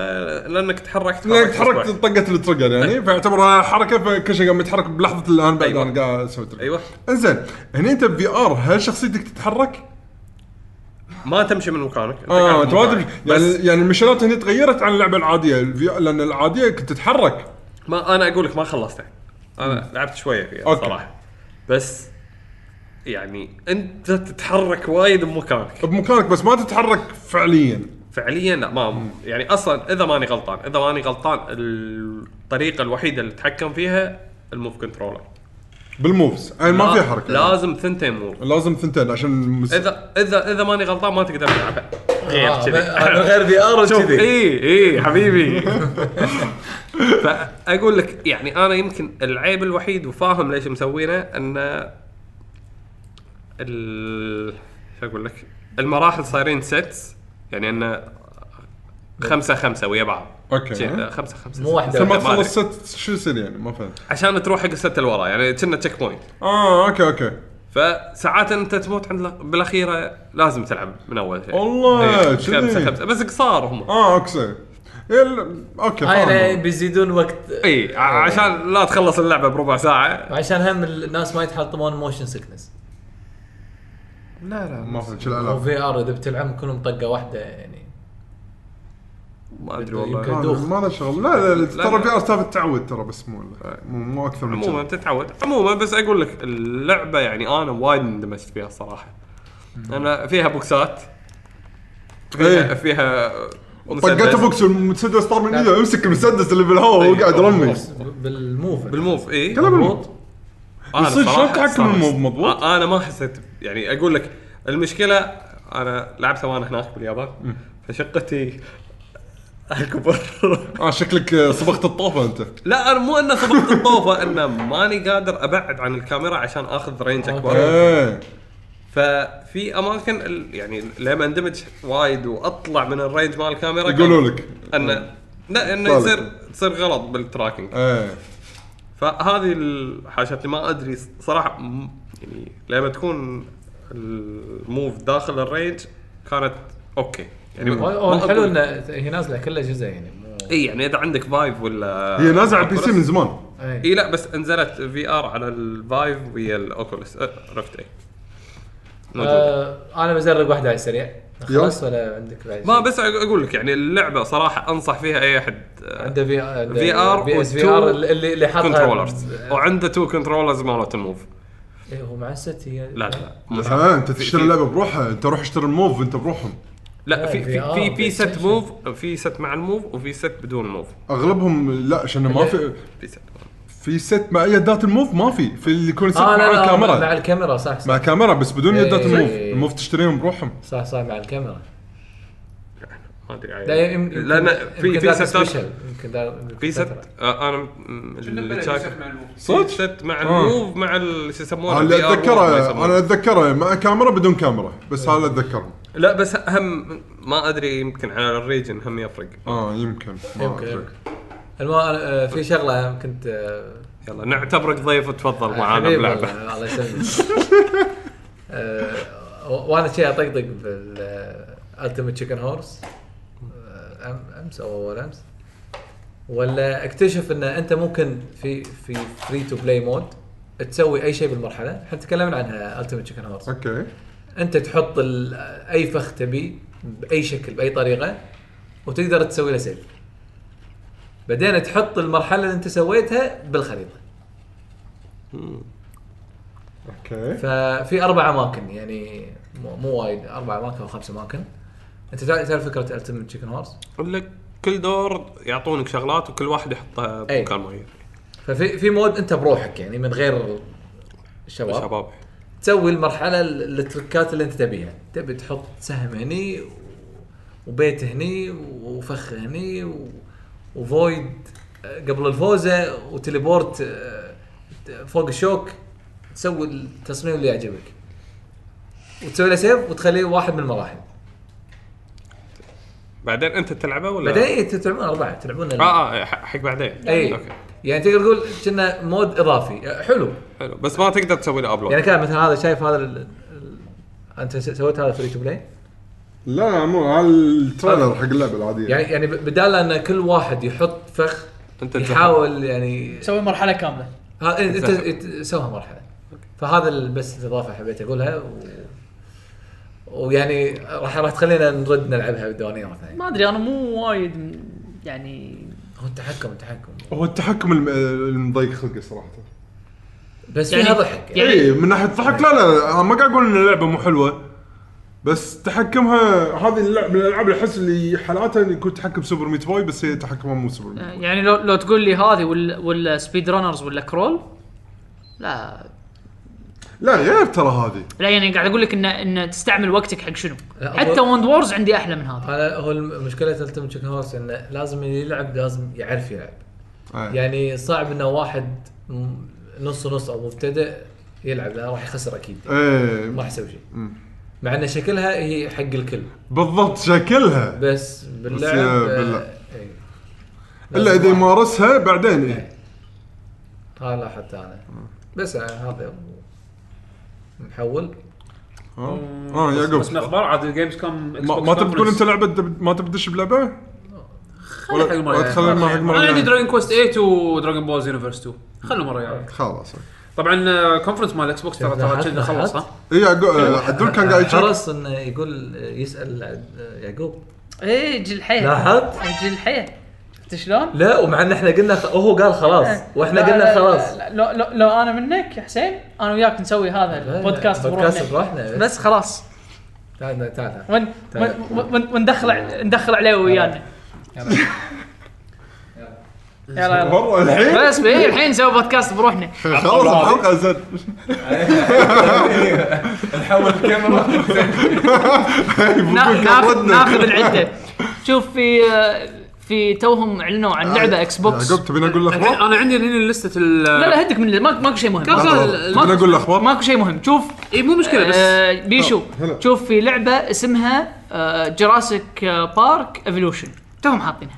S4: لانك تحركت
S2: لانك يعني تحركت طقت التريجر يعني فاعتبرها حركه فكل شيء قام يتحرك بلحظه الان بعد
S4: أيوة.
S2: انا قاعد اسوي تريجر
S4: ايوه
S2: انزين هنا انت بفي ار هل شخصيتك تتحرك؟
S4: ما تمشي من مكانك أنت
S2: اه
S4: قاعد
S2: انت ما
S4: بمكانك.
S2: تمشي يعني
S4: بس
S2: يعني المشينات هنا تغيرت عن اللعبه العاديه الفي... لان العاديه كنت تتحرك
S4: ما انا اقول لك ما خلصتها انا لعبت شويه فيها
S2: أوكي.
S4: صراحه بس يعني انت تتحرك وايد بمكانك
S2: بمكانك بس ما تتحرك فعليا
S4: فعليا لا ما يعني اصلا اذا ماني غلطان اذا ماني غلطان الطريقه الوحيده اللي تتحكم فيها الموف كنترولر
S2: بالموفز يعني ما في حركه
S4: لازم ثنتين موف
S2: لازم ثنتين عشان مس...
S4: اذا اذا اذا ماني غلطان ما تقدر تلعبها غير
S5: آه،
S4: كذي
S5: أنا غير في ار
S4: شوف
S5: كذي
S4: اي اي حبيبي فاقول لك يعني انا يمكن العيب الوحيد وفاهم ليش مسوينه ان ال شو اقول لك المراحل صايرين سيتس يعني ان خمسة خمسة ويا بعض
S2: اوكي
S4: شي-
S2: ها؟
S4: خمسة خمسة
S5: مو
S4: ستة.
S5: واحدة
S2: انت ما
S4: ما أدري.
S2: تخلصت شو يصير يعني ما فهمت
S4: عشان تروح حق الست اللي ورا يعني كنا تشيك بوينت
S2: اه اوكي اوكي
S4: فساعات انت تموت عند بالاخيره لازم تلعب من اول شيء
S2: والله،
S4: إيه،
S2: كذي.
S4: خمسه خمسه بس قصار هم
S2: اه اوكي يل... اوكي
S5: يعني
S2: فاهم.
S5: بيزيدون وقت
S4: اي إيه، ع- عشان لا تخلص اللعبه بربع ساعه
S5: عشان هم الناس ما يتحطمون موشن سكنس
S4: لا لا
S2: ما فهمت شو
S5: او
S2: الالعاب
S5: في ار اذا بتلعب كلهم طقه واحده يعني
S4: ما ادري
S5: يمكن.
S4: والله
S2: آه،
S5: دوخ.
S2: ما له شغل لا لا, لا
S4: لا،
S2: ترى
S4: لا.
S2: في ار تابت تعود ترى بس مو مو, مو اكثر من
S4: عموما
S2: كذا.
S4: تتعود عموما بس اقول لك اللعبه يعني انا وايد اندمجت فيها الصراحه انا فيها بوكسات فيها فيها
S2: طقت
S4: مسدس. طيب.
S2: ابوكس المسدس طار من ايده امسك المسدس اللي بالهواء وهو قاعد يرمي
S5: بالموف
S4: بالموف اي
S2: كلام
S4: مضبوط انا
S2: صدق
S4: صراحة
S2: شلون تحكم
S4: استانست.
S2: الموف مضبوط؟
S4: أ- انا ما حسيت يعني اقول لك المشكله انا لعبتها وانا هناك باليابان فشقتي اكبر
S2: اه شكلك آه، صبغت الطوفه انت
S4: لا انا مو انه صبغت الطوفه انه ماني قادر ابعد عن الكاميرا عشان اخذ رينج اكبر
S2: ايه
S4: ففي اماكن ال- يعني لما اندمج وايد واطلع من الرينج مال الكاميرا
S2: يقولوا لك
S4: انه لا انه
S2: طالع.
S4: يصير تصير غلط بالتراكنج
S2: ايه
S4: فهذه الحاجات اللي ما ادري صراحه م- يعني لما تكون الموف داخل الرينج كانت اوكي يعني ما
S5: هو الحلو
S4: أقول-
S5: انه هي نازله كلها جزء يعني مو
S4: اي يعني اذا عندك فايف ولا
S2: هي نازعه على البي سي من زمان
S5: إي.
S4: اي لا بس نزلت في ار على الفايف ويا الاوكولس عرفت اي موجودة.
S5: آه انا بزرق واحده على السريع خلاص ولا عندك بعد
S4: ما بس أق- اقول لك يعني اللعبه صراحه انصح فيها اي احد
S5: عنده في ار
S4: في آر
S5: في اس في
S4: وتو
S5: ار اللي اللي
S4: آه،
S5: حاطها
S4: كنترولرز وعنده تو كنترولرز مالت الموف
S5: إي، إيه، هو مع الست هي
S4: لا لا مو صح.
S2: اه انت تشتري اللعبه بروحها انت روح اشتري الموف انت بروحهم
S4: لا في
S5: لا،
S4: في
S5: VR
S4: في, في
S5: PlayStation.
S4: ست موف في ست مع الموف وفي ست بدون موف
S2: اغلبهم لا عشان ما في
S4: في ست
S2: في ست مع يدات الموف ما في في اللي يكون ست مع
S5: اه لا لا
S2: الكاميرا
S5: مع- مع الكاميرا صح صح
S2: مع كاميرا بس بدون
S5: إيه.
S2: يدات الموف
S5: إيه.
S2: الموف تشتريهم بروحهم
S5: صح, صح مع الكاميرا
S4: ما ادري عيل.
S5: لا يم- يمكن
S4: لان في في ستات
S5: سبيشل يمكن ذا-
S4: في ست
S5: فترة.
S4: آه، انا م- اللي شايف
S2: صدق؟
S4: في ست مع
S2: آه.
S4: الموف مع ال- شو يسمونه
S2: اللي
S4: VR ما
S2: اتذكره
S4: يسمونه.
S2: انا اتذكره مع كاميرا بدون كاميرا بس هذا اتذكره
S4: لا بس هم ما ادري يمكن على الريجن هم يفرق
S2: اه يمكن ما
S5: يمكن
S2: أدري.
S5: يمكن المهم آه، في شغله كنت آه،
S4: يلا نعتبرك ضيف وتفضل معانا
S5: أه، حبيبي
S4: بلعبه
S5: والله، الله يسلمك آه، و- وانا شي اطقطق بالالتيميت تشيكن هورس أه، امس او اول امس ولا اكتشف ان انت ممكن في في فري تو بلاي مود تسوي اي شيء بالمرحله احنا تكلمنا عنها التيميت تشيكن هورس
S2: اوكي
S5: انت تحط ال- اي فخ تبي باي شكل باي طريقه وتقدر تسوي له سيف بعدين تحط المرحله اللي انت سويتها بالخريطه
S2: اوكي
S5: ففي اربع اماكن يعني مو, مو وايد اربع اماكن او خمس اماكن انت تع- تعرف فكره التيمت تشيكن هورس
S4: اقول لك كل دور يعطونك شغلات وكل واحد يحطها
S5: أي.
S4: بمكان معين
S5: ففي في مود انت بروحك يعني من غير الشباب
S4: شباب
S5: تسوي المرحله ال- التركات اللي انت تبيها تبي تحط سهم هني و- وبيت هني وفخ هني و- وفويد آه، قبل الفوزه وتليبورت آه، فوق الشوك تسوي التصميم اللي يعجبك وتسوي له سيف وتخليه واحد من المراحل
S4: بعدين انت تلعبه ولا
S5: بعدين إيه، تلعبون اربعه تلعبون ال-
S4: اه اه ح- حق بعدين
S5: اي
S4: اوكي
S5: يعني تقدر تقول كنا مود اضافي حلو
S4: حلو بس ما تقدر تسوي له ابلود
S5: يعني كان مثلا هذا شايف هذا ال... ال... انت س- سويت هذا فري تو بلاي
S2: لا لا مو على التريلر حق اللعبه العاديه
S5: يعني يعني ب- بدال ان كل واحد يحط فخ
S4: انت تزهق.
S5: يحاول يعني
S3: تسوي مرحله كامله
S5: ها- انت انت سوها مرحله فهذا ال- بس الاضافه حبيت اقولها و... ويعني راح راح تخلينا نرد نلعبها بالديوانيه مره ثانيه
S3: ما ادري انا مو وايد م- يعني
S5: هو التحكم التحكم
S2: هو التحكم الم- المضيق خلقي صراحه
S5: بس
S3: يعني-
S5: فيها ضحك يعني.
S3: يعني-
S2: اي من ناحيه ضحك لا لا انا ما قاعد اقول ان اللعبه مو حلوه بس تحكمها هذه اللعبه من الالعاب اللي احس اللي حالاتها يكون تحكم سوبر ميت بوي بس هي تحكمها مو سوبر ميت بوي.
S3: يعني لو لو تقول لي هذه ولا ولا سبيد رانرز ولا كرول لا
S2: لا غير ترى هذه
S3: لا يعني قاعد اقول لك ان ان تستعمل وقتك حق شنو
S5: لا،
S3: حتى وند وورز عندي احلى من هذا
S5: انا هو الم- مشكله التيم تشيكن هورس انه لازم اللي يلعب لازم يعرف يلعب
S2: آه.
S5: يعني صعب انه واحد م- نص نص او مبتدئ يلعب لانه راح يخسر اكيد ما
S2: ايه
S5: راح يسوي شيء مع ان شكلها هي حق الكل
S2: بالضبط شكلها
S5: بس باللعب
S2: يا
S5: آه،
S2: باللعب.
S5: إي.
S2: الا اذا
S5: لازم واحد- آه،
S2: يمارسها بعدين ايه
S5: ها لاحظت انا بس آه، هذا محول
S2: اه آه،
S7: بس من
S2: يعقوب
S7: اخبار عاد جيمز كوم
S2: ما, ما تبي تقول انت لعبه دب- ما تبي تدش بلعبه؟
S7: خلي حق المره
S2: ولا
S7: الجاية.
S2: تخلي حق المرة
S7: انا عندي
S2: الجاية.
S7: دراجون كويست 8 ودراجون بول يونيفرس 2 خلوا مره يعني
S2: خلاص
S7: طبعا كونفرنس آه، مال اكس بوكس ترى ترى كنا خلص ها
S2: اي يعقوب آه، عدول كان قاعد يشوف
S5: حرص انه يقول يسال آه، يعقوب
S3: ايه يجي الحياه
S5: لاحظت؟
S3: يجي الحياه شفت شلون؟
S5: لا ومع ان احنا قلنا خ... هو قال خلاص واحنا
S3: إيه. لا،
S5: قلنا
S3: لا،
S5: خلاص
S3: لا، لو لو لو انا منك يا حسين انا وياك نسوي هذا البودكاست
S5: بودكاست
S3: بروحنا
S5: بروحنا
S3: بس خلاص
S5: لا لا، تعال تعال
S3: ون
S5: طيب.
S3: ون- ون- وندخل ع- ندخل عليه ويانا يلا يلا
S2: والله الحين
S3: بس بي- الحين نسوي بودكاست بروحنا
S2: خلاص الحلقه زين
S5: نحول الكاميرا
S2: إيه،
S3: نا- ناخذ ناخذ العده شوف في آه، في توهم اعلنوا عن لعبه
S2: آه،
S3: اكس بوكس
S2: يعقوب تبيني اقول لك
S1: الحين انا عندي هنا لستة ال
S3: لا لا هدك من اللي- ماك- ماكو شيء مهم
S2: تبيني اقول الاخبار
S3: ماكو شيء مهم شوف
S7: إيه،
S1: اي مو مشكله طيب، بس
S3: آه، بيشو
S2: هلا.
S3: شوف في لعبه اسمها آه، جراسيك آه، بارك ايفولوشن توهم حاطينها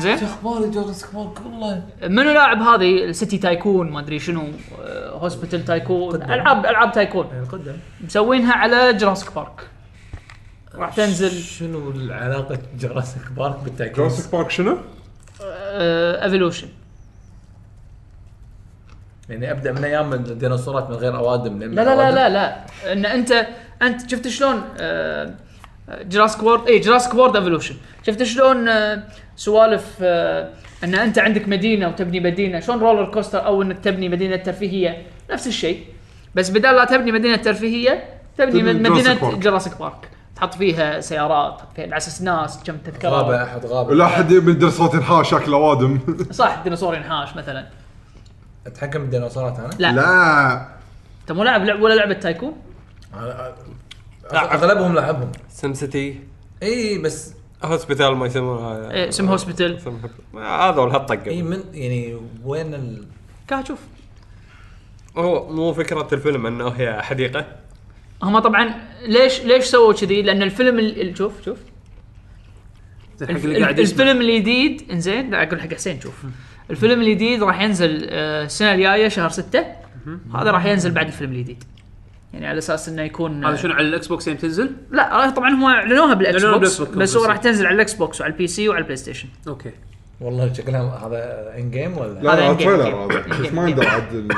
S3: زين
S5: اخباري جورس بارك والله
S3: منو لاعب هذه السيتي تايكون ما ادري شنو آه، هوسبيتال تايكون العاب العاب تايكون
S5: يعني قدم
S3: مسوينها على جراسيك بارك راح تنزل
S5: شنو العلاقه جوراسيك بارك بالتاكيد
S2: جوراسيك بارك شنو؟
S3: ايفولوشن
S5: يعني ابدا من ايام الديناصورات من غير اوادم
S3: لا لا لا لا لا ان انت انت شفت شلون آه، إيه، جراسك وورد اي جراسك وورد ايفولوشن شفت شلون آه، سوالف آه، ان انت عندك مدينه وتبني مدينه شلون رولر كوستر او انك تبني مدينه ترفيهيه نفس الشيء بس بدال لا تبني مدينه ترفيهيه تبني
S2: تبني جراسيك
S3: مدينه
S2: بارك.
S3: جراسك بارك تحط فيها سيارات تحط فيها على اساس ناس كم تذكره
S5: غابه احد غابه
S2: ولا احد من الدراسات ينحاش شكل اوادم
S3: صح ديناصور ينحاش مثلا
S5: اتحكم بالديناصورات انا؟
S3: لا, لا.
S2: لا
S3: انت طيب، مو لاعب لعب ولا لعبه تايكون
S5: أنا- أ- اغلبهم لعبهم
S4: سم سيتي
S5: اي بس
S6: هوسبيتال ما يسمونها
S3: إيه، اسمها هوسبيتال
S6: اسمها- هذا ولا
S5: اي
S6: هالطقه
S5: من يعني وين ال...
S3: كا شوف
S6: هو مو فكره الفيلم انه هي حديقه
S3: هم طبعا ليش ليش سووا كذي؟ لان الفيلم ال- ال- شوف شوف
S1: حق اللي قاعد
S3: ال-
S1: يسمع
S3: الفيلم الجديد انزين لا اقول حق حسين شوف الفيلم الجديد راح ينزل آه، السنه الجايه شهر 6 هذا راح ينزل بعد الفيلم الجديد يعني على اساس انه يكون
S1: هذا شنو على الاكس بوكس يوم تنزل؟
S3: لا آه، طبعا هم اعلنوها بالاكس
S1: اعلنوها
S3: بوكس
S1: بالإكس بوكس،
S3: بس هو
S1: بس.
S3: راح تنزل على الاكس بوكس وعلى البي سي وعلى البلاي ستيشن
S1: اوكي
S5: والله شكلها هذا ان جيم ولا
S2: لا
S3: هذا
S2: لا
S3: إن-game.
S2: تريلر هذا بس ما يندر عاد ال-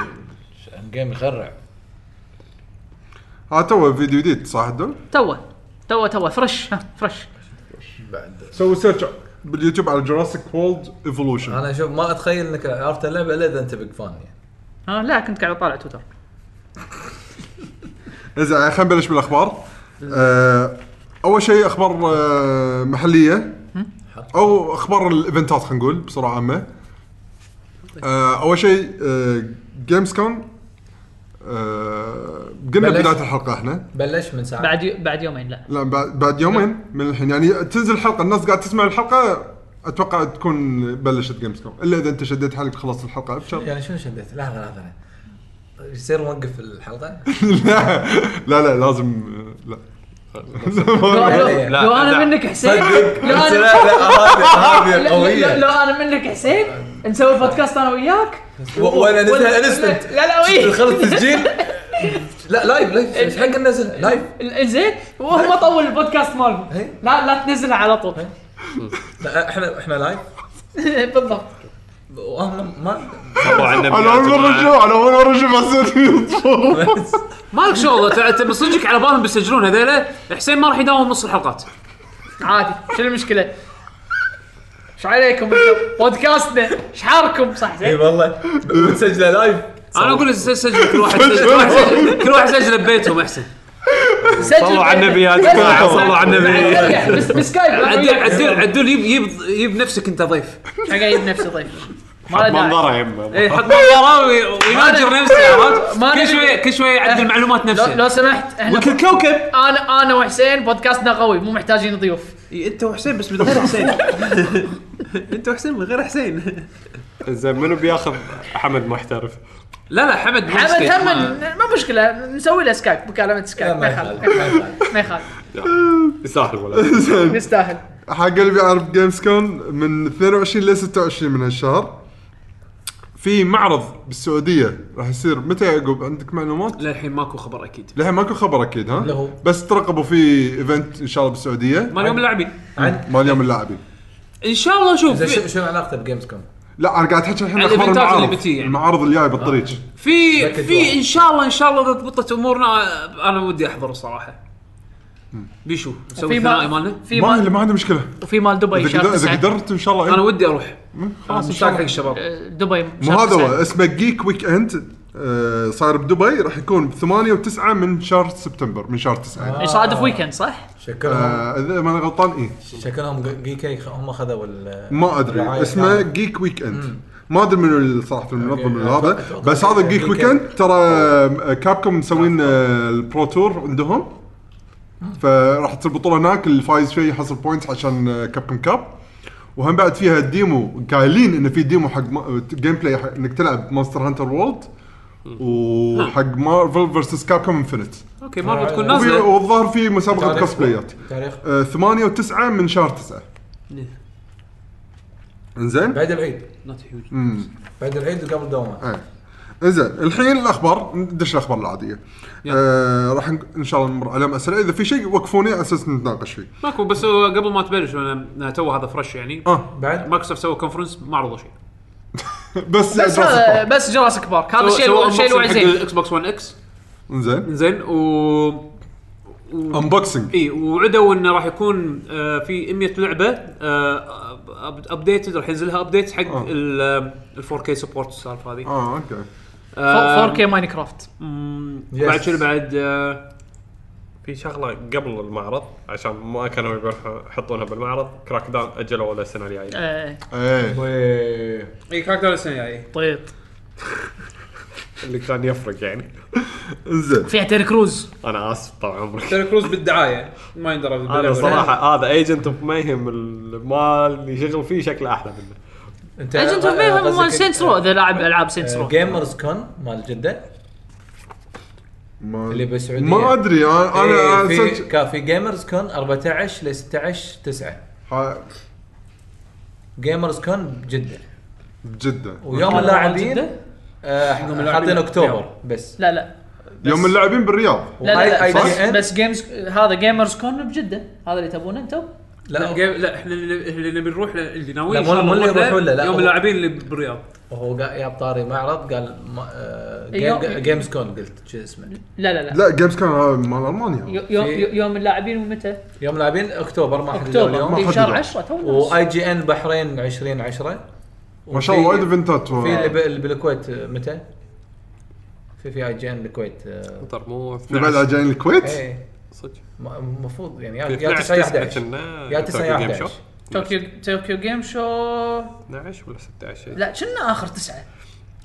S5: ان جيم يخرع
S2: ها تو فيديو جديد صح الدول؟
S3: توه توه توه فرش ها فرش
S2: سوي سيرش باليوتيوب على جراسيك وولد ايفولوشن
S5: انا شوف ما اتخيل انك عرفت اللعبه الا اذا انت بيج فان يعني
S3: ها لا كنت قاعد اطالع تويتر
S2: زين خلينا نبلش بالاخبار آه، اول شيء اخبار آه، محليه او اخبار الايفنتات خلينا نقول بسرعه عامه آه، اول شيء جيمز كون آه، قلنا
S5: بلش.
S2: بدايه الحلقه احنا
S5: بلش من ساعه
S3: بعد يو- بعد يومين لا
S2: لا بعد بعد يومين من الحين يعني تنزل الحلقه الناس قاعد تسمع الحلقه اتوقع تكون بلشت جيمز كوم الا اذا انت شديت حالك خلصت الحلقه ابشر
S5: يعني شنو شديت لحظه لحظه يصير نوقف الحلقه
S2: لا لا لا لازم آه، لا
S3: لو, لو,
S5: لا،
S3: لو انا
S6: لا.
S3: منك حسين لو
S5: طيب، لا
S3: انا
S5: لا هذه هذه
S3: لا- لا- لو
S5: قويه
S3: انا منك حسين نسوي بودكاست انا وياك
S5: و- ولا نزلها
S3: ولا-
S5: انستنت
S3: لا لا وي
S5: خلص تسجيل لا لايف لايف ايش حق ننزل لايف
S3: زين وهم طول البودكاست مالهم
S5: هي.
S6: إيه.
S3: لا لا تنزلها على طول
S5: لا احنا احنا لايف
S6: إيه.
S3: بالضبط
S5: وهم ما
S6: والله عندنا
S2: انا اول مره اشوف انا اول مره اشوف حسيت
S1: مالك شغل ترى انت بصدقك على بالهم بيسجلون هذيلا حسين ما راح يداوم نص الحلقات
S3: عادي شنو المشكله؟ ايش عليكم انتم؟ بودكاستنا ايش حالكم صح
S5: اي
S3: زين؟
S5: إيه،
S6: إيه،
S5: والله مسجله لايف
S1: انا اقول س- سجل كل واحد سجل كل واحد سجل- كل واحد سجل ببيتهم احسن
S3: سجل
S6: صلوا على النبي يا
S3: بيننا.
S6: جماعة، صلوا على النبي.
S3: ارجع بس بسكايب أنا
S1: عدل
S3: وياك.
S1: عدل عدل يب يب يب نفسك انت ضيف
S3: أنا قاعد نفسي ضيف ما له طيب. داعي
S6: منظره يمه
S1: اي حط منظره وي- ويناجر نفسه عرفت
S3: ما
S1: كل
S3: ندري.
S1: شويه كل شويه يعدل معلومات
S3: لو,
S1: نفسه
S3: لو سمحت احنا
S1: وكل كوكب
S3: انا انا وحسين بودكاستنا قوي مو محتاجين ضيوف
S1: انت إيه، وحسين بس من غير حسين انت وحسين من غير حسين
S6: زين منو بياخذ حمد محترف؟
S1: لا لا حمد ما
S3: حمد
S1: يستيق.
S3: هم ما مشكله نسوي له سكايب مكالمه سكايب ما يخالف ما يخالف
S6: يساحل ولا
S3: يستاهل
S2: حق اللي بيعرف جيمز كون من 22 ل 26 من هالشهر في معرض بالسعوديه راح يصير متى يا يعقوب عندك معلومات؟
S1: للحين ماكو خبر اكيد
S2: للحين ماكو خبر اكيد ها؟
S5: لا هو.
S2: بس ترقبوا في ايفنت ان شاء الله بالسعوديه
S1: مال يوم اللاعبين
S5: عن
S2: مال يوم اللاعبين
S1: ان شاء الله شوف
S5: زين شنو
S1: في-
S5: شنو علاقته بجيمز كوم؟
S2: لا انا قاعد احكي الحين
S1: على
S2: اخبار
S1: الإيفنتات اللي
S2: المعارض
S1: بتي يعني.
S2: المعارض اللي جاي بالطريق
S3: آه.
S1: في
S5: باكج
S1: في
S5: واحد.
S1: ان شاء الله ان شاء الله اذا ضبطت امورنا انا ودي احضر الصراحه بيشو نسوي
S3: وفي
S1: الثنائي
S3: ما-
S1: مالنا
S3: في
S2: ما
S3: مال
S2: اللي ما عنده مشكله
S3: وفي مال دبي
S2: اذا
S3: شهر
S2: قدر- إذا
S3: 9
S2: قدرت ان شاء الله
S1: انا
S2: إيه.
S1: ودي اروح
S2: مم،
S1: انا
S2: خلاص ان
S1: مشتاق
S2: شاء
S1: حق
S2: الله
S1: الشباب
S3: آه، دبي
S2: مو
S3: شهر
S2: هذا هو
S3: تسعة.
S2: اسمه جيك ويك اند آه، صاير بدبي راح يكون ب 8 و9 من شهر سبتمبر من شهر 9
S3: آه.
S2: يعني.
S3: يصادف ويكند صح؟
S5: آه، شكلهم
S2: آه، اذا ماني غلطان ايه
S5: شكلهم جيكي هم خذوا ال-
S2: ما ادري
S5: الرعاية
S2: اسمه
S5: كاملة.
S2: جيك ويك اند ما ادري منو ال- صراحه المنظم
S5: أوكي.
S2: هذا
S5: أتوقع
S2: بس هذا
S5: Geek
S2: جيك ويك
S5: Weekend.
S2: اند ترى كابكم مسوين آه، البرو تور عندهم فراح تصير بطوله هناك الفايز شوي يحصل بوينتس عشان كابكم كاب وهم بعد فيها الديمو قايلين انه في ديمو حق ما- جيم بلاي حق انك تلعب مونستر هانتر وورلد وحق مارفل فيرسس كابكم انفنت
S1: اوكي مارفل تكون
S2: آه،
S5: وفي-
S1: نازله
S2: والظاهر في مسابقه
S5: تاريخ-
S2: كوسبلايات
S5: تاريخ
S2: 8 و9 من شهر 9 انزين
S5: بعد العيد
S2: امم
S5: بعد العيد وقبل دوام
S2: ايه زين الحين الاخبار ندش الاخبار العاديه آه راح نق- ان شاء الله نمر عليهم اسئله اذا في شيء وقفوني على اساس نتناقش فيه
S1: ماكو بس هو قبل ما تبلش انا تو هذا فرش يعني
S2: اه
S5: بعد
S1: مايكروسوفت سوى كونفرنس ما عرضوا شيء
S2: بس
S3: بس هذا بس جراسك بارك هذا الشيء الشيء الوحيد زين
S1: الاكس بوكس 1 اكس
S2: زين
S1: زين و
S2: انبوكسنج
S1: اي وعدوا انه راح يكون آه، في 100 لعبه ابديتد راح ينزلها ابديت حق
S2: آه.
S1: ال 4 كي سبورت السالفه هذه
S2: اه اوكي
S1: آه،
S3: 4K ماين كرافت
S1: مم،
S5: Yes.
S1: بعد شنو بعد آه،
S6: في شغله قبل المعرض عشان ما كانوا يبون يحطونها بالمعرض كراك داون اجلوا للسنه الجايه
S3: إيه،
S2: ايه
S5: و-
S1: اي كراك داون السنه الجايه
S3: طيط
S6: اللي كان يفرق يعني
S2: زين
S3: فيها تيري كروز
S4: آه،
S6: انا اسف طال عمرك
S1: تيري كروز بالدعايه ما يندرى
S6: انا
S1: باللعبة.
S6: صراحه هذا ايجنت اوف ميهم ما اللي شغل فيه شكله احلى منه
S5: انت
S3: ايجنت اوف
S5: آه،
S3: ميهم مال سينس رو اذا لاعب العاب سينس رو
S5: جيمرز كون مال جده
S2: ما
S5: اللي بالسعوديه
S2: ما ادري انا انا
S5: إيه، في
S2: صدق-
S5: كان في جيمرز كون 14 ل 16 9
S2: ها-
S5: جيمرز كون بجده
S2: بجده
S5: ويوم
S3: مال
S5: اللاعبين
S3: جدة؟
S5: آه،
S1: اللاعبين
S5: حاطين اكتوبر بس
S3: لا لا
S2: يوم اللاعبين بالرياض
S5: Oh,
S3: لا لا,
S5: وهاي
S3: لا بس,
S5: IGN
S3: بس جيمز هذا جيمرز كون بجده هذا اللي تبونه انتم؟
S1: لا
S5: لا
S1: جيم- لا احنا اللي اللي نبي نروح ل- اللي ناويين
S5: لا،
S1: إن شاء
S5: مو-
S1: الله
S5: مو اللي
S1: نروح له
S5: يروحون له، لا،
S1: يوم
S5: هو-
S1: اللاعبين اللي بالرياض
S5: هو قا- جاب طاري معرض قال ما- آه،
S3: أيوه.
S5: جيم- جيمز كون قلت شو اسمه
S3: لا لا لا
S2: لا جيمز كان هذا مال المانيا
S3: يو- يوم
S5: في-
S3: يوم اللاعبين ومتى؟
S5: يوم لاعبين اكتوبر ما Oh, حددوا
S3: اكتوبر
S5: اليوم
S3: إيه،
S2: حددوا.
S3: شهر 10 تو ناس.
S5: واي جي ان بحرين 20 10
S2: ما شاء الله وايد ايفنتات
S5: في اللي
S2: ورا.
S5: ب- اللي بالكويت آه، متى؟ في في اي جي ان الكويت آه،
S6: ترى مو
S2: في بعد على جايين الكويت
S5: ايه
S6: صدق
S5: ما- المفروض يعني يا
S6: في
S5: يا 9 يا
S6: 12
S5: 11
S6: كنا
S5: يا 9 يا
S6: Tokyo Game
S5: 11
S6: Show.
S3: طوكيو طوكيو جيم شو
S6: 12 ولا 16 لا
S3: لا كنا اخر تسعه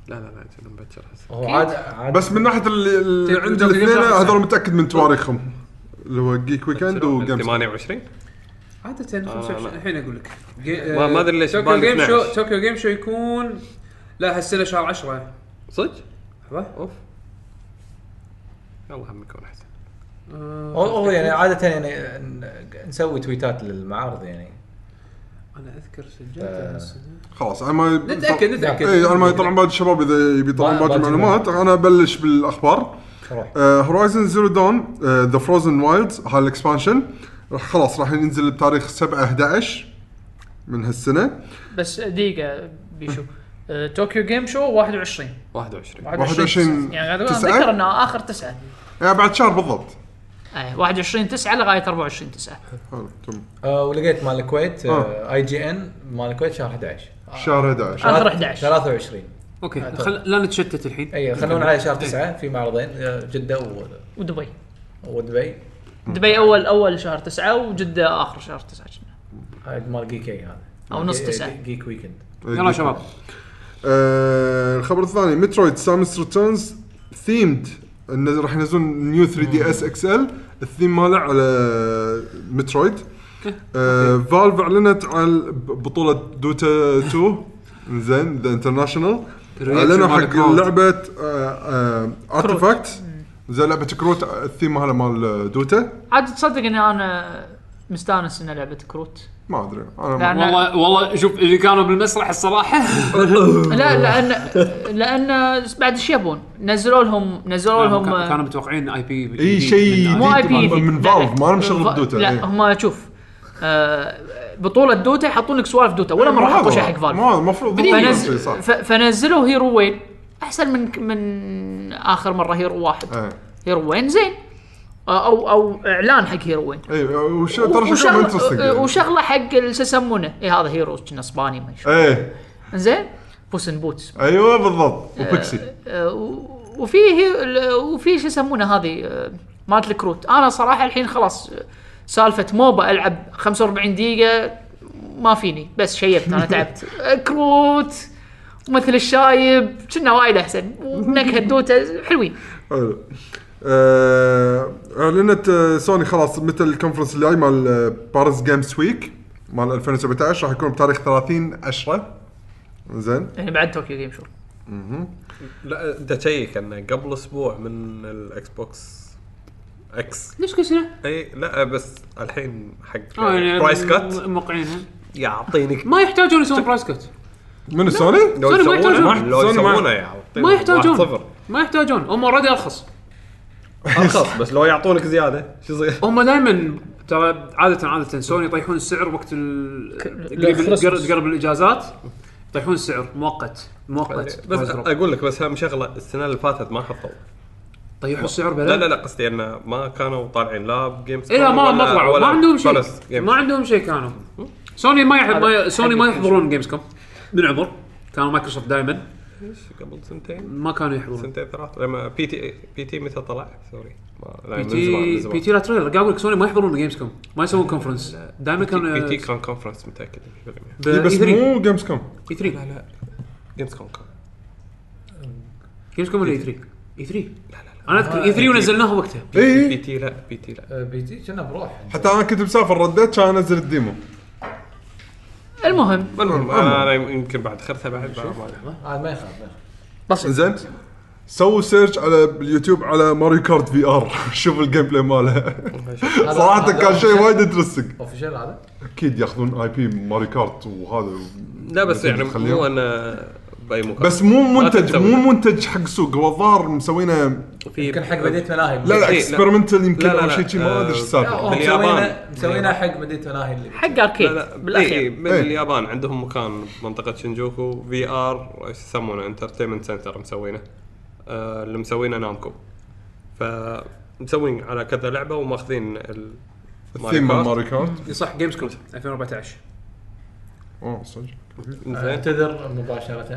S6: لا لا كنا مبكر هسه
S5: هو عاد عاد
S2: بس من ناحيه اللي اللي عند الاثنين هذول متاكد من تواريخهم اللي هو جيك ويكند وجيمز
S6: 28
S1: عادة
S6: آه،
S1: 25
S6: لا.
S1: الحين اقول لك
S6: ما- ما أدري ليش
S1: طوكيو
S6: بالي
S1: جيم شو
S6: 12.
S1: طوكيو جيم شو يكون لا هالسنه شهر 10
S6: صدق؟
S1: لحظة.
S6: اوف يلا هم يكون احسن
S1: آه،
S5: هو هو يعني عاده يعني ن- نسوي تويتات للمعارض يعني
S1: انا اذكر سجلتها هالسنه
S2: خلاص انا ما
S1: نتاكد نتاكد
S2: اي انا ما طبعا بعد الشباب اذا يبي يطلعون
S5: ما-
S2: باقي
S5: باقي
S2: المعلومات انا ابلش بالاخبار
S5: روح
S2: آه، هورايزن زيرو دون ذا فروزن وايلدز هالاكسبانشن راح خلاص راح ينزل بتاريخ 7 11 من هالسنه
S3: بس دقيقه بيشو آه، طوكيو جيم شو 21
S6: 21
S2: 21
S3: يعني قاعد أقول-
S2: تسعة؟
S3: اتذكر انه اخر تسعه
S2: يعني بعد شهر بالضبط
S3: ايه 21 9 لغايه 24 9
S2: حلو تمام
S5: آه، ولقيت مال الكويت
S2: آه.
S5: اي جي ان مال الكويت شهر 11
S2: شهر
S1: آه،
S2: 11
S3: آخر
S5: ثلاث-
S3: 11.
S5: 23
S1: اوكي خل... لا نتشتت الحين
S5: اي خلونا على
S6: إيه.
S5: شهر 9 في معرضين آه، جده و-
S3: ودبي
S5: ودبي
S3: دبي اول اول شهر 9 وجده اخر شهر 9 كنا
S5: هاي مال جيك اي هذا
S3: أو نص تسعة.
S5: جيك ويكند
S1: يلا يا شباب
S2: آه، الخبر الثاني مترويد سامس ريتيرنز ثيمد راح ينزلون نيو 3 دي اس اكس ال الثيم ماله على مترويد فالف اعلنت عن بطوله دوتا 2 زين ذا انترناشونال اعلنوا
S1: مال
S2: حق
S1: كروت.
S2: لعبه ارتفاكت زين لعبه كروت آه، الثيم هذا مال دوتا
S3: عاد تصدق اني انا مستانس ان لعبه كروت
S2: ما ادري انا
S3: لان
S1: والله والله شوف اللي كانوا بالمسرح الصراحه
S3: لا لان لان بعد ايش يبون؟ نزلوا لهم نزلوا لهم آه،
S1: كانوا كانوا متوقعين اي بي
S2: اي شيء
S3: مو اي بي
S2: من من فالف ما لهم شغل بدوتا إيه.
S3: لا هم شوف آه، بطولة دوتا يحطون لك سوالف دوتا ولا مرة حطوا شيء حق فالف
S2: إيه، ما المفروض
S3: فنز... ف- فنزلوا هيرو وين احسن من من اخر مرة هيرو واحد
S2: آه. إيه.
S3: هيرو وين زين آه، او او اعلان حق هيرو وين
S2: اي إيه، وش ترى شكله انترستنج
S3: وشغله وشغله حق اللي شو يسمونه اي هذا هيروز كنا اسباني ما شو
S2: ايه
S3: زين بوسن بوتس
S2: ايوه أيوة، بالضبط وبيكسي
S3: آه، و- وفيه ال- وفي شو يسمونه هذه آه، مالت الكروت انا صراحه الحين خلاص آه، سالفه موبا العب 45 دقيقه ما فيني بس شيبت انا تعبت آه، كروت مثل الشايب كنا وايد احسن ونكهه دوتا حلوين
S2: حلو. آه، اعلنت آه، سوني خلاص مثل الكونفرنس الجاي مال آه، باريس جيمز ويك مال 2017 راح يكون بتاريخ 30 10 زين
S3: يعني بعد طوكيو جيم شو
S4: لا انت تشيك انه قبل اسبوع من الاكس بوكس اكس
S1: ليش كل سنه؟
S4: اي لا بس الحين حق
S1: آه، يعني
S4: برايس كات
S1: م- موقعينها
S4: يعطيني
S1: ما يحتاجون يسوون برايس كت
S2: من سوني؟ إيه،
S4: لو
S1: سوري، ما
S4: يسوونه
S1: يحتاجون.
S4: لو
S2: سوري، ما-
S4: يسوونه يعطيني
S1: ما يحتاجون.
S4: صفر
S1: ما يحتاجون هم اوريدي ارخص
S4: ارخص بس لو يعطونك زياده شو يصير؟
S1: هم دائما ترى عاده عاده سوني يطيحون السعر وقت ال-
S3: الخريص.
S1: قرب قرب الاجازات يطيحون السعر مؤقت مؤقت
S4: بس اقول لك بس اهم شغله السنه اللي فاتت ما حطوا
S1: طيحوا السعر بلا
S4: لا لا لا قصدي انه ما كانوا طالعين لا بجيمز
S1: إيه لا ما ما طلعوا ما عندهم شيء ما
S4: ما
S1: عندهم شيء كانوا سوني ما يح... ما سوني ما
S3: حق-
S1: يحضرون جيمز كوم من عمر كانوا مايكروسوفت دائما
S4: قبل سنتين
S1: ما كانوا يحضرون
S4: سنتين ثلاث لما بي تي بي تي متى طلع سوري ما- لا،
S1: بي
S4: من زمان، من
S1: تي
S4: زمان.
S1: بي تي لا تريلر قاعد اقول لك سوني ما يحضرون جيمز كوم ما يسوون كونفرنس دائما كانوا
S4: بي تي كان كونفرنس متاكد 100%
S1: ب- E
S2: إي إيه، بس
S1: E3.
S2: مو جيمز كوم
S1: اي 3
S4: لا جيمز كوم كان
S1: جيمز كوم ولا E اي 3 اي 3 انا اذكر اي 3 ونزلناها E وقتها
S4: بي
S2: اي
S4: تي لا بي تي لا
S5: بي تي آه، كنا بروح
S2: إيه، حتى انا كنت مسافر رديت كان انزل الديمو
S3: المهم
S4: المهم انا أنا يمكن بعد خرثه بعد ما- ما-
S5: عاد ما يخاف ما يخاف.
S3: بسيط
S2: زين سووا سيرش على اليوتيوب على ماريو كارت في ار شوف الجيم بلاي ماله صراحه كان شيء وايد انترستنج
S5: اوفيشال هذا
S2: اكيد ياخذون اي بي ماري كارت وهذا
S4: لا بس يعني
S2: خليهم.
S4: مو انا باي مكان
S2: بس مو منتج
S4: تسوي.
S2: مو منتج حق سوق هو الظاهر مسوينه
S4: في
S5: يمكن حق مدينه ملاهي
S2: لا لا
S4: إيه، لا.
S2: اكسبيرمنتال يمكن
S4: لا، لا،
S2: او
S4: لا.
S2: شيء شي ما ادري ايش
S4: آه،
S2: السالفه
S4: باليابان.
S5: باليابان مسوينا حق مدينه ملاهي اللي
S3: حق اركيد
S4: لا لا
S3: بالاخير
S4: بالاخير من
S2: إيه.
S4: اليابان عندهم مكان بمنطقه شنجوكو في ار ايش يسمونه انترتينمنت سنتر مسوينه آه اللي مسوينه نامكو ف مسوين على كذا لعبه وماخذين ال
S2: الثيم مال ماري كارت
S1: صح جيمز كوم 2014
S4: آه،
S2: اه صدق
S4: زين
S5: اعتذر مباشره
S1: لا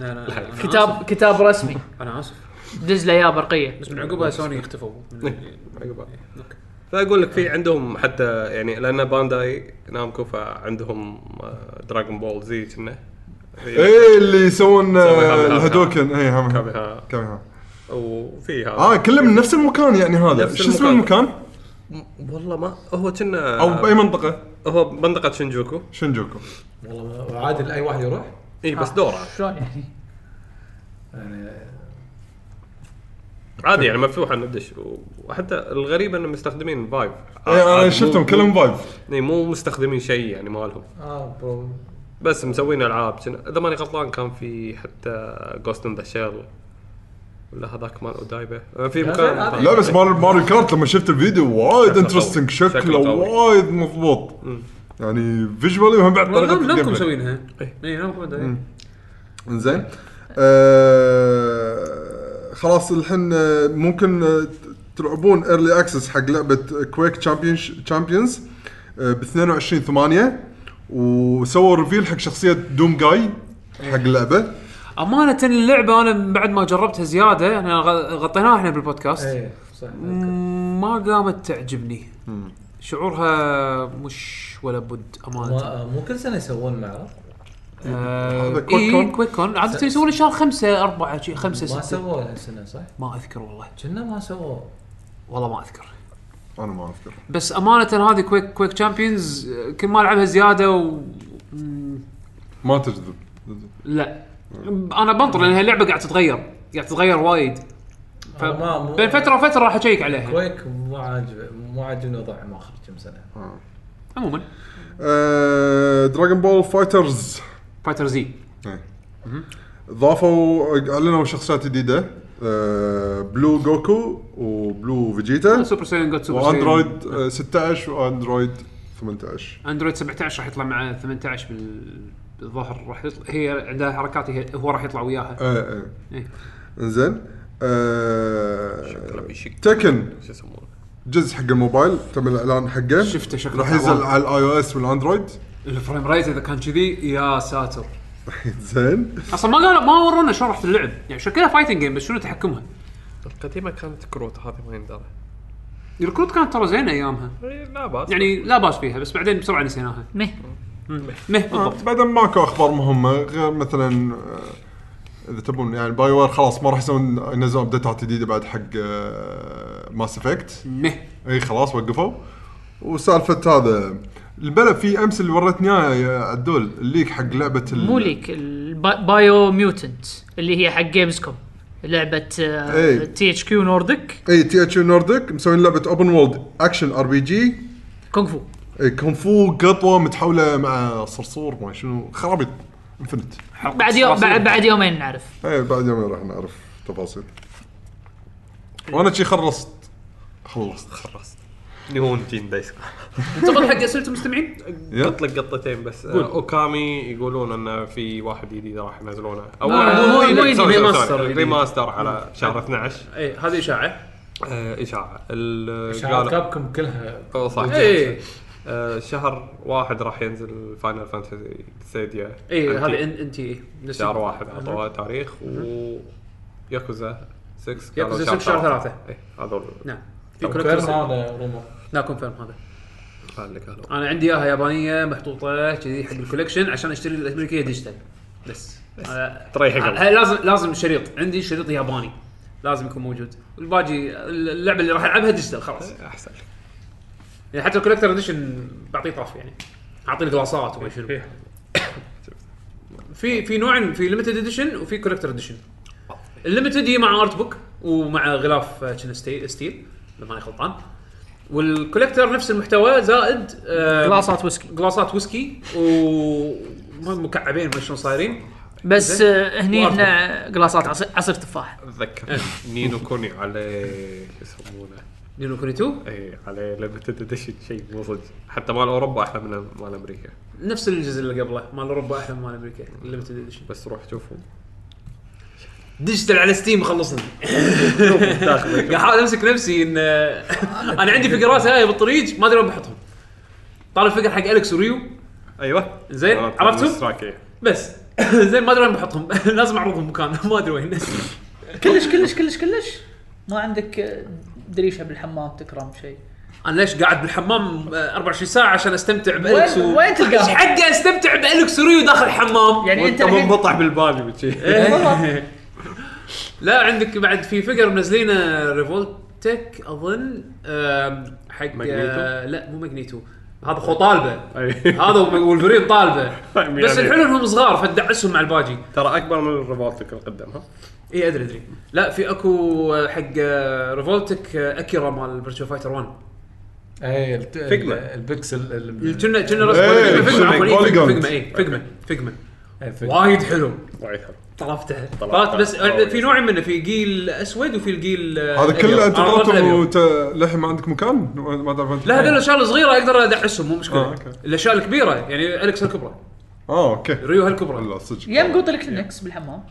S1: لا لا أنا آسف.
S3: كتاب كتاب رسمي
S1: انا اسف
S3: دز له اياه برقيه
S1: بس من عقبها سوني اختفوا من-
S4: عقبها. فاقول لك في عندهم حتى يعني لان بانداي نامكو فعندهم آه، دراغون بول زي كنا
S2: ايه اللي يسوون
S4: مسوي هذا
S2: آه،
S4: الهاكر.
S2: الهدوكن اي هم هم.
S4: كابيها
S2: كم ها
S4: وفي هذا
S2: اه كله من نفس المكان يعني هذا
S4: نفس
S2: شو اسم
S4: المكان. آه.
S2: المكان؟
S4: والله ما هو كنا
S2: او باي منطقه؟
S4: هو بمنطقه شنجوكو
S2: شنجوكو
S5: والله ما- عادل اي واحد يروح
S4: اي إيه، بس دوره
S3: شلون يعني؟
S5: يعني
S4: عادي يعني مفتوحه ندش وحتى الغريب انهم مستخدمين فايب
S2: ايه انا شفتهم كلهم فايب
S4: اي مو مستخدمين شيء يعني مالهم
S5: اه برو
S4: بس مسوين العاب شن- اذا ماني غلطان كان في حتى جوست ان ذا شيل ولا هذاك مال اودايبه آه، في
S5: لا،
S4: مكان
S5: زين، عادي.
S2: لا بس مال ماري كارت لما شفت الفيديو وايد
S4: شكله
S2: انترستنج
S4: قوي.
S2: شكله
S4: شكله قوي.
S2: وايد مضبوط يعني فيجوالي وهم بعد طريقه
S1: والله نامكم
S2: الجيم بلاي.
S1: مسوينها إيه، اي نامكم بعد.
S2: انزين آه خلاص الحين آه، ممكن آه، تلعبون ايرلي اكسس حق لعبه كويك تشامبيونز ب 22 8 وسووا ريفيل حق شخصيه دوم جاي حق اللعبه
S1: امانه اللعبه انا من بعد ما جربتها زياده احنا غ- غطيناها احنا بالبودكاست
S5: ايه صح
S1: ما قامت تعجبني شعورها مش ولا بد امانه
S5: ما- آه، مو كل سنه يسوون معرض
S1: آه
S2: هذا
S1: إيه،
S2: كويك كون؟
S1: كويك كون عاده يسوون شهر خمسة أربعة شي خمسة
S5: ما
S1: ستة
S5: سووه هالسنه صح؟
S1: ما اذكر والله
S5: كنا ما سووه
S1: والله ما اذكر
S2: انا ما اذكر
S1: بس امانه هذه كويك كويك تشامبيونز كل ما العبها زياده و مم،
S2: ما تجذب
S1: لا انا بنطر لان اللعبه قاعده تتغير قاعده تتغير وايد ف...
S5: أنا ما- مو-
S1: بين فتره وفتره راح اشيك عليها
S5: كويك مو عاجب مو عاجبني وضعهم اخر كم سنه
S1: عموما
S2: آه دراجون بول فايترز
S1: فايتر زي
S2: إيه. ضافوا اعلنوا شخصيات جديده آه بلو جوكو وبلو فيجيتا
S1: سوبر سايلين جود سوبر سايلين.
S2: واندرويد آه، 16 واندرويد 18
S1: اندرويد 17 راح يطلع مع 18 بال- بالظهر راح يطلع هي عندها حركات هي هو راح يطلع وياها
S2: ايه
S1: إيه.
S2: ايه انزين آه
S4: كلام يشك.
S2: تكن
S4: شو يسمونه
S2: جزء حق الموبايل تم الاعلان حقه
S1: شفته شكله
S2: راح ينزل
S1: تعبان.
S2: على الاي او اس والاندرويد
S1: الفريم ريت اذا كان كذي يا ساتر
S2: زين
S1: اصلا ما قالوا ما ورونا شلون راح تلعب يعني شكلها فايتنج جيم بس شنو تحكمها
S6: القديمه كانت كروت هذه ما يندرى
S1: الكروت كانت ترى زينه ايامها
S6: إيه، لا باس
S1: يعني لا باس فيها بس بعدين بسرعه نسيناها
S3: مه
S1: مه بالضبط
S2: بعدين ماكو اخبار مهمه غير مثلا آه، اذا تبون يعني باي وير خلاص ما راح يسوون ينزلون ابديتات جديده بعد حق آه، ماس افكت
S1: مه
S2: اي خلاص وقفوا وسالفه هذا البلا في امس اللي ورتني اياه يا عدول الليك حق لعبه ال-
S3: مو ليك البايو ميوتنت اللي هي حق آه، جيمز كوم لعبه
S2: إيه.
S3: تي اتش كيو نورديك
S2: اي إيه، تي اتش نورديك مسوين لعبه اوبن وولد اكشن ار بي جي
S3: كونغ فو
S2: إيه، كونغ فو قطوه متحوله مع صرصور ما شنو خرابيط انفنت
S3: بعد يوم بعد, بعد يومين نعرف
S2: ايه بعد يومين راح نعرف تفاصيل وانا شي خلصت خلصت
S6: خلصت نيون جين دايس
S1: انتقل حق اسئله المستمعين
S2: يلا
S6: اطلق قطتين بس آه، اوكامي يقولون انه في واحد جديد راح ينزلونه او
S1: آه، مو
S6: سوري،
S1: جديد،
S6: سوري، سوري،
S1: ريماستر
S6: سوري،
S1: جديد.
S6: ريماستر على شهر 12
S1: اي إيه، هذه اشاعه
S6: آه، اشاعه ال-
S5: شعار
S6: قالوا-
S5: كابكم كلها
S6: أو صح
S1: اي
S6: آه، شهر واحد راح ينزل فاينل فانتسي سيديا
S1: اي
S6: أنت-
S1: إيه، هذه انت اي
S6: شهر واحد عطوها تاريخ و ياكوزا 6 قالوا
S1: ياكوزا 6 شهر ثلاثة.
S6: إيه، هذول
S1: نعم في
S5: كلهم
S1: كولكترز
S5: هذا رومر
S1: لا كونفيرم هذا
S6: اللي قالوا
S1: انا عندي اياها يابانيه محطوطه كذي حق الكوليكشن عشان اشتري الامريكيه ديجيتال بس أنا-
S6: تريحك
S4: آه.
S1: أنا-
S6: قلبك.
S1: أه، لازم لازم شريط عندي شريط ياباني لازم يكون موجود والباقي اللعبه اللي راح العبها ديجيتال خلاص
S6: احسن لك.
S1: يعني حتى الكوليكتر اديشن بعطيه طرف يعني اعطيه القلاصات وما شنو في في نوعين في ليمتد اديشن وفي كوليكتر اديشن الليمتد هي مع ارت بوك ومع غلاف آه، كنا ستي- ستيل اذا ماني غلطان والكوليكتر نفس المحتوى زائد آه،
S3: قلاصات ويسكي
S1: قلاصات ويسكي ومكعبين ما شلون صايرين
S3: بس
S1: زين.
S3: آه، هني
S1: وأرضه.
S3: هنا قلاصات عصير, عصير تفاح
S6: اتذكر
S1: إيه.
S6: نينو كوني على شو يسمونه إيه،
S1: نينو كوني 2
S6: اي على ليمتد اديشن شيء مو صدق حتى مال اوروبا احلى من مال امريكا
S1: نفس الجزء اللي قبله مال اوروبا احلى من مال امريكا الليمتد اديشن
S6: بس روح شوفهم
S1: ديجيتال على ستيم خلصني قاعد احاول امسك نفسي ان انا عندي فقرات هاي بالطريق ما ادري وين بحطهم طالع فقر حق الكس وريو
S6: ايوه
S1: زين،
S6: آه،
S1: عرفتوا؟
S6: السترايك، إيه.
S1: بس زين ما ادري وين بحطهم لازم اعرضهم مكان ما ادري وين
S3: كلش كلش كلش كلش ما عندك آه، دريشه بالحمام تكرم شيء
S1: انا ليش قاعد بالحمام آه، 24 ساعه عشان استمتع بالكس و...
S3: وين
S1: ايش
S3: تلقاهم؟
S1: حقي استمتع بالكس وريو داخل الحمام
S3: يعني انت
S6: وانت
S3: الحين-
S6: منبطح بالبالي
S1: إيه.
S6: وشي
S1: لا عندك بعد في فقر منزلينه ريفولتك اظن آم، حق آه،
S6: ماجنيتو؟
S1: لا مو ماجنيتو هذا خو طالبه هذا والفريق طالبه بس الحلو انهم صغار فتدعسهم مع الباجي
S6: ترى اكبر من الريفولتك اللي قدام ها
S1: اي ادري ادري لا في اكو آه، حق آه، ريفولتك آه، اكيرا مال فيرتشو فايتر 1
S5: اي الت-
S6: فيجما.
S5: البكسل ال-
S1: كنا كنا
S2: إيه،
S1: رسم
S2: شنو، Polygon.
S1: فيجما اي فيجما فيجما
S5: أي إيه، فيجما.
S1: وايد حلو
S6: وايد حلو
S1: طلبته
S6: طلبته.
S1: طلبت بس آه،
S6: وايد.
S1: في نوعين منه في جيل اسود وفي الجيل آه،
S2: هذا
S1: أبيض.
S2: كله انت
S1: أنا رحت
S2: طلعته
S1: الأبيض.
S2: وت- للحين ما عندك مكان ما تعرف أنت
S1: لا
S2: مكان؟
S1: هذول الاشياء الصغيره اقدر ادعسهم مو مشكله
S2: آه، أوكي.
S1: الاشياء الكبيره يعني الكس الكبرى
S2: اه اوكي
S1: ريو هالكبرى
S2: لا صدق
S3: يم قوط الكلينكس بالحمام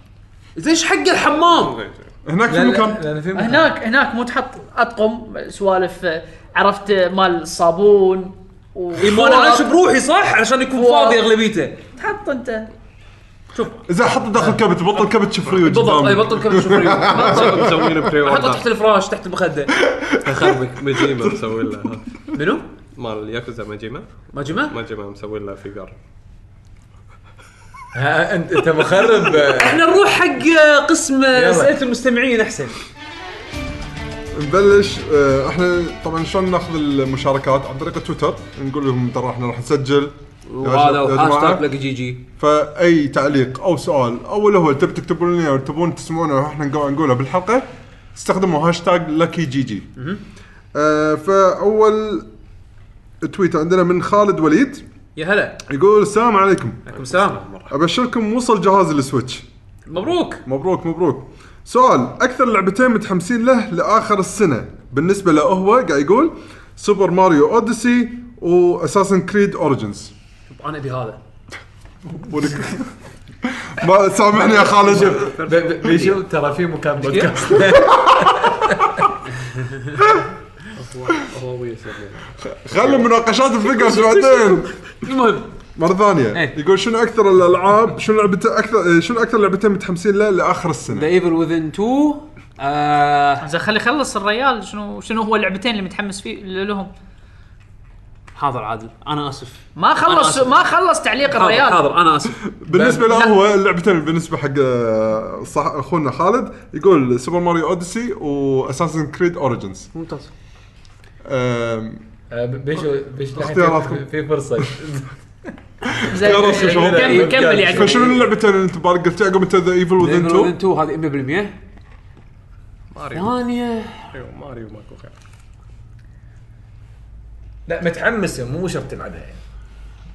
S1: ليش حق الحمام
S2: هناك في
S5: لا، لا،
S2: مكان
S5: لان في مكان.
S3: هناك هناك مو تحط اطقم سوالف آه، عرفت آه، مال الصابون و
S1: ايمون عايش بروحي صح عشان يكون
S3: فوق.
S1: فاضي اغلبيته
S3: تحط انت
S2: اذا حط داخل كبت بطل كبت شوف ريو
S1: بالضبط اي
S2: قدامك.
S1: بطل كبش شوفري
S6: مسوين بري
S1: احطه
S6: اوردر
S1: تحت الفراش تحت المخده
S6: خربك مجيما مسوي له ها.
S1: منو؟
S6: مال ياكوزا مجيما
S1: ماجما؟
S6: مجيما مسوي له فيجر
S5: ها، انت انت مخرب آه،
S1: احنا نروح حق قسم
S5: يلا.
S1: اسئله المستمعين احسن
S2: نبلش آه، احنا طبعا شلون ناخذ المشاركات عن طريق تويتر نقول لهم ترى احنا راح نسجل
S1: وهذا
S2: يا جماعة.
S1: وهاشتاج لك جي جي
S2: فاي تعليق او سؤال او اللي هو تبي تكتبون لنا او تبون تسمعونه واحنا نقو- نقوله بالحلقه استخدموا هاشتاج لكي جي جي. آه فاول تويت عندنا من خالد وليد
S1: يا هلا
S2: يقول السلام عليكم
S1: عليكم السلام
S2: ابشركم وصل جهاز السويتش
S1: مبروك
S2: مبروك مبروك سؤال اكثر لعبتين متحمسين له لاخر السنه بالنسبه له هو قاعد يقول سوبر ماريو اوديسي واساسن كريد اوريجنز
S1: انا ابي هذا
S2: ما سامحني يا خالد
S5: ب- ب- بيشوف ترى في مكان بودكاست
S4: هو ويا سلمون.
S2: خلوا مناقشات الفكرز بعدين
S7: المهم
S2: مره ثانيه
S7: إيه.
S2: يقول شنو اكثر الالعاب شنو لعبته اكثر شنو اكثر لعبتين متحمسين لها لاخر
S1: ذا
S2: السنه
S1: ايفل وذن 2 آه
S3: زين خلي يخلص الريال شنو شنو هو اللعبتين اللي متحمس فيه لهم
S1: حاضر عادل انا اسف
S3: ما خلص
S1: آسف.
S3: ما خلص تعليق
S1: حاضر
S3: الريال
S1: حاضر انا اسف
S2: بالنسبه له هو اللعبتين بالنسبه حق آه، صح اخونا خالد يقول سوبر ماريو اوديسي واساسن كريد اوريجنز
S1: ممتاز
S5: آه، بيشو بيشو الحين
S2: اختياراتكم.
S5: في- في فرصه
S3: زين
S2: يا راسي شو.
S3: كمل كمل يعني. يا عقب.
S2: فشنو اللعبتين اللي انت بارك قلت عقب انت ذا ايفل وذن 2
S1: وذن 2 هذه 100%
S4: ماريو.
S1: ثانيه
S4: أيوة، ماريو ماكو خير
S5: لا متحمس مو شرط تلعبها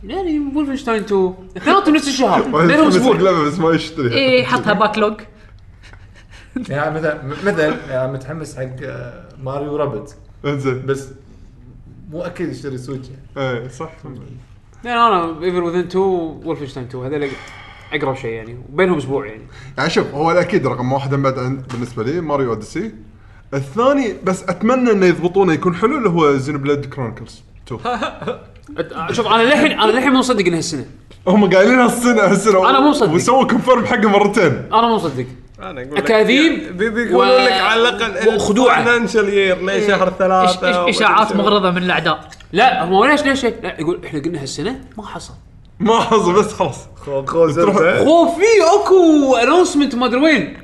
S5: يعني
S1: يعني ولفنشتاين 2 اثنيناتهم نفس الشهر
S2: واحد
S1: بينهم
S2: يتحمس حق
S1: اسبوع
S2: لعبه بس ما يشتريها
S3: اي حطها باك لوج
S5: يعني مثلا مثلا يعني متحمس حق آه، ماريو رابط
S2: انزين
S5: بس مو اكيد يشتري سويتش يعني.
S2: ايه صح
S1: لان انا ايفل وذن 2 وولفنشتاين 2 هذول اقرب شيء يعني وبينهم اسبوع يعني
S2: يعني شوف هو الاكيد رقم واحد بعد عن- بالنسبه لي ماريو اوديسي الثاني بس اتمنى انه يضبطونه يكون حلو اللي هو زين بلاد كرونيكلز 2
S1: أت- شوف انا للحين انا للحين مو مصدق انها السنه
S2: هم قايلينها السنه هالسنه
S1: أنا مو مصدق.
S2: وسووا كونفيرم حقه مرتين
S1: انا مو مصدق
S4: انا اقول لك
S1: اكاذيب
S4: ذي- ذي يقولون
S1: و-
S4: لك على الاقل
S1: وخدوعة.
S4: فاينانشال يير ليه شهر
S3: إش-
S4: ثلاثه
S3: إش-
S4: وما
S3: اشاعات
S4: أدري
S3: مغرضه من الاعداء
S1: لا هو ليش ليش ليش؟ لا يقول احنا قلنا هالسنه ما حصل
S2: ما حصل بس خلاص
S4: شو. خوز
S2: تروح-
S4: أنت.
S1: هو في اكو انونسمنت ما ادري وين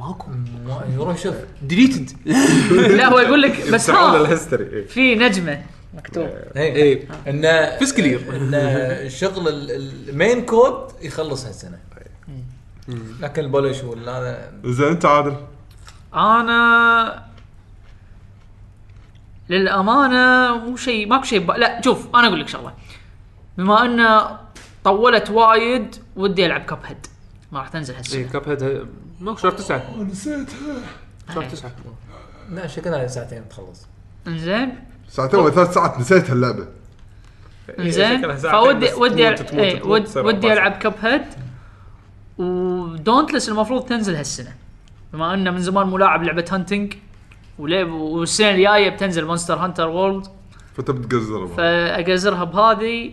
S1: ماكو
S5: ما- يروح شوف
S1: ديليتد
S3: لا هو يقول لك بس
S4: تعال
S3: ها
S4: الهيستوري إيه.
S3: في نجمه مكتوب
S5: اي انه
S1: فيسكلير.
S5: انه شغل ال- المين كود يخلص هالسنه لكن البولش ولا هذا
S2: زين انت عادل
S3: انا للامانه مو شيء ماكو شيء ب... لا شوف انا اقول لك شغله بما انه طولت وايد ودي العب كاب هيد ما راح تنزل
S1: اي
S3: هالسنه
S1: كاب هيد ماكو شهر تسعه نسيتها شهر تسعه
S5: لا شكلها ساعتين تخلص
S3: انزين
S2: ساعتين ولا ثلاث ساعات نسيت هاللعبه
S3: انزين
S4: شكلها إيه، ساعتين
S3: إيه، فودي
S4: بس
S3: ودي
S4: تموت-
S3: ألعب...
S4: تموت-
S3: إيه،
S4: تموت
S3: ود...
S4: تصير
S3: ودي
S4: أربع
S3: العب كاب هيد ودونتلس المفروض تنزل هالسنه بما انه من زمان مو لاعب لعبه هانتنج ولعب- والسنه الجايه بتنزل مونستر هانتر وورلد
S2: فانت بتقزر
S3: فاجازرها بهذه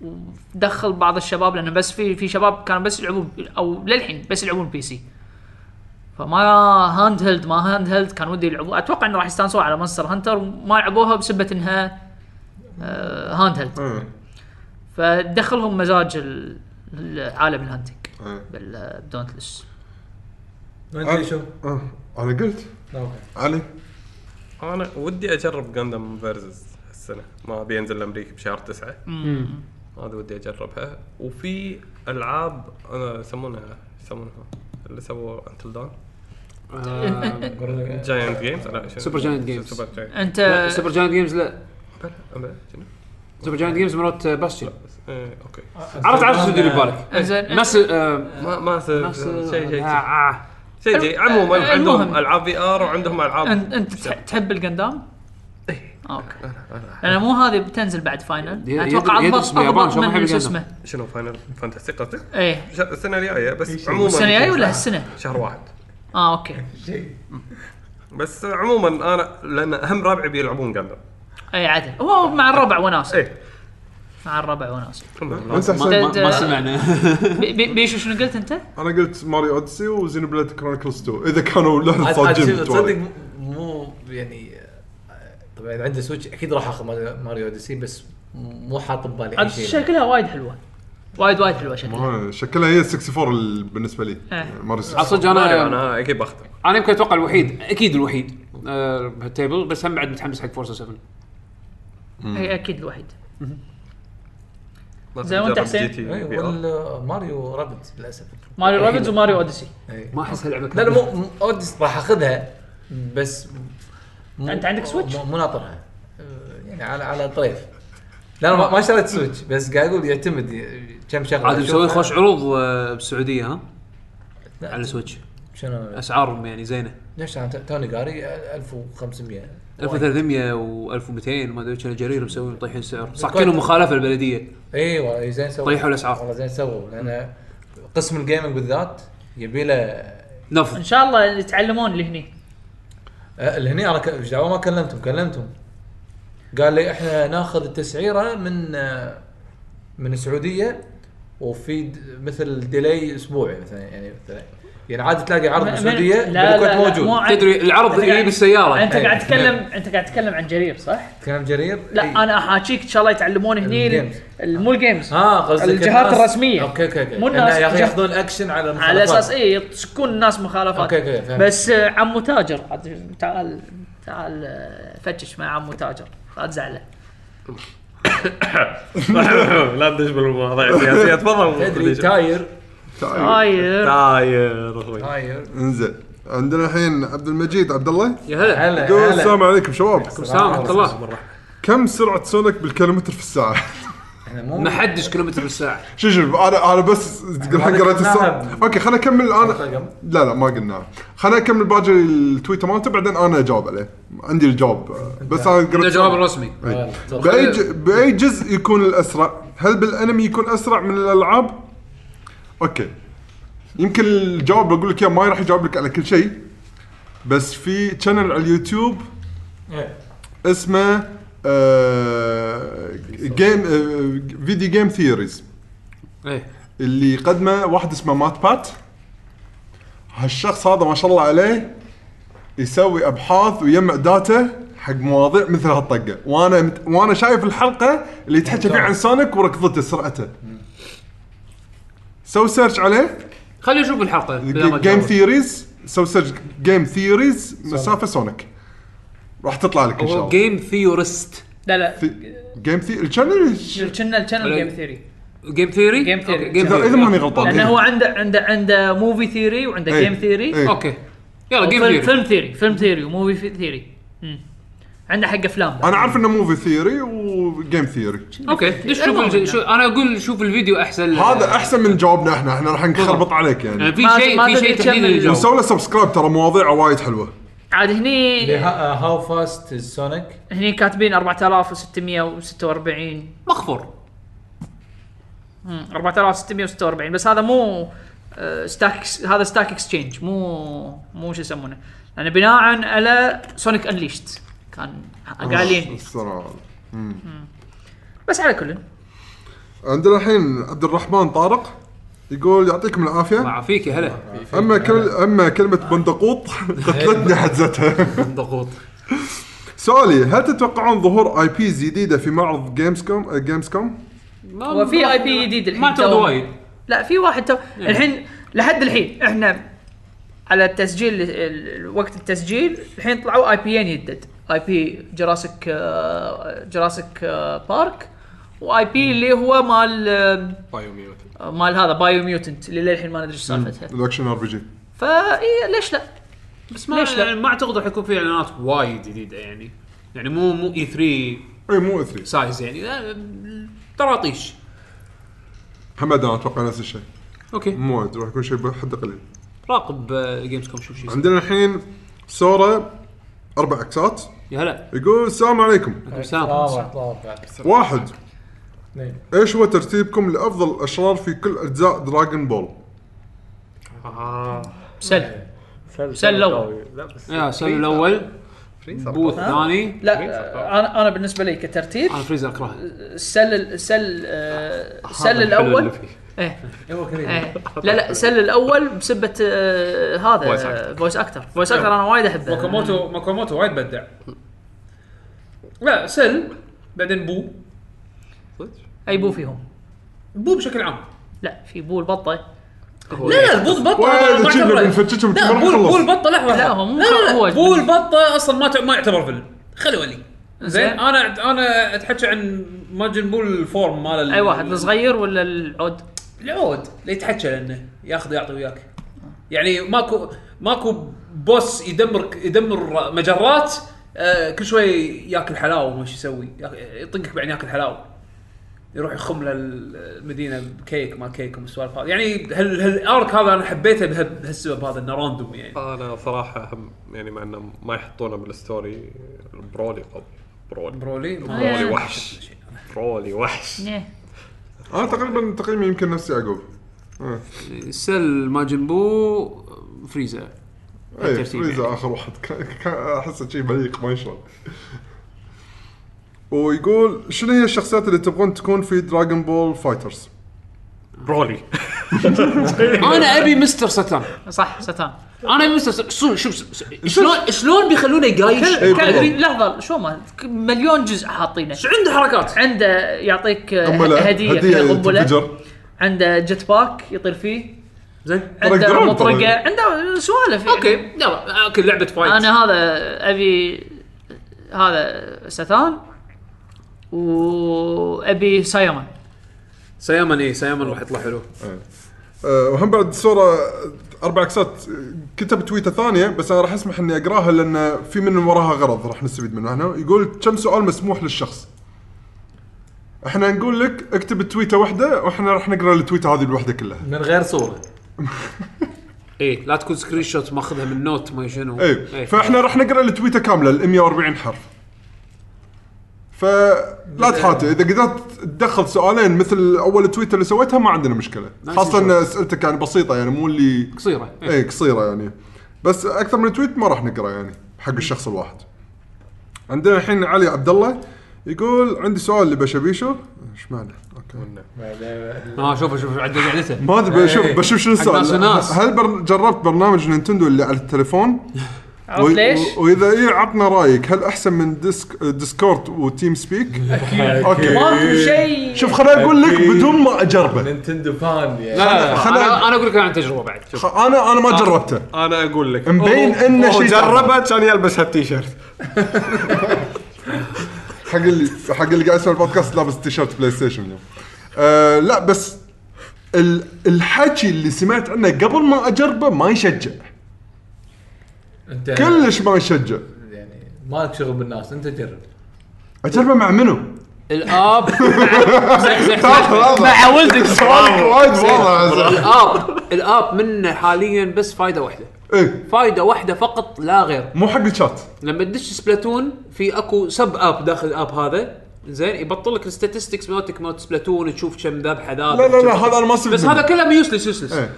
S3: ودخل بعض الشباب لانه بس في في شباب كانوا بس يلعبون او للحين بس يلعبون بي سي فما هاند هيلد ما هاند هيلد كان ودي يلعبوا اتوقع انه راح يستانسون على مونستر هانتر ما لعبوها بسبه انها آه، هاند هيلد
S2: إيه.
S3: فدخلهم مزاج ال- العالم الهانتنج
S2: إيه.
S3: بال- آه، بدونتلس
S5: وانت شو
S2: آه، انا قلت علي
S4: انا ودي اجرب جاندم فيرسز السنه ما بينزل الامريكي بشهر تسعة هذا ودي اجربها وفي العاب انا يسمونها يسمونها اللي سووا انتل دان
S1: آه،
S4: جاينت جيمز لا شنو؟
S1: سوبر جاينت جيمز.
S4: سوبر
S3: إيه.
S4: جاينت
S3: انت
S1: سوبر جاينت جيمز لا
S4: بلى، بلى، شنو؟
S1: سوبر جاينت جيمز مرات باستيون
S4: بس، إيه، اوكي
S3: آه.
S1: عرفت عرفت شو اللي ببالك
S3: زين
S1: ناس آه،
S4: ما ما شيء
S1: ناس آه،
S4: شيء شيء
S1: آه، آه.
S4: شيء شيء عموما
S3: المهم.
S4: عندهم العاب في ار وعندهم العاب
S3: انت أنت تح- تحب القندام؟
S4: إيه.
S3: اوكي انا مو هذه بتنزل بعد فاينل
S1: يد-
S3: اتوقع
S1: يد-
S3: اضبط
S1: اسم يابان،
S3: اضبط
S1: شلون ما
S3: من
S1: يحب القندام؟
S3: شو اسمه
S4: شنو فاينل فانتسي قصدك؟
S3: ايه
S4: ش- السنه الجايه بس عموما
S3: السنه الجايه ولا هالسنه؟
S4: شهر واحد
S3: اه اوكي
S4: بس عموما انا لان اهم ربعي بيلعبون جاندم
S3: اي عدل إيه، هو مع الربع وناس
S4: ايه
S3: مع الربع وناس
S6: أه؟
S2: انت
S1: ما,
S2: حسين
S1: ما, ما سمعنا
S3: بي- بي- بيشو شنو قلت انت؟
S2: انا قلت ماريو اوديسي وزين بلاد كرونيكلز 2 اذا كانوا لحظه
S5: عاد- عاد
S2: صادقين
S5: شوف، تصدق
S2: بالتوالي.
S5: مو- مو يعني آه، طبعا عنده سويتش اكيد راح اخذ ماريو- ماريو اوديسي بس مو حاط ببالي
S3: عاد
S5: اي شيء
S3: شكلها وايد حلوه وايد وايد حلوه شكلها
S2: ما- شكلها هي 64 ال- بالنسبه لي
S3: إيه.
S2: ماريو 64
S1: آه، صدق انا
S4: انا اكيد باخذه
S1: انا يمكن اتوقع الوحيد اكيد الوحيد آه، بهالتيبل بس هم بعد متحمس حق فورسا 7
S3: هي اكيد الوحيد
S4: لازم
S3: زين، وأنت
S4: أجرب
S3: حسين؟
S4: جي تي
S5: إيه،
S6: أيوة،
S4: في آر.
S5: ولا ماريو رابط للاسف
S3: ماريو رابيدز وماريو اوديسي
S5: إيه.
S1: ما احسها لعبه
S5: لا لا
S1: كاملة.
S5: مو مو- اوديس راح اخذها بس مو
S3: أنت عندك سويتش؟
S5: مو- مو ناطرها آه، يعني على على طريف لا انا ما- ما شريت سويتش بس قاعد اقول يعتمد ي- كم شغله
S1: عاد مسوي
S5: أشوفها.
S1: خوش عروض آه، بالسعوديه ها
S5: لا،
S1: على سويتش
S5: شنو
S1: اسعارهم يعني زينه
S5: ليش انا ت- توني قاري 1500
S1: 1300 و1200 ما ادري كان جرير مسوي مطيحين سعر صاكينهم مخالفه البلديه
S5: ايوه زين سووا
S1: طيحوا الأسعار.
S5: والله زين سووا لان قسم الجيمنج بالذات يبي له أه،
S3: ان
S1: نفط
S3: شاء الله يتعلمون اللي هني
S5: آه، اللي هني انا ك- ايش دعوه ما كلمتهم كلمتهم قال لي احنا ناخذ التسعيره من آه، من السعوديه وفي د- مثل ديلي اسبوعي مثلا يعني مثلا يعني عادي تلاقي عرض
S3: من-
S5: بالسعوديه
S3: لا- لا-
S5: بالكويت
S3: لا، مو
S5: موجود
S3: عن-
S1: تدري العرض
S3: أنت قاعد-
S1: اللي بالسياره
S3: انت قاعد
S5: إيه.
S3: تتكلم انت قاعد تتكلم عن جرير صح؟
S5: كلام جرير
S3: لا
S5: إي.
S3: انا احاكيك ان شاء الله يتعلمون هني ال-
S5: إيه. الجيمز.
S3: ال- مو الجيمز
S5: ها قصدك
S3: الجهات
S5: الناس-
S3: الرسمية.
S5: اوكي اوكي اوكي
S3: مو
S5: مو
S3: الناس-
S5: الناس ياخذون اكشن على
S3: على
S5: المخالفات.
S3: اساس ايه تسكون الناس مخالفات
S5: اوكي اوكي فهمت.
S3: بس آه، عمو تاجر عاد تعال تعال آه، فتش مع عمو تاجر لا تزعله
S6: لا تدش بالمواضيع السياسيه تفضل
S5: تدري
S6: تدش.
S5: تاير
S2: تعال.
S3: طاير
S6: تاير اخوي
S5: تاير
S2: انزين عندنا الحين عبد المجيد عبد الله
S1: يا هلا
S5: هلا
S2: يقول
S5: هلا.
S2: السلام عليكم شباب
S1: سلام ورحمه الله
S2: كم سرعه سونيك بالكيلومتر في الساعه؟
S5: احنا مو
S1: ما حدش كيلومتر بالساعه
S2: شو شو انا انا بس الحين قريت الساعه
S5: قلناها.
S2: اوكي خليني اكمل انا
S5: رقم.
S2: لا لا ما قلنا خليني اكمل باقي التويتر مالته بعدين انا اجاوب عليه عندي الجواب بس انا قريت
S1: الجواب الرسمي
S5: آه،
S2: إي. باي ج- باي جزء يكون الاسرع؟ هل بالانمي يكون اسرع من الالعاب؟ اوكي يمكن الجواب بقول لك اياه ما راح يجاوب لك على كل شيء بس في شانل على اليوتيوب
S5: إيه.
S2: اسمه آه، جيم آه، فيديو جيم ثيوريز
S1: ايه
S2: اللي يقدمه واحد اسمه مات بات هالشخص هذا ما شاء الله عليه يسوي ابحاث ويجمع داتا حق مواضيع مثل هالطقه وانا مت... وانا شايف الحلقه اللي تحكي فيها عن سونيك وركضته سرعته سو سيرش عليه
S1: خلينا نشوف الحلقه بلا ما
S2: جيم
S1: تجاوب.
S2: ثيوريز سو سيرش جيم ثيوريز مسافه سونيك راح تطلع لك ان شاء
S1: هو
S2: الله
S1: جيم ثيورست
S3: لا لا
S2: جيم ثيوري
S3: كنا الشانل جيم ثيري
S1: جيم ثيوري
S3: Game Theory.
S1: جيم
S2: اذا إذا ماني غلطان
S3: لانه هو عنده عنده عنده موفي ثيري وعنده
S2: إيه.
S3: جيم ثيري
S2: إيه.
S1: اوكي يلا جيم ثيوري
S3: فيلم فيلم ثيري فيلم ثيري وموفي ثيري عنده حق افلام بعد.
S2: انا عارف انه موفي ثيوري وجيم ثيوري
S1: اوكي دش شوف الج- شو- انا اقول شوف الفيديو احسن ل-
S2: هذا احسن من جوابنا احنا احنا راح نخربط عليك
S1: يعني
S2: يعني
S1: في
S3: ما-
S1: شيء
S3: ما
S1: في
S3: تدري
S1: شيء
S3: كم
S1: تحديد
S3: ال-
S1: الجو
S2: سوي له سبسكرايب ترى مواضيعه وايد حلوه
S3: عاد
S5: إيه.
S3: هني
S5: هاو فاست سونيك
S3: هني كاتبين 4646
S1: مخفور
S3: مم، 4646 بس هذا مو آه، ستاك هذا ستاك اكسشينج مو مو شو يسمونه لانه بناء على سونيك انليشت كان قايلين
S2: الصراحة.
S3: بس على كل
S2: عندنا الحين عبد الرحمن طارق يقول يعطيكم العافيه
S1: عافيك يا هلا
S2: اما كل اما كلمه بندقوط قتلتني حزتها
S1: ضغوط
S2: سؤالي هل تتوقعون ظهور اي بيز جديده في معرض آه، جيمز كوم جيمز كوم؟
S3: وفي اي بي جديد الحين
S1: ما اعتقد
S3: تو-
S1: وايد
S3: لا في واحد تو... الحين لحد الحين احنا على التسجيل ال- ال- وقت التسجيل الحين طلعوا اي بيين يدد اي بي جراسيك آه، جراسيك بارك واي بي اللي هو مال آه، مال هذا بايو ميوتنت اللي للحين ما ندري ايش سالفتها
S2: الاكشن ار بي جي
S3: فا إيه، ليش لا؟
S1: بس ما
S3: ليش لا؟
S1: يعني ما اعتقد راح يكون في اعلانات وايد جديده يعني يعني مو مو اي 3
S2: اي إيه، مو اثري
S1: سايز يعني لا، طراطيش
S2: حمد انا اتوقع نفس الشيء
S1: اوكي
S2: مو وايد راح يكون شيء حد قليل
S1: راقب جيمز كوم شوف شو يصير.
S2: عندنا الحين سورة اربع اكسات
S1: يا هلا
S2: يقول السلام عليكم
S1: عليكم
S5: آه،
S1: السلام
S2: واحد
S7: نعم.
S5: اثنين.
S2: ايش هو ترتيبكم لافضل الاشرار في كل اجزاء دراغون بول؟
S3: سل سل الاول
S1: يا سلم الاول بوث ثاني
S3: لا آه، انا انا بالنسبه لي كترتيب
S1: انا فريزر اكرهه
S3: السل السل آه، السل الاول ايه إيه. لا لا سل الاول بسبه آه، هذا فويس اكتر فويس اكتر انا وايد احبه
S7: ماكوموتو ماكوموتو وايد بدع لا سل بعدين بو
S3: اي بو فيهم
S7: بو بشكل عام
S3: لا في بو البطه
S7: لا لا البو البطه أنا
S2: وايد
S7: ما
S2: شي
S7: اعتبره
S2: بنفتشهم
S7: لا
S2: ما راح
S7: بو بو
S2: نخلص
S7: البطه لحظه
S3: لا، هو مو-
S7: لا لا,
S3: هو
S7: لا بو البطه اصلا ما ت- ما يعتبر فيلم خليه ولي زين
S3: زين.
S7: انا انا اتحكى عن ماجن بو الفورم مال ال-
S3: اي واحد الصغير ولا العود
S7: العود اللي يتحكى لانه ياخذ يعطي وياك يعني ماكو ماكو بوس يدمر يدمر مجرات آه كل شوي ياكل حلاوه وش يسوي ياك- يطقك بعدين ياكل حلاوه يروح يخم للمدينه بكيك ما كيك والسوالف هذه يعني هال هالارك هذا انا حبيته بها- بهالسبب هذا انه راندوم يعني
S6: انا صراحه هم يعني مع انه ما يحطونه بالستوري برولي قوي برولي
S7: برولي ما-
S3: آه،
S4: يعني.
S6: برولي وحش برولي وحش
S3: إيه.
S2: انا تقريبا تقييمي يمكن نفس يعقوب
S1: سل ماجن بو فريزر
S2: إيه،
S1: بالترتيب
S2: فريزا
S1: يعني.
S2: اخر واحد كان- كان احسه شيء مليق ما يشرب ويقول شنو هي الشخصيات اللي تبغون تكون في دراجون بول فايترز؟
S4: برولي
S1: انا ابي مستر ستان
S3: صح ستان
S1: انا ابي مستر ستان شو- شو شو- شلون شلون بيخلونه يقايش
S2: إيه،
S3: كل- كل-
S1: أدري.
S3: لحظه شو ما مليون جزء حاطينه
S1: شو عنده حركات
S3: عنده يعطيك
S2: قنبله
S3: هديه كذا
S2: هديه
S3: قنبله
S2: تنفجر
S3: عنده جيت باك يطير فيه
S1: زين
S2: طرق
S3: عنده
S2: درون
S3: مطرقه
S2: طبعاً.
S3: عنده سوالف يعني.
S1: اوكي يلا اوكي لعبه فايت
S3: انا هذا ابي هذا ستان وابي سايمون
S1: سيامن اي سيامن راح يطلع حلو
S2: أه، وهم بعد صوره اربع عكسات كتب تويته ثانيه بس انا راح اسمح اني اقراها لان في من وراها غرض راح نستفيد منه احنا يقول كم سؤال مسموح للشخص احنا نقول لك اكتب تويته واحده واحنا راح نقرا التويته هذه الوحده كلها
S5: من غير صوره
S1: اي إيه، لا تكون سكرين شوت ماخذها من نوت ما شنو إيه.
S2: اي فاحنا إيه. راح نقرا التويته كامله ال 140 حرف فلا تحاتي اذا قدرت تدخل سؤالين مثل اول تويته اللي سويتها ما عندنا مشكله خاصه ان اسئلتك يعني بسيطه يعني مو اللي
S1: قصيره إيه.
S2: اي قصيره يعني بس اكثر من تويت ما راح نقرا يعني حق الشخص الواحد عندنا الحين علي عبد الله يقول عندي سؤال لبشبيشو ايش معنى؟ اوكي
S1: اه شوف شوف عدل قعدته
S2: ما ادري بشوف بشوف شنو
S1: إيه. ناس
S2: السؤال
S1: وناس.
S2: هل بر... جربت برنامج نينتندو اللي على التليفون؟
S3: عرفت ليش؟
S2: و... واذا اي عطنا رايك هل احسن من ديسك... ديسكورد وتيم سبيك؟ اوكي
S3: ماكو شيء
S2: شوف خليني اقول لك
S5: أكيد.
S2: بدون ما اجربه
S5: نينتندو فان يعني
S1: لا لا،
S2: خلنا-
S1: انا انا اقول لك عن تجربه بعد شوف
S2: خ- انا انا ما
S1: آه.
S2: جربته
S6: انا اقول لك
S2: مبين انه شيء
S6: جربه كان يلبس هالتيشيرت
S2: حق اللي حق اللي قاعد يسمع البودكاست لابس تيشيرت بلاي ستيشن اليوم. آه لا بس ال- الحكي اللي سمعت عنه قبل ما اجربه ما يشجع
S5: انت
S2: كلش ما يشجع
S5: يعني ما لك شغل بالناس انت جرب
S2: اجربه مع منو؟
S1: إيه. الاب زين، زين،
S2: مع ولدك سؤالك وايد واضح
S1: الاب الاب منه حاليا بس فائده واحده
S2: ايه
S1: فائده واحده فقط لا غير
S2: مو حق الشات
S1: لما تدش سبلاتون في اكو سب اب داخل الاب هذا زين يبطل لك الستاتستكس مالتك مالت سبلاتون تشوف كم ذبحه ذابح
S2: لا لا لا هذا انا ما سمعت
S1: بس
S2: منه.
S1: هذا كله يوسلس يوسلس
S2: إيه.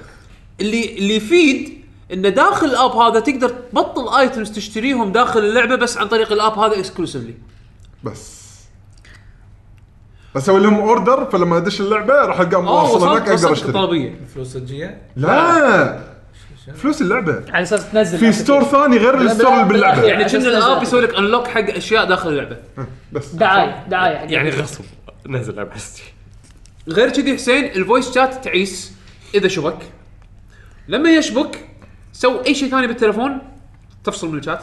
S1: اللي اللي يفيد انه داخل الاب هذا تقدر تبطل ايتمز تشتريهم داخل اللعبه بس عن طريق الاب هذا اكسكلوسيفلي
S2: بس اسوي لهم اوردر فلما ادش اللعبه راح القى
S1: اه
S2: مواصل هناك
S1: وصلت
S2: اقدر
S1: وصلت
S2: اشتري
S1: طلبيه
S5: فلوس صجيه
S2: لا فلوس اللعبه
S3: على اساس تنزل
S2: في ستور ثاني غير الستور اللي باللعبه
S1: يعني كنا الاب يسوي لك انلوك حق اشياء داخل اللعبه
S2: بس
S3: دعايه دعايه
S6: يعني غصب نزل على بس
S1: غير كذي حسين الفويس شات تعيس اذا شبك لما يشبك سو اي شيء ثاني بالتليفون تفصل من الشات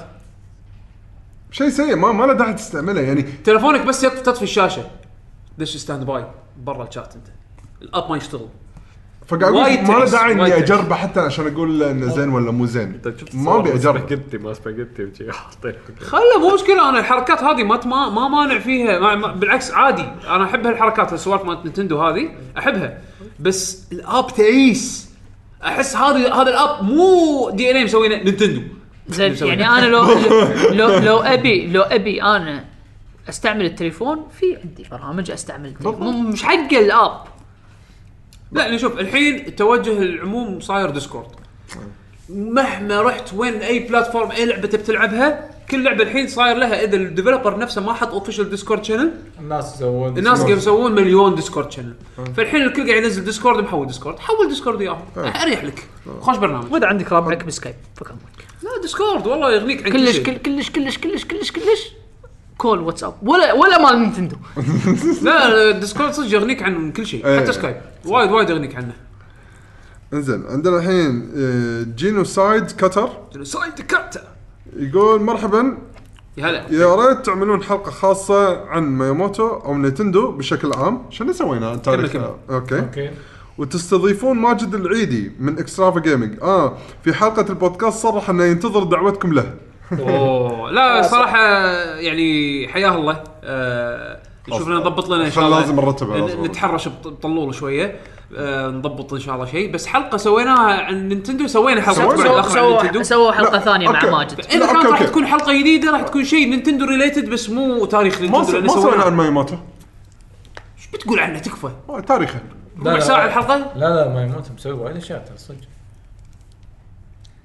S2: شيء سيء ما ما له داعي تستعمله يعني
S1: تلفونك بس يطفي تطفي الشاشه دش ستاند باي برا الشات انت الاب ما يشتغل
S2: فقاعد اقول
S1: وايد
S2: ما له
S1: تعيس،
S2: داعي
S1: وايد
S2: اني
S1: تعيس.
S2: اجربه حتى عشان اقول له انه زين ولا مو زين ما ابي اجربه
S6: سباجيتي ما سباجيتي وشي حاطين
S1: خله مو مشكله انا الحركات هذه ما ما ما مانع فيها ما ما بالعكس عادي انا احب هالحركات السوالف مالت نينتندو هذه احبها بس الاب تعيس احس هذا هذا الاب مو دي ان اي مسوينه نينتندو
S3: زين يعني انا لو لو- لو لو ابي لو ابي انا استعمل التليفون في عندي برامج استعمل التليفون مو- مش حق الاب
S1: لا نشوف الحين التوجه العموم صاير ديسكورد مهما رحت وين اي بلاتفورم اي لعبه تبي تلعبها كل لعبه الحين صاير لها اذا الديفلوبر نفسه ما حط اوفيشال ديسكورد شانل
S5: الناس يسوون
S1: الناس قاعد يسوون مليون ديسكورد شانل
S2: آه.
S1: فالحين الكل قاعد ينزل ديسكورد محول ديسكورد حول ديسكورد وياهم
S2: آه.
S1: اريح لك خوش برنامج
S3: واذا عندك ربعك بسكايب فكمل
S1: لا ديسكورد والله يغنيك عن كل
S3: كلش
S1: شيء
S3: كل- كلش كلش كلش كلش كلش كول واتساب ولا ولا مال نينتندو
S1: لا الديسكورد صدق يغنيك عن كل شيء
S2: إيه.
S1: حتى سكايب وايد وايد يغنيك عنه
S2: انزين عندنا الحين آه، جينوسايد كتر
S1: سايد كارتا
S2: يقول مرحبا
S1: يا هلا
S2: يا ريت تعملون حلقه خاصه عن مايموتو او نينتندو بشكل عام شنو سوينا تاريخ
S1: كمل.
S2: اوكي
S5: اوكي
S2: وتستضيفون ماجد العيدي من اكسترافا جيمنج اه في حلقه البودكاست صرح انه ينتظر دعوتكم له
S1: اوه
S2: آه،
S1: لا صراحه يعني حياه الله آه، نشوف لنا نضبط لنا ان شاء الله
S2: خلاص لازم نرتبها، لازم
S1: ن-
S2: نرتبها.
S1: نتحرش بط- بطلول شويه آه، نضبط ان شاء الله شيء بس حلقه سويناها عن نينتندو سوينا حلقه
S2: سوينا.
S1: بعد
S3: سووا
S1: الاخر عن
S3: سووا
S1: نينتندو
S3: سووا حلقه
S2: لا،
S3: ثانيه مع
S2: أوكي.
S3: ماجد
S1: اذا
S2: لا،
S1: كانت
S2: أوكي،
S1: راح
S2: أوكي.
S1: تكون حلقه جديده راح تكون شيء نينتندو ريليتد بس مو تاريخ
S2: ما
S1: نينتندو
S2: س-
S1: لأن
S2: ما سوينا عن
S1: سويناه.
S2: مايموتو
S1: ايش بتقول عنه تكفى
S2: آه، تاريخه
S5: لا،
S1: ربع
S5: لا.
S1: ساعه الحلقه
S5: لا لا ما يموت مسوي وايد اشياء ترى صدق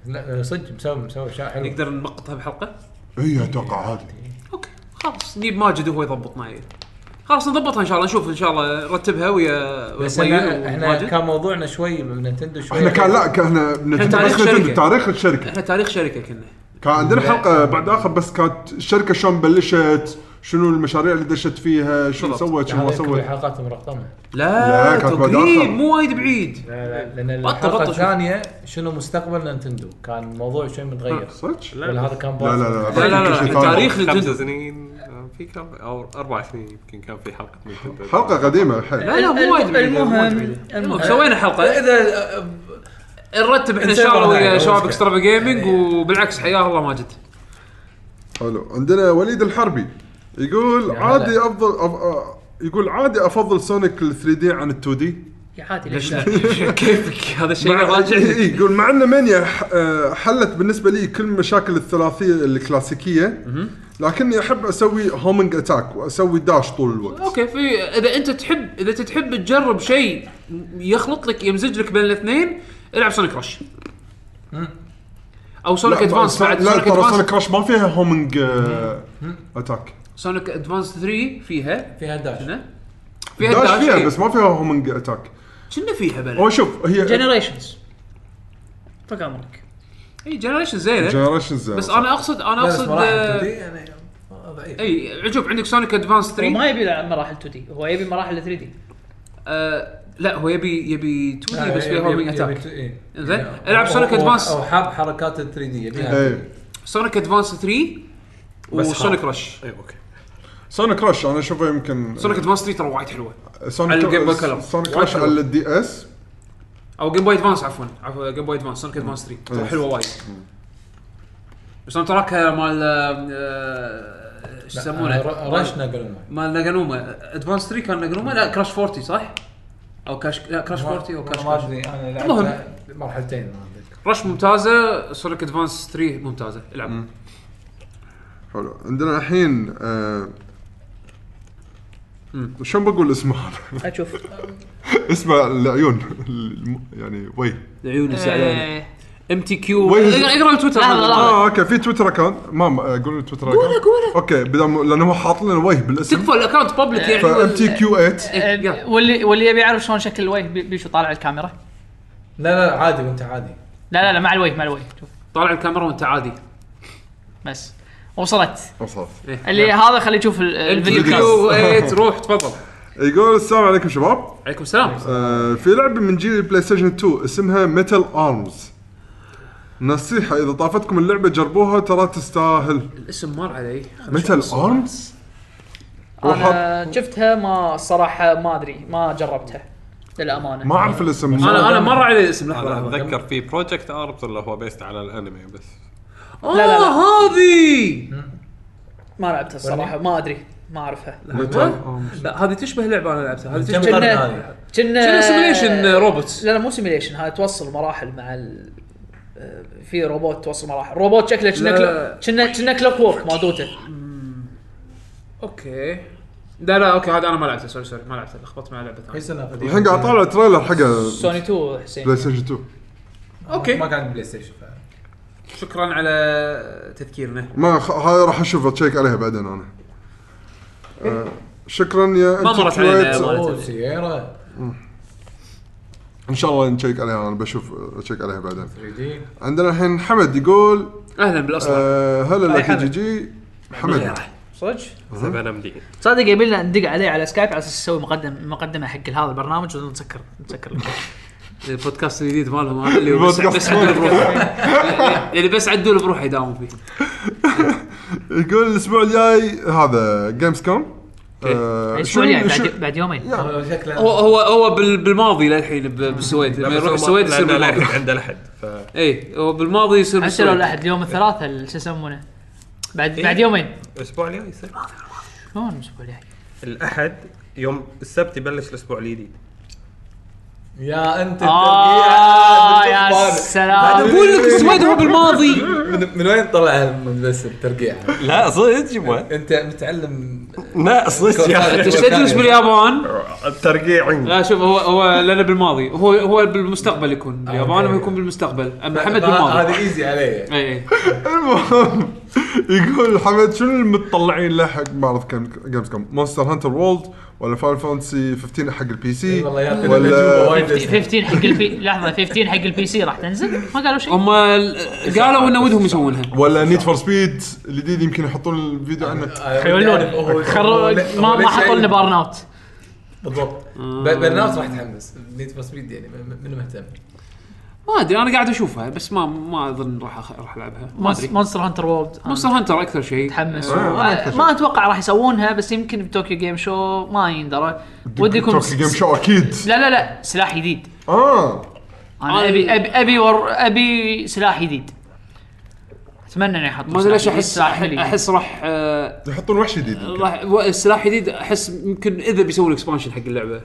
S5: لا صدق مسوي مسوي اشياء حلوه
S1: نقدر نلقطها بحلقه
S2: اي اتوقع عادي
S1: اوكي خلاص نجيب ماجد وهو يضبطنا إيه. خلاص نضبطها ان شاء الله نشوف ان شاء الله رتبها ويا ويا
S5: بس
S1: طيب
S5: احنا احنا
S1: وماجد.
S5: كان موضوعنا شوي من نتندو شوي يعني
S2: احنا كان لا كان احنا نتندو
S1: تاريخ
S2: بس نتندو
S1: شركة.
S2: تاريخ الشركه
S1: احنا تاريخ شركه كنا
S2: كان عندنا حلقه بعد اخر بس كانت الشركه شلون بلشت شنو المشاريع اللي دشت فيها شنو سوت شنو ما
S5: هذه يعني كل
S2: سوت
S5: حلقات مرقمه
S1: لا,
S2: لا، كانت بعد آخر.
S1: قريب مو وايد بعيد
S5: لا لا لان
S1: بطل-
S5: الحلقه
S1: بطل شوف.
S5: الثانيه شنو مستقبل نتندو كان الموضوع شوي متغير
S2: صدق؟ لا
S5: ولا هذا كان
S2: لا
S5: باطل؟
S2: لا
S1: لا لا لا
S2: شيء ثاني.
S1: تاريخ
S4: خمس
S1: نتندو
S4: سنين آه، في كم او اربع سنين يمكن كان في حلقه نتندو.
S2: حلقه قديمه حيل
S1: لا لا مو وايد بعيد
S3: المهم
S1: المهم
S3: المهم
S1: سوينا حلقه
S5: اذا آه،
S1: نرتب احنا ان
S5: نسوي
S1: شاء الله
S5: مرة
S1: ويا
S5: ثانية،
S1: شباب
S5: مشكلة.
S1: اكسترافا جيمنج وبالعكس حياه الله ماجد
S2: حلو عندنا وليد الحربي يقول عادي افضل أف... آه، يقول عادي افضل سونيك 3 دي عن 2 دي
S3: يا حاتي
S1: ليش
S3: ليش
S1: لا؟ كيفك هذا الشيء راجع لك
S2: إيه، يقول مع ان مانيا ح- آه، حلت بالنسبه لي كل مشاكل الثلاثيه الكلاسيكيه لكني احب اسوي هومنج اتاك واسوي داش طول الوقت
S1: اوكي في اذا انت تحب اذا انت تحب تجرب شيء يخلط لك يمزج لك بين الاثنين العب سونيك رش او سونيك
S2: لا،
S1: ادفانس
S2: لا،
S1: بعد
S2: لا
S1: سونيك
S2: ترى سونيك
S1: ادفانس
S2: كراش ما فيها هومنج آه، اتاك
S1: سونيك ادفانس 3 فيها
S5: فيها داش
S1: كنا فيها إيه.
S2: داش
S1: الداش
S2: فيها بس ما فيها هومنج اتاك
S1: كنا فيها بلا
S2: هو شوف هي
S3: جنريشنز طق عمرك
S1: اي جنريشن زينه
S2: جنريشنز
S1: بس انا اقصد انا
S5: بس
S1: اقصد
S5: مراحل 2D
S1: آه،
S5: يعني آه، ضعيف
S1: اي عجوب عندك سونيك ادفانس
S3: هو
S1: 3
S3: ما يبي يلعب مراحل 2 دي هو يبي مراحل 3 دي
S1: آه، لا هو يبي يبي 2
S5: يعني
S1: دي بس فيها هومينج اتاك
S5: إيه.
S1: زين،
S5: زين
S1: العب Sonic Advance.
S5: او حاب حركات ال 3 دي يبيها يعني
S2: ايه
S1: سونيك ادفانس 3 وسونيك رش
S4: اي اوكي
S2: سونيك كراش انا اشوفه يمكن
S1: سونيك ادفانس 3 ترى وايد حلوه على
S2: سونيك
S1: الجيم بوي كلر.
S2: سونيك
S1: وايد
S2: كراش
S1: حلو.
S2: على الدي اس
S1: او جيم بوي ادفانس عفوا عفوا جيم بوي ادفانس سونيك ادفانس 3 ترى حلوه وايد بس انا تراكها مال آه، ايش يسمونه
S5: رشنا قلنا
S1: مال ناجانوما ادفانس 3 كان ناجانوما لا كراش 40 صح؟ او كاش لا كراش 40 او
S5: ما
S1: كراش
S5: ادري انا
S1: المهم.
S5: لعبت مرحلتين ما أدري.
S1: رش ممتازه سونيك ادفانس 3 ممتازه العب
S2: حلو عندنا الحين آه، شلون بقول اسمه هذا؟
S3: اشوف
S2: اسمه العيون الم- يعني وي
S1: العيون الزعلانه
S3: إيه.
S1: ام تي كيو
S2: وين-
S1: اقرا التويتر
S3: لحظة، لحظة.
S2: اه اوكي في تويتر اكونت ما ما- آه، قول لي تويتر اكونت
S3: قوله.
S2: اوكي بدل ما- لانه هو حاط لنا وي بالاسم
S1: تكفى الاكونت بابليك يعني
S2: فام تي كيو 8
S1: إيه، يلا.
S3: واللي واللي يبي يعرف شلون شكل الوجه بي- بيشو طالع الكاميرا
S5: لا لا عادي وانت عادي
S3: لا لا لا مع الوجه مع الوجه شوف
S1: طالع الكاميرا وانت عادي
S3: بس وصلت
S2: وصلت
S1: إيه.
S3: اللي هذا خليه يشوف ال-
S1: ام
S3: الفيديو
S1: تي
S3: كاست
S1: كيو 8 روح إيه، تفضل
S2: يقول السلام عليكم شباب
S1: عليكم السلام
S2: آه، في لعبه من جيل البلاي ستيشن 2 اسمها ميتال ارمز نصيحه اذا طافتكم اللعبه جربوها ترى تستاهل
S1: الاسم مر علي خلنا نشوف
S2: ميتال
S1: الصورة.
S2: ارمز
S3: انا شفتها ما الصراحه ما ادري ما جربتها للامانه
S2: ما اعرف الاسم
S1: انا انا مر علي الاسم لحظه
S4: انا
S1: لحظه
S4: اتذكر في بروجكت اربس اللي هو بيست على الانمي بس
S1: اه
S3: لا، لا.
S1: هذه
S3: ما لعبتها الصراحه ما ادري ما اعرفها
S1: لا هذه تشبه لعبه انا لعبتها هذه
S5: كم
S1: تشبه
S5: قرن
S3: كنا-
S5: هذه؟
S3: كنا
S1: كنا سيميليشن روبوتس
S3: لا لا مو سيميليشن هاي توصل مراحل مع ال... آه، في روبوت توصل مراحل روبوت شكله كنا
S1: لا.
S3: كلو- كنا كنا كلوك وورك مال دوتا
S1: اوكي لا لا اوكي هذا انا ما لعبته سوري سوري ما لعبته لخبطت مع لعبه
S5: اي
S1: ثانيه
S5: سنه قديمة؟
S2: الحين قاعد اطالع تريلر حق
S3: سوني 2 حسين
S2: بلاي ستيشن 2
S1: أوكي.
S5: ما قاعد بلاي ستيشن ف-
S1: شكرا على تذكيرنا
S2: ما خ- هاي راح اشوف اتشيك عليها بعدين انا آه، شكرا يا
S1: ما
S2: أنتي
S1: مرت علينا
S2: كويت.
S1: مرة.
S5: اوه سيارة
S2: ان شاء الله نشيك عليها انا بشوف اتشيك عليها بعدين
S5: 3 دي
S2: عندنا الحين حمد يقول
S1: اهلا بالاصلع
S2: آه، هلا لك
S3: حمد.
S2: جي جي حمد
S3: صدق
S4: زبنه مدين
S3: صادق يبي لنا ندق عليه على سكايب على اساس نسوي مقدم مقدمه حق هذا البرنامج ونسكر نسكر
S1: البودكاست الجديد مالهم هذا اللي بس
S2: البودكاست
S1: بس عدول بروحه يعني بس عدول بروحه يداوم فيه
S2: يقول الاسبوع الجاي هذا آه، جيمز كوم
S3: الاسبوع الجاي بعد, بعد يومين
S5: هو شكله
S1: هو هو هو بال- بالماضي للحين ب- بالسويد لما يروح السويد يصير
S4: لأنه لا
S1: بالماضي
S4: يحد عنده لحد ف
S1: اي هو بالماضي يصير
S3: حتى لو
S1: بالسويد
S3: الاحد اليوم الثلاثاء ال- شو يسمونه بعد بعد يومين
S4: الاسبوع الجاي يصير
S3: شلون الاسبوع الجاي
S4: الاحد يوم السبت يبلش الاسبوع الجديد
S5: يا
S3: آه،
S5: انت الترقيع
S3: يا
S5: بالجبار.
S3: سلام.
S5: بعد
S1: اقول لك السويد هو بالماضي
S5: من, من وين طلع هم بس الترقيع؟
S4: لا صدق ما
S5: انت متعلم
S4: لا صدق
S5: يا أخي.
S1: انت ايش تدرس باليابان؟
S6: الترقيع
S1: لا شوف هو هو لنا بالماضي هو هو بالمستقبل يكون اليابان
S5: أوكي.
S1: هو يكون بالمستقبل اما
S5: هذا-
S1: حمد بالماضي إيه،
S5: هذا ايزي علي
S1: اي اي
S2: المهم يقول حمد شنو المتطلعين له حق معرض كام- جيمز كوم؟ مونستر هانتر وولد ولا فاين فانتسي 15 حق البي
S3: إيه.
S2: سي
S5: والله يا أخي، الأجوبة
S2: ولا
S5: وايد
S3: 15 حق البي لحظه 15 حق البي سي راح تنزل ما قالوا شيء
S1: هم ال- قالوا ان ودهم يسوونها
S2: ولا نيد فور سبيد الجديد يمكن يحطون الفيديو عنه
S5: آه، هو-
S3: حيولون خروا
S5: هو- هو
S3: ما آه. ما
S5: ليش
S3: حطوا
S5: شيء-
S3: لنا بارن اوت
S5: بالضبط برنامج راح يتحمس نيد فور سبيد يعني م- منو مهتم
S1: ما ادري انا قاعد اشوفها بس ما ما اظن راح أخ- راح العبها ما ادري
S3: مونستر هانتر وولد
S1: مونستر هانتر اكثر شيء
S3: متحمس
S2: آه،
S3: ما- ما اتوقع راح يسوونها بس يمكن بتوكيو جيم شو ما يندرى ودي يكون
S2: توكي جيم شو اكيد
S3: لا لا لا سلاح جديد
S2: اه
S3: انا ابي ابي ابي ور ابي سلاح جديد اتمنى انه يحط
S1: ما ادري ليش احس احس راح آه،
S2: يحطون وحش جديد
S1: راح و- السلاح الجديد احس يمكن اذا بيسوون اكسبانشن حق اللعبه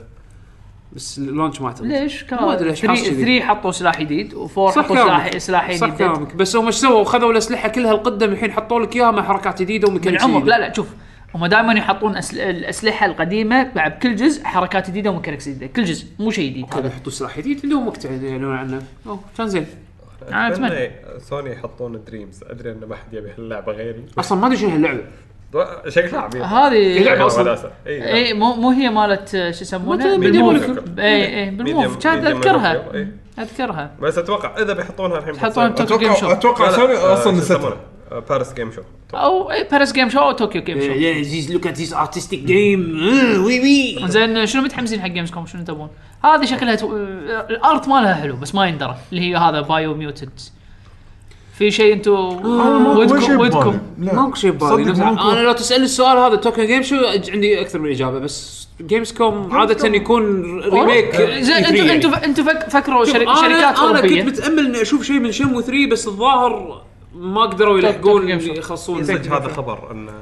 S1: بس اللونش ما اعتقد
S3: ليش
S1: ما ادري ليش حاسس كذي.
S3: 3 حطوا سلاح جديد و4
S1: صح
S3: حطوا سلاح
S1: كلامك
S3: سلاح
S1: صح
S3: جديد
S1: كلامك بس هم ايش سووا خذوا الاسلحه كلها القدم الحين حطوا لك اياها مع حركات جديده
S3: من
S1: وميكانيكس
S3: عمر
S1: جديدة.
S3: لا لا شوف هم دائما يحطون أسل... الاسلحه القديمه مع بكل جزء حركات جديده وميكانكس جديده كل جزء مو شيء جديد
S1: كانوا يحطوا سلاح جديد عندهم وقت يعني يعلنون عنه اوه كان زين
S3: انا اتمنى
S6: سوني يحطون دريمز ادري انه ما حد يبي هاللعبه غيري
S1: اصلا ما ادري شنو هاللعبه
S6: شكلها عبيط يعني
S3: هذه
S1: لعبة أصلاً.
S6: اي
S3: اي مو مو هي مالت آه، شو يسمونه إيه،
S1: مالت
S3: بالموف
S1: Media
S6: Molecule.
S3: اي اي بالموف
S6: Media-
S3: كانت
S6: Media
S3: اذكرها
S6: Molecule، إي.
S3: اذكرها
S6: بس اتوقع اذا بيحطونها الحين
S3: يحطونها
S6: بتصير-
S3: بتوكيو جيم شو
S2: اتوقع اتوقع
S6: لا،
S2: سوني آه،
S6: لا،
S2: اصلا
S6: شو
S2: نسيتها
S6: يسمونه؟ آه، باريس جيم شو
S3: او باريس جيم شو او طوكيو جيم
S1: إيه،
S3: شو
S1: ذيس لوك ات ذيس ارتستيك جيم آه، وي وي
S3: زين شنو متحمسين حق جيمز كوم شنو تبون؟ هذه شكلها تو... آه، الارت مالها حلو بس ما يندرى اللي هي هذا بايو ميوتنت في شيء انتم
S2: آه،
S3: ودكم ودكم
S1: ماكو شيء ببالي نفس- انا لو تسالني السؤال هذا توكن جيم شو عندي اكثر من اجابه بس جيمز كوم عاده يكون ريميك
S3: آه، زين
S1: E3
S3: انتم
S1: يعني.
S3: انتم انتم فك- فكروا
S1: شوف،
S3: شرك-
S1: أنا-
S3: شركات
S1: انا
S3: اوروبيه
S1: كنت متامل اني اشوف شيء من شمو 3 بس الظاهر ما قدروا
S3: طيب، توكيو
S1: يلحقون
S3: جيم شو.
S1: يخلصون
S6: صدق هذا خبر ان آه،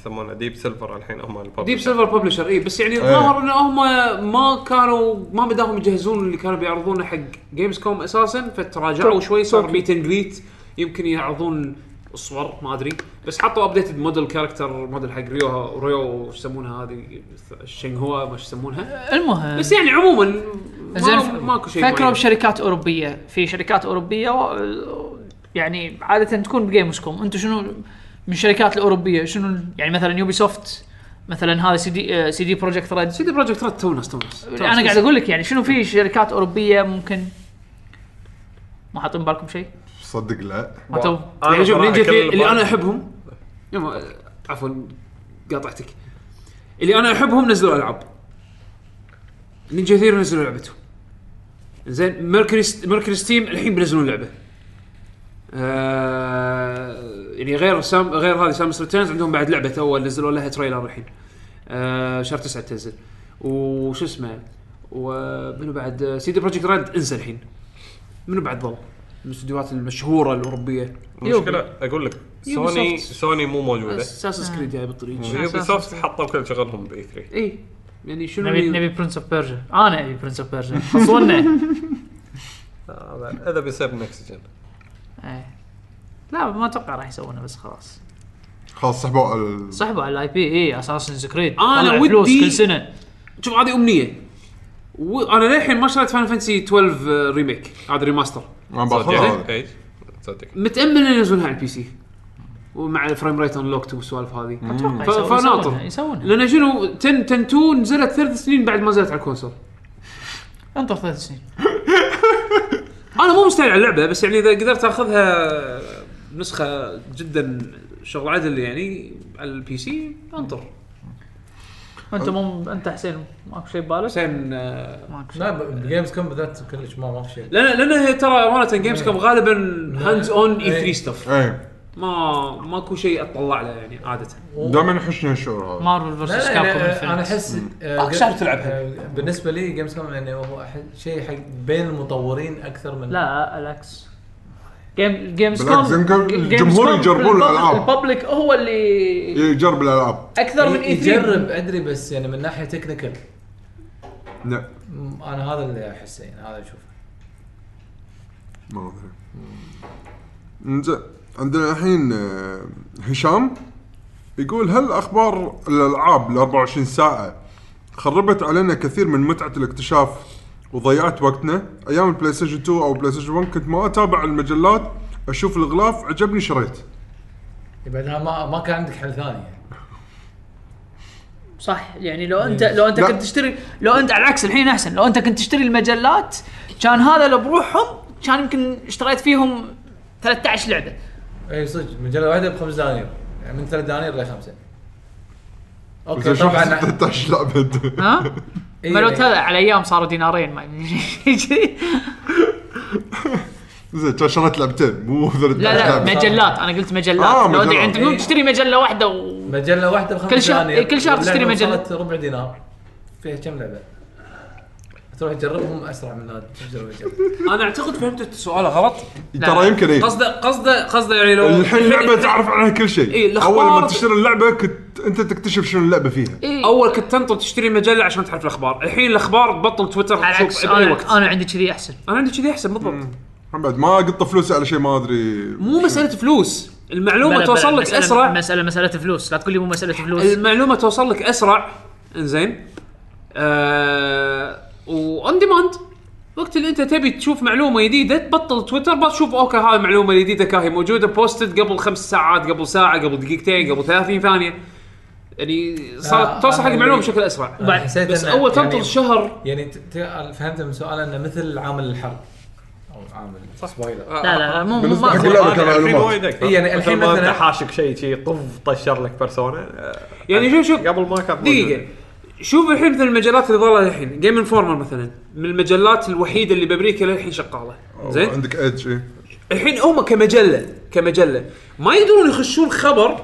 S6: يسمونه ديب سيلفر الحين هم الببلشر.
S1: ديب سيلفر ببلشر اي بس يعني الظاهر ان هم ما كانوا ما بداهم يجهزون اللي كانوا بيعرضونه حق جيمز كوم اساسا فتراجعوا شوي صار ميت اند جريت يمكن يعرضون صور ما ادري بس حطوا ابديتد موديل كاركتر موديل حق ريو ريو وش يسمونها هذه شنغوا ما إيش يسمونها
S3: المهم
S1: بس يعني عموما ما-
S3: زين
S1: ماكو شيء
S3: فكروا
S1: معين.
S3: بشركات اوروبيه في شركات اوروبيه و... يعني عاده تكون بجيمسكم انتم شنو من الشركات الاوروبيه شنو يعني مثلا يوبي سوفت مثلا هذا سي دي آه، سي دي بروجكت ريد
S1: سيدي بروجكت ريد تو ناس تو ناس
S3: انا قاعد اقول لك يعني شنو في شركات اوروبيه ممكن ما حاطين بالكم شيء؟
S2: صدق لا
S3: ما تو
S1: يعني شوف
S6: صراحة
S1: نينجا
S6: كل
S1: ثيري اللي
S6: البعض-
S1: انا احبهم يما- عفوا قاطعتك اللي انا احبهم نزلوا العاب نينجا ثيري نزلوا لعبته زين ميركوري ميركوري ستيم الحين بينزلون لعبه آه يعني غير سام غير هذه سامس ريتيرنز عندهم بعد لعبه اول نزلوا لها تريلر الحين آه شهر 9 تنزل وشو اسمه ومنو بعد سيدي بروجكت ريد انسى الحين منو بعد ظل من الاستديوهات المشهوره الاوروبيه
S6: المشكله اقول لك سوني
S1: Ubisoft.
S6: سوني مو موجوده
S1: اساسن كريد جاي بالطريق
S6: يوبي سوفت حطوا كل شغلهم باي 3
S1: اي يعني شنو
S3: نبي
S1: اللي-
S3: نبي برنس اوف بيرجا انا ابي برنس اوف بيرجا خلصونا
S6: اذا بيصير نكست جن
S3: إيه. لا ما اتوقع راح يسوونه بس خلاص
S2: خلاص سحبوا على ال-
S3: سحبوا على الاي بي اي اساسنز كريد
S1: أنا
S3: إيه، طلع فلوس
S1: ودي-
S3: كل سنه
S1: شوف هذه امنيه وانا للحين ما شريت فاينل فانتسي 12 ريميك آه، هذا ريماستر
S2: انا باخذها
S6: صدق
S2: هذا
S6: اي صدق
S1: متامل انه ينزلونها على البي سي ومع الفريم ريت انلوكت والسوالف هذه
S3: أتوقع
S1: ف-
S3: يسوون-
S1: فناطر.
S3: يسوونه- يسوونه
S1: لان شنو 10 10 2 نزلت ثلاث سنين بعد ما نزلت على الكونسول
S3: انطر ثلاث سنين
S1: انا مو مستعجل على اللعبه بس يعني اذا قدرت اخذها نسخه جدا شغل عدل يعني على البي سي انطر
S3: انت مو انت حسين ماكو شيء ببالك؟
S1: حسين آه،
S3: ماكو شيء
S5: لا بجيمز كوم بالذات كلش ما ما في شيء
S1: لان لان هي ترى امانه جيمز كوم غالبا هاندز اون اي 3
S5: إيه.
S1: ستاف
S2: اي
S1: ما ماكو شيء اتطلع له يعني عاده
S2: دائما يحشني الشعور هذا
S3: مارفل
S5: لا،
S3: فيرسس
S5: لا،
S3: كابكوم
S5: يعني انا
S3: انفنت
S5: احس آه،
S1: أقصى شهر تلعبها.
S5: آه، بالنسبه لي جيمز كوم يعني هو أحس شيء حق بين المطورين اكثر من
S3: لا العكس جيم جيمز
S2: بالعكس،
S3: كوم
S2: يمكن الجمهور يجربون الألعاب.
S3: الببليك هو اللي
S2: يجرب الالعاب
S3: اكثر من اي 3
S5: يجرب ادري E بس يعني من ناحيه تكنيكال
S2: لا
S5: م- انا هذا اللي احسه يعني هذا اشوفه
S2: ما ادري إنزين، عندنا الحين آه، هشام يقول هل اخبار الالعاب ال 24 ساعه خربت علينا كثير من متعه الاكتشاف وضيعت وقتنا ايام البلاي ستيشن 2 او بلاي ستيشن 1 كنت ما اتابع المجلات اشوف الغلاف عجبني شريت
S5: بعدين يعني ما ما كان عندك حل ثاني يعني.
S3: صح يعني لو انت لو انت
S2: لا.
S3: كنت تشتري لو انت على العكس الحين احسن لو انت كنت تشتري المجلات كان هذا لو بروحهم كان يمكن اشتريت فيهم 13 لعبه
S5: اي إيه، صدق مجله واحده بخمس دنانير يعني من ثلاث دنانير لخمسه اوكي
S2: زين شلون
S5: طبعا
S2: 13 لعبه انت؟
S3: ها؟
S5: إيه.
S3: ملوت هذا على ايام صاروا دينارين ما أدري شي.
S2: زين كان شريت لعبتين مو ثلاث
S3: لا لا
S2: لعبة.
S3: مجلات انا قلت مجلات
S2: آه،
S3: لو ادري
S2: مجلات.
S3: انت مو تشتري مجله واحده و...
S5: مجله واحده بخمس
S3: كل شهر-
S1: إيه،
S5: دنانير
S3: كل شهر تشتري
S5: واللعبة
S3: مجلة.
S5: وصلت ربع دينار فيها كم لعبه تروح تجربهم اسرع من هذا تجرب مجلة.
S1: انا اعتقد فهمت سؤاله غلط
S2: ترى يمكن اي
S1: قصده قصده قصده يعني لو
S2: الحين لعبه تعرف عنها كل شيء
S1: إيه، الأخبار-
S2: اول ما تشتري اللعبه كنت انت تكتشف شنو اللعبه فيها
S1: اول كنت تنطر تشتري مجله عشان تعرف الاخبار الحين الاخبار تبطل تويتر
S3: على
S1: تشوف
S3: العكس
S1: باي
S3: انا
S1: وقت
S3: انا عندي كذي احسن
S1: انا عندي كذي احسن بالضبط
S2: هم بعد ما قط فلوسي على شيء ما ادري
S1: مو مساله فلوس
S3: بلا-
S1: المعلومه
S3: بلا،
S1: توصل لك
S3: مسألة-
S1: اسرع
S3: مساله مساله فلوس لا تقول لي مو مساله فلوس
S1: المعلومه توصل لك اسرع انزين آه وان ديماند وقت اللي انت تبي تشوف معلومه جديده تبطل تويتر بتشوف اوكي هاي المعلومه الجديده كاهي موجوده بوستد قبل خمس ساعات قبل ساعه قبل دقيقتين قبل 30 ثانيه يعني
S5: آه،
S1: صارت توصل حق
S5: أنا
S1: المعلومه
S5: اللي-
S1: بشكل اسرع
S5: أنا حسيت
S1: بس
S5: إنه
S1: اول
S5: يعني-
S1: تنطر شهر
S5: يعني ت- ت- فهمت من سؤال انه مثل عامل الحرب او عامل سبويلر
S3: لا لا لا، مو مو
S2: بالنسبة حق
S3: ما
S2: اللعبة كان
S4: الحين
S2: معلومات.
S4: وايد اكثر
S5: إي، يعني الحين
S4: مثل ما
S5: مثلاً-
S4: انت حاشك شيء شي طف طشر لك بيرسونا آه،
S1: يعني شوف شوف
S4: قبل ما كانت
S1: دقيقه
S4: موجودة.
S1: شوف الحين مثل المجلات اللي ظلت الحين جيم انفورمر مثلا من المجلات الوحيده اللي بامريكا للحين شغاله زين
S2: عندك ايدج إيه.
S1: الحين هم كمجله كمجله ما يقدرون يخشون خبر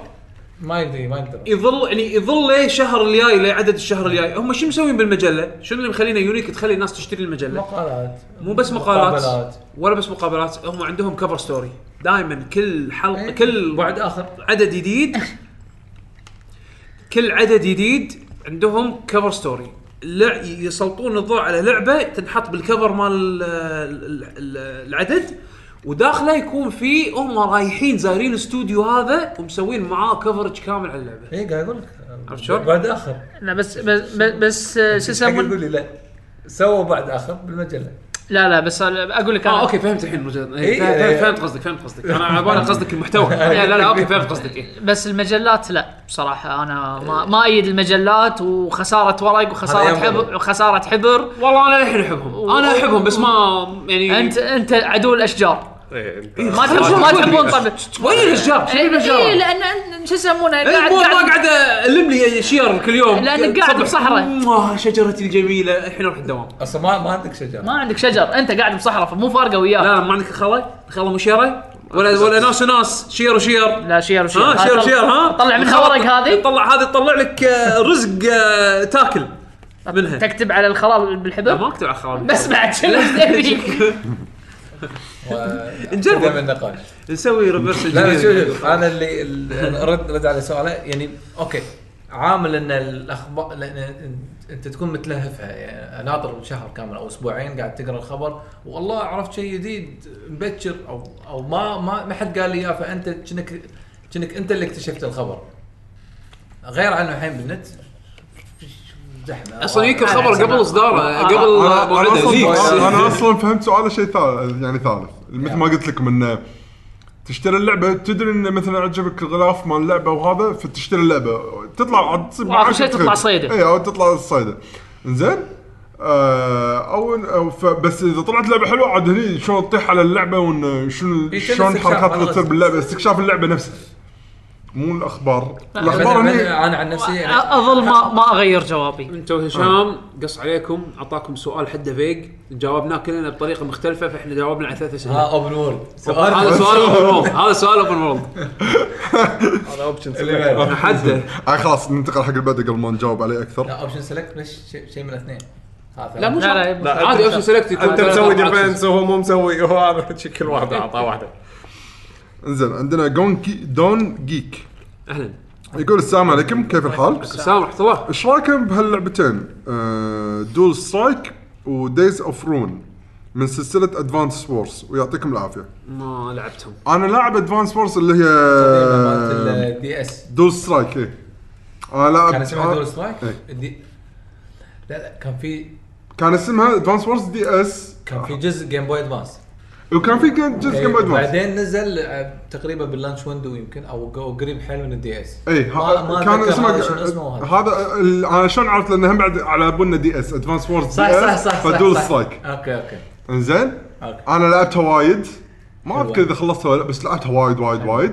S5: ما يدري ما يقدر
S1: يظل يعني يظل ليه شهر الجاي لعدد الشهر الجاي هم شو مسوين بالمجله؟ شنو اللي مخلينا يونيك تخلي الناس تشتري المجله؟
S5: مقالات
S1: مو بس مقالات
S5: مقابلات.
S1: ولا بس مقابلات هم عندهم كفر ستوري دائما كل حلقه
S5: إيه.
S1: كل
S5: بعد اخر
S1: عدد جديد كل عدد جديد عندهم كفر ستوري لع- يسلطون الضوء على لعبه تنحط بالكفر مال ال- ال- ال- العدد وداخله يكون في هم رايحين زايرين الاستوديو هذا ومسوين معاه كفرج كامل على اللعبه
S5: اي إيه، قاعد اقول لك
S1: عرفت شلون؟
S5: بعد اخر
S3: لا بس بس بس- بس آه، شو
S5: حق
S3: يسمون
S5: تقول لي لا سووا بعد اخر بالمجله
S3: لا لا بس أنا اقول لك
S1: اه
S3: انا
S1: اوكي فهمت الحين مجرد
S5: إيه،
S1: إيه فهمت,
S5: إيه.
S1: فهمت قصدك فهمت قصدك انا على بالي قصدك المحتوى لا لا, لا اوكي فهمت قصدك إيه.
S3: بس المجلات لا بصراحه انا ما ما ايد المجلات وخساره ورق وخساره
S5: هذا يوم
S3: حبر
S5: غير.
S3: وخساره حبر
S1: والله انا الحين احبهم انا احبهم بس ما يعني
S3: انت انت عدو الاشجار
S4: إيه، أنت-
S3: ما تحب ما
S1: إيه،
S3: تحبون طب
S1: وين الاشجار؟ شنو الاشجار؟
S3: اي لان أنت- شو يسمونه
S1: إيه،
S3: قاعد
S1: مو ما
S3: قاعد
S1: قاعد الم لي شير كل يوم
S3: لأنك قاعد بصحراء.
S1: آه، شجرتي الجميله الحين اروح الدوام
S5: اصلا ما ما عندك شجره
S3: ما عندك شجر انت قاعد بصحراء فمو فارقه
S1: لا
S3: وياه
S1: لا، ما عندك خاله؟ خاله مو شيره؟ ولا ولا ناس وناس شير وشير
S3: لا شير وشير
S1: ها آه، شير
S3: طلع-
S1: وشير ها
S3: طلع منها ورق هذه
S1: طلع هذه تطلع لك آه، رزق آه، تاكل منها
S3: تكتب على الخلال
S1: لا،
S3: بالحبر
S1: ما اكتب على خاله
S3: بس إيه، بعد شنو تبي؟
S1: نجرب.
S5: نجرب النقاش
S1: نسوي ريفرس
S5: لا لا شوف شوف انا اللي ال- رد رد على سؤاله يعني اوكي عامل ان الاخبار لان أنت- انت تكون متلهفها يعني ناطر شهر كامل او اسبوعين قاعد تقرا الخبر والله عرفت شيء جديد مبكر او او ما ما ما حد قال لي اياه فانت كأنك كأنك انت اللي اكتشفت الخبر غير عنه الحين بالنت زحمه
S1: اصلا يمكن خبر قبل
S3: آه،
S1: اصداره قبل
S2: انا أنا
S1: موعده
S2: اصلا
S1: ليكس
S2: انا اصلا فهمت سؤاله شيء ثالث يعني ثالث مثل ما قلت لكم انه تشتري اللعبه تدري انه مثلا عجبك الغلاف مال اللعبه وهذا فتشتري اللعبه تطلع عاد تصير
S3: وآخر
S2: معاك
S3: شيء تطلع
S2: تخيل.
S3: صيدة.
S2: اي او تطلع الصيده زين آه او, أو ف- بس اذا طلعت لعبه حلوه عاد هني شلون تطيح على اللعبه وان شنو
S5: إيه،
S2: شلون
S5: استكشاف
S2: الحركات اللي
S5: خلاص.
S2: تصير باللعبه استكشاف اللعبه نفسها مو الاخبار الاخبار هني
S5: انا عن نفسي يعني
S3: اظل ما ما اغير جوابي
S1: انت وهشام قص عليكم اعطاكم سؤال حده فيج جاوبناه كلنا بطريقه مختلفه فاحنا جاوبنا على ثلاث اسئله
S5: ها اوبن وورلد
S1: هذا سؤال اوبن وورلد هذا سؤال اوبن وورلد
S5: اللي غيره.
S1: حده
S2: آه خلاص ننتقل حق البدء قبل ما نجاوب عليه اكثر
S5: لا اوبشن سيلكت بس شيء شيء من الاثنين هذا
S1: لا مو
S3: لا، لا،
S1: شرط عادي اوبشن سيلكت يكون
S4: انت
S1: ثلاث
S4: مسوي
S1: أربع options.
S4: ديفنس وهو مو مسوي هو هذا شكل واحد اعطاه واحده
S2: انزين عندنا جون كي دون جيك
S1: اهلا
S2: يقول السلام عليكم كيف الحال؟
S1: السلام ورحمه الله
S2: ايش رايكم بهاللعبتين؟ آه، دول سترايك ودايز اوف رون من سلسله ادفانس وورز ويعطيكم العافيه.
S1: ما لعبتهم
S2: انا لاعب ادفانس وورز اللي
S5: تقريباً مالت
S2: هي
S5: الدي اس
S2: دول سترايك اي. انا إيه. لاعب
S5: كان اسمها دول
S2: آه،
S5: سترايك
S2: إيه.
S5: الدي- لا لا كان في
S2: كان اسمها ادفانس وورز دي اس
S5: كان في جزء جيم بوي ادفانس
S2: وكان في كان جزء جيم بوي ادفانس
S5: إيه، بعدين نزل آه، تقريبا باللانش ويندو يمكن او أو قريب حيل من الدي اس
S2: اي
S5: ما- ما
S2: إيه، كان
S5: أتذكر
S2: اسمه
S5: هذا شنو اسمه وهذا.
S2: هذا ال- انا شلون عرفت لانه هم بعد على بالنا دي اس ادفانس وورز
S5: صح صح صح صح
S2: فدول
S5: صح.
S2: سترايك
S5: اوكي اوكي
S2: انزين
S5: اوكي
S2: انا لعبتها وايد ما
S5: حلوة.
S2: اذكر اذا خلصتها ولا لا، بس لعبتها وايد وايد وايد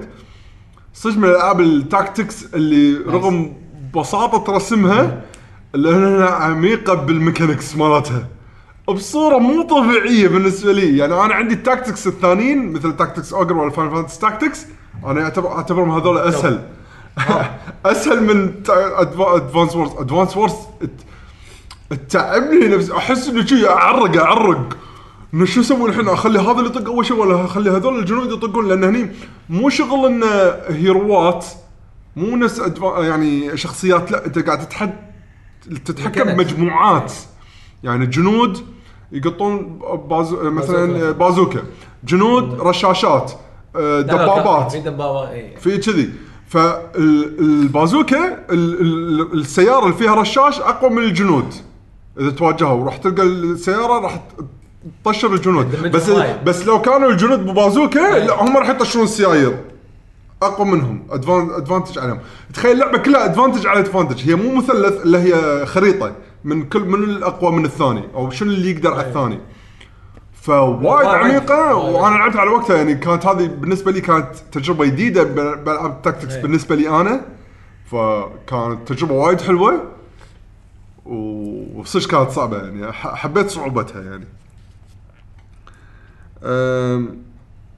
S2: صدق من الالعاب التاكتكس اللي رغم بساطه رسمها لانها عميقه بالميكانكس مالتها بصوره مو طبيعيه بالنسبه لي يعني انا عندي التاكتكس الثانيين مثل تاكتكس اوجر ولا فاين فانتس تاكتكس انا أعتبر- اعتبرهم هذول اسهل اسهل من ادفانس وورز ادفانس وورز تعبني نفسي احس اني شي اعرق اعرق انه شو اسوي الحين اخلي هذا اللي يطق اول شيء ولا اخلي هذول الجنود يطقون لان هني مو شغل انه هيروات مو نفس أدفا- يعني شخصيات لا انت قاعد تتحد تتحكم
S5: ميكانيكس.
S2: بمجموعات يعني الجنود يقطون بازو مثلا
S5: بازوكا.
S2: بازوكا جنود رشاشات آه، دبابات
S5: في إيه. دبابات اي
S2: في كذي فالبازوكا السياره اللي فيها رشاش اقوى من الجنود اذا تواجهها وراح تلقى السياره راح ت- تطشر الجنود
S5: The
S2: بس
S5: middle
S2: بس لو كانوا الجنود ببازوكا لا هم راح يطشرون السيايير اقوى منهم أدفان- ادفانتج عليهم تخيل اللعبه كلها ادفانتج على ادفانتج هي مو مثلث اللي هي خريطه من كل من الاقوى من الثاني او شنو اللي يقدر على الثاني فوايد
S5: وايد.
S2: عميقه
S5: وايد.
S2: وانا لعبت على وقتها يعني كانت هذه بالنسبه لي كانت تجربه جديده ب- بالعاب التكتكس
S5: إيه.
S2: بالنسبه لي انا فكانت تجربه وايد حلوه و- وصدق كانت صعبه يعني ح- حبيت صعوبتها يعني أم،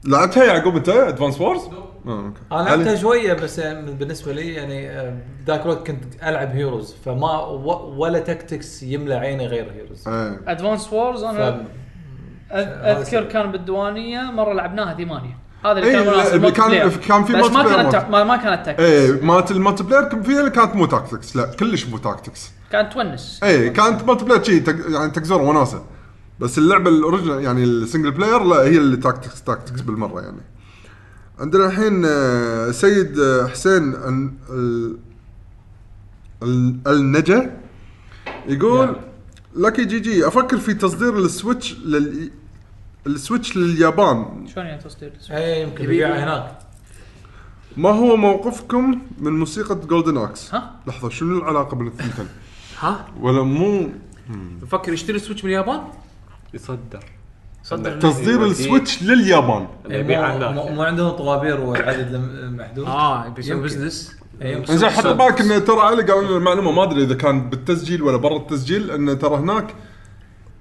S2: لعبتها يعقوب انت ادفانس وورز؟
S5: انا لعبتها شويه بس يعني بالنسبه لي يعني آه، ذاك الوقت كنت العب هيروز فما و- ولا تكتكس يملى عيني غير هيروز
S2: ايه
S3: ادفانس وورز انا
S5: ف-
S3: أذ-
S2: آه،
S3: اذكر كان بالديوانيه مره لعبناها ثمانيه هذا اللي
S2: إيه،
S3: كان
S2: لا،
S3: مناسب
S2: اللي كان-
S3: multiplayer.
S2: كان في
S3: بس ما
S2: multiplayer
S3: كانت
S2: mode.
S3: ما, ما كانت تكتكس
S2: ايه مالت المالتي بلاير كان فيها اللي كانت مو تاكتكس لا كلش مو تاكتكس
S3: كانت تونس
S2: ايه كانت مالتي بلاير شي تق- يعني تكزور وناسه بس اللعبه الاوريجنال يعني السنجل بلاير لا هي اللي تاكتكس تاكتكس بالمره يعني عندنا الحين آه، سيد آه، حسين ال- ال- ال- النجا يقول لكي جي جي افكر في تصدير السويتش لل السويتش لليابان
S3: شلون يعني تصدير
S5: اي إيه، يمكن يبيعها هناك
S2: ما هو موقفكم من موسيقى جولدن اكس؟
S3: ها؟
S2: لحظه شنو العلاقه بين الثنتين؟
S1: ها؟
S2: ولا مو
S1: مفكر يشتري سويتش من اليابان؟
S6: يصدر
S4: أيوة،
S2: تصدير السويتش لليابان
S6: يبيعها
S5: مو- مو-
S6: هناك
S5: مو عندهم طوابير والعدد لم- محدود
S1: اه يبي يسوي
S5: يمكن.
S1: بزنس
S5: إيه، بس-
S2: زين حط بالك انه ترى علي قال لنا المعلومه ما ادري اذا كان بالتسجيل ولا برا التسجيل انه ترى هناك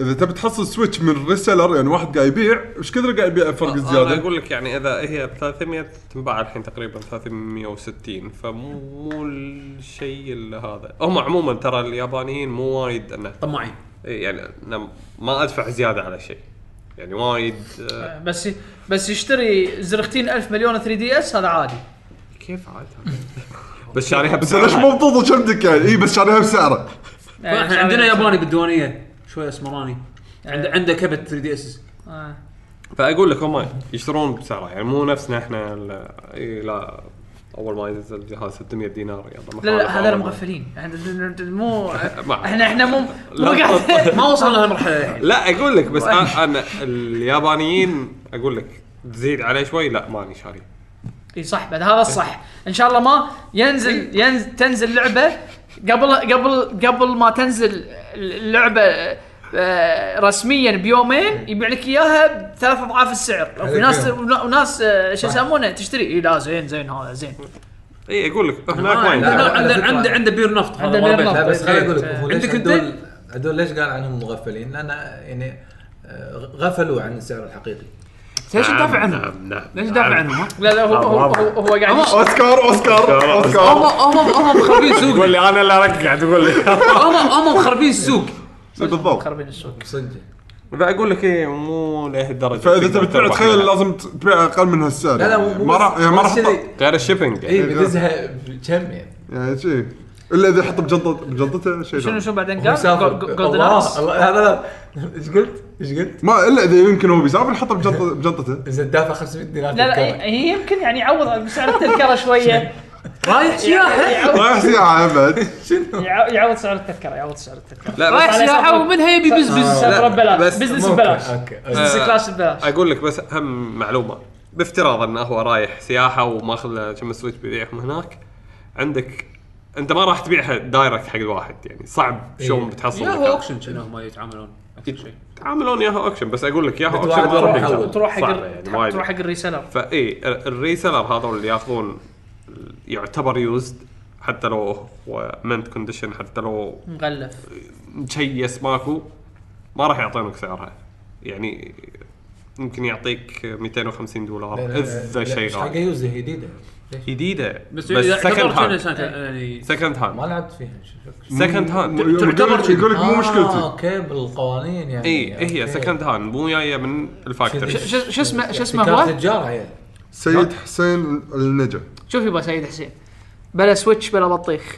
S2: اذا تبي تحصل سويتش من ريسيلر يعني واحد قاعد يبيع ايش كثر قاعد يبيع
S5: أه،
S2: فرق
S6: انا
S2: زياده؟
S6: اقول لك يعني اذا هي ب 300 تنباع الحين تقريبا 360 فمو مو الشيء اللي هذا هم عموما ترى اليابانيين مو وايد انه
S1: طماعين
S6: إيه يعني أنا ما ادفع زياده على شيء يعني وايد آه،
S3: بس بس يشتري زرختين ألف مليون 3 دي اس هذا عادي
S1: كيف عاد يعني
S6: بس شاريها
S2: بس ليش
S6: بسعرها
S2: مبطوط شمدك يعني اي بس شاريها بسعره
S3: يعني
S1: احنا
S3: صار-
S1: إيه، عندنا ياباني بالديوانيه شوي اسمراني عنده
S3: إيه.
S1: عنده كبت 3 دي اس
S3: آه.
S6: فاقول لك هم يشترون بسعرها يعني مو نفسنا احنا ال- إيه لا اول ما ينزل الجهاز 600 دينار يلا
S3: لا لا
S6: مخالف
S3: هذول
S1: آه.
S6: أول ما-
S3: مغفلين إحنا- مو
S6: ما-
S3: احنا احنا مو مو
S6: لا،
S3: قاعد
S1: ما وصل لهالمرحله الحين
S6: لا اقول لك بس أ- انا اليابانيين اقول لك تزيد عليه شوي لا ماني شاري
S3: اي صح بعد هذا الصح ان شاء الله ما ينزل ينزل تنزل لعبه قبل قبل قبل ما تنزل اللعبه آه، رسميا بيومين يبيع لك اياها بثلاث اضعاف السعر وفي ناس وناس آه، شو يسمونه تشتري اي لا زين زين هذا زين
S6: اي اقول لك هناك ما
S1: عنده
S6: ينفع.
S5: لا، على
S1: آه، عنده
S5: فكرة.
S1: عنده عنده بير نفط هذا
S3: عنده
S1: ورا
S3: بير
S1: بيته.
S5: لا بس خليني اقول لك هو ليش
S1: عندك آه. أنت؟
S5: هدول هدول ليش قال عنهم مغفلين؟ لان يعني آه، غفلوا عن السعر الحقيقي
S1: ليش تدافع
S6: نعم،
S1: عنهم؟
S6: نعم،
S1: ليش
S6: نعم.
S1: تدافع عنهم؟ ها؟
S3: لا لا هو هو, هو, هو قاعد يشتري.
S2: اوسكار اوسكار
S1: هم
S2: اوسكار
S1: هم هم مخربين سوق
S6: تقول لي انا اللي ارجع تقول لي
S1: هم هم مخربين السوق
S2: بالضبط
S3: خربين السوق
S5: صدق
S6: بقول لك ايه مو لهالدرجه
S2: فاذا تبي تبيع
S6: تربح
S2: تخيل
S6: منها.
S2: لازم تبيع اقل من هالسعر
S5: لا لا
S2: يعني.
S5: مو
S2: ما راح يعني ما راح يحط-
S6: غير الشيبنج
S5: اي
S6: يعني.
S5: بدزها بكم يعني
S2: يعني شيء الا اذا يحط بجنطه بجنطته
S3: شنو
S2: شيء ثاني.
S3: شنو بعدين
S5: هو
S3: قال
S5: يسافر.
S3: جو- جو- جولدن
S5: الله
S3: اكس
S5: الله لا لا ايش قلت؟ ايش قلت؟
S2: ما الا اذا يمكن هو بيسافر يحطه بجنطه بجنطته
S5: اذا دافع 500 دينار
S3: لا إيه، لا
S5: تذكرة.
S3: هي- هي يمكن يعني يعوض بسعر التذكره شويه
S1: رايح سياحه
S2: رايح سياحه بعد
S9: يع- يعوض سعر التذكره يعوض سعر التذكره
S4: لا
S1: رايح
S4: بس
S1: سياحه ومنها يبي بزبز
S9: سفره
S4: لا،
S9: ببلاش
S4: بس
S3: إيه،
S4: آه،
S9: بزنس
S5: ممكن.
S9: ببلاش
S5: اوكي
S9: بزنس كلاس ببلاش
S4: اقول لك بس اهم معلومه بافتراض انه هو رايح سياحه وماخذ له كم سويتش بيبيعهم هناك عندك انت ما راح تبيعها دايركت حق الواحد يعني صعب شلون بتحصل
S1: يا هو
S4: مكان.
S1: اوكشن كانوا هم يتعاملون اكثر شيء
S4: يتعاملون ياها اوكشن بس اقول لك ياها
S5: بتواعد
S4: اوكشن ما راح
S5: واحد
S4: يقدر.
S5: أول.
S3: تروح حق
S4: صعبة
S3: ال-
S4: يعني وايد.
S3: تروح حق الريسيلر
S4: فاي ال- الريسيلر هذول اللي ياخذون يعتبر يوزد حتى لو هو منت كونديشن حتى لو
S3: مغلف
S4: مشيس ماكو ما راح يعطونك سعرها يعني يمكن يعطيك 250 دولار اذا شيء
S5: حق
S4: غالي
S5: يوز جديده
S4: جديده
S1: بس اذا
S4: سكند
S1: اعتبرت إنه
S4: هاند
S1: سنة- يعني
S4: سكند
S5: ما
S4: هاند
S5: لعبت فيها
S4: سكند هاند
S2: تعتبر يقول لك مو
S5: آه،
S2: مشكلتي
S5: اوكي بالقوانين يعني
S4: اي هي
S5: أوكي.
S4: سكند هاند إيه، مو جايه من الفاكتوري
S5: شذي.
S1: شو شو
S4: يعني
S1: اسمه شو اسمه
S5: احتكار
S1: هو؟
S5: تجار عيال
S2: سيد حسين النجا
S3: شوف يبا سيد حسين بلا سويتش بلا بطيخ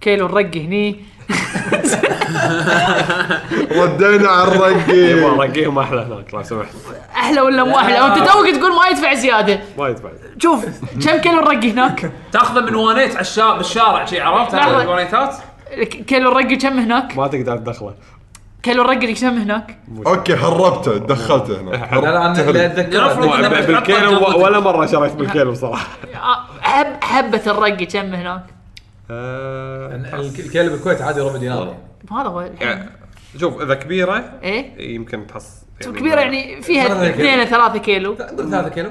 S3: كيلو نرقي هني
S2: ردينا على
S4: يبا
S2: الرقي
S4: رقيهم احلى هناك لو سمحت
S3: احلى ولا مو احلى وانت توك تقول ما يدفع زياده
S4: وايد بعد
S3: شوف كم كيلو نرقي هناك
S1: تاخذه من وانيت على الشارع بالشارع شي عرفت
S3: لحظة.
S1: هذه الوانيتات
S3: ك- كيلو نرقي كم هناك
S4: ما تقدر تدخله
S3: كيلو نرقي كم هناك
S2: اوكي هربته دخلته هنا
S5: لا لا انا اللي
S1: يرفض
S5: اتذكره
S1: إنه-
S4: بالكيلو و- ولا مره شريت بالكيلو صراحه
S3: آه، حب حبه الرقي كم هناك
S4: آه،
S5: إن ال- الكلب بالكويت عادي ربع دينار يعني.
S3: هذا هو الحين.
S4: يعني شوف اذا كبيره
S3: ايه
S4: يمكن تحص يعني
S3: كبيره يعني فيها
S5: ثلاثة كيلو.
S3: اثنين ثلاثة كيلو
S5: تقدر ثلاثة كيلو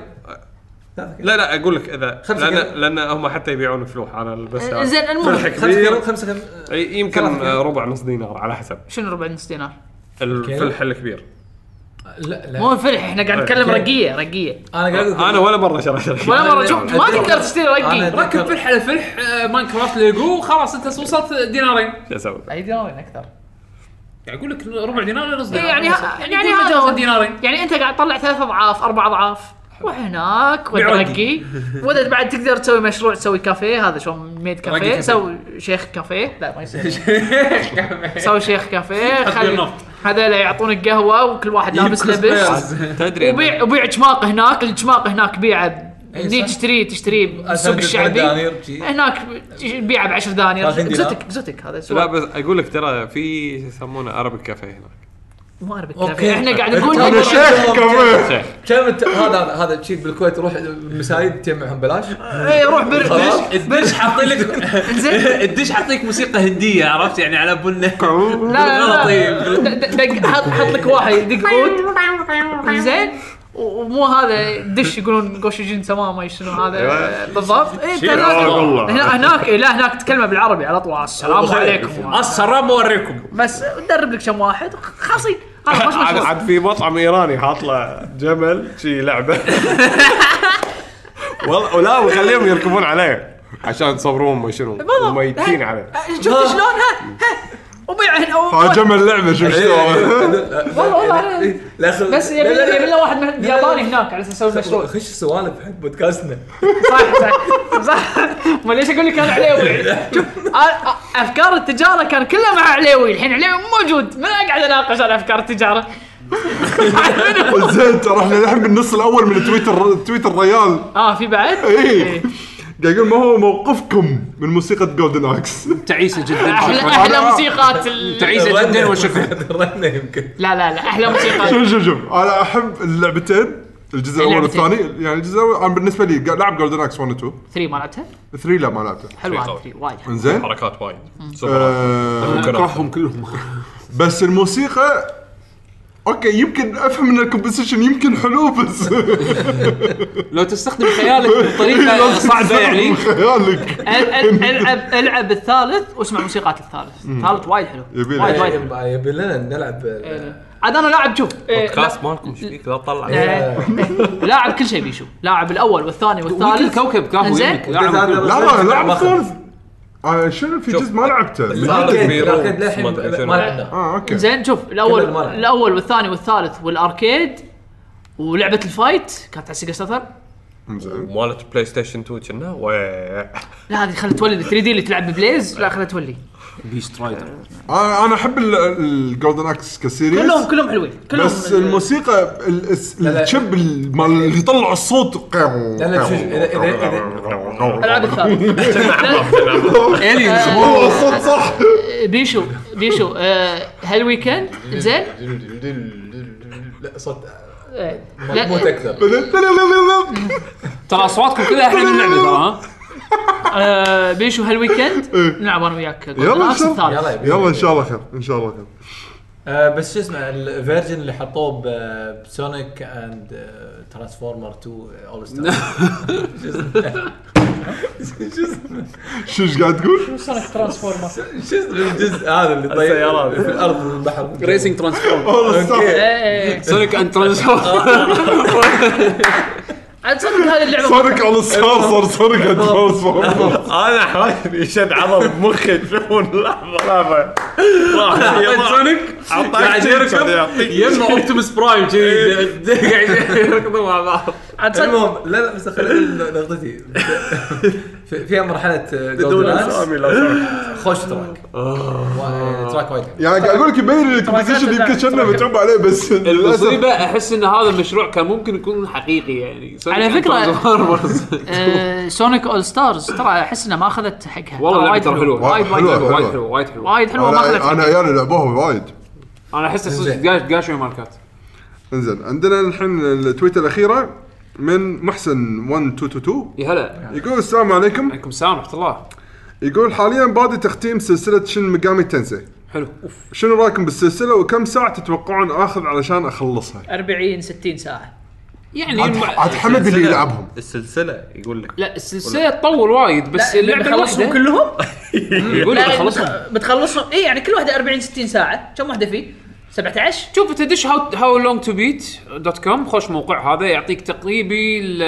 S5: ثلاثة كيلو
S4: لا لا اقول لك اذا
S5: خمسة
S4: لان
S5: كيلو.
S4: لان هم حتى يبيعون فلوح على البس
S3: آه، زين المهم
S5: خمسة كيلو
S4: كبير
S5: خمسة كيلو
S4: أي يمكن
S5: ثلاثة كيلو.
S4: آه، ربع نص دينار على حسب
S3: شنو ربع نص دينار؟
S4: الفلح الكبير
S5: لا
S3: مو
S5: لا
S3: الفلح احنا قاعد نتكلم رقيه رقيه
S5: انا قاعد أقول-
S4: انا ولا مره شريت
S3: ولا مره شوف ما
S5: أدري.
S3: تقدر تشتري
S5: أنا
S3: رقي
S5: أدري.
S1: ركب فلح على فلح آه، ماينكرافت ليجو خلاص انت وصلت دينارين
S4: شو اسوي؟
S3: اي دينارين اكثر
S1: قاعد اقول لك ربع دينار ولا نص دينار
S3: يعني ه- يعني
S1: قول
S3: هذا
S1: مجازاً
S3: هو.
S1: دينارين
S3: يعني انت قاعد تطلع ثلاث اضعاف اربع اضعاف روح هناك
S1: بيع رقي.
S3: وترقي وإذا بعد تقدر تسوي مشروع تسوي كافيه هذا شلون ميد
S1: رقي
S3: كافيه
S1: كافيه.
S3: سوي شيخ كافيه لا ما يصير سوي شيخ كافيه
S1: أدري
S3: خلي
S1: النفط.
S3: هذول يعطونك قهوه وكل واحد لابس لبس
S4: تدري
S3: وبيع وبيع جماق هناك الجماق هناك بيعه هني
S5: إيه، صح.
S3: تشتريه تشتريه بالسوق
S5: أسعد
S3: الشعبي
S5: دنانير، شي.
S3: هناك بيعه ب 10 دنانير
S5: 30 دينار.
S3: زتك زتك هذا
S4: لا
S3: سؤال
S4: بس اقول لك ترى في يسمونه ارابيك كافيه هناك
S3: مو انا
S5: أوكي.
S3: بالكافي احنا قاعد نقول
S2: انا شيخ كمان
S5: كم الت- هذا هذا شيء بالكويت روح المسايد تجمعهم بلاش
S3: اي إيه، روح بر
S1: الدش حاطين لك
S3: زين
S1: الدش حاطيك موسيقى هنديه عرفت يعني على بنه
S3: لا لا
S5: طيب.
S3: لا د- د- دق حط حط لك واحد يدق عود زين و- ومو هذا دش يقولون جوشجين سما ما شنو هذا بالضبط إي، أنت لازم- هنا- هناك إي، لا هناك تتكلم بالعربي على طول السلام عليكم
S1: السلام اوريكم
S3: بس درب لك كم واحد خلاصين هذا مش
S4: عاد
S3: مشروع
S4: عاد في مطعم ايراني حاط له جمل شي لعبه والله ولا وخليهم يركبون عليه عشان يصبرون ما شنو
S3: بالضبط.
S4: وميتين عليه
S3: شفت شلون ها ها وبيع هنا والله
S2: هاجم اللعبه آه، شوف
S5: إيه.
S2: شلون
S3: والله أنا-
S5: لا خل-
S3: بس يبي
S5: لا، لا، لا.
S3: يبي له واحد من- ياباني هناك على اساس يسوي مشروع
S5: خش السوالف حق بودكاستنا
S3: صح صح صح ما ليش اقول لك انا عليوي شوف أ- أ- افكار التجاره كان كلها مع عليوي الحين عليوي مو موجود من أنا قاعد اناقش على افكار التجاره
S2: زين ترى احنا الحين بالنص الاول من تويتر تويتر ريال
S3: اه في بعد؟ إيه.
S2: اي قاعد يقول ما هو موقفكم من موسيقى جولدن اكس
S1: تعيسه جدا
S3: احلى احلى موسيقات ال-
S1: تعيسه جدا وشوفها
S5: رنا يمكن
S3: لا لا لا احلى موسيقات
S2: شوف شوف شوف انا احب اللعبتين الجزء الاول
S3: اللعبتين.
S2: والثاني يعني الجزء الاول انا بالنسبه لي قاعد- لعب جولدن اكس 1 و 2
S3: 3 ما لعبتها؟
S2: 3 لا ما لعبته
S3: حلوه 3 وايد حلوة.
S2: انزين
S4: حركات وايد
S2: آه،
S10: اكرههم كلهم
S2: بس الموسيقى اوكي يمكن افهم ان الكومبنسيشن يمكن حلو بس
S1: لو تستخدم خيالك بطريقه صعبه يعني
S2: خيالك
S3: ال- ال- العب العب الثالث واسمع موسيقات الثالث الثالث وايد حلو
S2: يبي
S3: وايد
S2: لك.
S3: وايد حلو
S5: يبي لنا نلعب
S3: إيه. عاد انا لاعب شوف إيه، لا-
S4: كاس مالكم ايش فيك لا تطلع
S3: إيه، إيه. لاعب كل شيء بيشو لاعب الاول والثاني
S1: وكل
S3: والثالث
S1: طيب، كوكب كافو
S3: إنزين.
S1: يمك لاعب كل-
S2: لا لا لعب الثالث آه، شنو في جزء ما لعبته
S5: الاركيد
S4: كبير.
S5: الاركيد للحين
S4: ما أدري شنو.
S5: ما لعبناه
S2: اه اوكي
S3: زين شوف الاول
S5: كمل مرة.
S3: الاول والثاني والثالث والاركيد ولعبه الفايت كانت على سيجا ساتر
S2: زين
S4: مالت بلاي ستيشن 2 كنا
S3: لا هذه خلت تولي 3 دي اللي تلعب ببليز لا خلت تولي
S1: بيست رايدر
S2: انا آه، أنا احب الجولدن اكس كسيريز
S3: كلهم كلهم حلوين كلهم
S2: بس الموسيقى ال- الس-
S5: يعني لا.
S2: الشب ال- مال اللي يطلع الصوت
S5: لا لا شوف اذا اذا اذا
S3: العاب الثالث
S5: الينز
S2: والله الصوت صح
S3: بيشو بيشو آه، هالويكند زين
S5: لا صوت
S3: آه،
S5: مضبوط
S3: لا
S5: اكثر
S1: ترى اصواتكم كلها احلى من اللعبه ترى ها
S3: آه، بيشو هالويكند نلعب انا وياك
S2: إيه. يلا،
S3: العكس
S2: شوف.
S3: الثالث
S5: يلا
S2: يلا ان شاء الله خير ان شاء الله خير
S5: آه بس شو اسمه الفيرجن اللي حطوه ب- بسونيك اند آه، ترانسفورمر 2 اول ستار
S2: شو ايش قاعد تقول؟
S11: سونيك ترانسفورمر
S5: شو اسمه الجزء هذا اللي طيب السيارات في الارض والبحر
S1: ريسنج ترانسفورم
S2: والله صح
S3: إيه.
S1: سونيك اند ترانسفورم
S3: عاد تصدق هذه اللعبه
S2: صارك على الصار صار صارك على الترانسفورمر.
S4: انا حالي شد عضل بمخي تشوفون لحظه لحظه
S1: سونيك
S4: اعطاك يركب
S1: يما اوبتيمس برايم كذي قاعد يركضون مع بعض
S3: عاد تصدق
S5: المهم لا لا بس خليني نقطتي في- فيها مرحله
S4: بدون
S5: جولدن
S4: اسامي لو سمحت
S5: خوش تراك وا- تراك وايد حلو.
S2: يعني قاعد اقول لك يبين الكومبوزيشن يمكن كنا متعوب عليه بس للاسف
S1: المصيبه احس ان هذا المشروع كان ممكن يكون حقيقي يعني Sonic
S3: على
S1: and
S3: فكرة-
S1: Transformers.
S3: آه، سونيك اول ستارز ترى احس انها ما اخذت حقها
S1: والله لعبه
S3: وايد
S1: ترى حلوه وايد وايد
S2: حلوة،
S1: حلوه وايد
S2: حلوة.
S1: حلوه وايد حلوه
S3: وايد حلوه ما اخذت
S2: انا انا
S3: حقها.
S2: عيالي لعبوها يعني وايد
S1: انا احس الصدق
S5: زين.
S1: قاش قاش ماركات
S2: انزين عندنا الحين التويته الاخيره من محسن 1222
S1: يا هلا
S2: يقول السلام عليكم
S1: عليكم السلام ورحمه الله
S2: يقول حاليا بادي تختيم سلسله شن ميجامي تنسي
S1: حلو اوف
S2: شنو رايكم بالسلسله وكم ساعه تتوقعون اخذ علشان اخلصها
S3: 40 60 ساعه
S1: يعني
S2: عاد-
S1: الم-
S2: عاد حمد اللي
S4: السلسلة-
S2: يلعبهم
S4: السلسله يقول لك
S1: لا السلسله تطول وايد بس
S3: لا،
S1: اللعبه
S3: بيخلصهم
S1: الواحده
S3: كلهم
S1: يقول لك خلصهم
S3: لا، بتخلصهم اي يعني كل واحده 40 60 ساعه كم واحده فيه 17
S1: شوف انت دش هاو هاو لونج تو بيت دوت كوم خوش موقع هذا يعطيك تقريبي ال-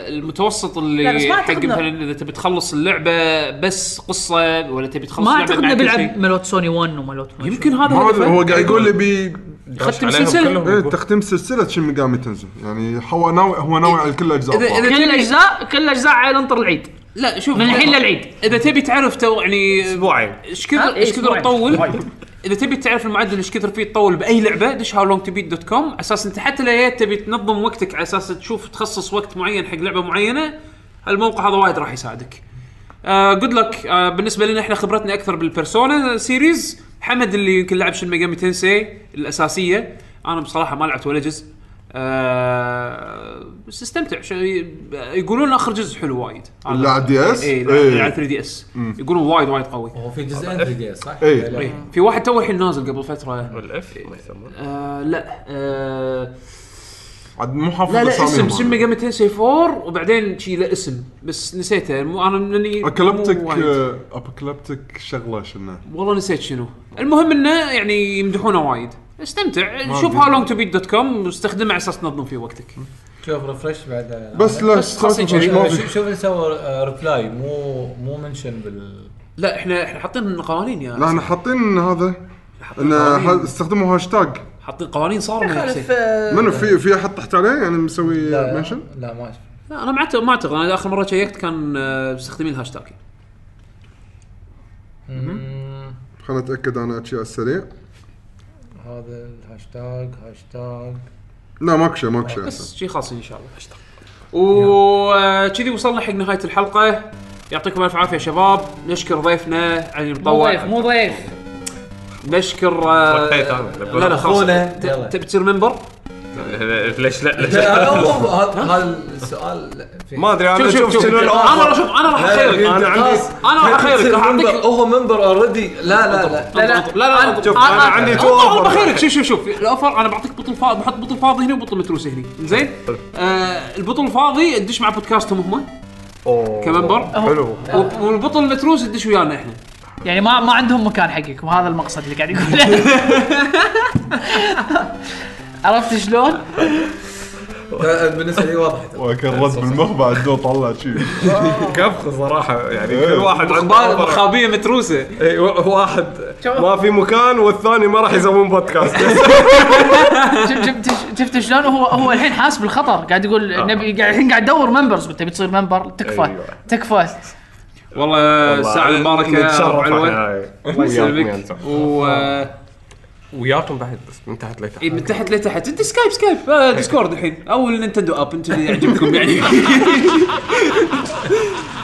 S1: المتوسط
S3: لا، بس
S1: اللي
S3: ما
S1: حق
S3: أعتقد إنه-
S1: مثلا اذا تبي تخلص اللعبه بس قصه ولا تبي تخلص
S3: ما
S1: اللعبة
S3: اعتقد
S1: مع
S3: انه
S1: كل
S3: بيلعب
S1: شيء.
S3: ملوت سوني 1 وملوت ما
S1: يمكن
S3: شنو.
S1: هذا
S2: ما
S1: هدفه.
S2: أدري، هو قاعد يقول يبي
S1: ختم
S4: عليهم
S1: سلسله
S4: كلهم.
S2: إيه تختيم سلسله شن ميجامي تنسي يعني هو ناوي هو ناوي على كل اجزاء
S1: إذا- إذا-
S3: كل الاجزاء كل الاجزاء عاد انطر العيد
S1: لا شوف
S3: من الحين للعيد
S1: اذا تبي تعرف تو يعني
S4: اسبوعين
S1: ايش
S3: ها؟
S1: كثر
S3: إيه،
S1: ايش كثر
S3: أسبوعين.
S1: تطول اذا تبي تعرف المعدل ايش كثر فيه تطول باي لعبه دش هاو لونج تو بيت دوت كوم على اساس انت حتى لو جيت تبي تنظم وقتك على اساس تشوف تخصص وقت معين حق لعبه معينه الموقع هذا وايد راح يساعدك. آه، جود لك بالنسبه لنا احنا خبرتنا اكثر بالبيرسونا سيريز حمد اللي يمكن لعب شن ميجامي تنسي الاساسيه انا بصراحه ما لعبت ولا جزء آه، بس استمتع شو- يقولون اخر جزء حلو وايد
S2: اللي على DS؟
S1: اي
S2: إيه.
S1: على 3 دي اس يقولون وايد وايد قوي
S5: هو في جزئين 3 دي صح؟
S2: إيه.
S5: لا.
S1: إيه. في واحد تو الحين نازل قبل فتره
S4: الاف ما يسمونه
S1: آه لا آه
S2: عاد مو حافظ
S1: لا لا اسم
S2: أساميهم
S1: اسم
S2: أنا.
S1: ميجا 204 وبعدين شي له اسم بس نسيته مو انا مني
S2: اكلبتك
S1: مو وايد.
S2: اكلبتك شغله آه، شنو
S1: والله نسيت شنو المهم انه يعني يمدحونه وايد استمتع شوف
S2: أدري.
S1: هاو لونج تو بيت دوت كوم واستخدمه على اساس تنظم فيه وقتك
S5: شوف ريفرش بعد
S2: بس لا
S1: بس خلاص
S2: سالفة
S1: يجي.
S2: مش- ما
S5: شوف-
S2: في
S5: شوف اللي سوى آه، ريبلاي مو مو منشن بال
S1: لا احنا احنا حاطين قوانين يا
S2: لا احنا حاطين هذا
S1: حاطين
S2: ان ح-
S1: قوانين-
S2: استخدموا هاشتاج
S1: حاطين قوانين صار من نفسي.
S2: منو في في احد تحت عليه يعني مسوي منشن
S5: لا ما أشوف.
S1: لا انا ما أعت- ما اعتقد انا اخر مره شيكت كان آه، مستخدمين الهاشتاج
S5: مم،
S2: خلنا اتاكد انا اشياء السريع
S5: هذا الهاشتاج هاشتاج
S2: لا ماكو شيء ماكو شيء
S1: بس شي خاص ان شاء الله اشتغل وكذي وصلنا حق نهايه الحلقه يعطيكم الف عافيه شباب نشكر ضيفنا علي
S3: مو
S1: المطوع
S3: ضيف مو ضيف
S1: نشكر آه،
S4: وقيت أنا.
S1: لا لا خلاص
S5: أخونا.
S1: ت-
S5: يلا.
S1: تبي تصير منبر
S4: ليش لا ليش لا؟
S5: لا، هو- هو- هذا هذا السؤال لا، في-
S4: ما ادري انا اشوف شنو
S1: انا راح
S4: الاوفر
S1: شوف انا راح اخيرك
S4: أنا عندي-
S1: أنا راح أخيرك، راح أعطيك-
S5: منبر- هو منبر اوريدي لا لا لا
S1: لا لا لا
S3: آه،
S1: لا
S4: شوف انا عندي تو اوفر
S1: بخيرك شوف شوف شوف الاوفر انا بعطيك بطل فاضي بحط بطل فاضي هنا وبطل متروس هنا زين آه البطل الفاضي تدش مع بودكاستهم هم كمنبر
S2: حلو
S1: وب- والبطل المتروس تدش ويانا احنا
S3: يعني ما ما عندهم مكان حقكم هذا المقصد اللي قاعد يقوله عرفت شلون؟
S5: لا، بالنسبه لي واضح
S2: وكان رد بالمخ بعد دو طلع شيء
S4: كبخ صراحه يعني كل واحد
S1: اخبار
S4: عنده
S1: مخابيه متروسه
S6: إيه،
S4: اي و- واحد ما في مكان والثاني ما راح يسوون بودكاست
S3: شف- شف- شفت شلون هو هو الحين حاس
S1: آه.
S3: بالخطر قاعد يقول نبي قاعد الحين قاعد يدور ممبرز قلت تبي تصير ممبر تكفى
S4: أيوة.
S3: تكفى
S1: والله الساعه المباركه أبو
S6: نتشرف
S1: علوة.
S6: إحنا.
S1: الله
S6: وياكم
S1: يسلمك
S6: يا نتشرف.
S1: و آه،
S6: وياكم بعد بس من تحت لتحت
S1: إيه، من تحت لتحت انت سكايب سكايب آه، ديسكورد الحين او النينتندو اب انتم اللي يعجبكم يعني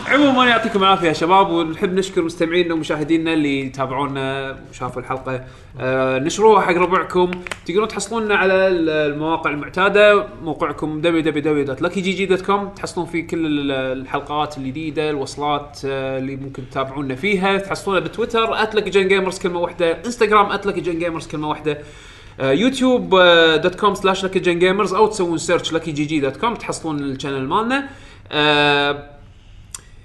S1: عموما يعطيكم العافيه يا شباب ونحب نشكر مستمعينا ومشاهدينا اللي تابعونا وشافوا الحلقه آه نشروها حق ربعكم تقدرون تحصلوننا على ال- المواقع المعتاده موقعكم www.luckygg.com تحصلون فيه كل ال- الحلقات الجديده الوصلات آه اللي ممكن تتابعونا فيها تحصلونا بتويتر @luckygengamers كلمه واحده انستغرام @luckygengamers كلمه واحده آه، يوتيوب دوت كوم سلاش لكي جن جيمرز او تسوون سيرش لكي جي جي دوت كوم تحصلون الشانل مالنا آه،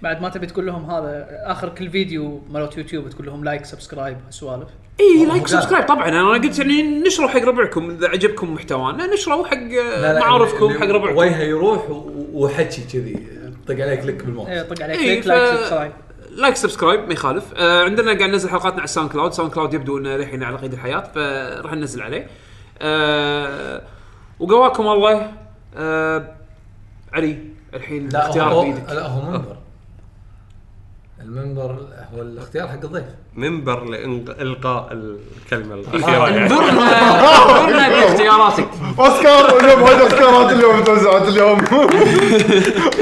S3: بعد ما تبي تقول لهم هذا اخر كل فيديو مالت يوتيوب تقول لهم لايك سبسكرايب سوالف
S1: اي لايك سبسكرايب طبعا انا قلت يعني نشروا حق ربعكم اذا عجبكم محتوانا نشروا حق آه،
S5: لا، لا،
S1: معارفكم
S5: اللي
S1: حق ربعكم
S5: وجهه يروح و- وحكي كذي طق عليك لك
S3: إيه،
S5: بالماوس
S3: طق عليك
S1: إيه،
S3: ليك
S1: ف-
S3: لايك سبسكرايب
S1: لايك سبسكرايب ما يخالف آه، عندنا قاعد ننزل حلقاتنا على الساوند كلاود ساوند كلاود يبدو انه للحين على قيد الحياه فراح ننزل عليه آه، وقواكم الله آه، علي الحين
S5: لا
S1: اختيار
S5: هو
S1: بايدك
S5: لا هو منبر المنبر هو الاختيار حق الضيف
S6: منبر لإلقاء الكلمة الأخيرة يعني
S1: انظرنا انظرنا باختياراتك
S2: اوسكار اليوم هاي اوسكارات اليوم توزعت اليوم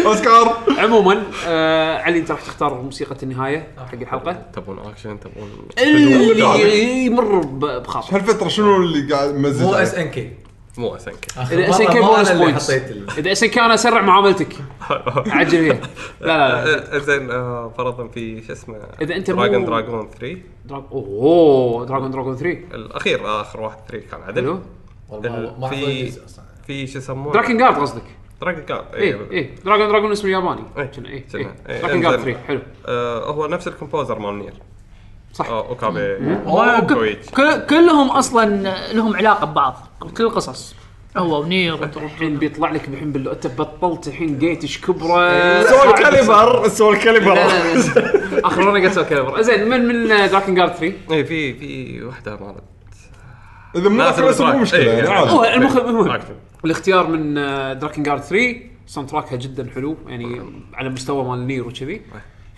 S2: اوسكار
S1: عموما آه علي انت راح تختار موسيقى النهايه حق الحلقه
S6: تبون أكشن تبون
S1: اللي يمر ب- بخاطرك
S2: هالفتره شنو اللي قاعد مزج
S5: مو
S2: عليك؟
S5: اس ان كي
S6: مو أسنك
S1: اذا اس كي بونس بوينتس اذا اس كي انا اسرع معاملتك عجل هي لا لا لا
S6: آه، زين آه، فرضا في شو اسمه
S1: إذا أنت مو-
S6: دراجون دراجون 3
S1: دراج... اوه دراجون دراجون 3
S6: الأخير آخر واحد 3 كان عدل
S1: حلو
S5: ما
S6: في-
S5: في اصلا
S6: في شو يسمونه إيه.
S1: دراكن جارد قصدك إيه،
S6: دراجون كارد
S1: اي اي دراجون دراجون اسمه الياباني
S6: إيه.
S1: كنا اي
S6: كنا. إيه.
S1: دراجون جارد
S6: إنزين.
S1: 3 حلو
S6: آه، هو نفس الكومبوزر مال نير
S1: صح.
S6: آه، اوكابي
S3: وك-
S6: كويتش.
S3: كل- كلهم اصلا لهم علاقه ببعض كل القصص هو ونير
S1: الحين بيطلع لك الحين بال- انت بطلت الحين جيتش كبره
S6: إيه،
S2: سوى الكاليبر سوى الكاليبر
S1: اخر مره قلت سوى كاليبر زين من من دراكن جارد 3
S6: اي إيه، في في وحده مالت
S2: اذا مو اخر اسم مو مشكله يعني عادي
S1: هو
S6: إيه.
S1: المخ- المهم.
S6: أكتب.
S1: الاختيار من آه، دراكن جارد 3 ساوند تراكها جدا حلو يعني على مستوى مال نير وكذي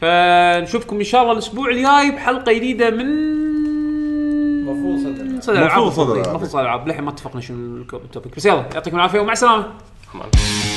S1: فنشوفكم ان شاء الله الاسبوع الجاي بحلقه جديده من
S5: مفروض
S1: صدى الالعاب
S2: مفروض صدى الألعاب.
S1: مفروض صدى الالعاب للحين ما اتفقنا شنو الكو- التوبيك بس يلا يعطيكم العافيه ومع السلامه
S6: أمان.